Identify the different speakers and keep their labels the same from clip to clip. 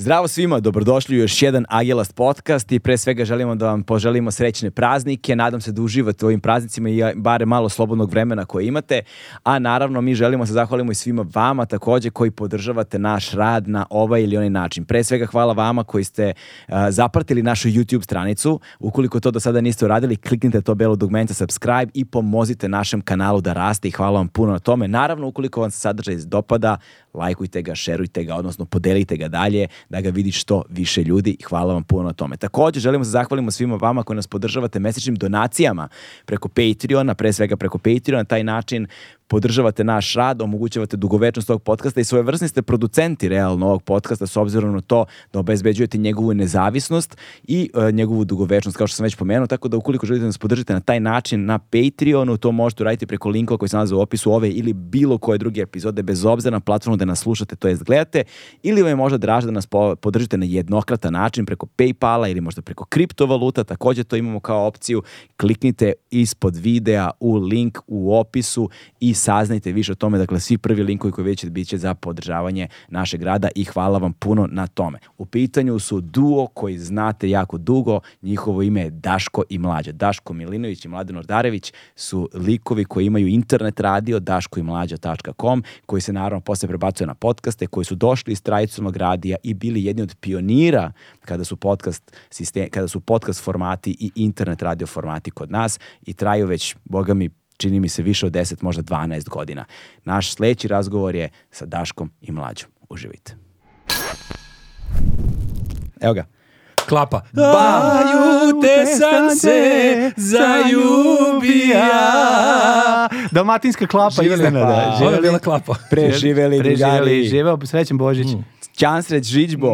Speaker 1: Zdravo svima, dobrodošli u još jedan Agelast podcast i pre svega želimo da vam poželimo srećne praznike, nadam se da uživate u ovim praznicima i bare malo slobodnog vremena koje imate, a naravno mi želimo se zahvalimo i svima vama takođe koji podržavate naš rad na ovaj ili onaj način. Pre svega hvala vama koji ste uh, zapratili našu YouTube stranicu, ukoliko to do sada niste uradili, kliknite to belo dugmenta subscribe i pomozite našem kanalu da raste i hvala vam puno na tome. Naravno, ukoliko vam se sadržaj dopada, lajkujte ga, šerujte ga, odnosno podelite ga dalje da ga vidi što više ljudi i hvala vam puno na tome. Takođe, želimo se zahvalimo svima vama koji nas podržavate mesečnim donacijama preko Patreona, pre svega preko Patreona, taj način podržavate naš rad, omogućavate dugovečnost ovog podcasta i svojevrsni ste producenti realno ovog podcasta s obzirom na to da obezbeđujete njegovu nezavisnost i e, njegovu dugovečnost, kao što sam već pomenuo, tako da ukoliko želite da nas podržite na taj način na Patreonu, to možete uraditi preko linka koji se nalazi u opisu ove ili bilo koje druge epizode, bez obzira na platformu da nas slušate, to jest gledate, ili vam je možda draže da nas po, podržite na jednokratan način preko Paypala ili možda preko kriptovaluta, takođe to imamo kao opciju, kliknite ispod videa u link u opisu i saznajte više o tome. Dakle, svi prvi linkovi koji već bit će za podržavanje našeg rada i hvala vam puno na tome. U pitanju su duo koji znate jako dugo, njihovo ime je Daško i Mlađa. Daško Milinović i Mladen Ordarević su likovi koji imaju internet radio daškoimlađa.com koji se naravno posle prebacuje na podcaste koji su došli iz tradicionalnog radija i bili jedni od pionira kada su podcast, sistem, kada su podcast formati i internet radio formati kod nas i traju već, boga mi, čini mi se više od 10, možda 12 godina. Naš sledeći razgovor je sa Daškom i Mlađom. Uživajte. Evo ga.
Speaker 2: Klapa.
Speaker 1: Baju te sam se zajubija.
Speaker 3: Dalmatinska klapa
Speaker 2: Živeli
Speaker 3: iznenada.
Speaker 1: klapa.
Speaker 2: pa, Ovo je bila klapa.
Speaker 1: Preživeli
Speaker 3: Preživeli, Mm.
Speaker 1: drugari.
Speaker 3: živeo, srećen Božić.
Speaker 2: Mm,
Speaker 1: Ćansreć Žiđbo.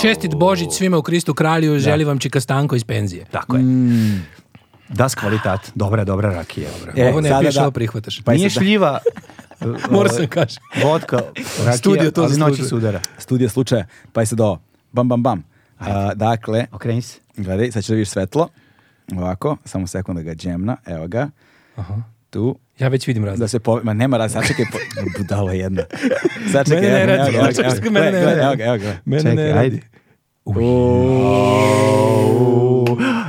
Speaker 2: Čestit Božić svima u Kristu kralju, želi vam Čika Stanko iz penzije.
Speaker 1: Tako je.
Speaker 3: Mm. Das kvalitat. Dobra, dobra rakija. Dobra.
Speaker 1: E,
Speaker 2: Ovo ne
Speaker 1: sada
Speaker 2: piše,
Speaker 1: da-
Speaker 2: ovo prihvataš.
Speaker 1: Pa je
Speaker 3: Nije
Speaker 1: sad-
Speaker 3: šljiva.
Speaker 2: Mora sam kažem.
Speaker 3: Vodka, rakija,
Speaker 2: Studio to
Speaker 3: ali noći
Speaker 2: zaslužuje.
Speaker 3: sudara.
Speaker 1: Studija slučaja. Pa je sad ovo. Bam, bam, bam. A, dakle,
Speaker 3: Okreni se.
Speaker 1: gledaj, sad ćeš da vidiš svetlo. Ovako, samo sekund da ga džemna. Evo ga.
Speaker 2: Aha.
Speaker 1: Tu.
Speaker 2: Ja već vidim
Speaker 1: Da
Speaker 2: razlog.
Speaker 1: se po... Ma nema raz, sačekaj, po... budalo jedna. Sačekaj,
Speaker 2: Mene ne
Speaker 1: evo ga,
Speaker 2: radi,
Speaker 1: evo ga, evo
Speaker 2: sačekaj,
Speaker 1: ga,
Speaker 2: mene ne
Speaker 1: Gle, gle,
Speaker 2: radi.
Speaker 1: Evo ga, evo ga.
Speaker 2: Mene
Speaker 3: Čekaj, ajde.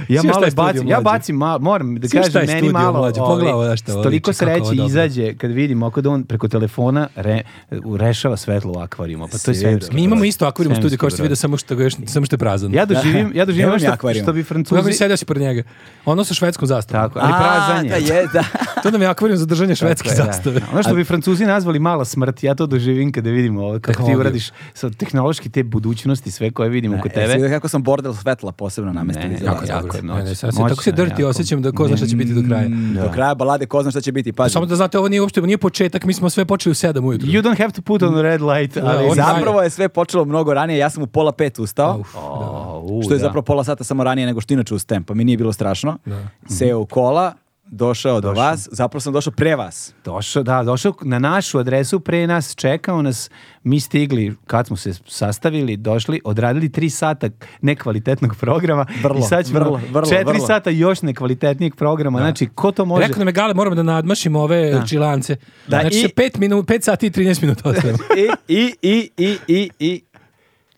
Speaker 3: Ja
Speaker 2: Svi šta
Speaker 3: malo
Speaker 2: je studio
Speaker 3: bacim, ja
Speaker 2: mlađe?
Speaker 3: bacim malo, moram da
Speaker 2: Svi šta
Speaker 3: kažem,
Speaker 2: je
Speaker 3: meni
Speaker 2: studio
Speaker 3: malo,
Speaker 2: mlađe?
Speaker 3: ovaj,
Speaker 2: Pogledaj ovo šta ovo
Speaker 3: toliko
Speaker 2: liči, kako ovo
Speaker 3: sreće
Speaker 2: dobro.
Speaker 3: izađe kad vidim oko da on preko telefona re, u- rešava svetlo u akvarijuma, pa to
Speaker 1: Svi
Speaker 3: je svemirski.
Speaker 2: Mi imamo
Speaker 3: brod.
Speaker 2: isto akvarijum u studiju, kao što
Speaker 3: Svemirski
Speaker 2: ste vidio,
Speaker 3: brod.
Speaker 2: samo što, ga još, samo što je prazan.
Speaker 3: Ja doživim, ja doživim
Speaker 1: Nemam
Speaker 3: ono
Speaker 1: ja
Speaker 3: što,
Speaker 1: akvarijum.
Speaker 3: što bi
Speaker 2: Kako
Speaker 3: Francuzi...
Speaker 2: bi sedeo si pored njega? Ono sa švedskom zastavom.
Speaker 3: Tako, ali prazan
Speaker 1: A,
Speaker 3: je.
Speaker 1: da je, da.
Speaker 2: To nam je akvarijum za držanje švedske
Speaker 3: Tako je, da.
Speaker 2: zastave.
Speaker 3: Ono što bi Francuzi nazvali mala smrt, ja to doživim kada vidim ovo, kako ti
Speaker 2: Tehnologiju.
Speaker 3: uradiš sa tehnološki te budućnosti, sve koje vidim oko
Speaker 1: E,
Speaker 3: tebe.
Speaker 1: svi kako sam bordel svetla posebno namestili. za
Speaker 2: jako
Speaker 1: vas.
Speaker 2: je dobro.
Speaker 3: je
Speaker 2: Ne,
Speaker 3: moćno,
Speaker 2: ne, sad se tako se
Speaker 3: moćno je
Speaker 2: dirty
Speaker 3: jako.
Speaker 2: osjećam da ko zna šta će biti do kraja.
Speaker 1: Mm, Do kraja balade, ko zna šta će biti. Pazi,
Speaker 2: Samo da znate, ovo nije uopšte, nije početak, mi smo sve počeli u 7 ujutru.
Speaker 3: You don't have to put on red light, ali...
Speaker 2: on
Speaker 3: za-
Speaker 2: zna-
Speaker 1: zapravo je sve počelo mnogo ranije. Ja sam u pola pet ustao.
Speaker 2: Uf, da.
Speaker 3: O, u,
Speaker 1: Što je
Speaker 3: da.
Speaker 1: zapravo pola sata samo ranije nego što inače ustajem, pa mi nije bilo strašno.
Speaker 2: Da.
Speaker 1: Seo u kola, došao do vas, zapravo sam došao pre vas.
Speaker 3: Došao, da, došao na našu adresu pre nas, čekao nas, mi stigli, kad smo se sastavili, došli, odradili tri sata nekvalitetnog programa
Speaker 1: Vrlo,
Speaker 3: i sad ćemo
Speaker 1: vrlo, vrlo,
Speaker 3: četiri
Speaker 1: vrlo.
Speaker 3: sata još nekvalitetnijeg programa. Znači, ko to može?
Speaker 2: Rekao nam je Gale, moramo da nadmašimo ove čilance.
Speaker 1: Da,
Speaker 2: znači,
Speaker 1: i-
Speaker 2: sa pet, minu, pet sati i 13 minuta ostavimo.
Speaker 1: I, i, i, i, i, i.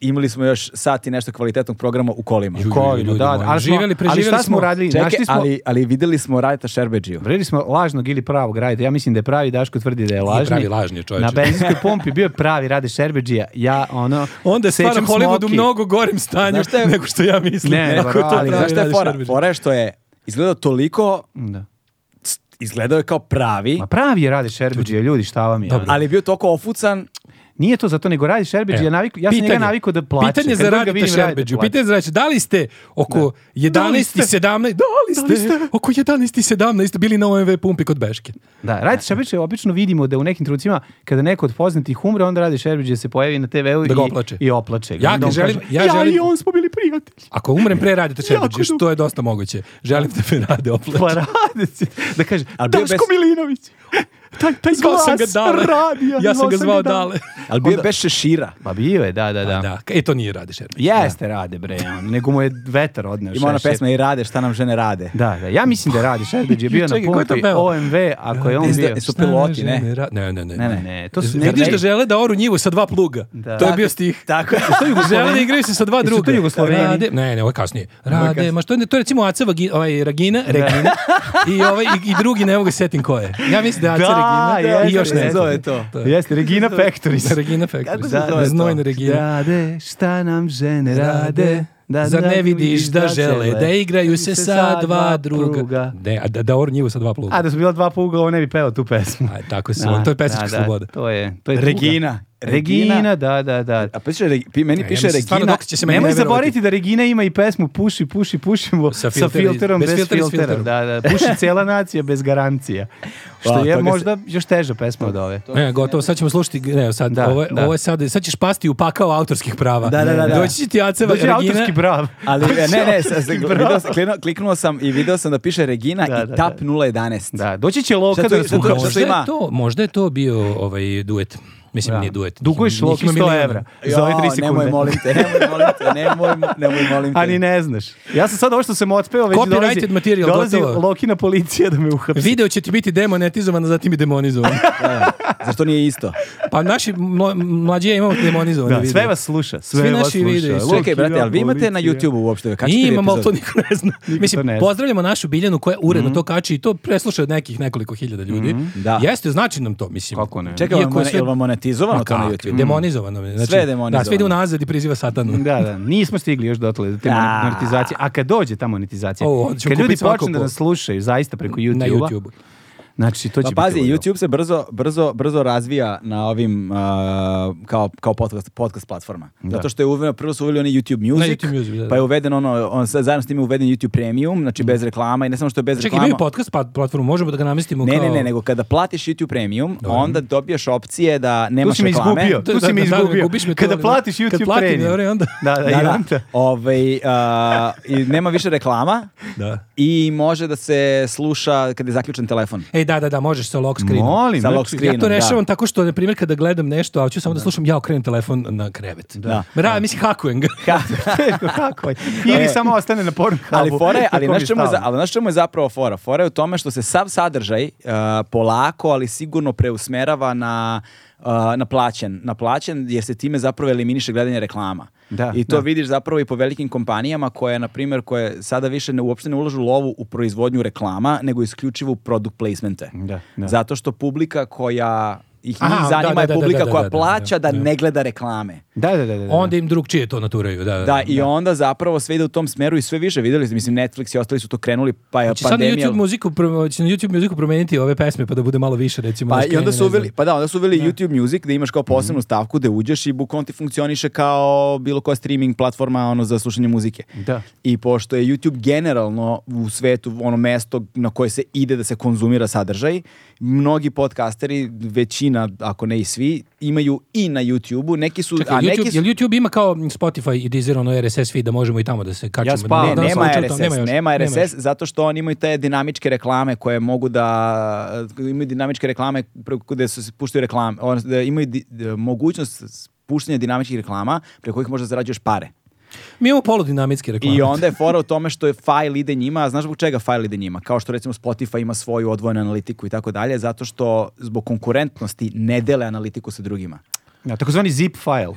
Speaker 1: Imali smo još sat i nešto kvalitetnog programa u kolima.
Speaker 2: Ju,
Speaker 3: Covid,
Speaker 2: ljudi
Speaker 3: da,
Speaker 2: moji.
Speaker 3: ali smo-
Speaker 2: Živeli, preživeli
Speaker 3: ali šta
Speaker 2: smo.
Speaker 3: smo radili?
Speaker 1: Čekaj,
Speaker 3: Našli smo,
Speaker 1: ali, ali videli smo Rajta Šerbeđiju.
Speaker 3: Vreli smo lažnog ili pravog Rajta. Ja mislim da je pravi Daško tvrdi da je lažni.
Speaker 2: pravi, lažni je, čoveče.
Speaker 3: Na benzinskoj pumpi bio je pravi Rade Šerbeđija. Ja ono
Speaker 2: Onda je stvarno
Speaker 3: sečem
Speaker 2: Hollywood u
Speaker 3: smoki.
Speaker 2: mnogo gorem stanju
Speaker 1: Znaš šta je-
Speaker 2: nego što ja mislim.
Speaker 3: Ne,
Speaker 2: Ako
Speaker 3: dobro,
Speaker 2: to
Speaker 1: Ali
Speaker 3: ali
Speaker 2: pravi
Speaker 1: znaš šta je
Speaker 2: Rade
Speaker 1: fora?
Speaker 2: Šerbeđ.
Speaker 1: Fora je što je izgledao toliko,
Speaker 3: Da.
Speaker 1: izgledao je kao pravi,
Speaker 3: Ma pravi je Rade Šerbeđija, ljudi, šta vam je?
Speaker 2: Dobro.
Speaker 3: ono?
Speaker 1: ali je bio toliko ofucan
Speaker 3: Nije to zato nego radi Šerbeđ,
Speaker 2: Evo,
Speaker 3: ja, navik, ja sam
Speaker 2: E, pitanje.
Speaker 3: njega navikao da plače.
Speaker 2: Pitanje
Speaker 3: Kad
Speaker 2: za
Speaker 3: god ga
Speaker 2: Radeta
Speaker 3: vidim, Radeta
Speaker 2: Šerbeđu.
Speaker 3: plače.
Speaker 2: Pitanje za Radeta. Da li ste oko 11 i 17, da li ste, oko 11 i 17 bili na OMV pumpi kod Beške?
Speaker 3: Da, Radeta Šerbeđ je obično vidimo da u nekim trenucima kada neko od poznatih umre, onda radi Šerbeđ da se pojavi na TV-u
Speaker 2: Da ga
Speaker 3: i,
Speaker 2: oplače.
Speaker 3: i oplače. ga.
Speaker 2: Ja
Speaker 3: Onda
Speaker 2: ga
Speaker 3: on
Speaker 2: želim-
Speaker 3: kaže,
Speaker 2: ja želim-
Speaker 3: i on smo bili prijatelji.
Speaker 2: Ako umrem pre Radeta Šerbeđa,
Speaker 3: Jako dobro.
Speaker 2: što je dosta moguće. Želim da me rade oplače.
Speaker 3: Pa Rade se- Da kaže,
Speaker 1: Ali bio
Speaker 3: Daško
Speaker 1: bez-
Speaker 3: Milinović. Taj, taj
Speaker 2: Zvao sam ga
Speaker 3: glas
Speaker 2: Dale.
Speaker 3: radija,
Speaker 2: ja sam ga zvao Dale.
Speaker 1: Ali bio je bez šešira.
Speaker 3: Pa bio je, da, da, da.
Speaker 2: Da, e to nije Rade Šerbeđa.
Speaker 3: Jeste rade bre, on, nego mu je vetar odneo.
Speaker 1: Ima ona
Speaker 3: šešir.
Speaker 1: pesma i rade šta nam žene rade.
Speaker 3: Da, da, ja mislim da radi Šerbeđ je bio na
Speaker 2: Čekaj, ko je to
Speaker 3: pumpi
Speaker 2: pevao?
Speaker 3: OMV, ako je on
Speaker 1: Jeste-
Speaker 3: bio.
Speaker 1: jesu piloti, ne?
Speaker 2: Ne, ne, ne.
Speaker 1: Ne, ne.
Speaker 3: Ne, to su
Speaker 2: Vidiš
Speaker 3: negdje-
Speaker 2: da žele da oru njivu sa dva pluga.
Speaker 3: Da.
Speaker 2: To je bio stih.
Speaker 1: Tako je.
Speaker 2: Žele da igraju se sa dva
Speaker 3: Jesu to
Speaker 2: druga.
Speaker 3: Jugoslaveni?
Speaker 2: Rade, ne, ne, ovo je kasnije. Rade,
Speaker 3: kasnije.
Speaker 2: ma što je, to je recimo Aca Vagi, ovaj, Ragina, Regina, i, ovaj, i, i drugi, ne mogu ga setim ko je. Ja mislim da je Aca
Speaker 3: Da,
Speaker 2: Regina
Speaker 3: jeste,
Speaker 2: i još
Speaker 3: jeste,
Speaker 2: ne.
Speaker 1: zove to.
Speaker 3: Jeste, Regina Pectoris.
Speaker 2: Regina Factory.
Speaker 1: Kako se zove to?
Speaker 2: Znojna Regina.
Speaker 3: Rade, šta nam žene
Speaker 2: Rade,
Speaker 3: rade,
Speaker 2: da, Zar ne vidiš da žele da igraju se sa dva druga? Ne, a da, da oru njivu sa dva pluga.
Speaker 3: A da su bila dva pugla, on ne bi pevao tu pesmu.
Speaker 2: Aj, tako se, on- to je pesnička
Speaker 3: da, da,
Speaker 2: sloboda.
Speaker 3: To je, to je tuga.
Speaker 1: Regina.
Speaker 3: Regina, da, da, da.
Speaker 2: pa
Speaker 1: A piše, Reg- pi- meni
Speaker 2: Ja
Speaker 1: piše
Speaker 2: mislim, stvarno,
Speaker 1: Regina.
Speaker 2: dok će se meni
Speaker 3: Nemoj
Speaker 2: ne verovati.
Speaker 3: zaboraviti da Regina ima i pesmu Puši, puši, pušimo
Speaker 2: Sa
Speaker 3: sa,
Speaker 2: filter-
Speaker 3: filterom,
Speaker 2: bez
Speaker 3: bez,
Speaker 2: filtera i s
Speaker 3: filtera.
Speaker 2: filterom.
Speaker 3: Da, da, puši cela nacija bez garancija. Što
Speaker 1: Wow,
Speaker 3: je
Speaker 2: Pa,
Speaker 1: toga se-
Speaker 3: možda još teža pesma od ove.
Speaker 2: Ne, gotovo, sad ćemo slušati, ne, sad,
Speaker 3: Da,
Speaker 2: ovo, je-
Speaker 3: da.
Speaker 2: ovo je sad, sad ćeš pasti u pakao autorskih prava.
Speaker 1: Da, da, da, da.
Speaker 2: Doći će ti Aceva
Speaker 3: Dođe
Speaker 2: Regina.
Speaker 3: autorski brav.
Speaker 1: Ali e, ne, ne, sa- sa-
Speaker 3: Bravo.
Speaker 1: video sam- klino- kliknuo sam i video sam da piše Regina
Speaker 3: Da, da,
Speaker 1: i
Speaker 3: da.
Speaker 1: tap 011.
Speaker 3: Da, doći će Loka
Speaker 1: Zato-
Speaker 3: da ono
Speaker 1: zato- zato-
Speaker 2: Možda
Speaker 3: iskuha.
Speaker 1: što ima-
Speaker 2: je to, možda je to bio ovaj duet. Mislim,
Speaker 3: Da.
Speaker 2: nije duet.
Speaker 3: Duguješ
Speaker 2: Njih- njih
Speaker 3: Loki
Speaker 2: ima
Speaker 3: 100
Speaker 2: milion.
Speaker 3: evra za ove 3
Speaker 1: Jao,
Speaker 3: sekunde.
Speaker 1: Nemoj molim te, nemoj molim te, nemoj, nemoj molim te.
Speaker 3: A ni ne znaš. Ja sam sad ovo što sam otpeo, već
Speaker 2: Copyrighted
Speaker 3: dolazi,
Speaker 2: material,
Speaker 3: dolazi
Speaker 2: gotovo.
Speaker 3: Lokina policija da me uhapsi.
Speaker 2: Video će ti biti demonetizovan, a zatim i demonizovan.
Speaker 1: Da, zašto nije isto?
Speaker 2: Pa naši mla, mlađe imamo demonizovan
Speaker 3: Da, sve vas sluša. Sve
Speaker 2: Svi
Speaker 3: vas
Speaker 2: naši
Speaker 3: sluša.
Speaker 2: videi su-
Speaker 3: Lokina
Speaker 1: Čekaj, brate, ali vi imate na
Speaker 3: policija.
Speaker 1: YouTube-u uopšte? Kačite
Speaker 2: I
Speaker 1: vi
Speaker 2: imamo, ali to
Speaker 1: epizode?
Speaker 2: niko ne zna. Mislim,
Speaker 3: to ne zna.
Speaker 2: pozdravljamo našu Biljanu koja uredno to kači i to presluša od nekih nekoliko hiljada ljudi.
Speaker 1: Da.
Speaker 2: Jeste, znači nam to, mislim.
Speaker 3: Kako ne?
Speaker 1: Čekaj,
Speaker 2: Iako
Speaker 1: vam,
Speaker 2: sve-
Speaker 1: jel vam monetizovano
Speaker 2: Ma
Speaker 1: to na
Speaker 2: kakvi,
Speaker 1: YouTube?
Speaker 2: Demonizovano. je. Znači,
Speaker 1: Mm. Sve je demonizovano.
Speaker 2: Da, sve ide unazad i priziva satanu.
Speaker 3: Da, da, nismo stigli još dotle do te
Speaker 1: Da.
Speaker 3: monetizacije. A kad dođe ta monetizacija,
Speaker 2: O, onda ćemo
Speaker 3: kad ljudi
Speaker 2: kupiti svako
Speaker 3: počnu da
Speaker 2: po-
Speaker 3: nas slušaju zaista preko
Speaker 2: na
Speaker 3: YouTube-a,
Speaker 2: YouTube.
Speaker 3: znači to će
Speaker 1: Pa pazi,
Speaker 3: biti... ludo.
Speaker 1: YouTube se brzo, brzo, brzo razvija na ovim a, kao, kao podcast, podcast platforma. Zato što je uveden, prvo su uveli oni YouTube Music,
Speaker 2: YouTube Music, da, da.
Speaker 1: pa je uveden ono, on, sad zajedno s tim je uveden YouTube Premium, znači bez reklama i ne samo što je bez
Speaker 2: Čekaj,
Speaker 1: reklama.
Speaker 2: imaju podcast pa- platformu, možemo da ga namestimo
Speaker 1: Ne,
Speaker 2: kao...
Speaker 1: ne, ne, nego kada platiš YouTube Premium, onda dobijaš opcije da
Speaker 3: Tu
Speaker 1: nemaš
Speaker 3: si mi
Speaker 1: reklame.
Speaker 3: izgubio,
Speaker 2: Da,
Speaker 3: tu
Speaker 2: da,
Speaker 3: si mi
Speaker 2: da, da,
Speaker 3: izgubio.
Speaker 2: gubiš me tu,
Speaker 3: Kada
Speaker 2: ali-
Speaker 3: platiš
Speaker 2: kad
Speaker 3: YouTube
Speaker 2: platim,
Speaker 3: premium.
Speaker 2: dobro, i onda-
Speaker 3: Da, da, i
Speaker 1: Da, da.
Speaker 3: onda.
Speaker 1: Ovaj, a, i nema više reklama
Speaker 2: Da.
Speaker 1: i može da se sluša kada je zaključen telefon.
Speaker 2: Ej, da, da, da, možeš sa lock screenom.
Speaker 3: Molim,
Speaker 1: Sa
Speaker 3: znači,
Speaker 1: lock screenom,
Speaker 2: Ja to
Speaker 1: da.
Speaker 2: rešavam tako što, na primjer, kada gledam nešto, ali ću samo da slušam, ja okrenem telefon na krevet.
Speaker 1: Da.
Speaker 2: Ra, mislim, hakujem ga.
Speaker 3: teško, kako je. Ili
Speaker 1: E.
Speaker 3: samo ostane na Pornhubu.
Speaker 1: Ali fora je, ali
Speaker 3: Tako mi
Speaker 1: znaš čemu, je za-
Speaker 3: stalno.
Speaker 1: ali znaš čemu je zapravo fora? Fora je u tome što se sav sadržaj uh, polako, ali sigurno preusmerava na uh, na plaćen, na plaćen jer se time zapravo eliminiše gledanje reklama.
Speaker 3: Da,
Speaker 1: I to
Speaker 3: da.
Speaker 1: vidiš zapravo i po velikim kompanijama koje, na primjer, koje sada više ne, uopšte ne ulažu lovu u proizvodnju reklama, nego isključivo u product placemente.
Speaker 3: Da, da.
Speaker 1: Zato što publika koja ih njih
Speaker 2: Aha,
Speaker 1: zanima
Speaker 2: da, da,
Speaker 1: je
Speaker 2: da, da,
Speaker 1: publika
Speaker 2: da, da,
Speaker 1: koja
Speaker 2: da, da,
Speaker 1: plaća da,
Speaker 2: da.
Speaker 1: ne gleda reklame.
Speaker 3: Da, da, da, da. da.
Speaker 2: Onda im drug čije to naturaju. Da,
Speaker 1: Da, i onda zapravo sve ide u tom smeru i sve više videli ste, mislim Netflix i ostali su to krenuli, pa je
Speaker 2: Hoće sad na
Speaker 1: pandemija.
Speaker 2: Znači, YouTube muziku, pro- hoće na YouTube muziku promeniti ove pesme pa da bude malo više recimo.
Speaker 1: pa
Speaker 2: da
Speaker 1: i onda
Speaker 2: skrene,
Speaker 1: su
Speaker 2: ne znači. znam.
Speaker 1: uveli, pa da, onda su uveli YouTube Music da imaš kao posebnu stavku gde uđeš i bukvalno ti funkcioniše kao bilo koja streaming platforma ono za slušanje muzike.
Speaker 3: Da.
Speaker 1: I pošto je YouTube generalno u svetu ono mesto na koje se ide da se konzumira sadržaj, mnogi podcasteri, većina, ako ne i svi, imaju i na YouTubeu, neki su,
Speaker 2: Čekaj,
Speaker 1: a
Speaker 2: YouTube,
Speaker 1: neki su...
Speaker 2: jel YouTube ima kao Spotify i Deezer ono RSS feed da možemo i tamo da se kačimo.
Speaker 3: Ja spavam.
Speaker 1: Znači, Ne,
Speaker 3: Da,
Speaker 2: danas sam
Speaker 1: nema
Speaker 2: učio o
Speaker 1: RSS,
Speaker 2: tom,
Speaker 1: nema,
Speaker 2: još,
Speaker 1: RSS
Speaker 2: još.
Speaker 1: zato što oni imaju te dinamičke reklame koje mogu da imaju dinamičke reklame preko gde su se puštaju reklame, odnosno da imaju di- d- mogućnost puštanja dinamičkih reklama preko kojih možda zarađuješ pare.
Speaker 2: Mi imamo poludinamitske reklame.
Speaker 3: Pa.
Speaker 1: I onda je fora u tome što je file ide njima, a znaš zbog čega file ide njima? Kao što recimo Spotify ima svoju odvojenu analitiku i tako dalje, zato što zbog konkurentnosti ne dele analitiku sa drugima.
Speaker 3: Da, takozvani zip file.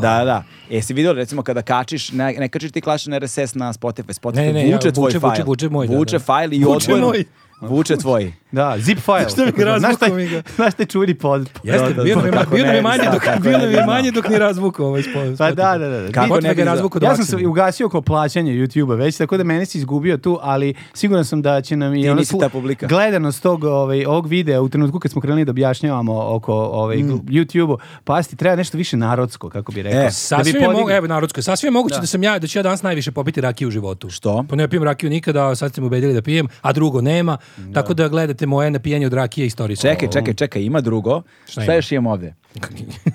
Speaker 1: Da, da. Jesi vidio recimo kada kačiš, ne, ne kačiš ti klaš na RSS na Spotify, Spotify
Speaker 2: Ne, ne, ja-
Speaker 1: vuče tvoj
Speaker 2: vuče,
Speaker 1: file.
Speaker 2: vuče, vuče moj, da, da.
Speaker 1: file i
Speaker 2: Vuče
Speaker 1: odvojeno.
Speaker 2: moj.
Speaker 1: Vuče tvoj.
Speaker 3: Da, zip file.
Speaker 2: Što mi ga razvukao mi ga?
Speaker 3: Znaš te čuri pod...
Speaker 2: Jeste,
Speaker 1: Da, da,
Speaker 2: bilo
Speaker 1: da,
Speaker 2: mi
Speaker 1: kako
Speaker 2: bilo
Speaker 1: ne
Speaker 2: mi
Speaker 1: bi
Speaker 2: manje
Speaker 1: znao,
Speaker 2: dok
Speaker 1: kako
Speaker 2: bilo
Speaker 1: ne bi
Speaker 2: mi
Speaker 1: znao.
Speaker 2: manje dok nije razvukao ovaj spot.
Speaker 3: Pa da, da, da.
Speaker 1: Kako
Speaker 3: da.
Speaker 2: Kako
Speaker 1: ne bi
Speaker 2: ne ga
Speaker 1: znao?
Speaker 2: razvukao
Speaker 3: Ja
Speaker 2: do
Speaker 3: sam se ugasio kao plaćanje YouTube-a već, tako da mene si izgubio tu, ali siguran sam da će nam i
Speaker 1: Ti
Speaker 3: ono
Speaker 1: nisi
Speaker 3: tu-
Speaker 1: ta publika.
Speaker 3: gledanost tog, ovaj, ovog videa u trenutku kad smo krenuli da objašnjavamo oko ovaj,
Speaker 2: Mm.
Speaker 3: YouTube-a, pasti, treba nešto više narodsko, kako bi rekao.
Speaker 1: E,
Speaker 3: da bi
Speaker 2: Sasvim je
Speaker 3: podigli-
Speaker 2: mogu, evo narodsko, sasvim je moguće da. sam ja da ću ja danas najviše popiti rakiju u životu.
Speaker 1: Što?
Speaker 2: Pa ne pijem rakiju nikada, a sad ste me ubedili da pijem, a drugo nema. Tako da gledate moje napijenje od rakije istorijsko.
Speaker 1: Čekaj, čekaj, čekaj, ima drugo.
Speaker 2: Šta
Speaker 1: Šta,
Speaker 2: ima?
Speaker 1: još imamo ovde?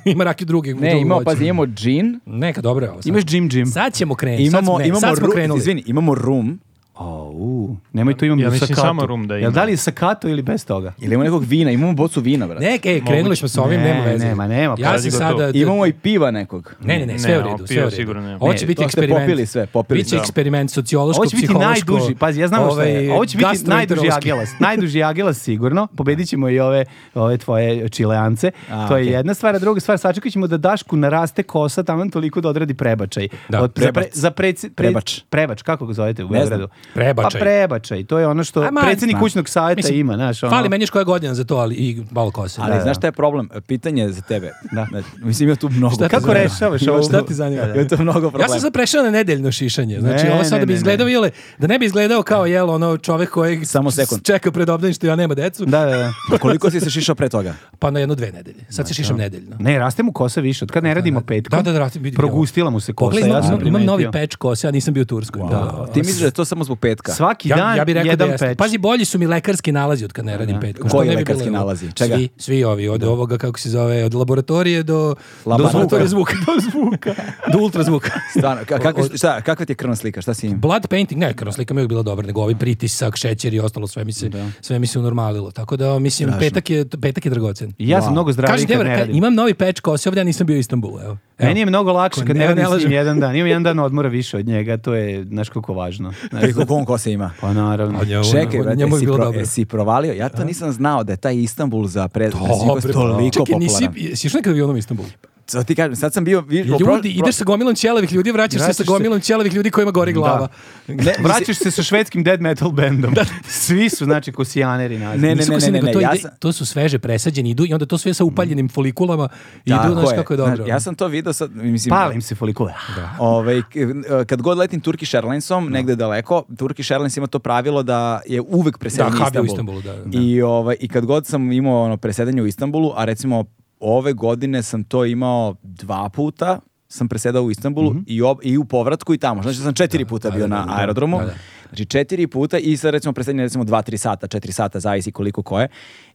Speaker 2: ima rakiju drugi.
Speaker 1: Ne, imamo, pazi, imamo džin,
Speaker 2: Neka, dobro je ovo. Sad.
Speaker 3: Imaš Jim Jim.
Speaker 2: Sad ćemo krenuti. Imamo, E, sad
Speaker 1: imamo,
Speaker 2: smo, imamo
Speaker 1: imamo,
Speaker 2: sad smo
Speaker 1: ru,
Speaker 2: krenuli.
Speaker 1: izvini, imamo rum,
Speaker 3: O, u, nemoj tu imam
Speaker 4: Ja
Speaker 3: u
Speaker 4: mislim
Speaker 3: sakatu.
Speaker 4: samo room da ima.
Speaker 3: Jel da li je sakato ili bez toga?
Speaker 1: ili imamo nekog vina, imamo bocu vina, brate.
Speaker 2: Ne, ej, e, krenuli smo sa ovim,
Speaker 3: Ne,
Speaker 2: nema veze.
Speaker 3: nema, nema,
Speaker 2: Ja
Speaker 4: pazi
Speaker 2: sam
Speaker 4: gotovo.
Speaker 2: sada...
Speaker 1: Imamo i piva nekog.
Speaker 2: Ne, ne, ne, sve
Speaker 4: Ne,
Speaker 2: u redu,
Speaker 4: opio
Speaker 2: sve u redu.
Speaker 4: sigurno nema.
Speaker 2: Ovo će
Speaker 1: Ne,
Speaker 2: biti
Speaker 1: to ste
Speaker 2: eksperiment.
Speaker 1: popili sve, popili
Speaker 2: Biće
Speaker 1: sve.
Speaker 2: eksperiment sociološko,
Speaker 3: Ovo će biti
Speaker 2: psihološko,
Speaker 3: najduži, pazi, ja znam šta je.
Speaker 2: ovaj,
Speaker 3: Ovo će biti najduži
Speaker 2: gastroenterološki.
Speaker 3: agelas. Najduži agelas sigurno. Pobedit ćemo i ove, ove tvoje čileance.
Speaker 1: A,
Speaker 3: to je
Speaker 1: okej.
Speaker 3: jedna stvar. A druga stvar, sačekat ćemo da Dašku naraste kosa tamo toliko da odradi prebačaj.
Speaker 2: Da,
Speaker 3: za, pre,
Speaker 1: prebac.
Speaker 3: za preci- pre-
Speaker 1: Prebač.
Speaker 3: Prebač, kako ga zovete u
Speaker 1: Ne znam.
Speaker 3: Beogradu?
Speaker 2: Prebačaj.
Speaker 3: Pa prebačaj. To je ono što
Speaker 2: A, ma,
Speaker 3: predsjednik
Speaker 2: ma.
Speaker 3: kućnog savjeta
Speaker 2: Mislim,
Speaker 3: ima. Znaš, ono,
Speaker 2: Fali meni još koja godina za to, ali i malo kose.
Speaker 1: Ali znaš šta je problem? Pitanje za tebe.
Speaker 3: Da.
Speaker 1: Znači, Mislim, ima tu mnogo.
Speaker 2: Šta ti
Speaker 3: Kako
Speaker 2: zanima?
Speaker 3: rešavaš
Speaker 2: Ima
Speaker 3: ovo?
Speaker 2: Šta ti zanima?
Speaker 1: Ima tu mnogo problema.
Speaker 2: Ja sam sad prešao na nedeljno šišanje. Znači,
Speaker 3: Ne,
Speaker 2: ovo sad
Speaker 3: ne,
Speaker 2: da bi
Speaker 3: ne,
Speaker 2: izgledao,
Speaker 3: ne.
Speaker 2: jele, da ne bi izgledao kao, jel, ono, čovek kojeg
Speaker 1: Samo sekund.
Speaker 2: čeka pred obdanište, ja nema decu,
Speaker 3: Da, da, da.
Speaker 1: Pa Koliko si se šišao pre toga?
Speaker 2: pa na jedno dve nedelje. Sad
Speaker 3: Znači,
Speaker 2: se šišam nedeljno.
Speaker 3: Ne, raste mu kosa više. Od kad ne radimo petkom,
Speaker 2: Da, da, da, raste- vidim,
Speaker 3: progustila mu se kosa.
Speaker 2: Pogledaj, imam,
Speaker 3: ja sam
Speaker 2: imam- imam novi
Speaker 3: primetio.
Speaker 2: peč kose, ja nisam bio u Turskoj. Da.
Speaker 1: Ti misliš da je to samo zbog petka?
Speaker 3: Svaki
Speaker 2: Ja,
Speaker 3: dan
Speaker 2: ja bih rekao da
Speaker 3: jedan
Speaker 2: jeste.
Speaker 3: peč.
Speaker 2: Pazi, bolji su mi lekarski nalazi od kad ne radim petkom. Što
Speaker 1: Koji
Speaker 2: ne bi bilo
Speaker 1: lekarski
Speaker 2: lepo?
Speaker 1: nalazi? Čega?
Speaker 2: Svi, svi ovi, od ovoga, kako se zove, od laboratorije do, do
Speaker 1: Laboratorija
Speaker 2: laboratorija zvuka. do zvuka. do ultrazvuka.
Speaker 1: Stvarno, ka- kako, šta, kakva ti je krvna slika? Šta si im?
Speaker 2: Blood painting, ne, krvna slika mi je uvijek bila dobra, nego ovi pritisak, šećer i ostalo, sve mi se, sve mi se unormalilo. Tako da, mislim, petak je, petak je dragocen.
Speaker 3: Ja sam mnogo zdraviji
Speaker 2: Kaži,
Speaker 3: kad
Speaker 2: Devar,
Speaker 3: ne
Speaker 2: ka-
Speaker 3: radim.
Speaker 2: imam novi peč kose, ovdje ja nisam bio u Istanbulu, evo. Evo.
Speaker 3: Meni je mnogo lakše kad
Speaker 2: Ne,
Speaker 3: ne
Speaker 2: ne
Speaker 3: radim s njim
Speaker 2: lažem.
Speaker 3: jedan dan. Imam jedan dan odmora više od njega, to je, znaš koliko važno. Znaš,
Speaker 1: Koliko on kose ima?
Speaker 3: pa naravno.
Speaker 2: A njemu-
Speaker 1: Čekaj,
Speaker 2: njemu je
Speaker 1: brate, jesi,
Speaker 2: bilo
Speaker 1: pro,
Speaker 2: dobro.
Speaker 1: jesi provalio? Ja to nisam znao da je taj Istanbul za pre, za
Speaker 2: Dobre,
Speaker 1: psihos toliko
Speaker 2: Čekaj, nisi,
Speaker 1: popularan.
Speaker 2: jesi još nekad avionom u Istanbulu?
Speaker 1: Sad ti kažem, sad sam bio... vi-
Speaker 2: Ljudi,
Speaker 1: pro- pro-
Speaker 2: ideš sa gomilom ćelavih ljudi, vraćaš, se
Speaker 3: Vraćaš
Speaker 2: sa
Speaker 3: se.
Speaker 2: gomilom ćelavih ljudi kojima gori glava.
Speaker 3: Ne, vraćaš se sa švedskim dead metal bandom. Svi su, znači, kosijaneri nazad.
Speaker 1: Ne, ne,
Speaker 2: Nisu
Speaker 1: ne, ne,
Speaker 2: kusi,
Speaker 1: ne,
Speaker 2: nego
Speaker 1: ne,
Speaker 2: to,
Speaker 1: ja
Speaker 2: ide-
Speaker 1: sam-
Speaker 2: to su sveže presađeni idu i onda to sve sa upaljenim folikulama idu,
Speaker 1: Tako
Speaker 2: znaš kako je dobro.
Speaker 1: Znaš, ja sam to video sad, mislim...
Speaker 3: Palim se folikule.
Speaker 1: Ovaj, k- e, kad god letim Turkish Airlinesom, negde daleko, Turkish Airlines ima to pravilo da je uvek presedanje
Speaker 2: Da, hub je u
Speaker 1: Istanbul.
Speaker 2: Istanbulu, da,
Speaker 1: I, ovaj, I kad god sam imao ono, presedanje u Istanbulu, a recimo ove godine sam to imao dva puta, sam presedao u Istanbulu i, ob- i u povratku i tamo. Znači da sam četiri puta bio na aerodromu.
Speaker 2: Mhm. da, da.
Speaker 1: Znači četiri puta i sad recimo presedanje recimo dva, tri sata, četiri sata, zavisi koliko ko je.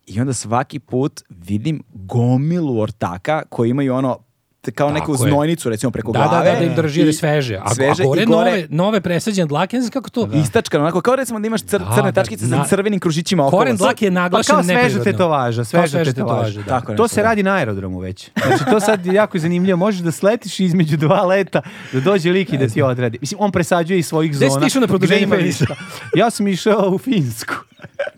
Speaker 1: I onda svaki put vidim gomilu ortaka koji imaju ono t- kao
Speaker 2: Tako
Speaker 1: neku
Speaker 2: je.
Speaker 1: znojnicu recimo preko
Speaker 2: da, da,
Speaker 1: glave.
Speaker 2: da, da im drži jer je
Speaker 1: i-
Speaker 2: sveže. A,
Speaker 1: sveže
Speaker 2: a gore,
Speaker 1: i
Speaker 2: nove, nove presađene dlake, ne znam kako to...
Speaker 1: Istačkano, onako kao recimo da imaš cr-
Speaker 2: Da,
Speaker 1: crne
Speaker 2: da,
Speaker 1: tačkice
Speaker 2: na-
Speaker 1: sa crvenim kružićima okolo.
Speaker 2: Koren dlake je
Speaker 3: Pa
Speaker 2: naglašen
Speaker 3: kao sveža
Speaker 2: neprirodno.
Speaker 3: tetovaža,
Speaker 2: Kao
Speaker 3: sveža
Speaker 2: sveže
Speaker 3: tetovaža.
Speaker 2: tetovaže,
Speaker 1: da.
Speaker 3: to se
Speaker 1: da.
Speaker 3: radi na aerodromu već. Znači, to sad je jako zanimljivo. Možeš da sletiš između dva leta, da dođe lik i da ti odradi. Mislim, on presađuje iz svojih
Speaker 2: Gde si
Speaker 3: zona.
Speaker 2: ti išao na produženje
Speaker 3: gde ima
Speaker 2: penisa?
Speaker 3: ništa. Ja sam išao u Finsku.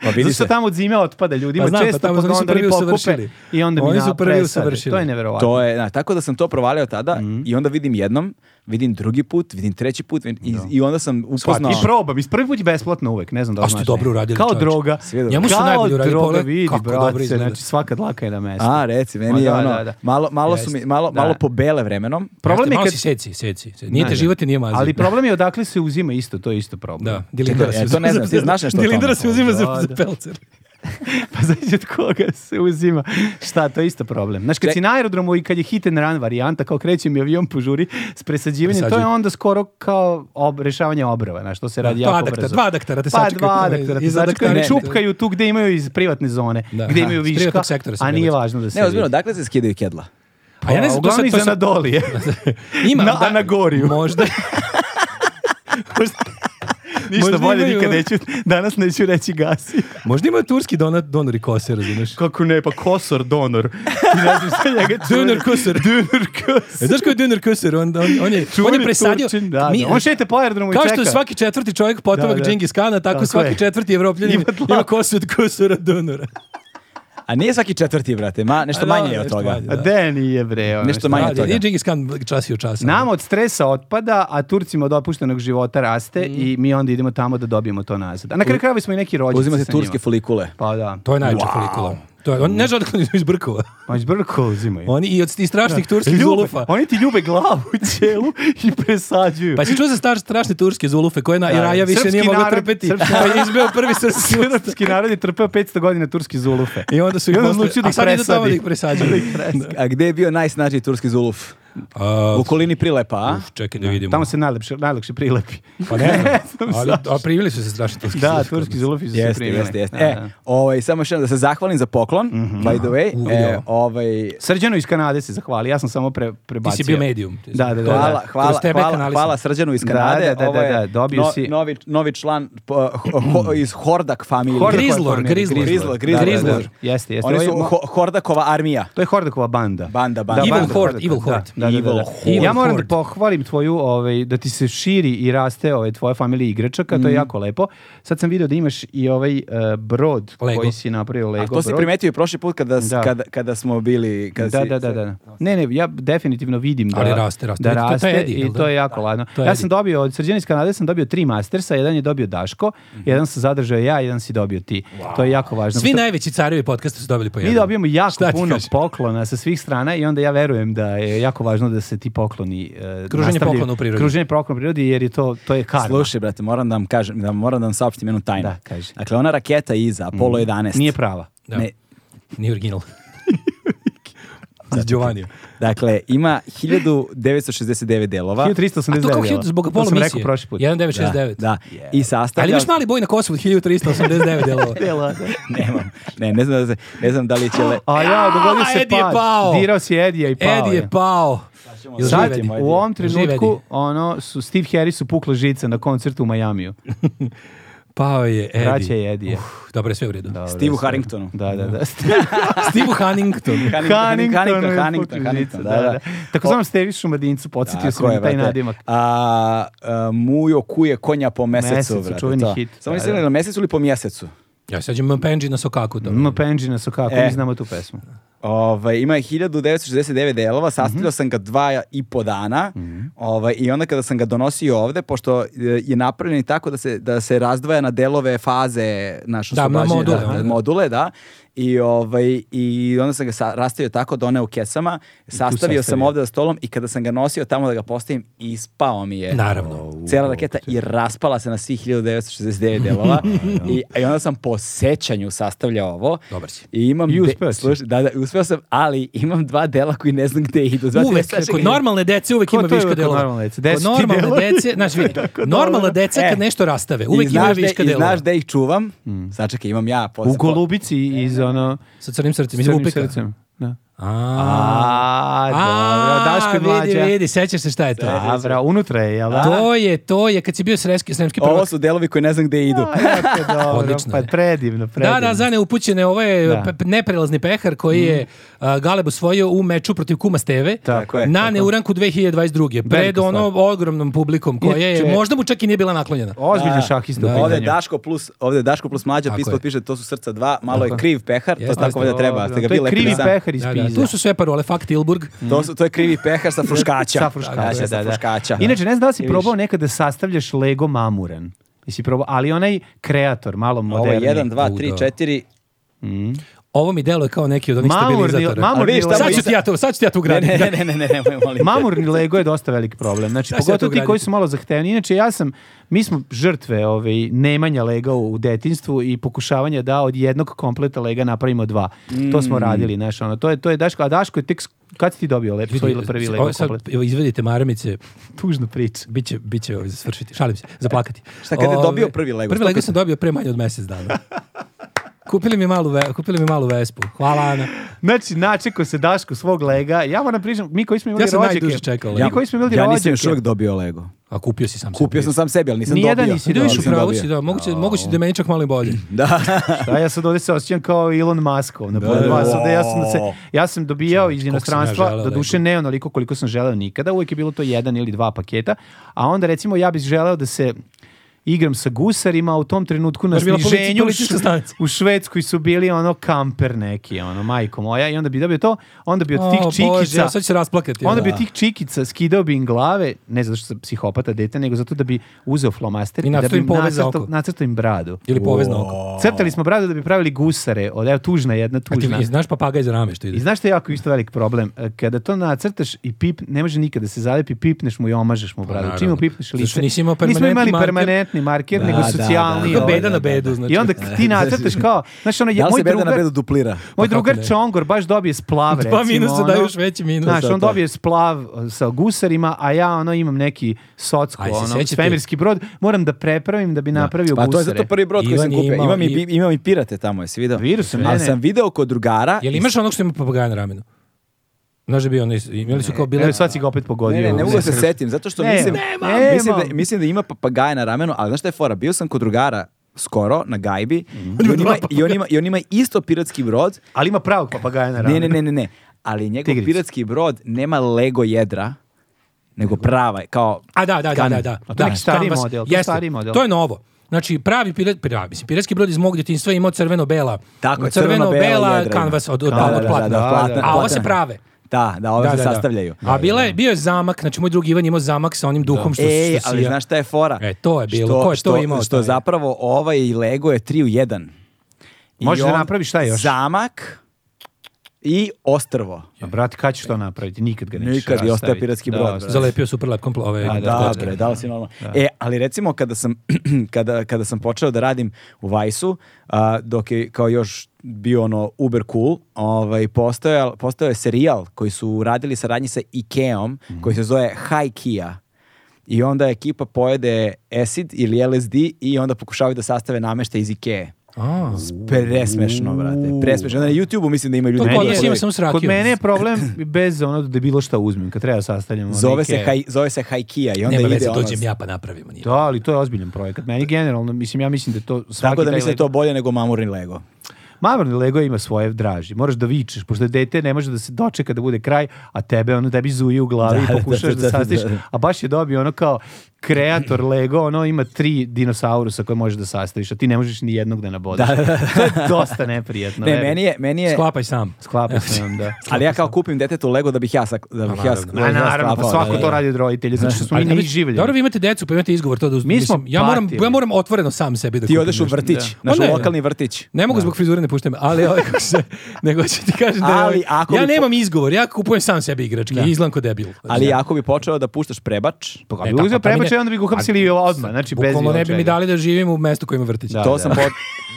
Speaker 1: Pa vidi
Speaker 3: Zato što
Speaker 1: se.
Speaker 3: tamo od zime otpada ljudima
Speaker 2: Pa znam, pa
Speaker 3: često,
Speaker 2: tamo
Speaker 3: pa,
Speaker 2: su-
Speaker 3: ga
Speaker 2: oni su
Speaker 3: onda
Speaker 2: prvi
Speaker 3: oni pokupe
Speaker 2: usavršili.
Speaker 3: i onda mi
Speaker 2: Oni su prvi
Speaker 3: napresade.
Speaker 2: usavršili.
Speaker 3: To je neverovatno.
Speaker 1: To je, da, tako da sam to provalio tada
Speaker 2: Mhm.
Speaker 1: i onda vidim jednom, vidim drugi put, vidim treći put vidim- i, i onda sam upoznao.
Speaker 3: I Pa probam, iz prvi put je besplatno uvek, ne znam da li
Speaker 2: A ste
Speaker 3: znaš,
Speaker 2: dobro
Speaker 3: ne.
Speaker 2: uradili,
Speaker 3: Kao
Speaker 2: čoveče.
Speaker 3: droga.
Speaker 1: Sve dobro.
Speaker 2: Njemu su
Speaker 3: Kao
Speaker 2: najbolje uradili,
Speaker 3: droga,
Speaker 2: pogledaj
Speaker 3: vidi,
Speaker 2: kako dobro
Speaker 3: brate,
Speaker 2: izgleda.
Speaker 3: znači svaka dlaka je na mestu.
Speaker 1: A, reci, meni
Speaker 3: Ma
Speaker 1: je
Speaker 3: da,
Speaker 1: ono,
Speaker 3: da, da.
Speaker 1: malo, malo, su
Speaker 2: Jeste.
Speaker 1: mi, malo, malo pobele vremenom.
Speaker 3: Problem
Speaker 2: Jeste,
Speaker 3: je
Speaker 2: malo
Speaker 3: kad...
Speaker 2: si seci, seci. seci. Nije te
Speaker 3: Ajde.
Speaker 2: život i nije mazin.
Speaker 3: Ali problem je odakle se uzima isto, to je isto problem.
Speaker 2: Da, dilindara
Speaker 1: Čekaj,
Speaker 2: se
Speaker 1: e, to ne
Speaker 2: uzima
Speaker 1: znam,
Speaker 2: za-
Speaker 1: ti znaš nešto o
Speaker 2: Dilindara
Speaker 1: tome?
Speaker 2: se uzima za,
Speaker 3: Da,
Speaker 2: za
Speaker 3: da.
Speaker 2: pelcer.
Speaker 3: Pa znači od koga se uzima? Šta, to je isto problem. Znaš, kad
Speaker 1: Ček-
Speaker 3: si na aerodromu i kad je hit and run varijanta, kao kreće mi avion požuri s presađivanjem, to
Speaker 2: Presađuj.
Speaker 3: je onda skoro kao ob, rešavanje obrava, znaš, to se radi
Speaker 2: Da,
Speaker 3: jako
Speaker 2: dva daktara-
Speaker 3: brzo.
Speaker 2: dva daktara te
Speaker 3: pa,
Speaker 2: sačekaju
Speaker 3: dva
Speaker 2: tamo
Speaker 3: daktara te
Speaker 2: iza
Speaker 3: sačekaju,
Speaker 2: daktara.
Speaker 3: čupkaju tu gde imaju iz privatne zone,
Speaker 2: Da, aha,
Speaker 3: gde imaju
Speaker 2: iz privatnog
Speaker 3: viška,
Speaker 2: sektora se
Speaker 3: a nije
Speaker 2: privlače.
Speaker 3: važno da se
Speaker 1: Ne,
Speaker 3: vidi.
Speaker 1: ozbiljno, dakle se skidaju kedla. Pa,
Speaker 2: A ja ne
Speaker 3: A,
Speaker 2: znam, to
Speaker 3: uglavnom
Speaker 2: sad,
Speaker 3: iz
Speaker 2: to sad,
Speaker 3: Anadolije.
Speaker 2: ima,
Speaker 3: na
Speaker 2: da,
Speaker 3: Anagoriju.
Speaker 2: Možda. možda,
Speaker 3: Ništa
Speaker 2: možda
Speaker 3: bolje
Speaker 2: imaju-
Speaker 3: nikad neću, danas neću reći gasi.
Speaker 2: možda imaju turski donat, donori kose, razumeš?
Speaker 3: Kako ne, pa kosor, donor. I ne znam sve njega čujem.
Speaker 2: Donor kosor.
Speaker 3: Donor
Speaker 2: E,
Speaker 3: kosor.
Speaker 2: Znaš ko je Dünner Kusser? On, on, on je, on je
Speaker 3: Čuveni
Speaker 2: presadio...
Speaker 3: Turčin, da,
Speaker 2: mi-
Speaker 3: da. On šeta po aerodromu i
Speaker 2: Kao što
Speaker 3: čeka.
Speaker 2: je svaki četvrti čovjek potomak
Speaker 3: Da, da.
Speaker 2: Džingis Kana, tako,
Speaker 3: Tako
Speaker 2: svaki
Speaker 3: je.
Speaker 2: četvrti evropljanin
Speaker 3: Ima
Speaker 2: ima,
Speaker 3: dlaku.
Speaker 2: kosu od Kussera Dünera.
Speaker 1: A nije svaki četvrti, brate, ma, nešto
Speaker 2: A da,
Speaker 1: manje je od
Speaker 2: nešto
Speaker 1: toga.
Speaker 2: manje,
Speaker 3: A
Speaker 2: Da.
Speaker 3: de nije bre. ono,
Speaker 1: Nešto
Speaker 3: šta-
Speaker 1: manje od
Speaker 2: Radi,
Speaker 1: toga.
Speaker 2: nije Džingis Khan čas i u čas.
Speaker 3: Nama od stresa otpada, a Turcima od opuštenog života raste
Speaker 2: Mm.
Speaker 3: i mi onda idemo tamo da dobijemo to nazad. A na kraju krajeva smo i neki rođaci
Speaker 1: Uzimate
Speaker 3: sa
Speaker 1: turske
Speaker 3: njima.
Speaker 1: folikule.
Speaker 3: Pa da.
Speaker 2: To je najče folikula. To je, on ne žele kada iz Brkova.
Speaker 3: Pa iz brko uzimaju.
Speaker 2: Oni i od tih strašnih turskih
Speaker 3: Ljube-
Speaker 2: zulufa.
Speaker 3: Oni ti ljube glavu i ćelu i presađuju.
Speaker 2: Pa si čuo za star, strašne turske zulufe koje na
Speaker 3: Da,
Speaker 2: Iraja više
Speaker 3: srpski
Speaker 2: nije mogla
Speaker 3: narod-
Speaker 2: trpeti.
Speaker 3: srpski
Speaker 2: Pa je izbeo prvi srpski zulufe.
Speaker 3: Srpski narod je trpeo 500 godina turski zulufe.
Speaker 2: I onda su ih
Speaker 3: I onda
Speaker 2: posle-
Speaker 3: odlučio da
Speaker 2: A
Speaker 3: ih
Speaker 2: sad idu tamo da
Speaker 3: presadi.
Speaker 2: ih presađaju.
Speaker 1: A gde je bio najsnažniji turski zuluf?
Speaker 2: A,
Speaker 1: U okolini Prilepa, a?
Speaker 2: čekaj da vidimo.
Speaker 3: Tamo se najlepše, najlakše prilepi.
Speaker 2: Pa ne znam. Ali, a primili su se strašni turski
Speaker 3: Da,
Speaker 2: zulufi.
Speaker 3: turski zulufi su se
Speaker 1: Jeste,
Speaker 3: primili.
Speaker 1: jeste, jeste.
Speaker 3: Da,
Speaker 1: E,
Speaker 3: da.
Speaker 1: ovaj, samo još jednom da se zahvalim za poklon, by the way.
Speaker 2: U,
Speaker 1: E,
Speaker 2: jo.
Speaker 1: ovaj,
Speaker 3: Srđanu iz Kanade se zahvali, ja sam samo pre,
Speaker 2: Ti si
Speaker 3: prebacio.
Speaker 2: bio medium. Ti si-
Speaker 3: Da, da, da.
Speaker 1: Hvala, hvala,
Speaker 2: Kroz tebe
Speaker 1: hvala,
Speaker 2: kanali
Speaker 1: hvala
Speaker 2: sam.
Speaker 1: Srđanu iz Kanade.
Speaker 3: da, da,
Speaker 1: Ovo je
Speaker 3: da, dobio si-
Speaker 1: novi, novi član po- ho- ho- iz Hordak familije.
Speaker 3: Hordak
Speaker 1: Grizlor,
Speaker 2: Grizlor,
Speaker 3: koja je
Speaker 2: Grizlor.
Speaker 3: formira-
Speaker 1: Grizlor,
Speaker 3: Da, da,
Speaker 2: Grizlor.
Speaker 3: da. Jeste, jeste.
Speaker 1: Oni
Speaker 3: Ovo je
Speaker 1: su
Speaker 3: mo-
Speaker 1: Ho- Hordakova armija.
Speaker 3: To je Hordakova banda.
Speaker 1: Banda, banda.
Speaker 2: Evil
Speaker 3: banda,
Speaker 2: Horde,
Speaker 3: Hordakova,
Speaker 2: Evil
Speaker 3: da,
Speaker 2: Horde.
Speaker 3: da, da, da,
Speaker 1: Evil
Speaker 3: da.
Speaker 1: Horde.
Speaker 3: Ja moram da
Speaker 2: Horde.
Speaker 3: pohvalim tvoju, ovaj, da ti se širi i raste ovaj, tvoja familija igračaka,
Speaker 1: Mhm.
Speaker 3: to je jako lepo. Sad sam video da imaš i ovaj eh, brod
Speaker 2: Lego.
Speaker 3: koji si napravio Lego
Speaker 1: A to si
Speaker 3: brod.
Speaker 1: primetio i prošli put kada, s-
Speaker 3: Da.
Speaker 1: kada, kada smo bili... Kada
Speaker 3: Da,
Speaker 1: si-
Speaker 3: da, da, da. Ne, ne, ja definitivno vidim da,
Speaker 2: Ali raste, raste.
Speaker 3: da
Speaker 2: To- to je
Speaker 3: raste
Speaker 2: Eddie, jel
Speaker 3: i
Speaker 2: da?
Speaker 3: to je jako ladno.
Speaker 2: to je
Speaker 3: ja
Speaker 2: Eddie.
Speaker 3: sam dobio, od Srđana iz Kanade sam dobio tri mastersa, jedan je dobio Daško, jedan sam zadržao ja, jedan si dobio ti. To je jako važno.
Speaker 2: Mhm. Svi
Speaker 3: Što-
Speaker 2: najveći carevi podcasta su dobili po jednom.
Speaker 3: Mi dobijemo jako
Speaker 2: Šta ti
Speaker 3: puno
Speaker 2: kažem?
Speaker 3: poklona sa svih strana i onda ja verujem da je jako važno da se ti pokloni e, nastavljaju-
Speaker 2: poklona u prirodi.
Speaker 3: Kruženje poklona u prirodi jer je to, to je karma.
Speaker 1: Slušaj, brate, moram da vam kažem, da moram da Mhm. vam saopštim jednu tajnu.
Speaker 3: Da, kaži.
Speaker 1: Dakle, ona raketa iza, Apollo 11.
Speaker 3: Nije prava.
Speaker 2: Da.
Speaker 1: Ne,
Speaker 2: Nije original. Iz Giovanni.
Speaker 1: Dakle, ima 1969 delova.
Speaker 3: 1389.
Speaker 2: Pa- A to kao 1000 zbog Apollo
Speaker 3: To sam
Speaker 2: misije.
Speaker 3: rekao prošli put.
Speaker 2: 1969.
Speaker 1: Da, i sastavlja...
Speaker 2: Ali imaš mali boj na Kosovu od 1389 delova.
Speaker 3: Dela, da.
Speaker 1: Nemam. Ne, ne znam da, se, ne znam da li će... Le... Oh,
Speaker 3: A ja, dogodio se
Speaker 2: Edi je
Speaker 3: pad.
Speaker 2: pao.
Speaker 3: Dirao si Edija i pao
Speaker 2: Edi
Speaker 3: je.
Speaker 2: je pao. Jel živ
Speaker 3: Sad,
Speaker 2: Edi?
Speaker 1: moj
Speaker 3: u ovom
Speaker 2: Živ
Speaker 3: trenutku,
Speaker 2: Edi.
Speaker 3: ono, su Steve Harrisu pukla žica na koncertu u Majamiju.
Speaker 2: Pao je Edi.
Speaker 3: Vraća je Edija.
Speaker 2: Uf, dobro je sve u redu.
Speaker 1: Steve Harringtonu.
Speaker 3: Da, da, da.
Speaker 2: Steve Huntington.
Speaker 1: Huntington, Huntington, Huntington, da, da.
Speaker 3: Tako znam Stevi Šumadincu, podsjetio sam
Speaker 1: Tako
Speaker 3: me
Speaker 1: je,
Speaker 3: na taj
Speaker 1: brate.
Speaker 3: nadimak.
Speaker 1: A, a, mujo kuje konja po mesecu,
Speaker 3: Mesecu,
Speaker 1: brate,
Speaker 3: čuveni
Speaker 1: to.
Speaker 3: hit.
Speaker 1: Samo
Speaker 3: Da,
Speaker 1: mislim da je na
Speaker 3: da.
Speaker 1: mesecu ili po mjesecu.
Speaker 2: Ja sad ćemo Penji na Sokaku. Dobro.
Speaker 3: Ma Penđina su kako,
Speaker 1: E.
Speaker 3: mi znamo tu pesmu.
Speaker 1: Ovaj, ima je 1969
Speaker 2: Mhm.
Speaker 1: delova, sastavljao sam ga dva i po dana ovaj, i onda kada sam ga donosio ovde, pošto e, je napravljen i tako da se, da se razdvaja na delove faze naš
Speaker 2: Da, na
Speaker 1: oslobađanja,
Speaker 2: module,
Speaker 1: da, na
Speaker 2: ono.
Speaker 1: module, da. I, ovaj, I onda sam ga sa, rastavio tako, doneo u kesama, sastavio sam
Speaker 3: sastavio.
Speaker 1: ovde za stolom i kada sam ga nosio tamo da ga postavim, ispao mi je. Ovaj,
Speaker 2: Naravno.
Speaker 1: Cela raketa i raspala se na svih 1969 delova I, i onda sam po sećanju sastavljao ovo.
Speaker 2: Dobar si.
Speaker 1: I imam
Speaker 3: I
Speaker 1: de-
Speaker 3: uspeo si.
Speaker 1: slušaj, da, da, uspeo sam, ali imam dva dela koji ne znam gde idu. Znači,
Speaker 2: Uvek,
Speaker 1: ne znaš
Speaker 2: kod
Speaker 1: gde-
Speaker 2: normalne dece uvek
Speaker 3: Ko
Speaker 2: ima
Speaker 3: to je
Speaker 2: viška
Speaker 3: kod
Speaker 2: delova.
Speaker 3: normalne dece? Deseti
Speaker 2: Kod normalne
Speaker 3: delovi.
Speaker 2: dece, znaš vidi, normalna deca kad
Speaker 1: E.
Speaker 2: nešto rastave,
Speaker 1: I
Speaker 2: uvek ima
Speaker 1: znaš gde-
Speaker 2: viška
Speaker 1: i
Speaker 2: delova.
Speaker 1: Znaš gde ih čuvam? Mm. Sačekaj, imam ja posle.
Speaker 3: U Golubici iz ono...
Speaker 2: Sa crnim srcem, iz
Speaker 3: Crnim
Speaker 2: Vupika.
Speaker 3: srcem. Da.
Speaker 2: A,
Speaker 3: A, dobro, Daško i
Speaker 2: vidi,
Speaker 3: mlađa.
Speaker 2: vidi, sećaš se šta je to.
Speaker 3: Dobro, unutra je, jel da?
Speaker 2: To je, to je, kad si bio sreski, sremski
Speaker 1: Ovo
Speaker 2: prvak.
Speaker 1: su delovi koji ne znam gde idu.
Speaker 3: A, jako dobro,
Speaker 2: Odlično
Speaker 3: pa
Speaker 2: je.
Speaker 3: predivno, predivno.
Speaker 2: Da, da, za neupućene, ovo je
Speaker 3: Da. Mhm.
Speaker 2: pe- neprelazni pehar koji je a, Galeb osvojio u meču protiv Kuma Steve
Speaker 3: Tako je,
Speaker 2: na Neuranku 2022. Pred
Speaker 3: Velika
Speaker 2: ono ogromnom publikom koja je,
Speaker 3: Inače-
Speaker 2: možda mu čak i nije bila naklonjena.
Speaker 3: Ozbiljno šahista u
Speaker 1: Ovde je
Speaker 3: pitanju.
Speaker 1: Daško plus, ovde je Daško plus mlađa,
Speaker 2: Tako
Speaker 1: pismo
Speaker 2: je.
Speaker 1: piše to su srca dva, malo je
Speaker 2: Tako.
Speaker 1: kriv pehar, to
Speaker 2: Jeste,
Speaker 1: tako valjda
Speaker 3: Dobro,
Speaker 1: treba. Ste ga
Speaker 3: to je
Speaker 1: vi lepili
Speaker 3: krivi
Speaker 1: sami.
Speaker 3: pehar iz
Speaker 2: Da, da,
Speaker 3: Piza.
Speaker 2: tu su sve parole, fakt Tilburg.
Speaker 1: To, su, to je krivi pehar sa fruškaća.
Speaker 3: Sa fruškaća,
Speaker 1: Znači,
Speaker 3: da,
Speaker 1: sa
Speaker 3: da.
Speaker 1: fruškaća.
Speaker 3: Inače, ne znam da li si
Speaker 1: I
Speaker 3: probao
Speaker 1: više.
Speaker 3: nekada da sastavljaš Lego mamuran. Jesi probao, ali onaj kreator, malo
Speaker 1: Ovo
Speaker 3: moderni.
Speaker 1: je 1, 2,
Speaker 2: U,
Speaker 1: 3,
Speaker 2: da.
Speaker 1: 4.
Speaker 2: Ovo mi deluje kao neki od onih
Speaker 3: Mamurni,
Speaker 2: stabilizatora.
Speaker 1: A
Speaker 3: mamurni,
Speaker 1: vidiš,
Speaker 3: Lego-
Speaker 2: Sad ću ti ja to, sad ću ti ja to
Speaker 1: Ne,
Speaker 2: ugraditi.
Speaker 1: ne, ne, ne, ne, ne, nemoj, molim. te.
Speaker 3: Mamurni Lego je dosta veliki problem. Znači,
Speaker 2: Šta se
Speaker 3: pogotovo
Speaker 2: tu
Speaker 3: ti koji
Speaker 2: graditi?
Speaker 3: su malo zahtevni. Inače, ja sam, mi smo žrtve ovaj, nemanja Lega u, u detinstvu i pokušavanja da od jednog kompleta Lega napravimo dva. To
Speaker 1: Mm.
Speaker 3: smo radili, znaš, ono. To je, to je Daško, a Daško je tek, s- kad si ti dobio lep, svoj
Speaker 2: Ljudi,
Speaker 3: prvi
Speaker 2: ovo
Speaker 3: Lego
Speaker 2: sad,
Speaker 3: komplet?
Speaker 2: evo, izvedite maramice,
Speaker 3: Tužna priča.
Speaker 2: biće, biće ovaj, svršiti, šalim se, zaplakati.
Speaker 1: Šta, kad je
Speaker 2: Ove,
Speaker 1: dobio prvi Lego?
Speaker 2: Prvi
Speaker 1: Šta
Speaker 2: Lego
Speaker 1: piše?
Speaker 2: sam dobio pre manje od mesec dana. Kupili mi malu, ve, kupili mi malu Vespu. Hvala Ana.
Speaker 3: Znači, načekao se Daško svog lega. Ja moram pričam, mi koji smo imali
Speaker 2: Ja sam
Speaker 3: rođake-
Speaker 2: najduže čekao
Speaker 3: Mi
Speaker 2: Lego.
Speaker 3: koji smo imali
Speaker 1: Ja
Speaker 3: rođake-
Speaker 1: nisam još uvek dobio Lego.
Speaker 2: A kupio si sam
Speaker 1: Kupio sam sam sebi, ali nisam
Speaker 3: Nijedan
Speaker 1: dobio.
Speaker 3: nisi
Speaker 2: I da vidiš u
Speaker 1: Nisam
Speaker 2: pravu
Speaker 1: dobio.
Speaker 2: si, da, moguće, moguće da je meni čak malo i bolje.
Speaker 1: Da.
Speaker 3: Da, ja sad ovdje se osjećam kao Elon Musk ono, ovdje.
Speaker 1: da,
Speaker 3: pored vas.
Speaker 1: da.
Speaker 3: Ovdje ja sam, se, ja sam dobijao iz
Speaker 2: sam ja
Speaker 3: inostranstva,
Speaker 2: želeo
Speaker 3: do duše ne onoliko koliko sam želeo nikada, uvijek je bilo to jedan ili dva paketa, a onda recimo ja bih želeo da se igram sa gusarima, a u tom trenutku na
Speaker 2: Baš bila polici-
Speaker 3: sniženju u,
Speaker 2: policijska stanica.
Speaker 3: u Švedskoj su bili ono kamper neki, ono, majko moja, i onda bi dobio to, onda bi od
Speaker 2: O,
Speaker 3: tih
Speaker 2: Bože,
Speaker 3: čikica...
Speaker 2: ja sad ću se rasplakati,
Speaker 3: Onda
Speaker 2: ono.
Speaker 3: bi od tih čikica skidao bi im glave, ne zato što sam psihopata dete, nego zato da bi uzeo flomaster
Speaker 2: I
Speaker 3: da
Speaker 2: nacrtao
Speaker 3: bi
Speaker 2: im povez za oko.
Speaker 3: nacrtao im bradu.
Speaker 2: Ili povezno oko.
Speaker 3: Crtali smo bradu da bi pravili gusare, od, evo tužna jedna,
Speaker 2: A ti
Speaker 3: tužna.
Speaker 2: znaš papagaj za rame što
Speaker 3: I
Speaker 2: ide?
Speaker 3: znaš što je jako isto velik problem? E, Kada to nacrtaš i pip, ne može nikada se zalepi, pipneš mu i omažeš mu bradu.
Speaker 2: Pa naravno.
Speaker 3: Čim mu pipneš
Speaker 2: Zato
Speaker 3: lice.
Speaker 2: što nisi imao
Speaker 3: Nismo
Speaker 2: permanentni
Speaker 3: imali
Speaker 2: marker.
Speaker 3: permanentni marker,
Speaker 1: Da,
Speaker 3: nego
Speaker 1: da,
Speaker 3: socijalni.
Speaker 1: da, da.
Speaker 2: Kao
Speaker 3: ovaj.
Speaker 2: beda na bedu, znači.
Speaker 3: I onda ti nacrtaš kao, znaš ono, je,
Speaker 1: Da li
Speaker 3: moj
Speaker 1: se beda na
Speaker 3: drugar,
Speaker 1: bedu duplira?
Speaker 3: moj
Speaker 2: Pa kako
Speaker 3: drugar
Speaker 2: ne?
Speaker 3: Čongor baš dobije splav,
Speaker 2: Dva
Speaker 3: recimo.
Speaker 2: minusa
Speaker 3: ono.
Speaker 2: daju još veći minus.
Speaker 3: Znaš,
Speaker 2: Da,
Speaker 3: on
Speaker 2: to je.
Speaker 3: dobije splav e, sa gusarima, a ja ono imam neki socko,
Speaker 2: Aj, se
Speaker 3: ono,
Speaker 2: sećate-
Speaker 3: svemirski brod, moram da prepravim da bi napravio
Speaker 1: Pa to je
Speaker 3: gusare.
Speaker 1: zato prvi brod koji
Speaker 2: Ivan
Speaker 1: sam
Speaker 2: je
Speaker 1: kupio.
Speaker 2: imao
Speaker 1: Imam i,
Speaker 2: i-
Speaker 1: bi- imam i pirate tamo, jesi video?
Speaker 3: Viruse, ne,
Speaker 1: Ali
Speaker 3: ne.
Speaker 1: sam video kod drugara.
Speaker 2: Jel imaš onog što ima papagaja na ramenu? Znaš da je bio onaj, imali su kao bile...
Speaker 3: Evo, sad si ga opet pogodio.
Speaker 1: Ne, ne, ne mogu da se setim, zato što
Speaker 3: Nemam,
Speaker 1: mislim,
Speaker 3: nemam.
Speaker 1: mislim, da, mislim da ima papagaja na ramenu, ali znaš šta je fora? Bio sam kod drugara skoro na gajbi i, on ima, i, on ima, i on ima isto piratski brod.
Speaker 3: Ali ima pravog papagaja na ramenu.
Speaker 1: Ne, ne, ne, ne, ne. Ali njegov
Speaker 3: Tigricu.
Speaker 1: piratski brod nema Lego jedra, nego prava, je, kao...
Speaker 2: A da, da, da, da, da.
Speaker 3: A to
Speaker 2: da,
Speaker 3: je neki stariji
Speaker 2: kanvas.
Speaker 3: model, to je
Speaker 2: Jeste.
Speaker 3: stariji model.
Speaker 2: To je novo. Znači, pravi pirat, pravi, mislim, piratski brod iz mog djetinjstva je imao crveno-bela.
Speaker 1: Tako je, crveno-bela
Speaker 2: crveno-bela
Speaker 1: jedra ima.
Speaker 2: kanvas od, od,
Speaker 1: Da,
Speaker 2: od
Speaker 1: da, da,
Speaker 2: platna.
Speaker 1: da, platna-
Speaker 2: A ovo se
Speaker 1: platna.
Speaker 2: prave.
Speaker 1: Da, da, ove se sastavljaju.
Speaker 2: A bila je, bio je zamak, znači moj drugi Ivan je imao zamak sa onim duhom što,
Speaker 1: Ej,
Speaker 2: što si
Speaker 1: E, ali
Speaker 2: ja-
Speaker 1: znaš šta je fora?
Speaker 2: E, to je bilo.
Speaker 1: Što,
Speaker 2: Ko je to
Speaker 1: što,
Speaker 2: imao,
Speaker 1: Što
Speaker 2: taj?
Speaker 1: zapravo ovaj Lego je 3 u 1.
Speaker 3: Možeš da napraviš šta još?
Speaker 1: Zamak i ostrvo.
Speaker 3: A Pa, brate, kad ćeš to napraviti? Nikad ga nećeš
Speaker 1: Nikad i
Speaker 3: rastaviti.
Speaker 1: ostaje piratski brod,
Speaker 3: Da,
Speaker 1: brate.
Speaker 2: Zalepio super lepkom plo- ove
Speaker 3: A, da,
Speaker 1: Pa Da,
Speaker 2: kocke.
Speaker 1: bre, da li si normalan? E, ali recimo kada sam, kada, kada sam počeo da radim u Vajsu, a, dok je kao još bio ono uber cool, ovaj, postojao, postojao je serijal koji su radili saradnji sa Ikeom,
Speaker 2: Mhm.
Speaker 1: koji se zove Haikia. I onda ekipa pojede acid ili LSD i onda pokušavaju da sastave namešta iz Ikee.
Speaker 2: A,
Speaker 1: Presmešno, brate. Presmešno. Na YouTube-u mislim da ima ljudi.
Speaker 2: To
Speaker 1: koji
Speaker 2: kod
Speaker 3: Meni je-
Speaker 2: nas ima samo s rakijom.
Speaker 3: Kod mene je problem bez ono da bilo šta uzmem, kad treba sastavljam. ono
Speaker 1: Zove se,
Speaker 3: neke-
Speaker 1: haj, zove se Haikia i onda
Speaker 2: nema
Speaker 1: ide
Speaker 2: veze,
Speaker 1: ono-
Speaker 2: dođem ja pa napravimo. Nije.
Speaker 3: Da, ali to je ozbiljan projekat. Meni generalno, mislim, ja mislim da je to svaki
Speaker 1: Tako da
Speaker 3: taj
Speaker 1: mislim da je
Speaker 3: Lego-
Speaker 1: to bolje nego Mamurni Lego.
Speaker 3: Mamarni Lego ima svoje draži. Moraš da vičeš, pošto dete ne može da se dočeka da bude kraj, a tebe ono tebi zuje u glavi
Speaker 1: Da,
Speaker 3: i pokušaš
Speaker 1: da,
Speaker 3: da,
Speaker 1: da,
Speaker 3: sastaviš.
Speaker 1: da, da.
Speaker 3: A baš je dobio ono kao kreator Lego, ono ima tri dinosaurusa koje možeš da sastaviš, a ti ne možeš ni jednog da nabodeš. to je dosta neprijatno.
Speaker 1: Ne,
Speaker 3: veruj.
Speaker 1: meni je, meni je,
Speaker 2: Sklapaj sam.
Speaker 3: Sklapao sam, da.
Speaker 1: Ali ja kao kupim detetu Lego da bih ja sak, da bih ja
Speaker 2: naravno.
Speaker 1: sk- da
Speaker 3: Ma
Speaker 1: bih ja
Speaker 3: naravno, pa
Speaker 1: sklapao,
Speaker 3: svako
Speaker 1: da,
Speaker 3: to
Speaker 1: da.
Speaker 3: radi od roditelja, zato što smo mi
Speaker 2: Ali kad bi-
Speaker 3: neiživljeni.
Speaker 2: Dobro, vi imate decu, pa imate izgovor to da uz-
Speaker 3: Mi smo
Speaker 2: mislim, ja moram,
Speaker 3: patili.
Speaker 2: ja moram otvoreno sam sebi da
Speaker 1: Ti
Speaker 2: kupim
Speaker 1: odeš u
Speaker 2: nešto.
Speaker 1: vrtić,
Speaker 2: Da.
Speaker 1: naš
Speaker 2: Ma ne.
Speaker 1: lokalni vrtić.
Speaker 2: Ne mogu zbog frizure ne puštam, ali ovaj, kako se, nego ću ti kažem da je
Speaker 1: Ali
Speaker 2: ovaj-
Speaker 1: ako
Speaker 2: ja
Speaker 1: bi po-
Speaker 2: nemam izgovor, ja kupujem sam sebi igračke i izgledam ko debil. Znači,
Speaker 1: Ali ako bi počeo da puštaš prebač,
Speaker 3: Pa
Speaker 2: E,
Speaker 3: kad bi
Speaker 2: tako,
Speaker 3: uzeo
Speaker 2: pa mi ne-
Speaker 3: prebačaj, onda bi ga uhapsili i odmah, znači bez
Speaker 2: Bukvalno
Speaker 3: bilo
Speaker 2: ne bi mi
Speaker 3: čega.
Speaker 2: dali da živim u mestu koji ima vrtić.
Speaker 3: Da,
Speaker 1: to
Speaker 3: da.
Speaker 1: sam pod...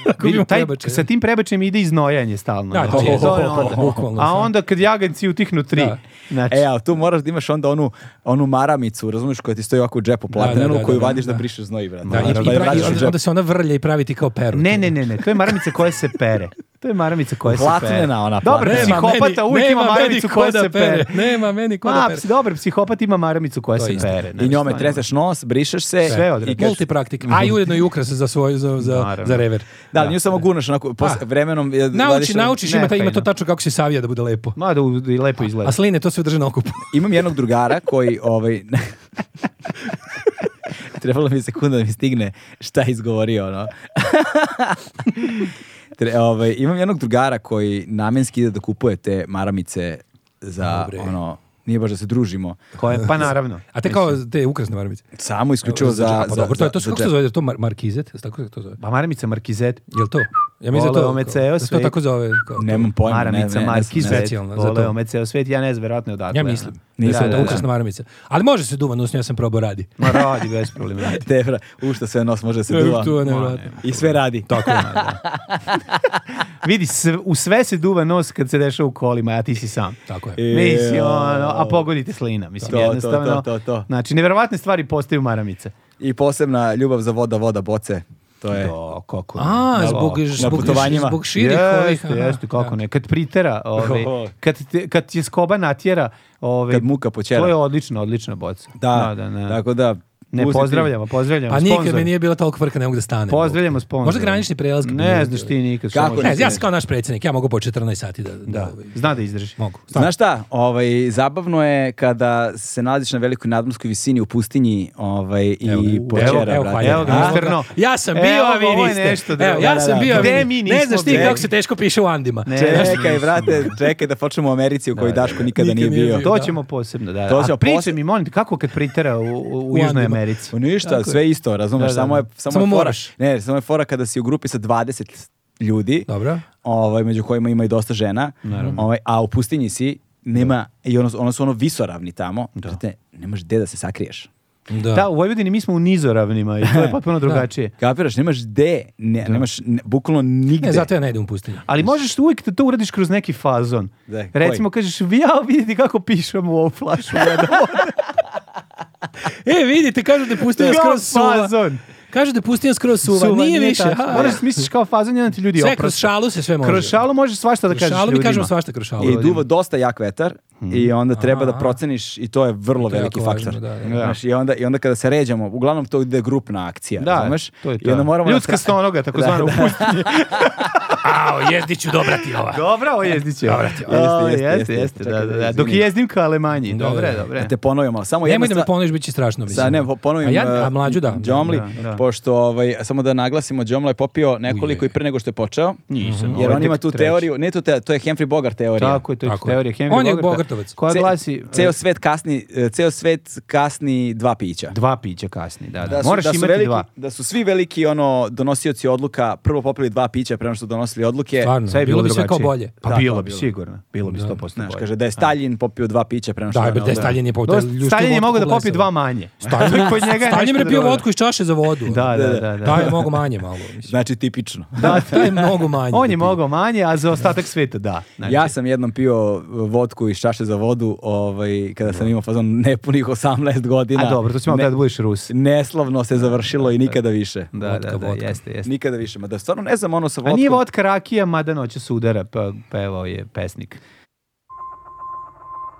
Speaker 2: Ako
Speaker 3: Vidim,
Speaker 2: imam
Speaker 3: taj,
Speaker 2: prebačaj.
Speaker 3: sa tim prebačajem ide iznojanje stalno.
Speaker 2: Da,
Speaker 3: znači,
Speaker 2: to je,
Speaker 3: to je
Speaker 2: to,
Speaker 3: onda.
Speaker 2: to, bukvalno,
Speaker 3: A
Speaker 2: da.
Speaker 3: onda kad jaganci utihnu tri.
Speaker 2: Da.
Speaker 3: Znači,
Speaker 1: E, ali tu moraš da imaš onda onu, onu maramicu, razumiješ, koja ti stoji ovako u džepu platnenu,
Speaker 2: da, da,
Speaker 1: koju
Speaker 2: da,
Speaker 1: vadiš da,
Speaker 2: da.
Speaker 1: brišeš znoj, brate.
Speaker 2: Da, i, i,
Speaker 1: Moraš
Speaker 2: pravi-
Speaker 1: je vratiš u
Speaker 2: onda,
Speaker 1: džep.
Speaker 2: onda se ona vrlja i pravi ti kao peru.
Speaker 3: ne, ne, ne, ne, to je maramica koja se pere. To je maramica koja se
Speaker 1: Platnena
Speaker 3: pere.
Speaker 1: ona,
Speaker 3: Dobar
Speaker 1: platnena.
Speaker 2: Nema
Speaker 3: psihopata
Speaker 2: meni-
Speaker 3: uvijek ima
Speaker 2: nema meni
Speaker 3: maramicu
Speaker 2: ko
Speaker 3: koja
Speaker 2: da
Speaker 3: se pere.
Speaker 2: Nema meni ko da
Speaker 3: Ma,
Speaker 2: pere.
Speaker 3: dobar psihopata ima maramicu koja
Speaker 2: To je
Speaker 3: se
Speaker 2: istina.
Speaker 3: pere.
Speaker 1: I
Speaker 3: znači,
Speaker 1: njome
Speaker 3: stvarno.
Speaker 1: treseš nos, brišeš se.
Speaker 3: Sve
Speaker 1: i
Speaker 3: odrekaš.
Speaker 1: kažeš-
Speaker 2: Multipraktik. A i ujedno i ukras za svoju, za, za,
Speaker 3: Naravno.
Speaker 2: za rever.
Speaker 1: Da, ali nju samo gunaš onako, pos,
Speaker 2: Pa.
Speaker 1: vremenom... je-
Speaker 2: Nauči,
Speaker 1: vadiš-
Speaker 2: naučiš, ima, ta, ima to
Speaker 3: nefajno.
Speaker 2: tačno kako se savija da bude lepo.
Speaker 3: Ma da u- i lepo izgleda.
Speaker 2: A sline, to sve drže na okupu.
Speaker 1: Imam jednog drugara koji, ovaj... Trebalo mi je sekunda da mi stigne šta je izgovorio, ono. Tre- ovaj, imam jednog drugara koji namenski ide da kupuje te maramice za,
Speaker 2: Dobre.
Speaker 1: ono, nije baš da se družimo,
Speaker 3: Koje, pa naravno.
Speaker 2: A te kao te ukrasne maramice.
Speaker 1: samo isključivo za...
Speaker 2: Čekaj, pa
Speaker 1: za-
Speaker 2: dobro, to je to
Speaker 1: za-
Speaker 2: se kako
Speaker 1: za
Speaker 2: se
Speaker 1: džep.
Speaker 2: zove, je to mar markizet, Jel tako se to zove.
Speaker 3: Pa maramica Markizet.
Speaker 2: Jel to? Ja mislim da
Speaker 3: Ole
Speaker 2: to.
Speaker 3: ome
Speaker 2: kao-
Speaker 3: ceo
Speaker 2: da se to
Speaker 3: svet.
Speaker 2: tako zove kao.
Speaker 1: Nemam pojma, ne, ne, ne,
Speaker 3: Maramica
Speaker 1: znam, ne
Speaker 3: Markizet.
Speaker 2: Specijalno, za to.
Speaker 3: Voleo me ceo svet, ja ne znam, verovatno je odatle.
Speaker 2: Ja mislim.
Speaker 1: Nisam,
Speaker 2: Nisam da,
Speaker 1: da, da.
Speaker 2: ukrasna maramica. Ali može se duvan usnju, ja sam probao radi.
Speaker 3: Ma radi bez problema.
Speaker 1: znam. Te, bra, u šta sve nos može da se duva.
Speaker 2: E, To je nevjerojatno.
Speaker 1: I sve radi.
Speaker 3: Tako je. Vidi, sve- u sve se duva nos kad se dešava u kolima, a ti si sam.
Speaker 2: Tako je.
Speaker 1: E,
Speaker 3: Mislim, ono, a pogodite slina, mislim,
Speaker 1: To, to, to,
Speaker 3: jednostavno.
Speaker 1: to, to.
Speaker 3: Znači, neverovatne stvari postaju maramice.
Speaker 1: I posebna ljubav za voda, voda, boce. To je...
Speaker 3: Do, kako ne.
Speaker 2: A,
Speaker 3: Da,
Speaker 2: zbog,
Speaker 3: da.
Speaker 2: zbog,
Speaker 1: putovanjima.
Speaker 2: zbog širih ovih.
Speaker 3: Jeste,
Speaker 2: aha,
Speaker 3: jeste, kako
Speaker 2: da.
Speaker 3: ne. Kad pritera, ovaj,
Speaker 1: Oho.
Speaker 3: kad, te- kad je skoba natjera, ovaj,
Speaker 1: Kad muka počera.
Speaker 3: To je odlična, odlična boca.
Speaker 1: Da, tako da,
Speaker 3: Ne,
Speaker 1: Uzeti.
Speaker 3: pozdravljamo, pozdravljamo.
Speaker 2: Pa nikad
Speaker 3: sponzore.
Speaker 2: mi nije bila toliko frka, ne mogu da stanem.
Speaker 3: Pozdravljamo sponzor.
Speaker 2: Možda granični prelaz. kad
Speaker 3: Ne
Speaker 2: bi-
Speaker 3: znaš ti nikad.
Speaker 1: Kako
Speaker 3: Samo-
Speaker 1: ne
Speaker 2: Ne, ja sam kao naš predsjednik, ja mogu po 14 sati da... Da.
Speaker 3: Da,
Speaker 2: ovaj,
Speaker 3: zna da izdrži.
Speaker 2: Mogu.
Speaker 1: Znaš šta, ovaj, zabavno je kada se nalaziš na velikoj nadmorskoj visini u pustinji ovaj, i
Speaker 2: Evo ga.
Speaker 1: počera,
Speaker 2: Evo, evo,
Speaker 1: brate.
Speaker 2: pa,
Speaker 3: Evo ga,
Speaker 1: A?
Speaker 3: mister No.
Speaker 2: Ja sam bio,
Speaker 3: Evo,
Speaker 2: a vi
Speaker 3: ovo je
Speaker 2: niste.
Speaker 3: nešto drugo.
Speaker 2: Evo, ja
Speaker 1: Da, da,
Speaker 2: sam bio,
Speaker 1: da.
Speaker 2: a vi
Speaker 3: Gde
Speaker 2: niste.
Speaker 3: mi
Speaker 2: Ne
Speaker 3: nismo
Speaker 2: znaš ti
Speaker 3: bili?
Speaker 2: kako se teško piše u Andima.
Speaker 3: Ne.
Speaker 1: Čekaj, brate, čekaj da počnemo u Americi u kojoj Daško nikada
Speaker 2: Nikad
Speaker 1: nije
Speaker 2: nije
Speaker 1: bio.
Speaker 2: bio.
Speaker 3: Pa To
Speaker 2: Da.
Speaker 3: ćemo posebno, da.
Speaker 1: To
Speaker 3: A
Speaker 1: ćemo
Speaker 3: pričaj
Speaker 1: posebno.
Speaker 3: mi, molim te, kako kad pritera u, u, u
Speaker 2: U
Speaker 3: Južnoj
Speaker 2: Andima.
Speaker 3: Americi?
Speaker 1: Pa Ništa,
Speaker 2: Tako je.
Speaker 1: sve isto, razumeš,
Speaker 3: Da, da,
Speaker 1: samo je,
Speaker 3: da.
Speaker 1: samo,
Speaker 2: Samo
Speaker 1: je fora.
Speaker 2: moraš.
Speaker 1: Ne, samo je fora kada si u grupi sa 20 ljudi,
Speaker 2: Dobro.
Speaker 1: ovaj, među kojima ima i dosta žena, ovaj, a u pustinji si, nema, i ono, ono su ono visoravni tamo, brate, nemaš gde da se sakriješ.
Speaker 2: Da.
Speaker 3: Da, u Vojvodini mi smo u nizoravnima i to je potpuno drugačije.
Speaker 1: Kapiraš, nemaš gde, ne, nemaš, ne, bukvalno nigde.
Speaker 2: Ne, E, zato ja ne idem u pustinju.
Speaker 3: Ali možeš uvijek da to uradiš kroz neki fazon.
Speaker 1: Da, koji?
Speaker 3: Recimo, kažeš, ja vidjeti kako pišem u ovu flašu. voda."
Speaker 2: E, vidite, kažu da je pustinja
Speaker 3: Kao
Speaker 2: skroz suva.
Speaker 3: fazon.
Speaker 2: Kažu da je pustinja skroz suva.
Speaker 3: Suva,
Speaker 2: nije, više.
Speaker 3: tačno.
Speaker 2: a,
Speaker 3: Moraš misliš kao fazon, jedan ti ljudi
Speaker 2: sve
Speaker 3: oprosti.
Speaker 2: kroz šalu se sve može.
Speaker 3: Kroz šalu možeš svašta da
Speaker 2: Kroz
Speaker 3: kažeš
Speaker 2: šalu mi
Speaker 3: ljudima.
Speaker 2: kažemo svašta kroz
Speaker 3: Pa
Speaker 2: šalu.
Speaker 1: I duva dosta jak vetar
Speaker 3: Mhm.
Speaker 1: i onda treba da
Speaker 2: Aha.
Speaker 1: proceniš i to je vrlo
Speaker 2: To je
Speaker 1: veliki
Speaker 2: jako važno,
Speaker 1: faktor.
Speaker 2: da, da,
Speaker 3: da.
Speaker 1: Znaš, i, onda, I onda kada se ređamo, uglavnom to ide grupna akcija,
Speaker 3: Da,
Speaker 1: razumeš?
Speaker 3: to je
Speaker 1: I onda
Speaker 3: to.
Speaker 1: moramo na
Speaker 3: Ljudska
Speaker 1: kraju-
Speaker 3: stonoga, takozvana, u pustinji.
Speaker 2: Ao, jezdi ću dobra ti ova.
Speaker 3: Dobro, ovo jezdit će.
Speaker 2: Dobro, ti-
Speaker 3: O,
Speaker 1: Jeste, jeste,
Speaker 3: Jeste, jeste,
Speaker 1: jeste.
Speaker 3: da, da, da.
Speaker 1: Čekaj da
Speaker 3: Dok
Speaker 1: izvinim.
Speaker 3: jezdim ka Alemanji.
Speaker 2: Da,
Speaker 3: Dobre,
Speaker 2: da, da.
Speaker 3: dobre.
Speaker 1: Da te ponovim, ali samo jedna
Speaker 2: Nemoj da me
Speaker 1: stvar-
Speaker 2: ponoviš, bit će strašno. mislim.
Speaker 1: Sa, ne, po- ponovim.
Speaker 2: A, ja,
Speaker 1: eh,
Speaker 2: a
Speaker 3: uh,
Speaker 2: mlađu da.
Speaker 1: Džomli,
Speaker 3: Da, da.
Speaker 1: pošto, ovaj, samo da naglasimo, Džomla je popio nekoliko i pre nego što je počeo.
Speaker 3: Nisam.
Speaker 1: Jer
Speaker 3: Ovo je
Speaker 1: on ima
Speaker 3: tek
Speaker 1: tu
Speaker 3: treći.
Speaker 1: teoriju, ne tu teoriju, to je Humphrey Bogart teorija.
Speaker 3: Tako je, to je
Speaker 2: Tako je.
Speaker 3: teorija Henry
Speaker 2: On je
Speaker 3: Bogarta,
Speaker 2: Bogartovac.
Speaker 3: Koja
Speaker 1: Ce-
Speaker 3: glasi...
Speaker 1: Ceo svet kasni, eh, ceo svet kasni dva pića.
Speaker 3: Dva pića kasni, da, da.
Speaker 1: Da su,
Speaker 3: Moraš
Speaker 1: da su
Speaker 3: imati
Speaker 1: veliki,
Speaker 3: dva.
Speaker 1: Da su svi veliki ono donosioci odluka prvo popili dva pića pre nego što donosili odluke.
Speaker 2: Stvarno,
Speaker 3: Sve je
Speaker 2: bilo
Speaker 3: bilo
Speaker 2: bi sve kao
Speaker 3: drugačije.
Speaker 2: bolje.
Speaker 3: Pa
Speaker 1: Da,
Speaker 3: bilo
Speaker 1: to
Speaker 3: bi,
Speaker 1: bilo.
Speaker 3: sigurno. Bilo bi 100% bolje.
Speaker 1: Znaš, kaže da je Stalin popio dva pića pre nego što
Speaker 2: Da,
Speaker 1: je ono-
Speaker 2: bre, da je Stalin je
Speaker 3: Da,
Speaker 2: potez.
Speaker 3: Stalin je mogao da popije dva manje.
Speaker 2: Stalin,
Speaker 3: Kod njega je
Speaker 2: Stalin
Speaker 3: nešto
Speaker 2: je pio
Speaker 3: drugo.
Speaker 2: vodku iz čaše za vodu.
Speaker 3: Da, da, da. da.
Speaker 2: Da je mogo manje malo. mislim.
Speaker 1: Znači tipično.
Speaker 2: Da, je mnogo manje.
Speaker 3: On je mogao manje, a za ostatak sveta da. Znači,
Speaker 1: Ja sam jednom pio e, vodku iz čaše za vodu, ovaj, kada sam imao fazon nepunih 18 godina.
Speaker 3: A dobro, to si malo
Speaker 1: Ne-
Speaker 3: kada budeš Rus.
Speaker 1: Neslavno se završilo i nikada više.
Speaker 3: Da,
Speaker 2: Vodka,
Speaker 3: da, da,
Speaker 2: vodka.
Speaker 3: jeste, jeste.
Speaker 1: Nikada više. Ma da stvarno ne znam ono sa
Speaker 3: A
Speaker 1: vodkom.
Speaker 3: nije vodka rakija, mada noće sudara, pa pevao je pesnik.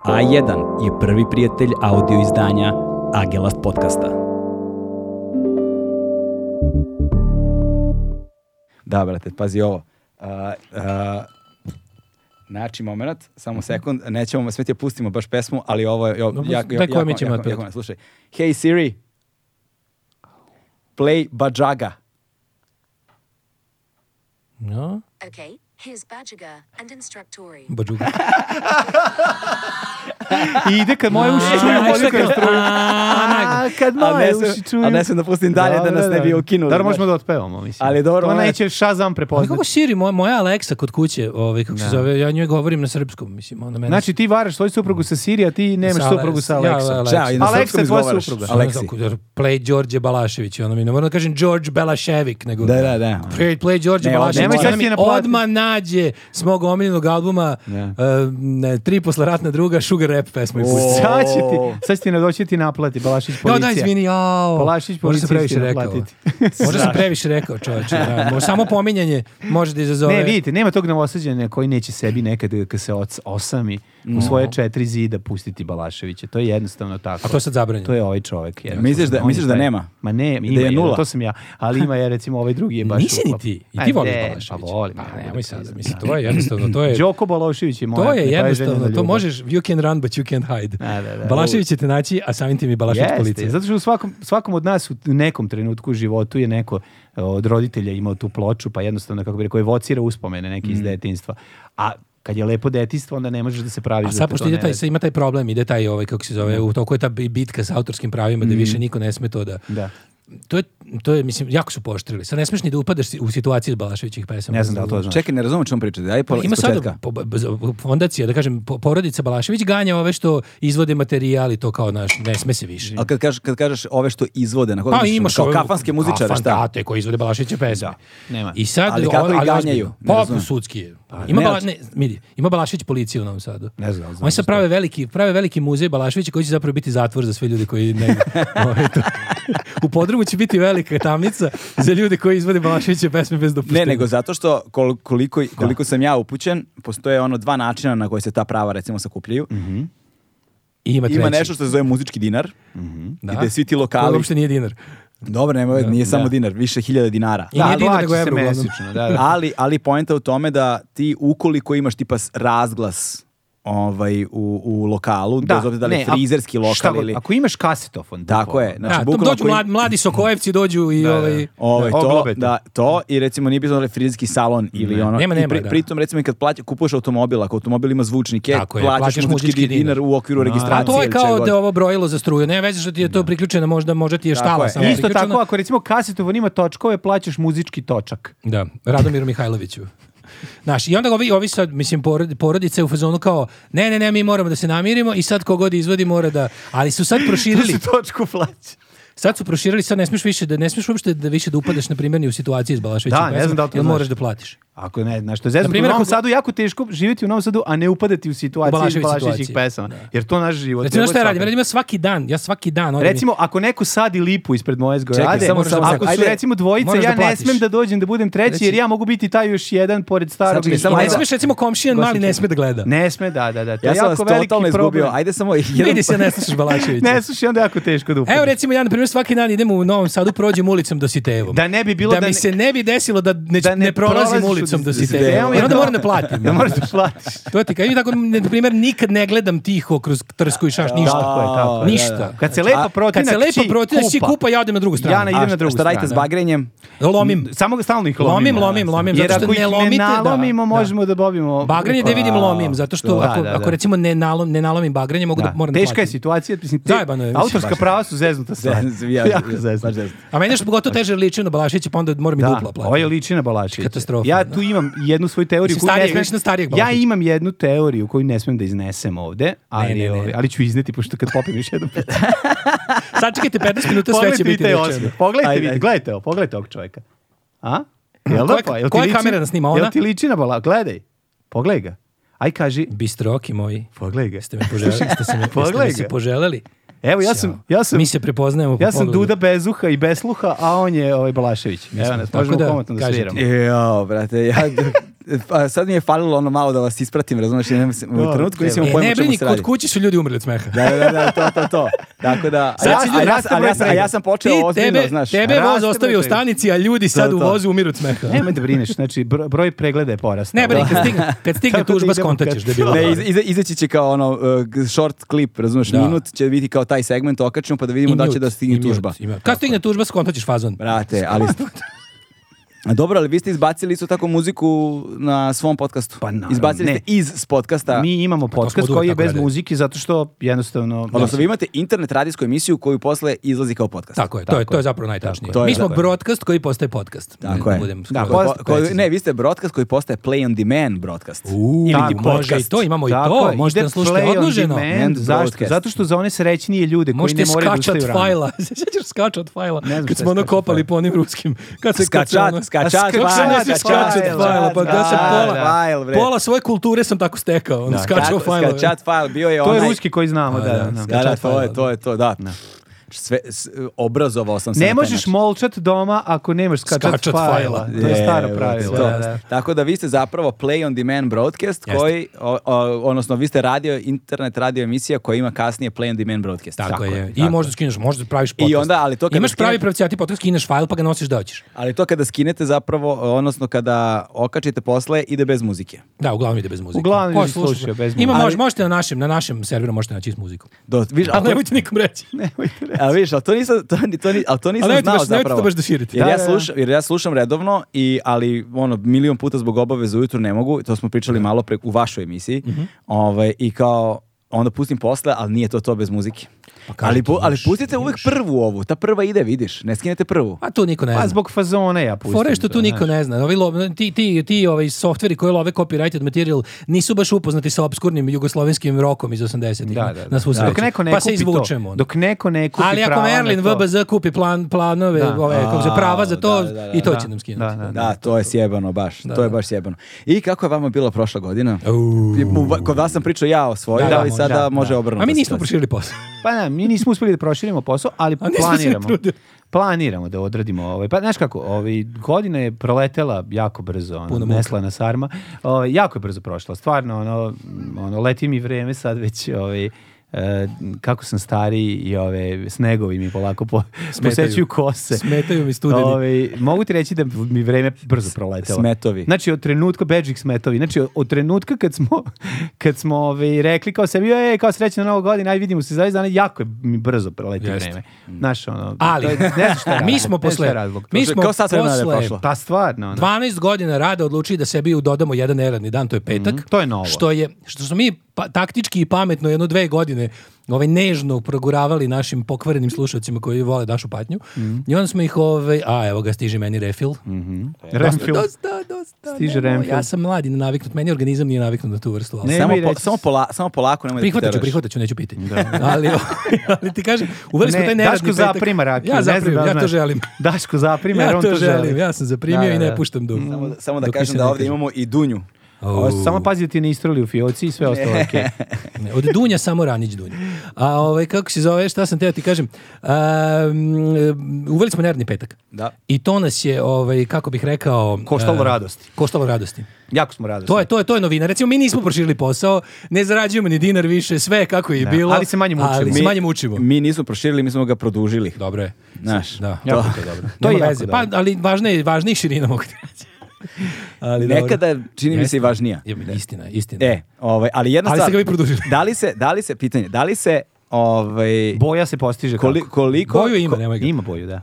Speaker 1: A1 je prvi prijatelj audio izdanja Agelast podcasta. Da, brate, pazi ovo. A, a, znači, moment, samo sekund, nećemo sve ti opustimo baš pesmu, ali ovo je... Jo,
Speaker 2: Dobro,
Speaker 1: jako,
Speaker 2: daj
Speaker 1: jako,
Speaker 2: koja mi
Speaker 1: jako,
Speaker 2: ćemo
Speaker 1: jako,
Speaker 2: otpevati.
Speaker 1: jako, slušaj. Hey Siri, play Bajaga.
Speaker 2: No,
Speaker 4: Okay, here's Badger and Instructori.
Speaker 2: bađuga.
Speaker 3: I ide kad moje uši čuju muziku je struju. A, kad
Speaker 1: A ne
Speaker 3: moje
Speaker 1: smem-
Speaker 3: uši čuju.
Speaker 1: a ne smem da pustim dalje da
Speaker 3: Dobro,
Speaker 1: nas ne bi
Speaker 3: dobro.
Speaker 1: ukinuli,
Speaker 3: Dobro,
Speaker 1: znaš.
Speaker 3: možemo da otpevamo, mislim.
Speaker 1: Ali dobro,
Speaker 3: To
Speaker 1: ona je-
Speaker 3: neće Shazam
Speaker 2: Ali
Speaker 3: prepoznati.
Speaker 2: kako Siri, moja, moja Alexa kod kuće, ovaj, kako se zove, ja njoj govorim na srpskom, mislim, ona mene...
Speaker 3: Znači ti varaš svoju suprugu sa Sirija, ti nemaš
Speaker 2: Sa Ale-
Speaker 3: suprugu sa
Speaker 2: ja,
Speaker 3: Aleksom.
Speaker 2: Aleksa.
Speaker 1: Čao, i na
Speaker 3: Aleksa
Speaker 1: srpskom
Speaker 3: je tvoja
Speaker 1: izgovaraš.
Speaker 3: supruga.
Speaker 1: Aleksi.
Speaker 2: Ono, Play Đorđe Balašević, ono mi ne moram da kažem Đorđe Balašević, nego...
Speaker 1: Da, da, da.
Speaker 2: Play, play Đorđe
Speaker 1: Ne,
Speaker 2: Balašević,
Speaker 1: nemoj sad
Speaker 2: ona
Speaker 3: ti
Speaker 2: mi
Speaker 3: je naplatiti.
Speaker 2: odmah nađe s mog omiljenog albuma eh, ne, tri posle ratna druga Sugar Rap pesmu i pusti.
Speaker 3: Sad će ti, sad će ti nadoći ti naplati, Balašić
Speaker 2: Da,
Speaker 3: policija.
Speaker 2: da, izvini, jao.
Speaker 3: Polašić
Speaker 2: Možda
Speaker 3: policija
Speaker 2: sam previše
Speaker 3: će nam
Speaker 2: rekao.
Speaker 3: platiti.
Speaker 2: Možda sam previše rekao, čoveče. Da. Možda samo pominjanje može da izazove...
Speaker 3: Ne, vidite, nema tog novosađenja koji neće sebi nekad kad se oc- osami u svoje četiri zida pustiti Balaševića. To je jednostavno tako.
Speaker 2: A to je sad zabranjeno.
Speaker 3: To je ovaj čovjek. jednostavno.
Speaker 1: Misliš da-
Speaker 3: On je
Speaker 1: misliš da
Speaker 3: taj-
Speaker 1: nema?
Speaker 3: Ma ne, ima
Speaker 1: je
Speaker 3: jedan,
Speaker 1: nula?
Speaker 3: To sam ja. Ali ima je recimo ovaj drugi je baš.
Speaker 2: Nisi ni
Speaker 3: uklop.
Speaker 2: ti. I
Speaker 3: A
Speaker 2: ti voliš
Speaker 3: ne,
Speaker 2: Balaševića.
Speaker 3: Pa volim.
Speaker 2: Pa
Speaker 3: ne mogu da
Speaker 2: nemoj sad,
Speaker 3: kažem.
Speaker 2: mislim, to je jednostavno, to je...
Speaker 3: Đoko Balašević je moja.
Speaker 2: To je
Speaker 3: nepoželjena
Speaker 2: jednostavno, to
Speaker 3: ljubav.
Speaker 2: možeš, you can run but you can't hide.
Speaker 3: Da, da, da.
Speaker 2: Balašević će te naći, a samim tim i Balašević
Speaker 3: Jeste,
Speaker 2: policija.
Speaker 3: zato što u svakom, svakom od nas u nekom trenutku u životu je neko e, od roditelja imao tu ploču, pa jednostavno, kako bi rekao, evocira uspomene neke iz detinstva. A kad je lepo detinstvo, onda ne možeš da se praviš
Speaker 2: A
Speaker 3: da
Speaker 2: sad
Speaker 3: te
Speaker 2: pošto
Speaker 3: to
Speaker 2: ide
Speaker 3: ne
Speaker 2: taj,
Speaker 3: radi.
Speaker 2: sad ima taj problem, ide taj ovaj, kako se zove, u toku je ta bi- bitka sa autorskim pravima, da više niko ne sme to da...
Speaker 3: Mhm. Da.
Speaker 2: To je, to je, mislim, jako su poštrili. Sad ne smeš ni da upadaš si- u situaciju Balaševićih pesama.
Speaker 3: Ne znam da li to znaš.
Speaker 1: Čekaj, ne razumem čemu pričate. Ajde, pola,
Speaker 2: Ima sad
Speaker 1: ispočetka.
Speaker 2: po- b- z- fondacija, da kažem, po- porodica Balašević ganja ove što izvode materijal i to kao naš, ne sme se više.
Speaker 1: A kad, kažeš, kad kažeš ove što izvode, na koga
Speaker 2: Pa
Speaker 1: misliš?
Speaker 2: imaš
Speaker 1: kao
Speaker 2: ove-
Speaker 1: kafanske muzičare,
Speaker 2: kafan-
Speaker 1: šta?
Speaker 2: da, te koji izvode Balaševića pesme.
Speaker 3: nema.
Speaker 2: I sad,
Speaker 1: Ali
Speaker 2: ali
Speaker 1: kako ih ganjaju? Ne
Speaker 2: Pa,
Speaker 1: razumem.
Speaker 2: sudski je. Ima,
Speaker 1: ne,
Speaker 2: Bala-
Speaker 1: ali-
Speaker 2: ne, vidi, ima Balašević policija u Novom Sadu.
Speaker 3: Ne znam, znam
Speaker 2: Oni sad prave veliki, prave veliki muzej Balaševića koji će zapravo biti zatvor za sve ljude koji ne... Ovaj, to- u podrumu će biti velika tamnica za ljude koji izvode Balaševića pesme bez dopuštenja.
Speaker 1: Ne, nego zato što kol- koliko, koliko sam ja upućen, postoje ono dva načina na koje se ta prava recimo sakupljaju.
Speaker 2: I ima Mhm. treći. Mhm.
Speaker 1: Ima nešto što se zove muzički dinar.
Speaker 2: Da.
Speaker 1: gde svi ti lokali-
Speaker 2: Koji uopšte nije dinar.
Speaker 1: Dobro, nema, veze, nije samo dinar, više hiljada dinara.
Speaker 2: I nije
Speaker 3: Da,
Speaker 2: dinar,
Speaker 3: plaća
Speaker 2: nego
Speaker 3: se
Speaker 2: evro. uglavnom.
Speaker 3: mesečno, da, da.
Speaker 1: ali, ali poenta u tome da ti ukoliko imaš tipa s- razglas ovaj, u, u lokalu, da, bez obzira da li je
Speaker 3: ne, a-
Speaker 1: frizerski
Speaker 3: šta
Speaker 1: lokal
Speaker 3: god,
Speaker 1: ili...
Speaker 3: Ako imaš kasetofon.
Speaker 1: Tako
Speaker 3: bukvalno,
Speaker 1: je. Znači,
Speaker 2: da,
Speaker 1: bukvalno
Speaker 2: dođu
Speaker 1: ako im-
Speaker 2: mladi, mladi Sokojevci dođu i
Speaker 3: da,
Speaker 2: ovaj...
Speaker 1: Ovaj,
Speaker 3: Da,
Speaker 1: to,
Speaker 3: oglobe te.
Speaker 1: da, to i recimo nije bilo da je frizerski salon ili ono.
Speaker 2: Nema,
Speaker 1: i
Speaker 2: nema,
Speaker 1: pri-
Speaker 2: da.
Speaker 1: Pritom recimo i kad plaća, kupuješ automobil, ako automobil ima zvučnike,
Speaker 2: Tako je,
Speaker 1: plaćaš,
Speaker 2: plaćaš
Speaker 1: muzički
Speaker 2: muzički
Speaker 1: dinar,
Speaker 2: dinar.
Speaker 1: u okviru
Speaker 2: A
Speaker 1: registracije.
Speaker 2: to je
Speaker 1: ili čega
Speaker 2: kao
Speaker 1: god.
Speaker 2: da je ovo brojilo za struju. Ne veze što ti je to priključeno, možda, možda ti je
Speaker 1: Tako
Speaker 2: štala
Speaker 1: je.
Speaker 2: samo
Speaker 3: Isto
Speaker 2: priključena.
Speaker 3: tako, ako recimo kasetofon ima točkove, plaćaš muzički točak.
Speaker 2: Da, Radomiru Mihajloviću. Znaš, i onda ovi, ovi sad, mislim, porod- porodice u fazonu kao, ne, ne, ne, mi moramo da se namirimo i sad kogod izvodi mora da... Ali su sad proširili,
Speaker 3: točku plaća.
Speaker 2: sad su proširili, sad ne smiješ više, da, ne smiješ uopšte da više da upadaš, na primjer, ni u situaciji s Balaševićem.
Speaker 3: Da, ne znam da li to znaš.
Speaker 2: moraš da platiš.
Speaker 3: Ako ne, znaš, to je zezno. U
Speaker 2: primjer,
Speaker 3: Novom
Speaker 2: ako-
Speaker 3: Sadu jako teško živjeti u Novom Sadu, a ne upadati u situaciju
Speaker 2: Balašević
Speaker 3: Balaševićih
Speaker 2: situaciju.
Speaker 3: pesama. Jer to naš život.
Speaker 2: Recimo,
Speaker 3: Evo
Speaker 2: Znači, šta ja
Speaker 3: svaka-
Speaker 2: radim? Radim ja svaki dan, ja svaki dan. odem i-
Speaker 3: Recimo, ako neko sadi lipu ispred moje zgrade,
Speaker 1: Čekaj, samo,
Speaker 2: moraš
Speaker 1: samo,
Speaker 2: da-
Speaker 1: samo.
Speaker 3: ako su
Speaker 1: Ajde,
Speaker 3: recimo dvojica,
Speaker 2: moraš
Speaker 3: ja
Speaker 2: da
Speaker 3: ne
Speaker 2: platiš.
Speaker 3: smem da dođem da budem treći,
Speaker 2: Reci-
Speaker 3: jer ja mogu biti taj još jedan pored starog.
Speaker 1: Sad čekaj,
Speaker 3: i-
Speaker 1: samo
Speaker 2: I ne
Speaker 1: ajde-
Speaker 2: smiješ, recimo, komšijan mali ne smije da gleda.
Speaker 3: Ne sme, da, da, da. To
Speaker 1: Ja
Speaker 3: je
Speaker 1: sam vas
Speaker 3: jako veliki
Speaker 1: totalno izgubio.
Speaker 3: problem.
Speaker 1: Ajde samo jedan...
Speaker 2: Vidi se, ne slušaš Balaševića.
Speaker 3: pa- Ne slušaj, onda je jako teško da upadne.
Speaker 2: Evo recimo ja na primjer svaki dan idem u Novom Sadu prođem ulicom do Sitejevom.
Speaker 3: Da ne bi bilo
Speaker 2: da,
Speaker 3: da
Speaker 2: mi
Speaker 3: ne-
Speaker 2: se ne bi desilo da ne,
Speaker 3: Da
Speaker 2: ne,
Speaker 3: ne
Speaker 2: prolazim
Speaker 3: prolaziš
Speaker 2: ulicom
Speaker 3: u
Speaker 2: do
Speaker 3: Dositejeva.
Speaker 2: Sitejeva. I onda
Speaker 3: Da.
Speaker 2: moram da platim. ono.
Speaker 3: Da moraš da platiš.
Speaker 2: to ti kažem tako na primjer nikad ne gledam tiho kroz Trsku i Šaš ništa.
Speaker 3: Tako je, tako je.
Speaker 2: Ništa. Znači,
Speaker 3: Kad se
Speaker 1: A
Speaker 3: lepa
Speaker 2: Kad
Speaker 3: protinak,
Speaker 2: se lepo
Speaker 3: čiji
Speaker 2: protiš kupa. kupa ja odem na drugu stranu.
Speaker 3: Ja Mm, na- idem
Speaker 1: pa- A
Speaker 3: drugu
Speaker 1: šta radite s
Speaker 3: stranu.
Speaker 1: bagrenjem?
Speaker 2: Lomim.
Speaker 3: Samo ga stalno ih lomimo.
Speaker 2: Lomim, lomim, lomim,
Speaker 3: Jer
Speaker 2: zato što
Speaker 3: ako ih
Speaker 2: ne lomite, da.
Speaker 3: nalomimo,
Speaker 2: Da.
Speaker 3: možemo da bobimo.
Speaker 2: Bagranje ne vidim lomim zato što
Speaker 3: Da,
Speaker 2: ako,
Speaker 3: da, da.
Speaker 2: ako recimo ne nalom ne nalomim bagranje mogu da, moram da
Speaker 3: Teška je
Speaker 2: platim.
Speaker 3: situacija. Mislim, te-
Speaker 2: Zajebano je, mislim,
Speaker 3: Autorska prava su zeznuta stvar.
Speaker 1: Ja,
Speaker 3: Jako
Speaker 1: ja,
Speaker 3: zeznuta.
Speaker 1: baš zeznuta.
Speaker 2: A meni je što pogotovo teže liči na Balašića pa onda moram i
Speaker 3: Da,
Speaker 2: duplo
Speaker 3: ovo je
Speaker 2: platiti.
Speaker 3: liči na Balašića.
Speaker 2: Katastrofa,
Speaker 3: Ja
Speaker 2: da.
Speaker 3: tu imam jednu svoju teoriju.
Speaker 2: Mislim,
Speaker 3: koju ne
Speaker 2: starijeg,
Speaker 3: smem-
Speaker 2: već na starijeg
Speaker 3: Ja
Speaker 2: Balašića.
Speaker 3: imam jednu teoriju koju ne smem da iznesem ovde, ali,
Speaker 2: ne, ne.
Speaker 3: ovaj, ali ću izneti, pošto kad popim još jednom
Speaker 2: Sad čekajte 15 minuta sve će
Speaker 3: Pogledajte vi
Speaker 2: biti
Speaker 3: taj
Speaker 2: rečeno.
Speaker 3: osmeh. Pogledajte
Speaker 1: Ajde,
Speaker 3: vi,
Speaker 1: ajde.
Speaker 3: gledajte ovo, pogledajte ovog čovjeka. A? Jel da
Speaker 2: Koja-
Speaker 3: pa? Jel ti
Speaker 2: koja
Speaker 3: liči-
Speaker 2: kamera nas snima, ona?
Speaker 3: Jel ti liči na Balašića? Gledaj. Pogledaj ga. Aj kaži,
Speaker 2: Bistroki moji.
Speaker 3: pogledaj ga.
Speaker 2: Ste me poželjeli, ste se me, jeste
Speaker 3: Pogledaj
Speaker 2: mi se
Speaker 3: ga.
Speaker 2: poželeli.
Speaker 3: Evo, ja sam, ja sam,
Speaker 2: Mi se prepoznajemo po
Speaker 3: ja sam
Speaker 2: pogledu.
Speaker 3: Duda Bezuha i Besluha, a on je ovaj Balašević. Evo nas,
Speaker 2: Tako
Speaker 3: možemo
Speaker 2: da,
Speaker 3: komotno da
Speaker 2: kažete.
Speaker 3: sviramo.
Speaker 1: Jo, brate, ja... pa sad mi je falilo ono malo da vas ispratim, razumeš, ja nemam se- u
Speaker 3: Da,
Speaker 1: trenutku nisam
Speaker 2: E,
Speaker 1: imao pojma o
Speaker 2: ne
Speaker 1: čemu
Speaker 2: brini,
Speaker 1: se radi.
Speaker 2: kod kući su ljudi umrli od smeha.
Speaker 1: Da, da, da, da, to, to, to. Tako da, a
Speaker 2: Sad
Speaker 1: ja,
Speaker 2: si
Speaker 1: a
Speaker 2: ljudi-
Speaker 1: ja, sam- ali ja, sam- a ja sam počeo
Speaker 2: Ti,
Speaker 1: ozbiljno,
Speaker 2: tebe,
Speaker 1: znaš.
Speaker 2: tebe voz
Speaker 3: raste
Speaker 2: ostavio u
Speaker 3: broj tebe.
Speaker 2: stanici, a ljudi sad
Speaker 1: To,
Speaker 2: u
Speaker 1: to.
Speaker 2: vozu umiru od smeha.
Speaker 3: Nemoj da brineš, znači bro- broj pregleda je porastao.
Speaker 2: Ne brini,
Speaker 3: Da.
Speaker 2: kad stigne, kad stigne
Speaker 3: Tako da
Speaker 2: tužba
Speaker 3: idemo
Speaker 2: skontaćeš
Speaker 3: kad-
Speaker 2: da bilo.
Speaker 1: Ne, iza- iza- izaći će kao ono uh, g- short clip, razumeš,
Speaker 2: Da.
Speaker 1: minut će biti kao taj segment okačimo pa da vidimo da će da stigne tužba.
Speaker 2: Kad stigne tužba skontaćeš fazon.
Speaker 1: Brate, ali... A Dobro, ali vi ste izbacili isto tako muziku na svom podcastu.
Speaker 3: Pa naravno,
Speaker 1: Izbacili
Speaker 3: ne.
Speaker 1: ste iz podcasta.
Speaker 3: Mi imamo
Speaker 2: Pa smo
Speaker 3: podcast
Speaker 2: oduvek
Speaker 3: koji je
Speaker 2: tako
Speaker 3: bez
Speaker 2: radili.
Speaker 3: muzike zato što jednostavno...
Speaker 1: Odnosno, vi imate internet radijsku emisiju koju posle izlazi kao podcast.
Speaker 2: Tako je, to je, to je zapravo najtačnije.
Speaker 1: To je,
Speaker 2: Mi smo
Speaker 1: tako je.
Speaker 2: broadcast koji postaje podcast.
Speaker 1: Tako
Speaker 2: Da
Speaker 1: je.
Speaker 2: budem
Speaker 3: Da,
Speaker 2: skroz-
Speaker 1: Koji po-
Speaker 3: Post-
Speaker 1: koji-
Speaker 3: precizno.
Speaker 1: ne, vi ste broadcast koji postaje play on demand broadcast.
Speaker 2: U,
Speaker 1: Ili
Speaker 2: tako,
Speaker 1: ti
Speaker 2: može i
Speaker 1: podcast.
Speaker 2: to, imamo i
Speaker 3: Tako
Speaker 2: to.
Speaker 3: je,
Speaker 2: Možete
Speaker 3: ide
Speaker 2: nas slušati
Speaker 3: play on
Speaker 2: odloženo.
Speaker 3: demand.
Speaker 1: And
Speaker 3: Zašto?
Speaker 1: broadcast.
Speaker 3: Zato što za one srećnije ljude koji
Speaker 2: Možete
Speaker 3: ne moraju da
Speaker 2: skačat
Speaker 3: ustaju rano.
Speaker 2: fajla. Sjećaš skač od fajla?
Speaker 3: Ne znam
Speaker 2: Kad
Speaker 3: šta
Speaker 2: smo
Speaker 3: je
Speaker 2: ono
Speaker 3: skač od
Speaker 2: kopali
Speaker 3: fajla.
Speaker 2: po onim ruskim. Kad se kad se ono-
Speaker 1: Skačat, skačat,
Speaker 3: A skačat,
Speaker 1: fajl,
Speaker 2: Skačat, skačat
Speaker 3: fajl,
Speaker 2: fajla. Pa da sam
Speaker 3: da,
Speaker 2: pola,
Speaker 3: da.
Speaker 1: Fajl, bre.
Speaker 2: pola svoje kulture sam tako stekao. Ono, skačao
Speaker 1: Kako-
Speaker 2: fajla.
Speaker 1: Skačat fajl, bio je
Speaker 3: To
Speaker 1: onaj...
Speaker 3: je ruski koji znamo, da.
Speaker 2: da,
Speaker 3: da, da.
Speaker 2: skačat
Speaker 1: Pa Da, da, to
Speaker 2: fajla.
Speaker 1: je, to je, to, da. Sve, s- obrazovao sam se na
Speaker 3: Ne
Speaker 1: taj
Speaker 3: možeš
Speaker 1: način.
Speaker 3: molčat doma ako nemaš skačat,
Speaker 2: znači. Skačat
Speaker 3: fajla.
Speaker 2: fajla.
Speaker 3: To je
Speaker 1: Je,
Speaker 3: staro
Speaker 1: brate,
Speaker 3: pravilo.
Speaker 1: to.
Speaker 3: Da, da.
Speaker 1: Tako da vi ste zapravo play on demand broadcast
Speaker 2: Jeste.
Speaker 1: koji, o- o- odnosno vi ste radio, internet radio emisija koja ima kasnije play on demand broadcast.
Speaker 2: Tako, je. I
Speaker 1: tako
Speaker 2: možda skineš, možda praviš podcast.
Speaker 1: onda, ali to kad
Speaker 2: Imaš
Speaker 1: skine-
Speaker 2: pravi pravcijati podcast, skineš fajl pa ga nosiš da hoćeš.
Speaker 1: Ali to kada skinete zapravo, odnosno kada okačite posle, ide bez muzike.
Speaker 2: Da, uglavnom ide bez muzike.
Speaker 3: Uglavnom
Speaker 2: Ko
Speaker 3: ide
Speaker 2: sluša?
Speaker 3: slušao bez
Speaker 2: Ima,
Speaker 1: muzike.
Speaker 2: mož- možete na našem, na našem serveru možete naći s muzikom.
Speaker 1: Do, viš,
Speaker 2: Ali
Speaker 1: ali,
Speaker 2: nemojte nikom reći.
Speaker 1: a viš, ali to nisam, to, ni- to, ni- ali to nisam
Speaker 2: nemojte
Speaker 1: znao
Speaker 2: baš- nemojte to
Speaker 1: zapravo.
Speaker 2: baš da širite.
Speaker 1: Jer,
Speaker 3: Da,
Speaker 1: ja
Speaker 3: da, da.
Speaker 1: slušam, jer ja slušam redovno, i, ali ono, milion puta zbog obaveza ujutru ne mogu, to smo pričali malo pre, u vašoj emisiji,
Speaker 2: Mhm.
Speaker 1: ovaj, i kao onda pustim posle, ali nije to to bez muzike.
Speaker 2: kažem
Speaker 1: ali,
Speaker 2: ti,
Speaker 1: pu- ali
Speaker 2: imaš-
Speaker 1: pustite uvek prvu ovu, ta prva ide, vidiš, ne skinete prvu.
Speaker 2: A to niko ne
Speaker 3: Pa
Speaker 2: zna.
Speaker 3: zbog fazona ja pustim.
Speaker 2: Fore što
Speaker 3: to,
Speaker 2: tu
Speaker 3: znaš.
Speaker 2: niko ne zna. Ovi lo- ti, ti, ti ovaj softveri koji love copyrighted material nisu baš upoznati sa obskurnim jugoslovenskim rokom iz 80-ih.
Speaker 3: Da, da, da.
Speaker 2: Na svu sreću.
Speaker 3: Dok neko ne
Speaker 2: pa
Speaker 3: kupi
Speaker 2: se izvučemo.
Speaker 3: to.
Speaker 2: onda.
Speaker 3: Dok neko ne kupi
Speaker 2: Ali ako
Speaker 3: prava na
Speaker 2: Merlin
Speaker 3: to.
Speaker 2: VBZ kupi plan, planove,
Speaker 3: Da.
Speaker 2: ove, kako se
Speaker 1: A,
Speaker 2: prava za to,
Speaker 1: da, da, da,
Speaker 2: i to
Speaker 3: da.
Speaker 2: će nam skinuti.
Speaker 3: Da, da, da.
Speaker 1: Da, to je sjebano baš, to je baš sjebano. I kako je vama bilo prošla godina?
Speaker 2: Uuu.
Speaker 1: U va- Kod vas sam pričao ja o svojoj,
Speaker 2: Da, da,
Speaker 1: ali
Speaker 2: može,
Speaker 1: sada
Speaker 3: da,
Speaker 1: može obrnuto.
Speaker 2: A mi nismo
Speaker 1: situacija.
Speaker 2: proširili posao.
Speaker 3: Pa ne, mi nismo uspeli da proširimo posao, ali
Speaker 2: A nismo se ni
Speaker 3: planiramo.
Speaker 2: trudili.
Speaker 3: Planiramo da odradimo ovaj. Pa znaš kako, ovaj, godina je proletela jako brzo, ono,
Speaker 2: Puno muke.
Speaker 3: neslana sarma. Ovaj, jako je brzo prošla, stvarno, ono, m, ono, leti mi vreme sad već, ovaj, e, kako sam stariji i ove snegovi mi polako po,
Speaker 2: Smetaju.
Speaker 3: posećuju kose.
Speaker 2: Smetaju mi studeni.
Speaker 3: Ovaj, mogu ti reći da mi vreme brzo proletelo.
Speaker 1: Smetovi.
Speaker 3: Znači od trenutka Beđik smetovi. Znači od- od trenutka kad smo kad smo ovaj, rekli kao sebi ej kao srećna nova godina, aj vidimo se za 20 dana, jako je mi brzo proleti
Speaker 2: Jeste.
Speaker 3: vreme. Znaš ono.
Speaker 2: Ali,
Speaker 3: to je- ne znam šta je razlog,
Speaker 2: mi
Speaker 3: ne
Speaker 2: smo
Speaker 3: znam šta je
Speaker 2: posle,
Speaker 3: razlog.
Speaker 2: mi
Speaker 1: To je
Speaker 2: smo
Speaker 1: kao sat vremena da je
Speaker 2: posle
Speaker 1: prošlo.
Speaker 3: Pa stvarno. ono.
Speaker 2: 12 godina rada odlučili da sebi dodamo jedan neradni dan, to je petak.
Speaker 3: Mhm, to je novo.
Speaker 2: Što, je, što smo mi pa- taktički i pametno jedno dve godine ovaj, nežno proguravali našim pokvarenim slušalcima koji vole našu patnju.
Speaker 3: Mhm.
Speaker 2: I onda smo ih, ovaj, a evo ga stiže meni refil.
Speaker 3: Renfield.
Speaker 2: Dosta, dosta,
Speaker 3: Stiže
Speaker 2: nemoj,
Speaker 3: Renfield.
Speaker 2: Ja sam mladi na naviknut, meni organizam nije naviknut na tu vrstu. alkohola.
Speaker 3: Ne,
Speaker 1: Samo,
Speaker 3: mi
Speaker 1: po-
Speaker 3: reći-
Speaker 1: samo, pola, samo polako, nemoj da
Speaker 2: Prihvatat ću,
Speaker 1: teraš.
Speaker 2: prihvatat ću, neću piti. ali, ovaj, ali ti kažem, uveli smo
Speaker 3: Ne,
Speaker 2: taj neradni
Speaker 3: Daško
Speaker 2: petak.
Speaker 3: zaprima rakiju.
Speaker 2: Ja
Speaker 3: ne znam
Speaker 2: zaprimim,
Speaker 3: da
Speaker 2: ja to
Speaker 3: znaš.
Speaker 2: želim.
Speaker 3: Daško zaprima, jer
Speaker 2: Ja
Speaker 3: on
Speaker 2: to
Speaker 3: želi.
Speaker 2: želim, ja sam zaprimio
Speaker 3: Da,
Speaker 2: i
Speaker 3: da,
Speaker 2: ne
Speaker 3: da.
Speaker 2: puštam dug.
Speaker 1: Samo da, samo da
Speaker 2: Dok
Speaker 1: kažem
Speaker 2: više
Speaker 1: da
Speaker 2: ne
Speaker 1: ovdje
Speaker 2: kažem.
Speaker 1: imamo i Dunju.
Speaker 3: Ovo, Samo pazi da ti ne istroli u fioci i sve ostalo. okej.
Speaker 2: Ne, Od Dunja samo Ranić Dunja. A ovaj, kako se zove, šta sam teo ti kažem, A, mm, uveli smo nervni petak.
Speaker 1: Da.
Speaker 2: I to nas je, ovaj, kako bih rekao...
Speaker 3: Koštalo
Speaker 2: e,
Speaker 3: radosti.
Speaker 2: Koštalo radosti.
Speaker 3: Jako smo radosni.
Speaker 2: To je, to je, to je novina. Recimo, mi nismo proširili posao, ne zarađujemo ni dinar više, sve je kako je bilo.
Speaker 3: ali se manje mučimo.
Speaker 2: Ali se
Speaker 1: Mi-
Speaker 2: manje mučimo.
Speaker 1: Mi nismo proširili, mi smo ga produžili.
Speaker 2: Dobro je.
Speaker 1: Znaš,
Speaker 2: Da.
Speaker 1: to-
Speaker 2: Jako je dobro.
Speaker 3: To je
Speaker 2: Nema
Speaker 3: jako
Speaker 2: veze.
Speaker 3: dobro.
Speaker 2: Pa, ali važna je, važna je i širina mogu ti reći. Ali dobro.
Speaker 1: Nekada je, čini mi se i
Speaker 2: Jeste.
Speaker 1: važnija.
Speaker 2: Je, istina, istina.
Speaker 1: E, ovaj, ali jedna
Speaker 2: Ali ste
Speaker 1: stvar.
Speaker 2: ga vi produžili.
Speaker 1: Da li se, da li se, pitanje, da li se, ovaj,
Speaker 3: Boja se postiže
Speaker 1: koli-
Speaker 3: kako?
Speaker 1: koliko,
Speaker 2: Boju ima, nemoj ga.
Speaker 3: Ima boju, da.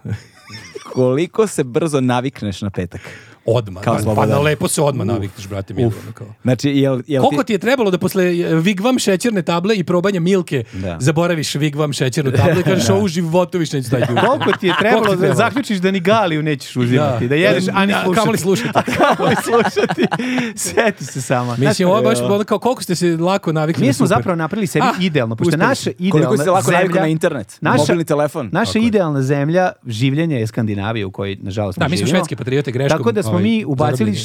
Speaker 1: koliko se brzo navikneš na petak?
Speaker 2: Odmah.
Speaker 1: Kao
Speaker 2: da, pa
Speaker 1: Slobodan.
Speaker 2: na lepo se odmah navikneš, brate, milo. ono kao.
Speaker 1: Znači, jel, jel
Speaker 2: Koliko ti je trebalo da posle e, Vigvam šećerne table i probanja Milke
Speaker 1: Da.
Speaker 2: zaboraviš Vigvam šećernu tablu i kažeš ovo u životu više neću staviti u usta."
Speaker 3: Koliko ti je trebalo da zaključiš da ni galiju nećeš uzimati, da, jedeš, a ni slušati.
Speaker 2: Kamoli slušati.
Speaker 3: Kamoli slušati. Sjeti se sama.
Speaker 2: Mislim, ovo je baš ono kao koliko ste se lako navikli.
Speaker 3: Mi
Speaker 2: na
Speaker 3: smo
Speaker 2: super.
Speaker 3: zapravo napravili sebi
Speaker 2: Ah,
Speaker 3: idealno, pošto
Speaker 2: uspeli
Speaker 3: naše
Speaker 2: smo.
Speaker 3: idealna
Speaker 1: Koliko si se lako
Speaker 3: zemlja-
Speaker 1: navikao na internet,
Speaker 3: Naša-
Speaker 1: mobilni telefon.
Speaker 3: Naša idealna zemlja življenja je Skandinavija u kojoj nažalost ne
Speaker 2: Da, mi smo
Speaker 3: živimo.
Speaker 2: švedske patriote greškom.
Speaker 3: Tako da smo
Speaker 2: ovaj,
Speaker 3: mi ubacili
Speaker 2: zarobljeni. Mi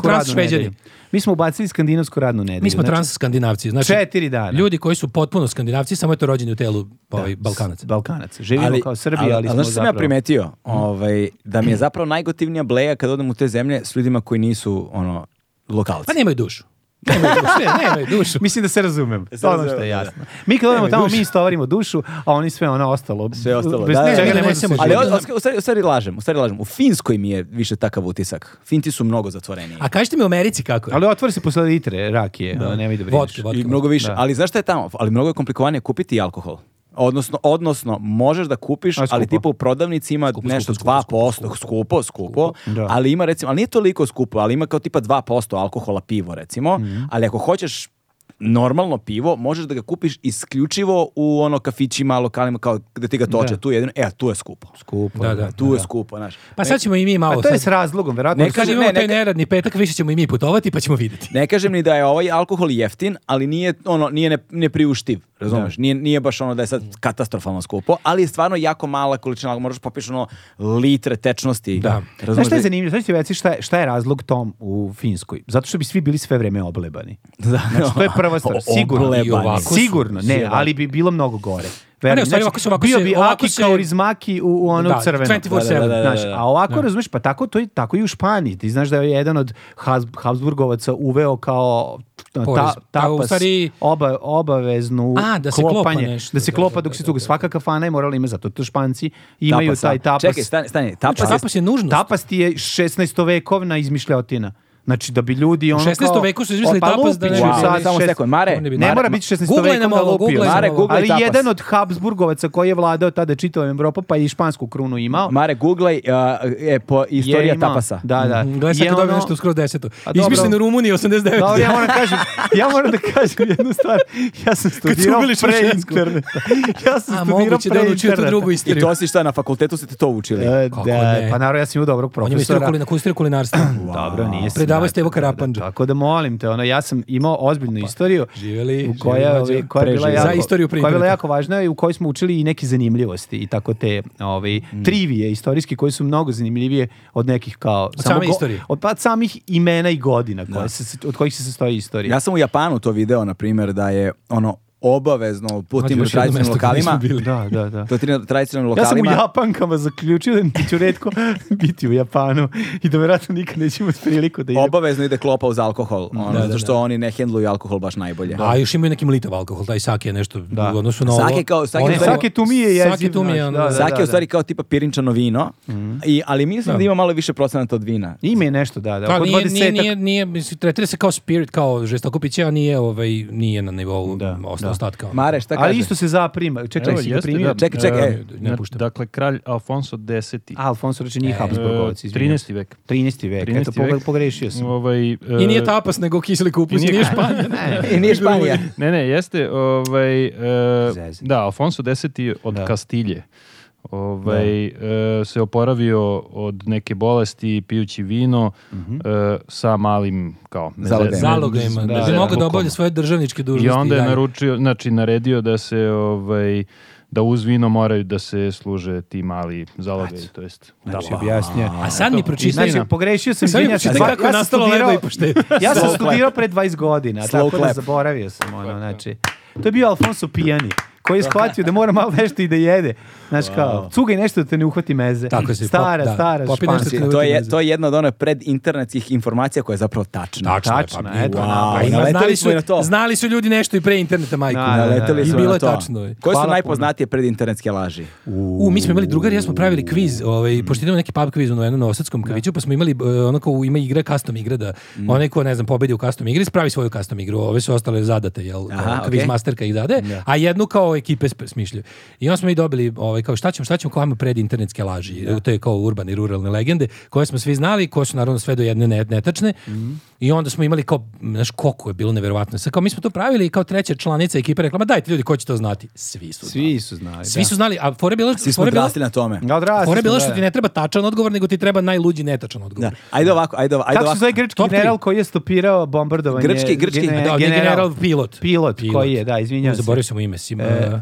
Speaker 2: smo trans
Speaker 3: radnu
Speaker 2: šveđani.
Speaker 3: nedelju. Mi smo ubacili skandinavsku radnu nedelju.
Speaker 2: Mi smo
Speaker 3: Znači,
Speaker 2: trans skandinavci. Znači,
Speaker 3: Četiri dana.
Speaker 2: Ljudi koji su potpuno skandinavci, samo je to rođeni u telu ovaj, Balkanaca.
Speaker 3: Balkanac. Živimo kao Srbi, ali, smo
Speaker 1: znaš što sam ja
Speaker 3: zapravo-
Speaker 1: primetio? Ovaj, da mi je zapravo najgotivnija bleja kad odem u te zemlje s ljudima koji nisu, ono, lokalci.
Speaker 2: Pa nemaju dušu. Nemaju dušu. Ne, nemaju dušu.
Speaker 3: Mislim da se razumem.
Speaker 1: se
Speaker 3: To je ono
Speaker 1: razumem,
Speaker 3: što je
Speaker 1: da.
Speaker 3: jasno. Mi kad odemo tamo, mi istovarimo dušu, a oni sve ono ostalo.
Speaker 1: Sve ostalo.
Speaker 3: Bez
Speaker 1: da, da,
Speaker 3: čega
Speaker 1: da.
Speaker 2: mi
Speaker 3: ne može se
Speaker 2: donesemo
Speaker 3: živjeti.
Speaker 1: Ali
Speaker 2: živjeti.
Speaker 1: od- od- u stvari, u stvari lažem, u stvari lažem. U Finskoj mi je više takav utisak. Finti su mnogo zatvoreniji.
Speaker 2: A kažite mi u Americi kako je?
Speaker 3: Ali otvori se posle litre rakije, ono, nemoj da brineš.
Speaker 2: Vodke, vodke.
Speaker 1: I mnogo više.
Speaker 3: Da.
Speaker 1: Ali znaš šta je tamo? Ali mnogo je komplikovanije kupiti alkohol. Odnosno, odnosno možeš da kupiš,
Speaker 3: A, skupo.
Speaker 1: ali tipa u prodavnici ima nešto 2%, skupo, skupo,
Speaker 3: Da.
Speaker 1: ali ima recimo, ali nije toliko skupo, ali ima kao tipa 2% alkohola pivo recimo, ali ako hoćeš normalno pivo, možeš da ga kupiš isključivo u ono kafićima, lokalima, kao gde ti ga toče,
Speaker 3: Da.
Speaker 1: tu je jedino, e, tu je skupo.
Speaker 3: Skupo.
Speaker 2: Da, da.
Speaker 1: Tu je skupo, znaš.
Speaker 2: Pa sad ćemo i mi
Speaker 3: A
Speaker 2: malo...
Speaker 3: to je
Speaker 2: sad-
Speaker 3: s razlogom, verovatno.
Speaker 2: Kad
Speaker 1: Kaže,
Speaker 2: imamo
Speaker 1: ne,
Speaker 2: taj
Speaker 1: neka-
Speaker 2: neradni petak, više ćemo i mi putovati, pa ćemo vidjeti.
Speaker 1: Ne kažem ni da je ovaj alkohol jeftin, ali nije ono nije ne, nepriuštiv, razumeš? Nije, nije baš ono da je sad katastrofalno skupo, ali je stvarno jako mala količina, alkohola. možeš popiš ono litre tečnosti.
Speaker 2: Da.
Speaker 1: razumeš?
Speaker 3: Znaš šta je zanimljivo? Sad ću ti reći šta je, šta je razlog tom u Finskoj? Zato što bi svi bili sve vreme oblebani.
Speaker 1: Da. ono,
Speaker 3: Znači, to je prva stvar.
Speaker 1: O-
Speaker 3: Sigurno.
Speaker 1: oblebani.
Speaker 2: I ovako su-
Speaker 3: Sigurno, ne,
Speaker 1: Sjebani.
Speaker 3: ali bi bilo mnogo gore.
Speaker 2: A ne,
Speaker 3: Verujem,
Speaker 2: u stvari, ovako se- ovako
Speaker 3: bio
Speaker 2: se-
Speaker 3: bi
Speaker 2: ovako
Speaker 3: Aki
Speaker 2: se-
Speaker 3: kao Rizmaki u, u onom
Speaker 2: Da,
Speaker 3: crvenom.
Speaker 2: 24/7.
Speaker 1: Da, da, da, da,
Speaker 3: Znaš,
Speaker 1: da.
Speaker 3: a ovako, razumeš, pa tako, to je, tako i u Španiji. Ti znaš da je jedan od Habs- Habsburgovaca uveo kao ta,
Speaker 2: Porez. Pa, u
Speaker 3: tapas,
Speaker 2: stvari-
Speaker 3: oba, obaveznu
Speaker 2: A, da se klopa
Speaker 3: klopanje.
Speaker 2: nešto,
Speaker 3: da se
Speaker 2: da,
Speaker 3: klopa
Speaker 2: da,
Speaker 3: dok
Speaker 2: da,
Speaker 3: se
Speaker 2: da,
Speaker 3: tuga.
Speaker 2: da.
Speaker 3: Svaka kafana je morala imati zato. To Španci imaju taj tapas.
Speaker 1: Čekaj, stani, stani. Tapas,
Speaker 3: pa
Speaker 2: Znači, tapas je nužnost.
Speaker 3: Tapas ti je 16. vekovna izmišljotina. Znači da bi ljudi ono
Speaker 2: 16.
Speaker 3: kao-
Speaker 2: veku su izmislili
Speaker 3: O, pa
Speaker 2: tapas da ne-
Speaker 3: lupiću
Speaker 1: Wow,
Speaker 3: sad
Speaker 1: samo
Speaker 3: šest-
Speaker 1: sekund. Mare,
Speaker 2: Oni bi-
Speaker 3: Ne
Speaker 1: Mare,
Speaker 3: mora biti 16.
Speaker 2: Googlajmo
Speaker 3: vekom da
Speaker 2: malo,
Speaker 3: lupio.
Speaker 2: googlajmo
Speaker 1: Mare,
Speaker 2: malo.
Speaker 1: googlaj
Speaker 3: Ali
Speaker 1: tapas.
Speaker 3: jedan od Habsburgovaca koji je vladao tada čitavom Evropom pa je i špansku krunu imao.
Speaker 1: Mare, googlaj uh, e, po
Speaker 3: je
Speaker 1: istorija
Speaker 3: imao-
Speaker 1: tapasa.
Speaker 3: Da, da.
Speaker 2: Mm, Gledaj, sad
Speaker 3: Je
Speaker 2: kad dobijem
Speaker 3: ono-
Speaker 2: nešto skoro deseto.
Speaker 3: A dobro.
Speaker 2: Izmišljen u Rumuniji 89.
Speaker 3: Dobro, ja moram kažem, ja moram da kažem jednu stvar. Ja sam studirao
Speaker 2: ubili
Speaker 3: pre
Speaker 2: Ševčensku.
Speaker 3: interneta. Ja sam
Speaker 2: A
Speaker 3: studirao
Speaker 2: moguće
Speaker 3: pre
Speaker 2: da on učio tu
Speaker 3: interneta.
Speaker 2: drugu
Speaker 1: I
Speaker 2: istoriju.
Speaker 1: to si šta, na fakultetu ste ti to učili.
Speaker 3: E,
Speaker 2: Kako
Speaker 3: Da,
Speaker 2: ne?
Speaker 3: pa naravno ja sam imao dobrog
Speaker 2: On je istoriju
Speaker 3: profesora.
Speaker 2: kulina, istoriju kulinarstva.
Speaker 3: Dobro, nije
Speaker 2: Predavao
Speaker 3: smart,
Speaker 2: ste Evo
Speaker 3: tako da-
Speaker 2: Karapandža. Pa,
Speaker 3: Tako da molim te, ono, ja sam imao ozbiljnu istoriju.
Speaker 2: Živjeli,
Speaker 3: u koja,
Speaker 2: živjeli,
Speaker 3: je,
Speaker 2: mlađe.
Speaker 3: ovaj, koja je bila
Speaker 1: Preživjeli.
Speaker 3: jako,
Speaker 2: Za istoriju
Speaker 3: koja je bila
Speaker 2: primjerka.
Speaker 3: jako važna i u kojoj smo učili i neke zanimljivosti i tako te ovaj,
Speaker 2: Mm.
Speaker 3: trivije istorijske koje su mnogo zanimljivije od nekih kao... Od
Speaker 2: same istorije.
Speaker 3: Od, pa, od samih imena i godina koje se, od kojih se sastoji istorija.
Speaker 1: Ja sam u Japanu to video, na primjer, da je ono obavezno po tim
Speaker 2: još jedno
Speaker 1: tradicionalnim
Speaker 2: mesto gde nismo
Speaker 1: lokalima.
Speaker 2: bili.
Speaker 3: Da, da, da.
Speaker 1: To tri tradicionalnim
Speaker 3: Ja sam u
Speaker 1: lokalima.
Speaker 3: Japankama zaključio da ću redko biti u Japanu i da vjerojatno nikad neću imati priliku da idem.
Speaker 1: Obavezno ide klopa uz alkohol, ono,
Speaker 2: Da, da,
Speaker 1: zato što
Speaker 2: da.
Speaker 1: oni ne hendluju alkohol baš najbolje.
Speaker 2: A još imaju neki mlitav alkohol, taj sake je nešto u odnosu na ovo.
Speaker 1: Sake kao- sake
Speaker 2: Ono-
Speaker 1: u stvari-
Speaker 3: Sake tu mi je jeziv,
Speaker 2: Sake tu mi je,
Speaker 3: znaš,
Speaker 2: ono,
Speaker 3: da, da.
Speaker 1: Sake je u stvari kao tipa pirinčano vino, i, ali mislim da. ima malo više procenata od vina.
Speaker 3: Ime je nešto, da, da.
Speaker 2: Pa
Speaker 3: oko
Speaker 2: nije, nije,
Speaker 3: 20-ak.
Speaker 2: nije, nije, mislim, tretira se kao spirit, kao žestoko piće, a nije, ovaj, nije na nivou
Speaker 3: Da,
Speaker 2: osta-
Speaker 3: da.
Speaker 2: ostatka. ono.
Speaker 1: Mare, šta
Speaker 3: Ali
Speaker 1: kaže?
Speaker 3: isto se zaprima. Čekaj,
Speaker 5: Evo,
Speaker 3: si ga
Speaker 5: jeste,
Speaker 3: primio?
Speaker 5: da.
Speaker 1: Čekaj, čekaj,
Speaker 5: E,
Speaker 1: e,
Speaker 2: ne puštam.
Speaker 5: Dakle, kralj Alfonso X.
Speaker 3: A, Alfonso reče nije Habsburgovac,
Speaker 5: e,
Speaker 3: izvinjam.
Speaker 5: 13. vek.
Speaker 3: 13. vek, eto,
Speaker 5: 13. vek.
Speaker 3: pogle- pogrešio sam.
Speaker 5: Ovaj, e,
Speaker 2: I nije tapas, nego kiseli kupus, i
Speaker 5: i nije-
Speaker 2: nije Španija.
Speaker 1: I nije Španija.
Speaker 5: Ne, ne, jeste. Ovaj, e,
Speaker 3: Zezno.
Speaker 5: da, Alfonso X od
Speaker 3: Da.
Speaker 5: Kastilje. Ovaj, e, se oporavio od neke bolesti pijući vino e, sa malim kao meze-
Speaker 1: Zalogajima.
Speaker 5: meze-
Speaker 2: Zaloga ima, da, bi
Speaker 5: da, da,
Speaker 2: mogao da
Speaker 5: bukvalno.
Speaker 2: obavlja svoje državničke dužnosti.
Speaker 5: I onda je
Speaker 2: dalje.
Speaker 5: naručio, znači naredio da se ovaj da uz vino moraju da se služe ti mali zalogaj, to jest.
Speaker 3: Znači, objasnja.
Speaker 2: A sad mi pročitaj.
Speaker 3: Znači, pogrešio sam,
Speaker 2: Sad mi
Speaker 3: izvinjam se.
Speaker 2: pročitaj
Speaker 3: Dva-
Speaker 2: kako
Speaker 3: ja
Speaker 2: je
Speaker 3: sam
Speaker 2: nastalo
Speaker 3: studirao-
Speaker 2: lebo i poštenje.
Speaker 3: Ja sam
Speaker 1: Slow clap.
Speaker 3: studirao pre 20 godina,
Speaker 1: Slow
Speaker 3: tako da
Speaker 1: clap.
Speaker 3: zaboravio sam ono, znači. To je bio Alfonso Pijani, koji je shvatio da mora malo nešto i da jede. Znaš kao, cugaj nešto da te ne uhvati meze.
Speaker 2: Tako si, pop-
Speaker 3: stara,
Speaker 2: da,
Speaker 3: stara,
Speaker 2: popi nešto
Speaker 3: španska.
Speaker 2: ti ne
Speaker 1: To
Speaker 2: uvijek
Speaker 1: je,
Speaker 2: veze.
Speaker 1: to je jedna od one predinternetskih informacija koja je zapravo tačna.
Speaker 2: Tačno, je,
Speaker 3: Tačno,
Speaker 2: pa,
Speaker 3: eto,
Speaker 2: wow.
Speaker 3: napravili.
Speaker 2: A ima,
Speaker 1: Naleteli
Speaker 2: znali, su,
Speaker 1: smo i na to.
Speaker 2: znali su ljudi nešto i pre interneta, majku.
Speaker 3: Da, da, da.
Speaker 1: Naleteli
Speaker 2: I
Speaker 1: smo
Speaker 2: bilo
Speaker 1: na
Speaker 2: je
Speaker 1: to.
Speaker 2: tačno, je.
Speaker 1: Koje su
Speaker 3: Hvala
Speaker 1: najpoznatije predinternetske laži?
Speaker 2: U, mi smo imali drugari, ja smo pravili kviz,
Speaker 1: Mm.
Speaker 2: ovaj, pošto idemo neki pub kviz u jednom novosadskom kaviću, pa smo imali, e, ono kao ima igra custom igra, da
Speaker 1: Mm.
Speaker 2: onaj ko, ne znam, pobedi u custom igri, spravi svoju custom igru, ove su ostale zadate, jel,
Speaker 1: Aha,
Speaker 2: kao kviz
Speaker 1: okej.
Speaker 2: masterka ih dade, a jednu kao ekipe sp- smišljaju. I onda smo mi dobili, ovaj, kao šta ćemo, šta ćemo, kao ajmo pred internetske laži, to je kao urbane i ruralne legende, koje smo svi znali, koje su naravno sve do jedne ne- netačne,
Speaker 1: Mm.
Speaker 2: I onda smo imali kao, znaš, koliko je bilo neverovatno. Sad kao, mi smo to pravili i kao treća članica ekipe rekla, ma dajte ljudi, ko će to znati? Svi su znali.
Speaker 3: Svi su znali.
Speaker 2: Svi su znali, a fora je bila...
Speaker 1: Svi smo
Speaker 2: fora je bila-
Speaker 1: odrasli na tome.
Speaker 3: Da, odrasli
Speaker 2: Fora je
Speaker 3: smo,
Speaker 2: bila
Speaker 3: da,
Speaker 2: što ti
Speaker 3: da.
Speaker 2: ne treba tačan odgovor, nego ti treba najluđi netačan odgovor.
Speaker 1: Da. Ajde ovako, ajde ovako. Ajde
Speaker 3: Kako se
Speaker 1: ovako.
Speaker 3: zove grčki
Speaker 2: Top tri.
Speaker 3: general koji je stopirao bombardovanje?
Speaker 1: Grčki, grčki.
Speaker 3: Gene-
Speaker 2: Da, on je general pilot.
Speaker 3: Pilot, koji je, da, izvinjam se.
Speaker 2: Zaboravio sam mu ime, Sima.
Speaker 3: e,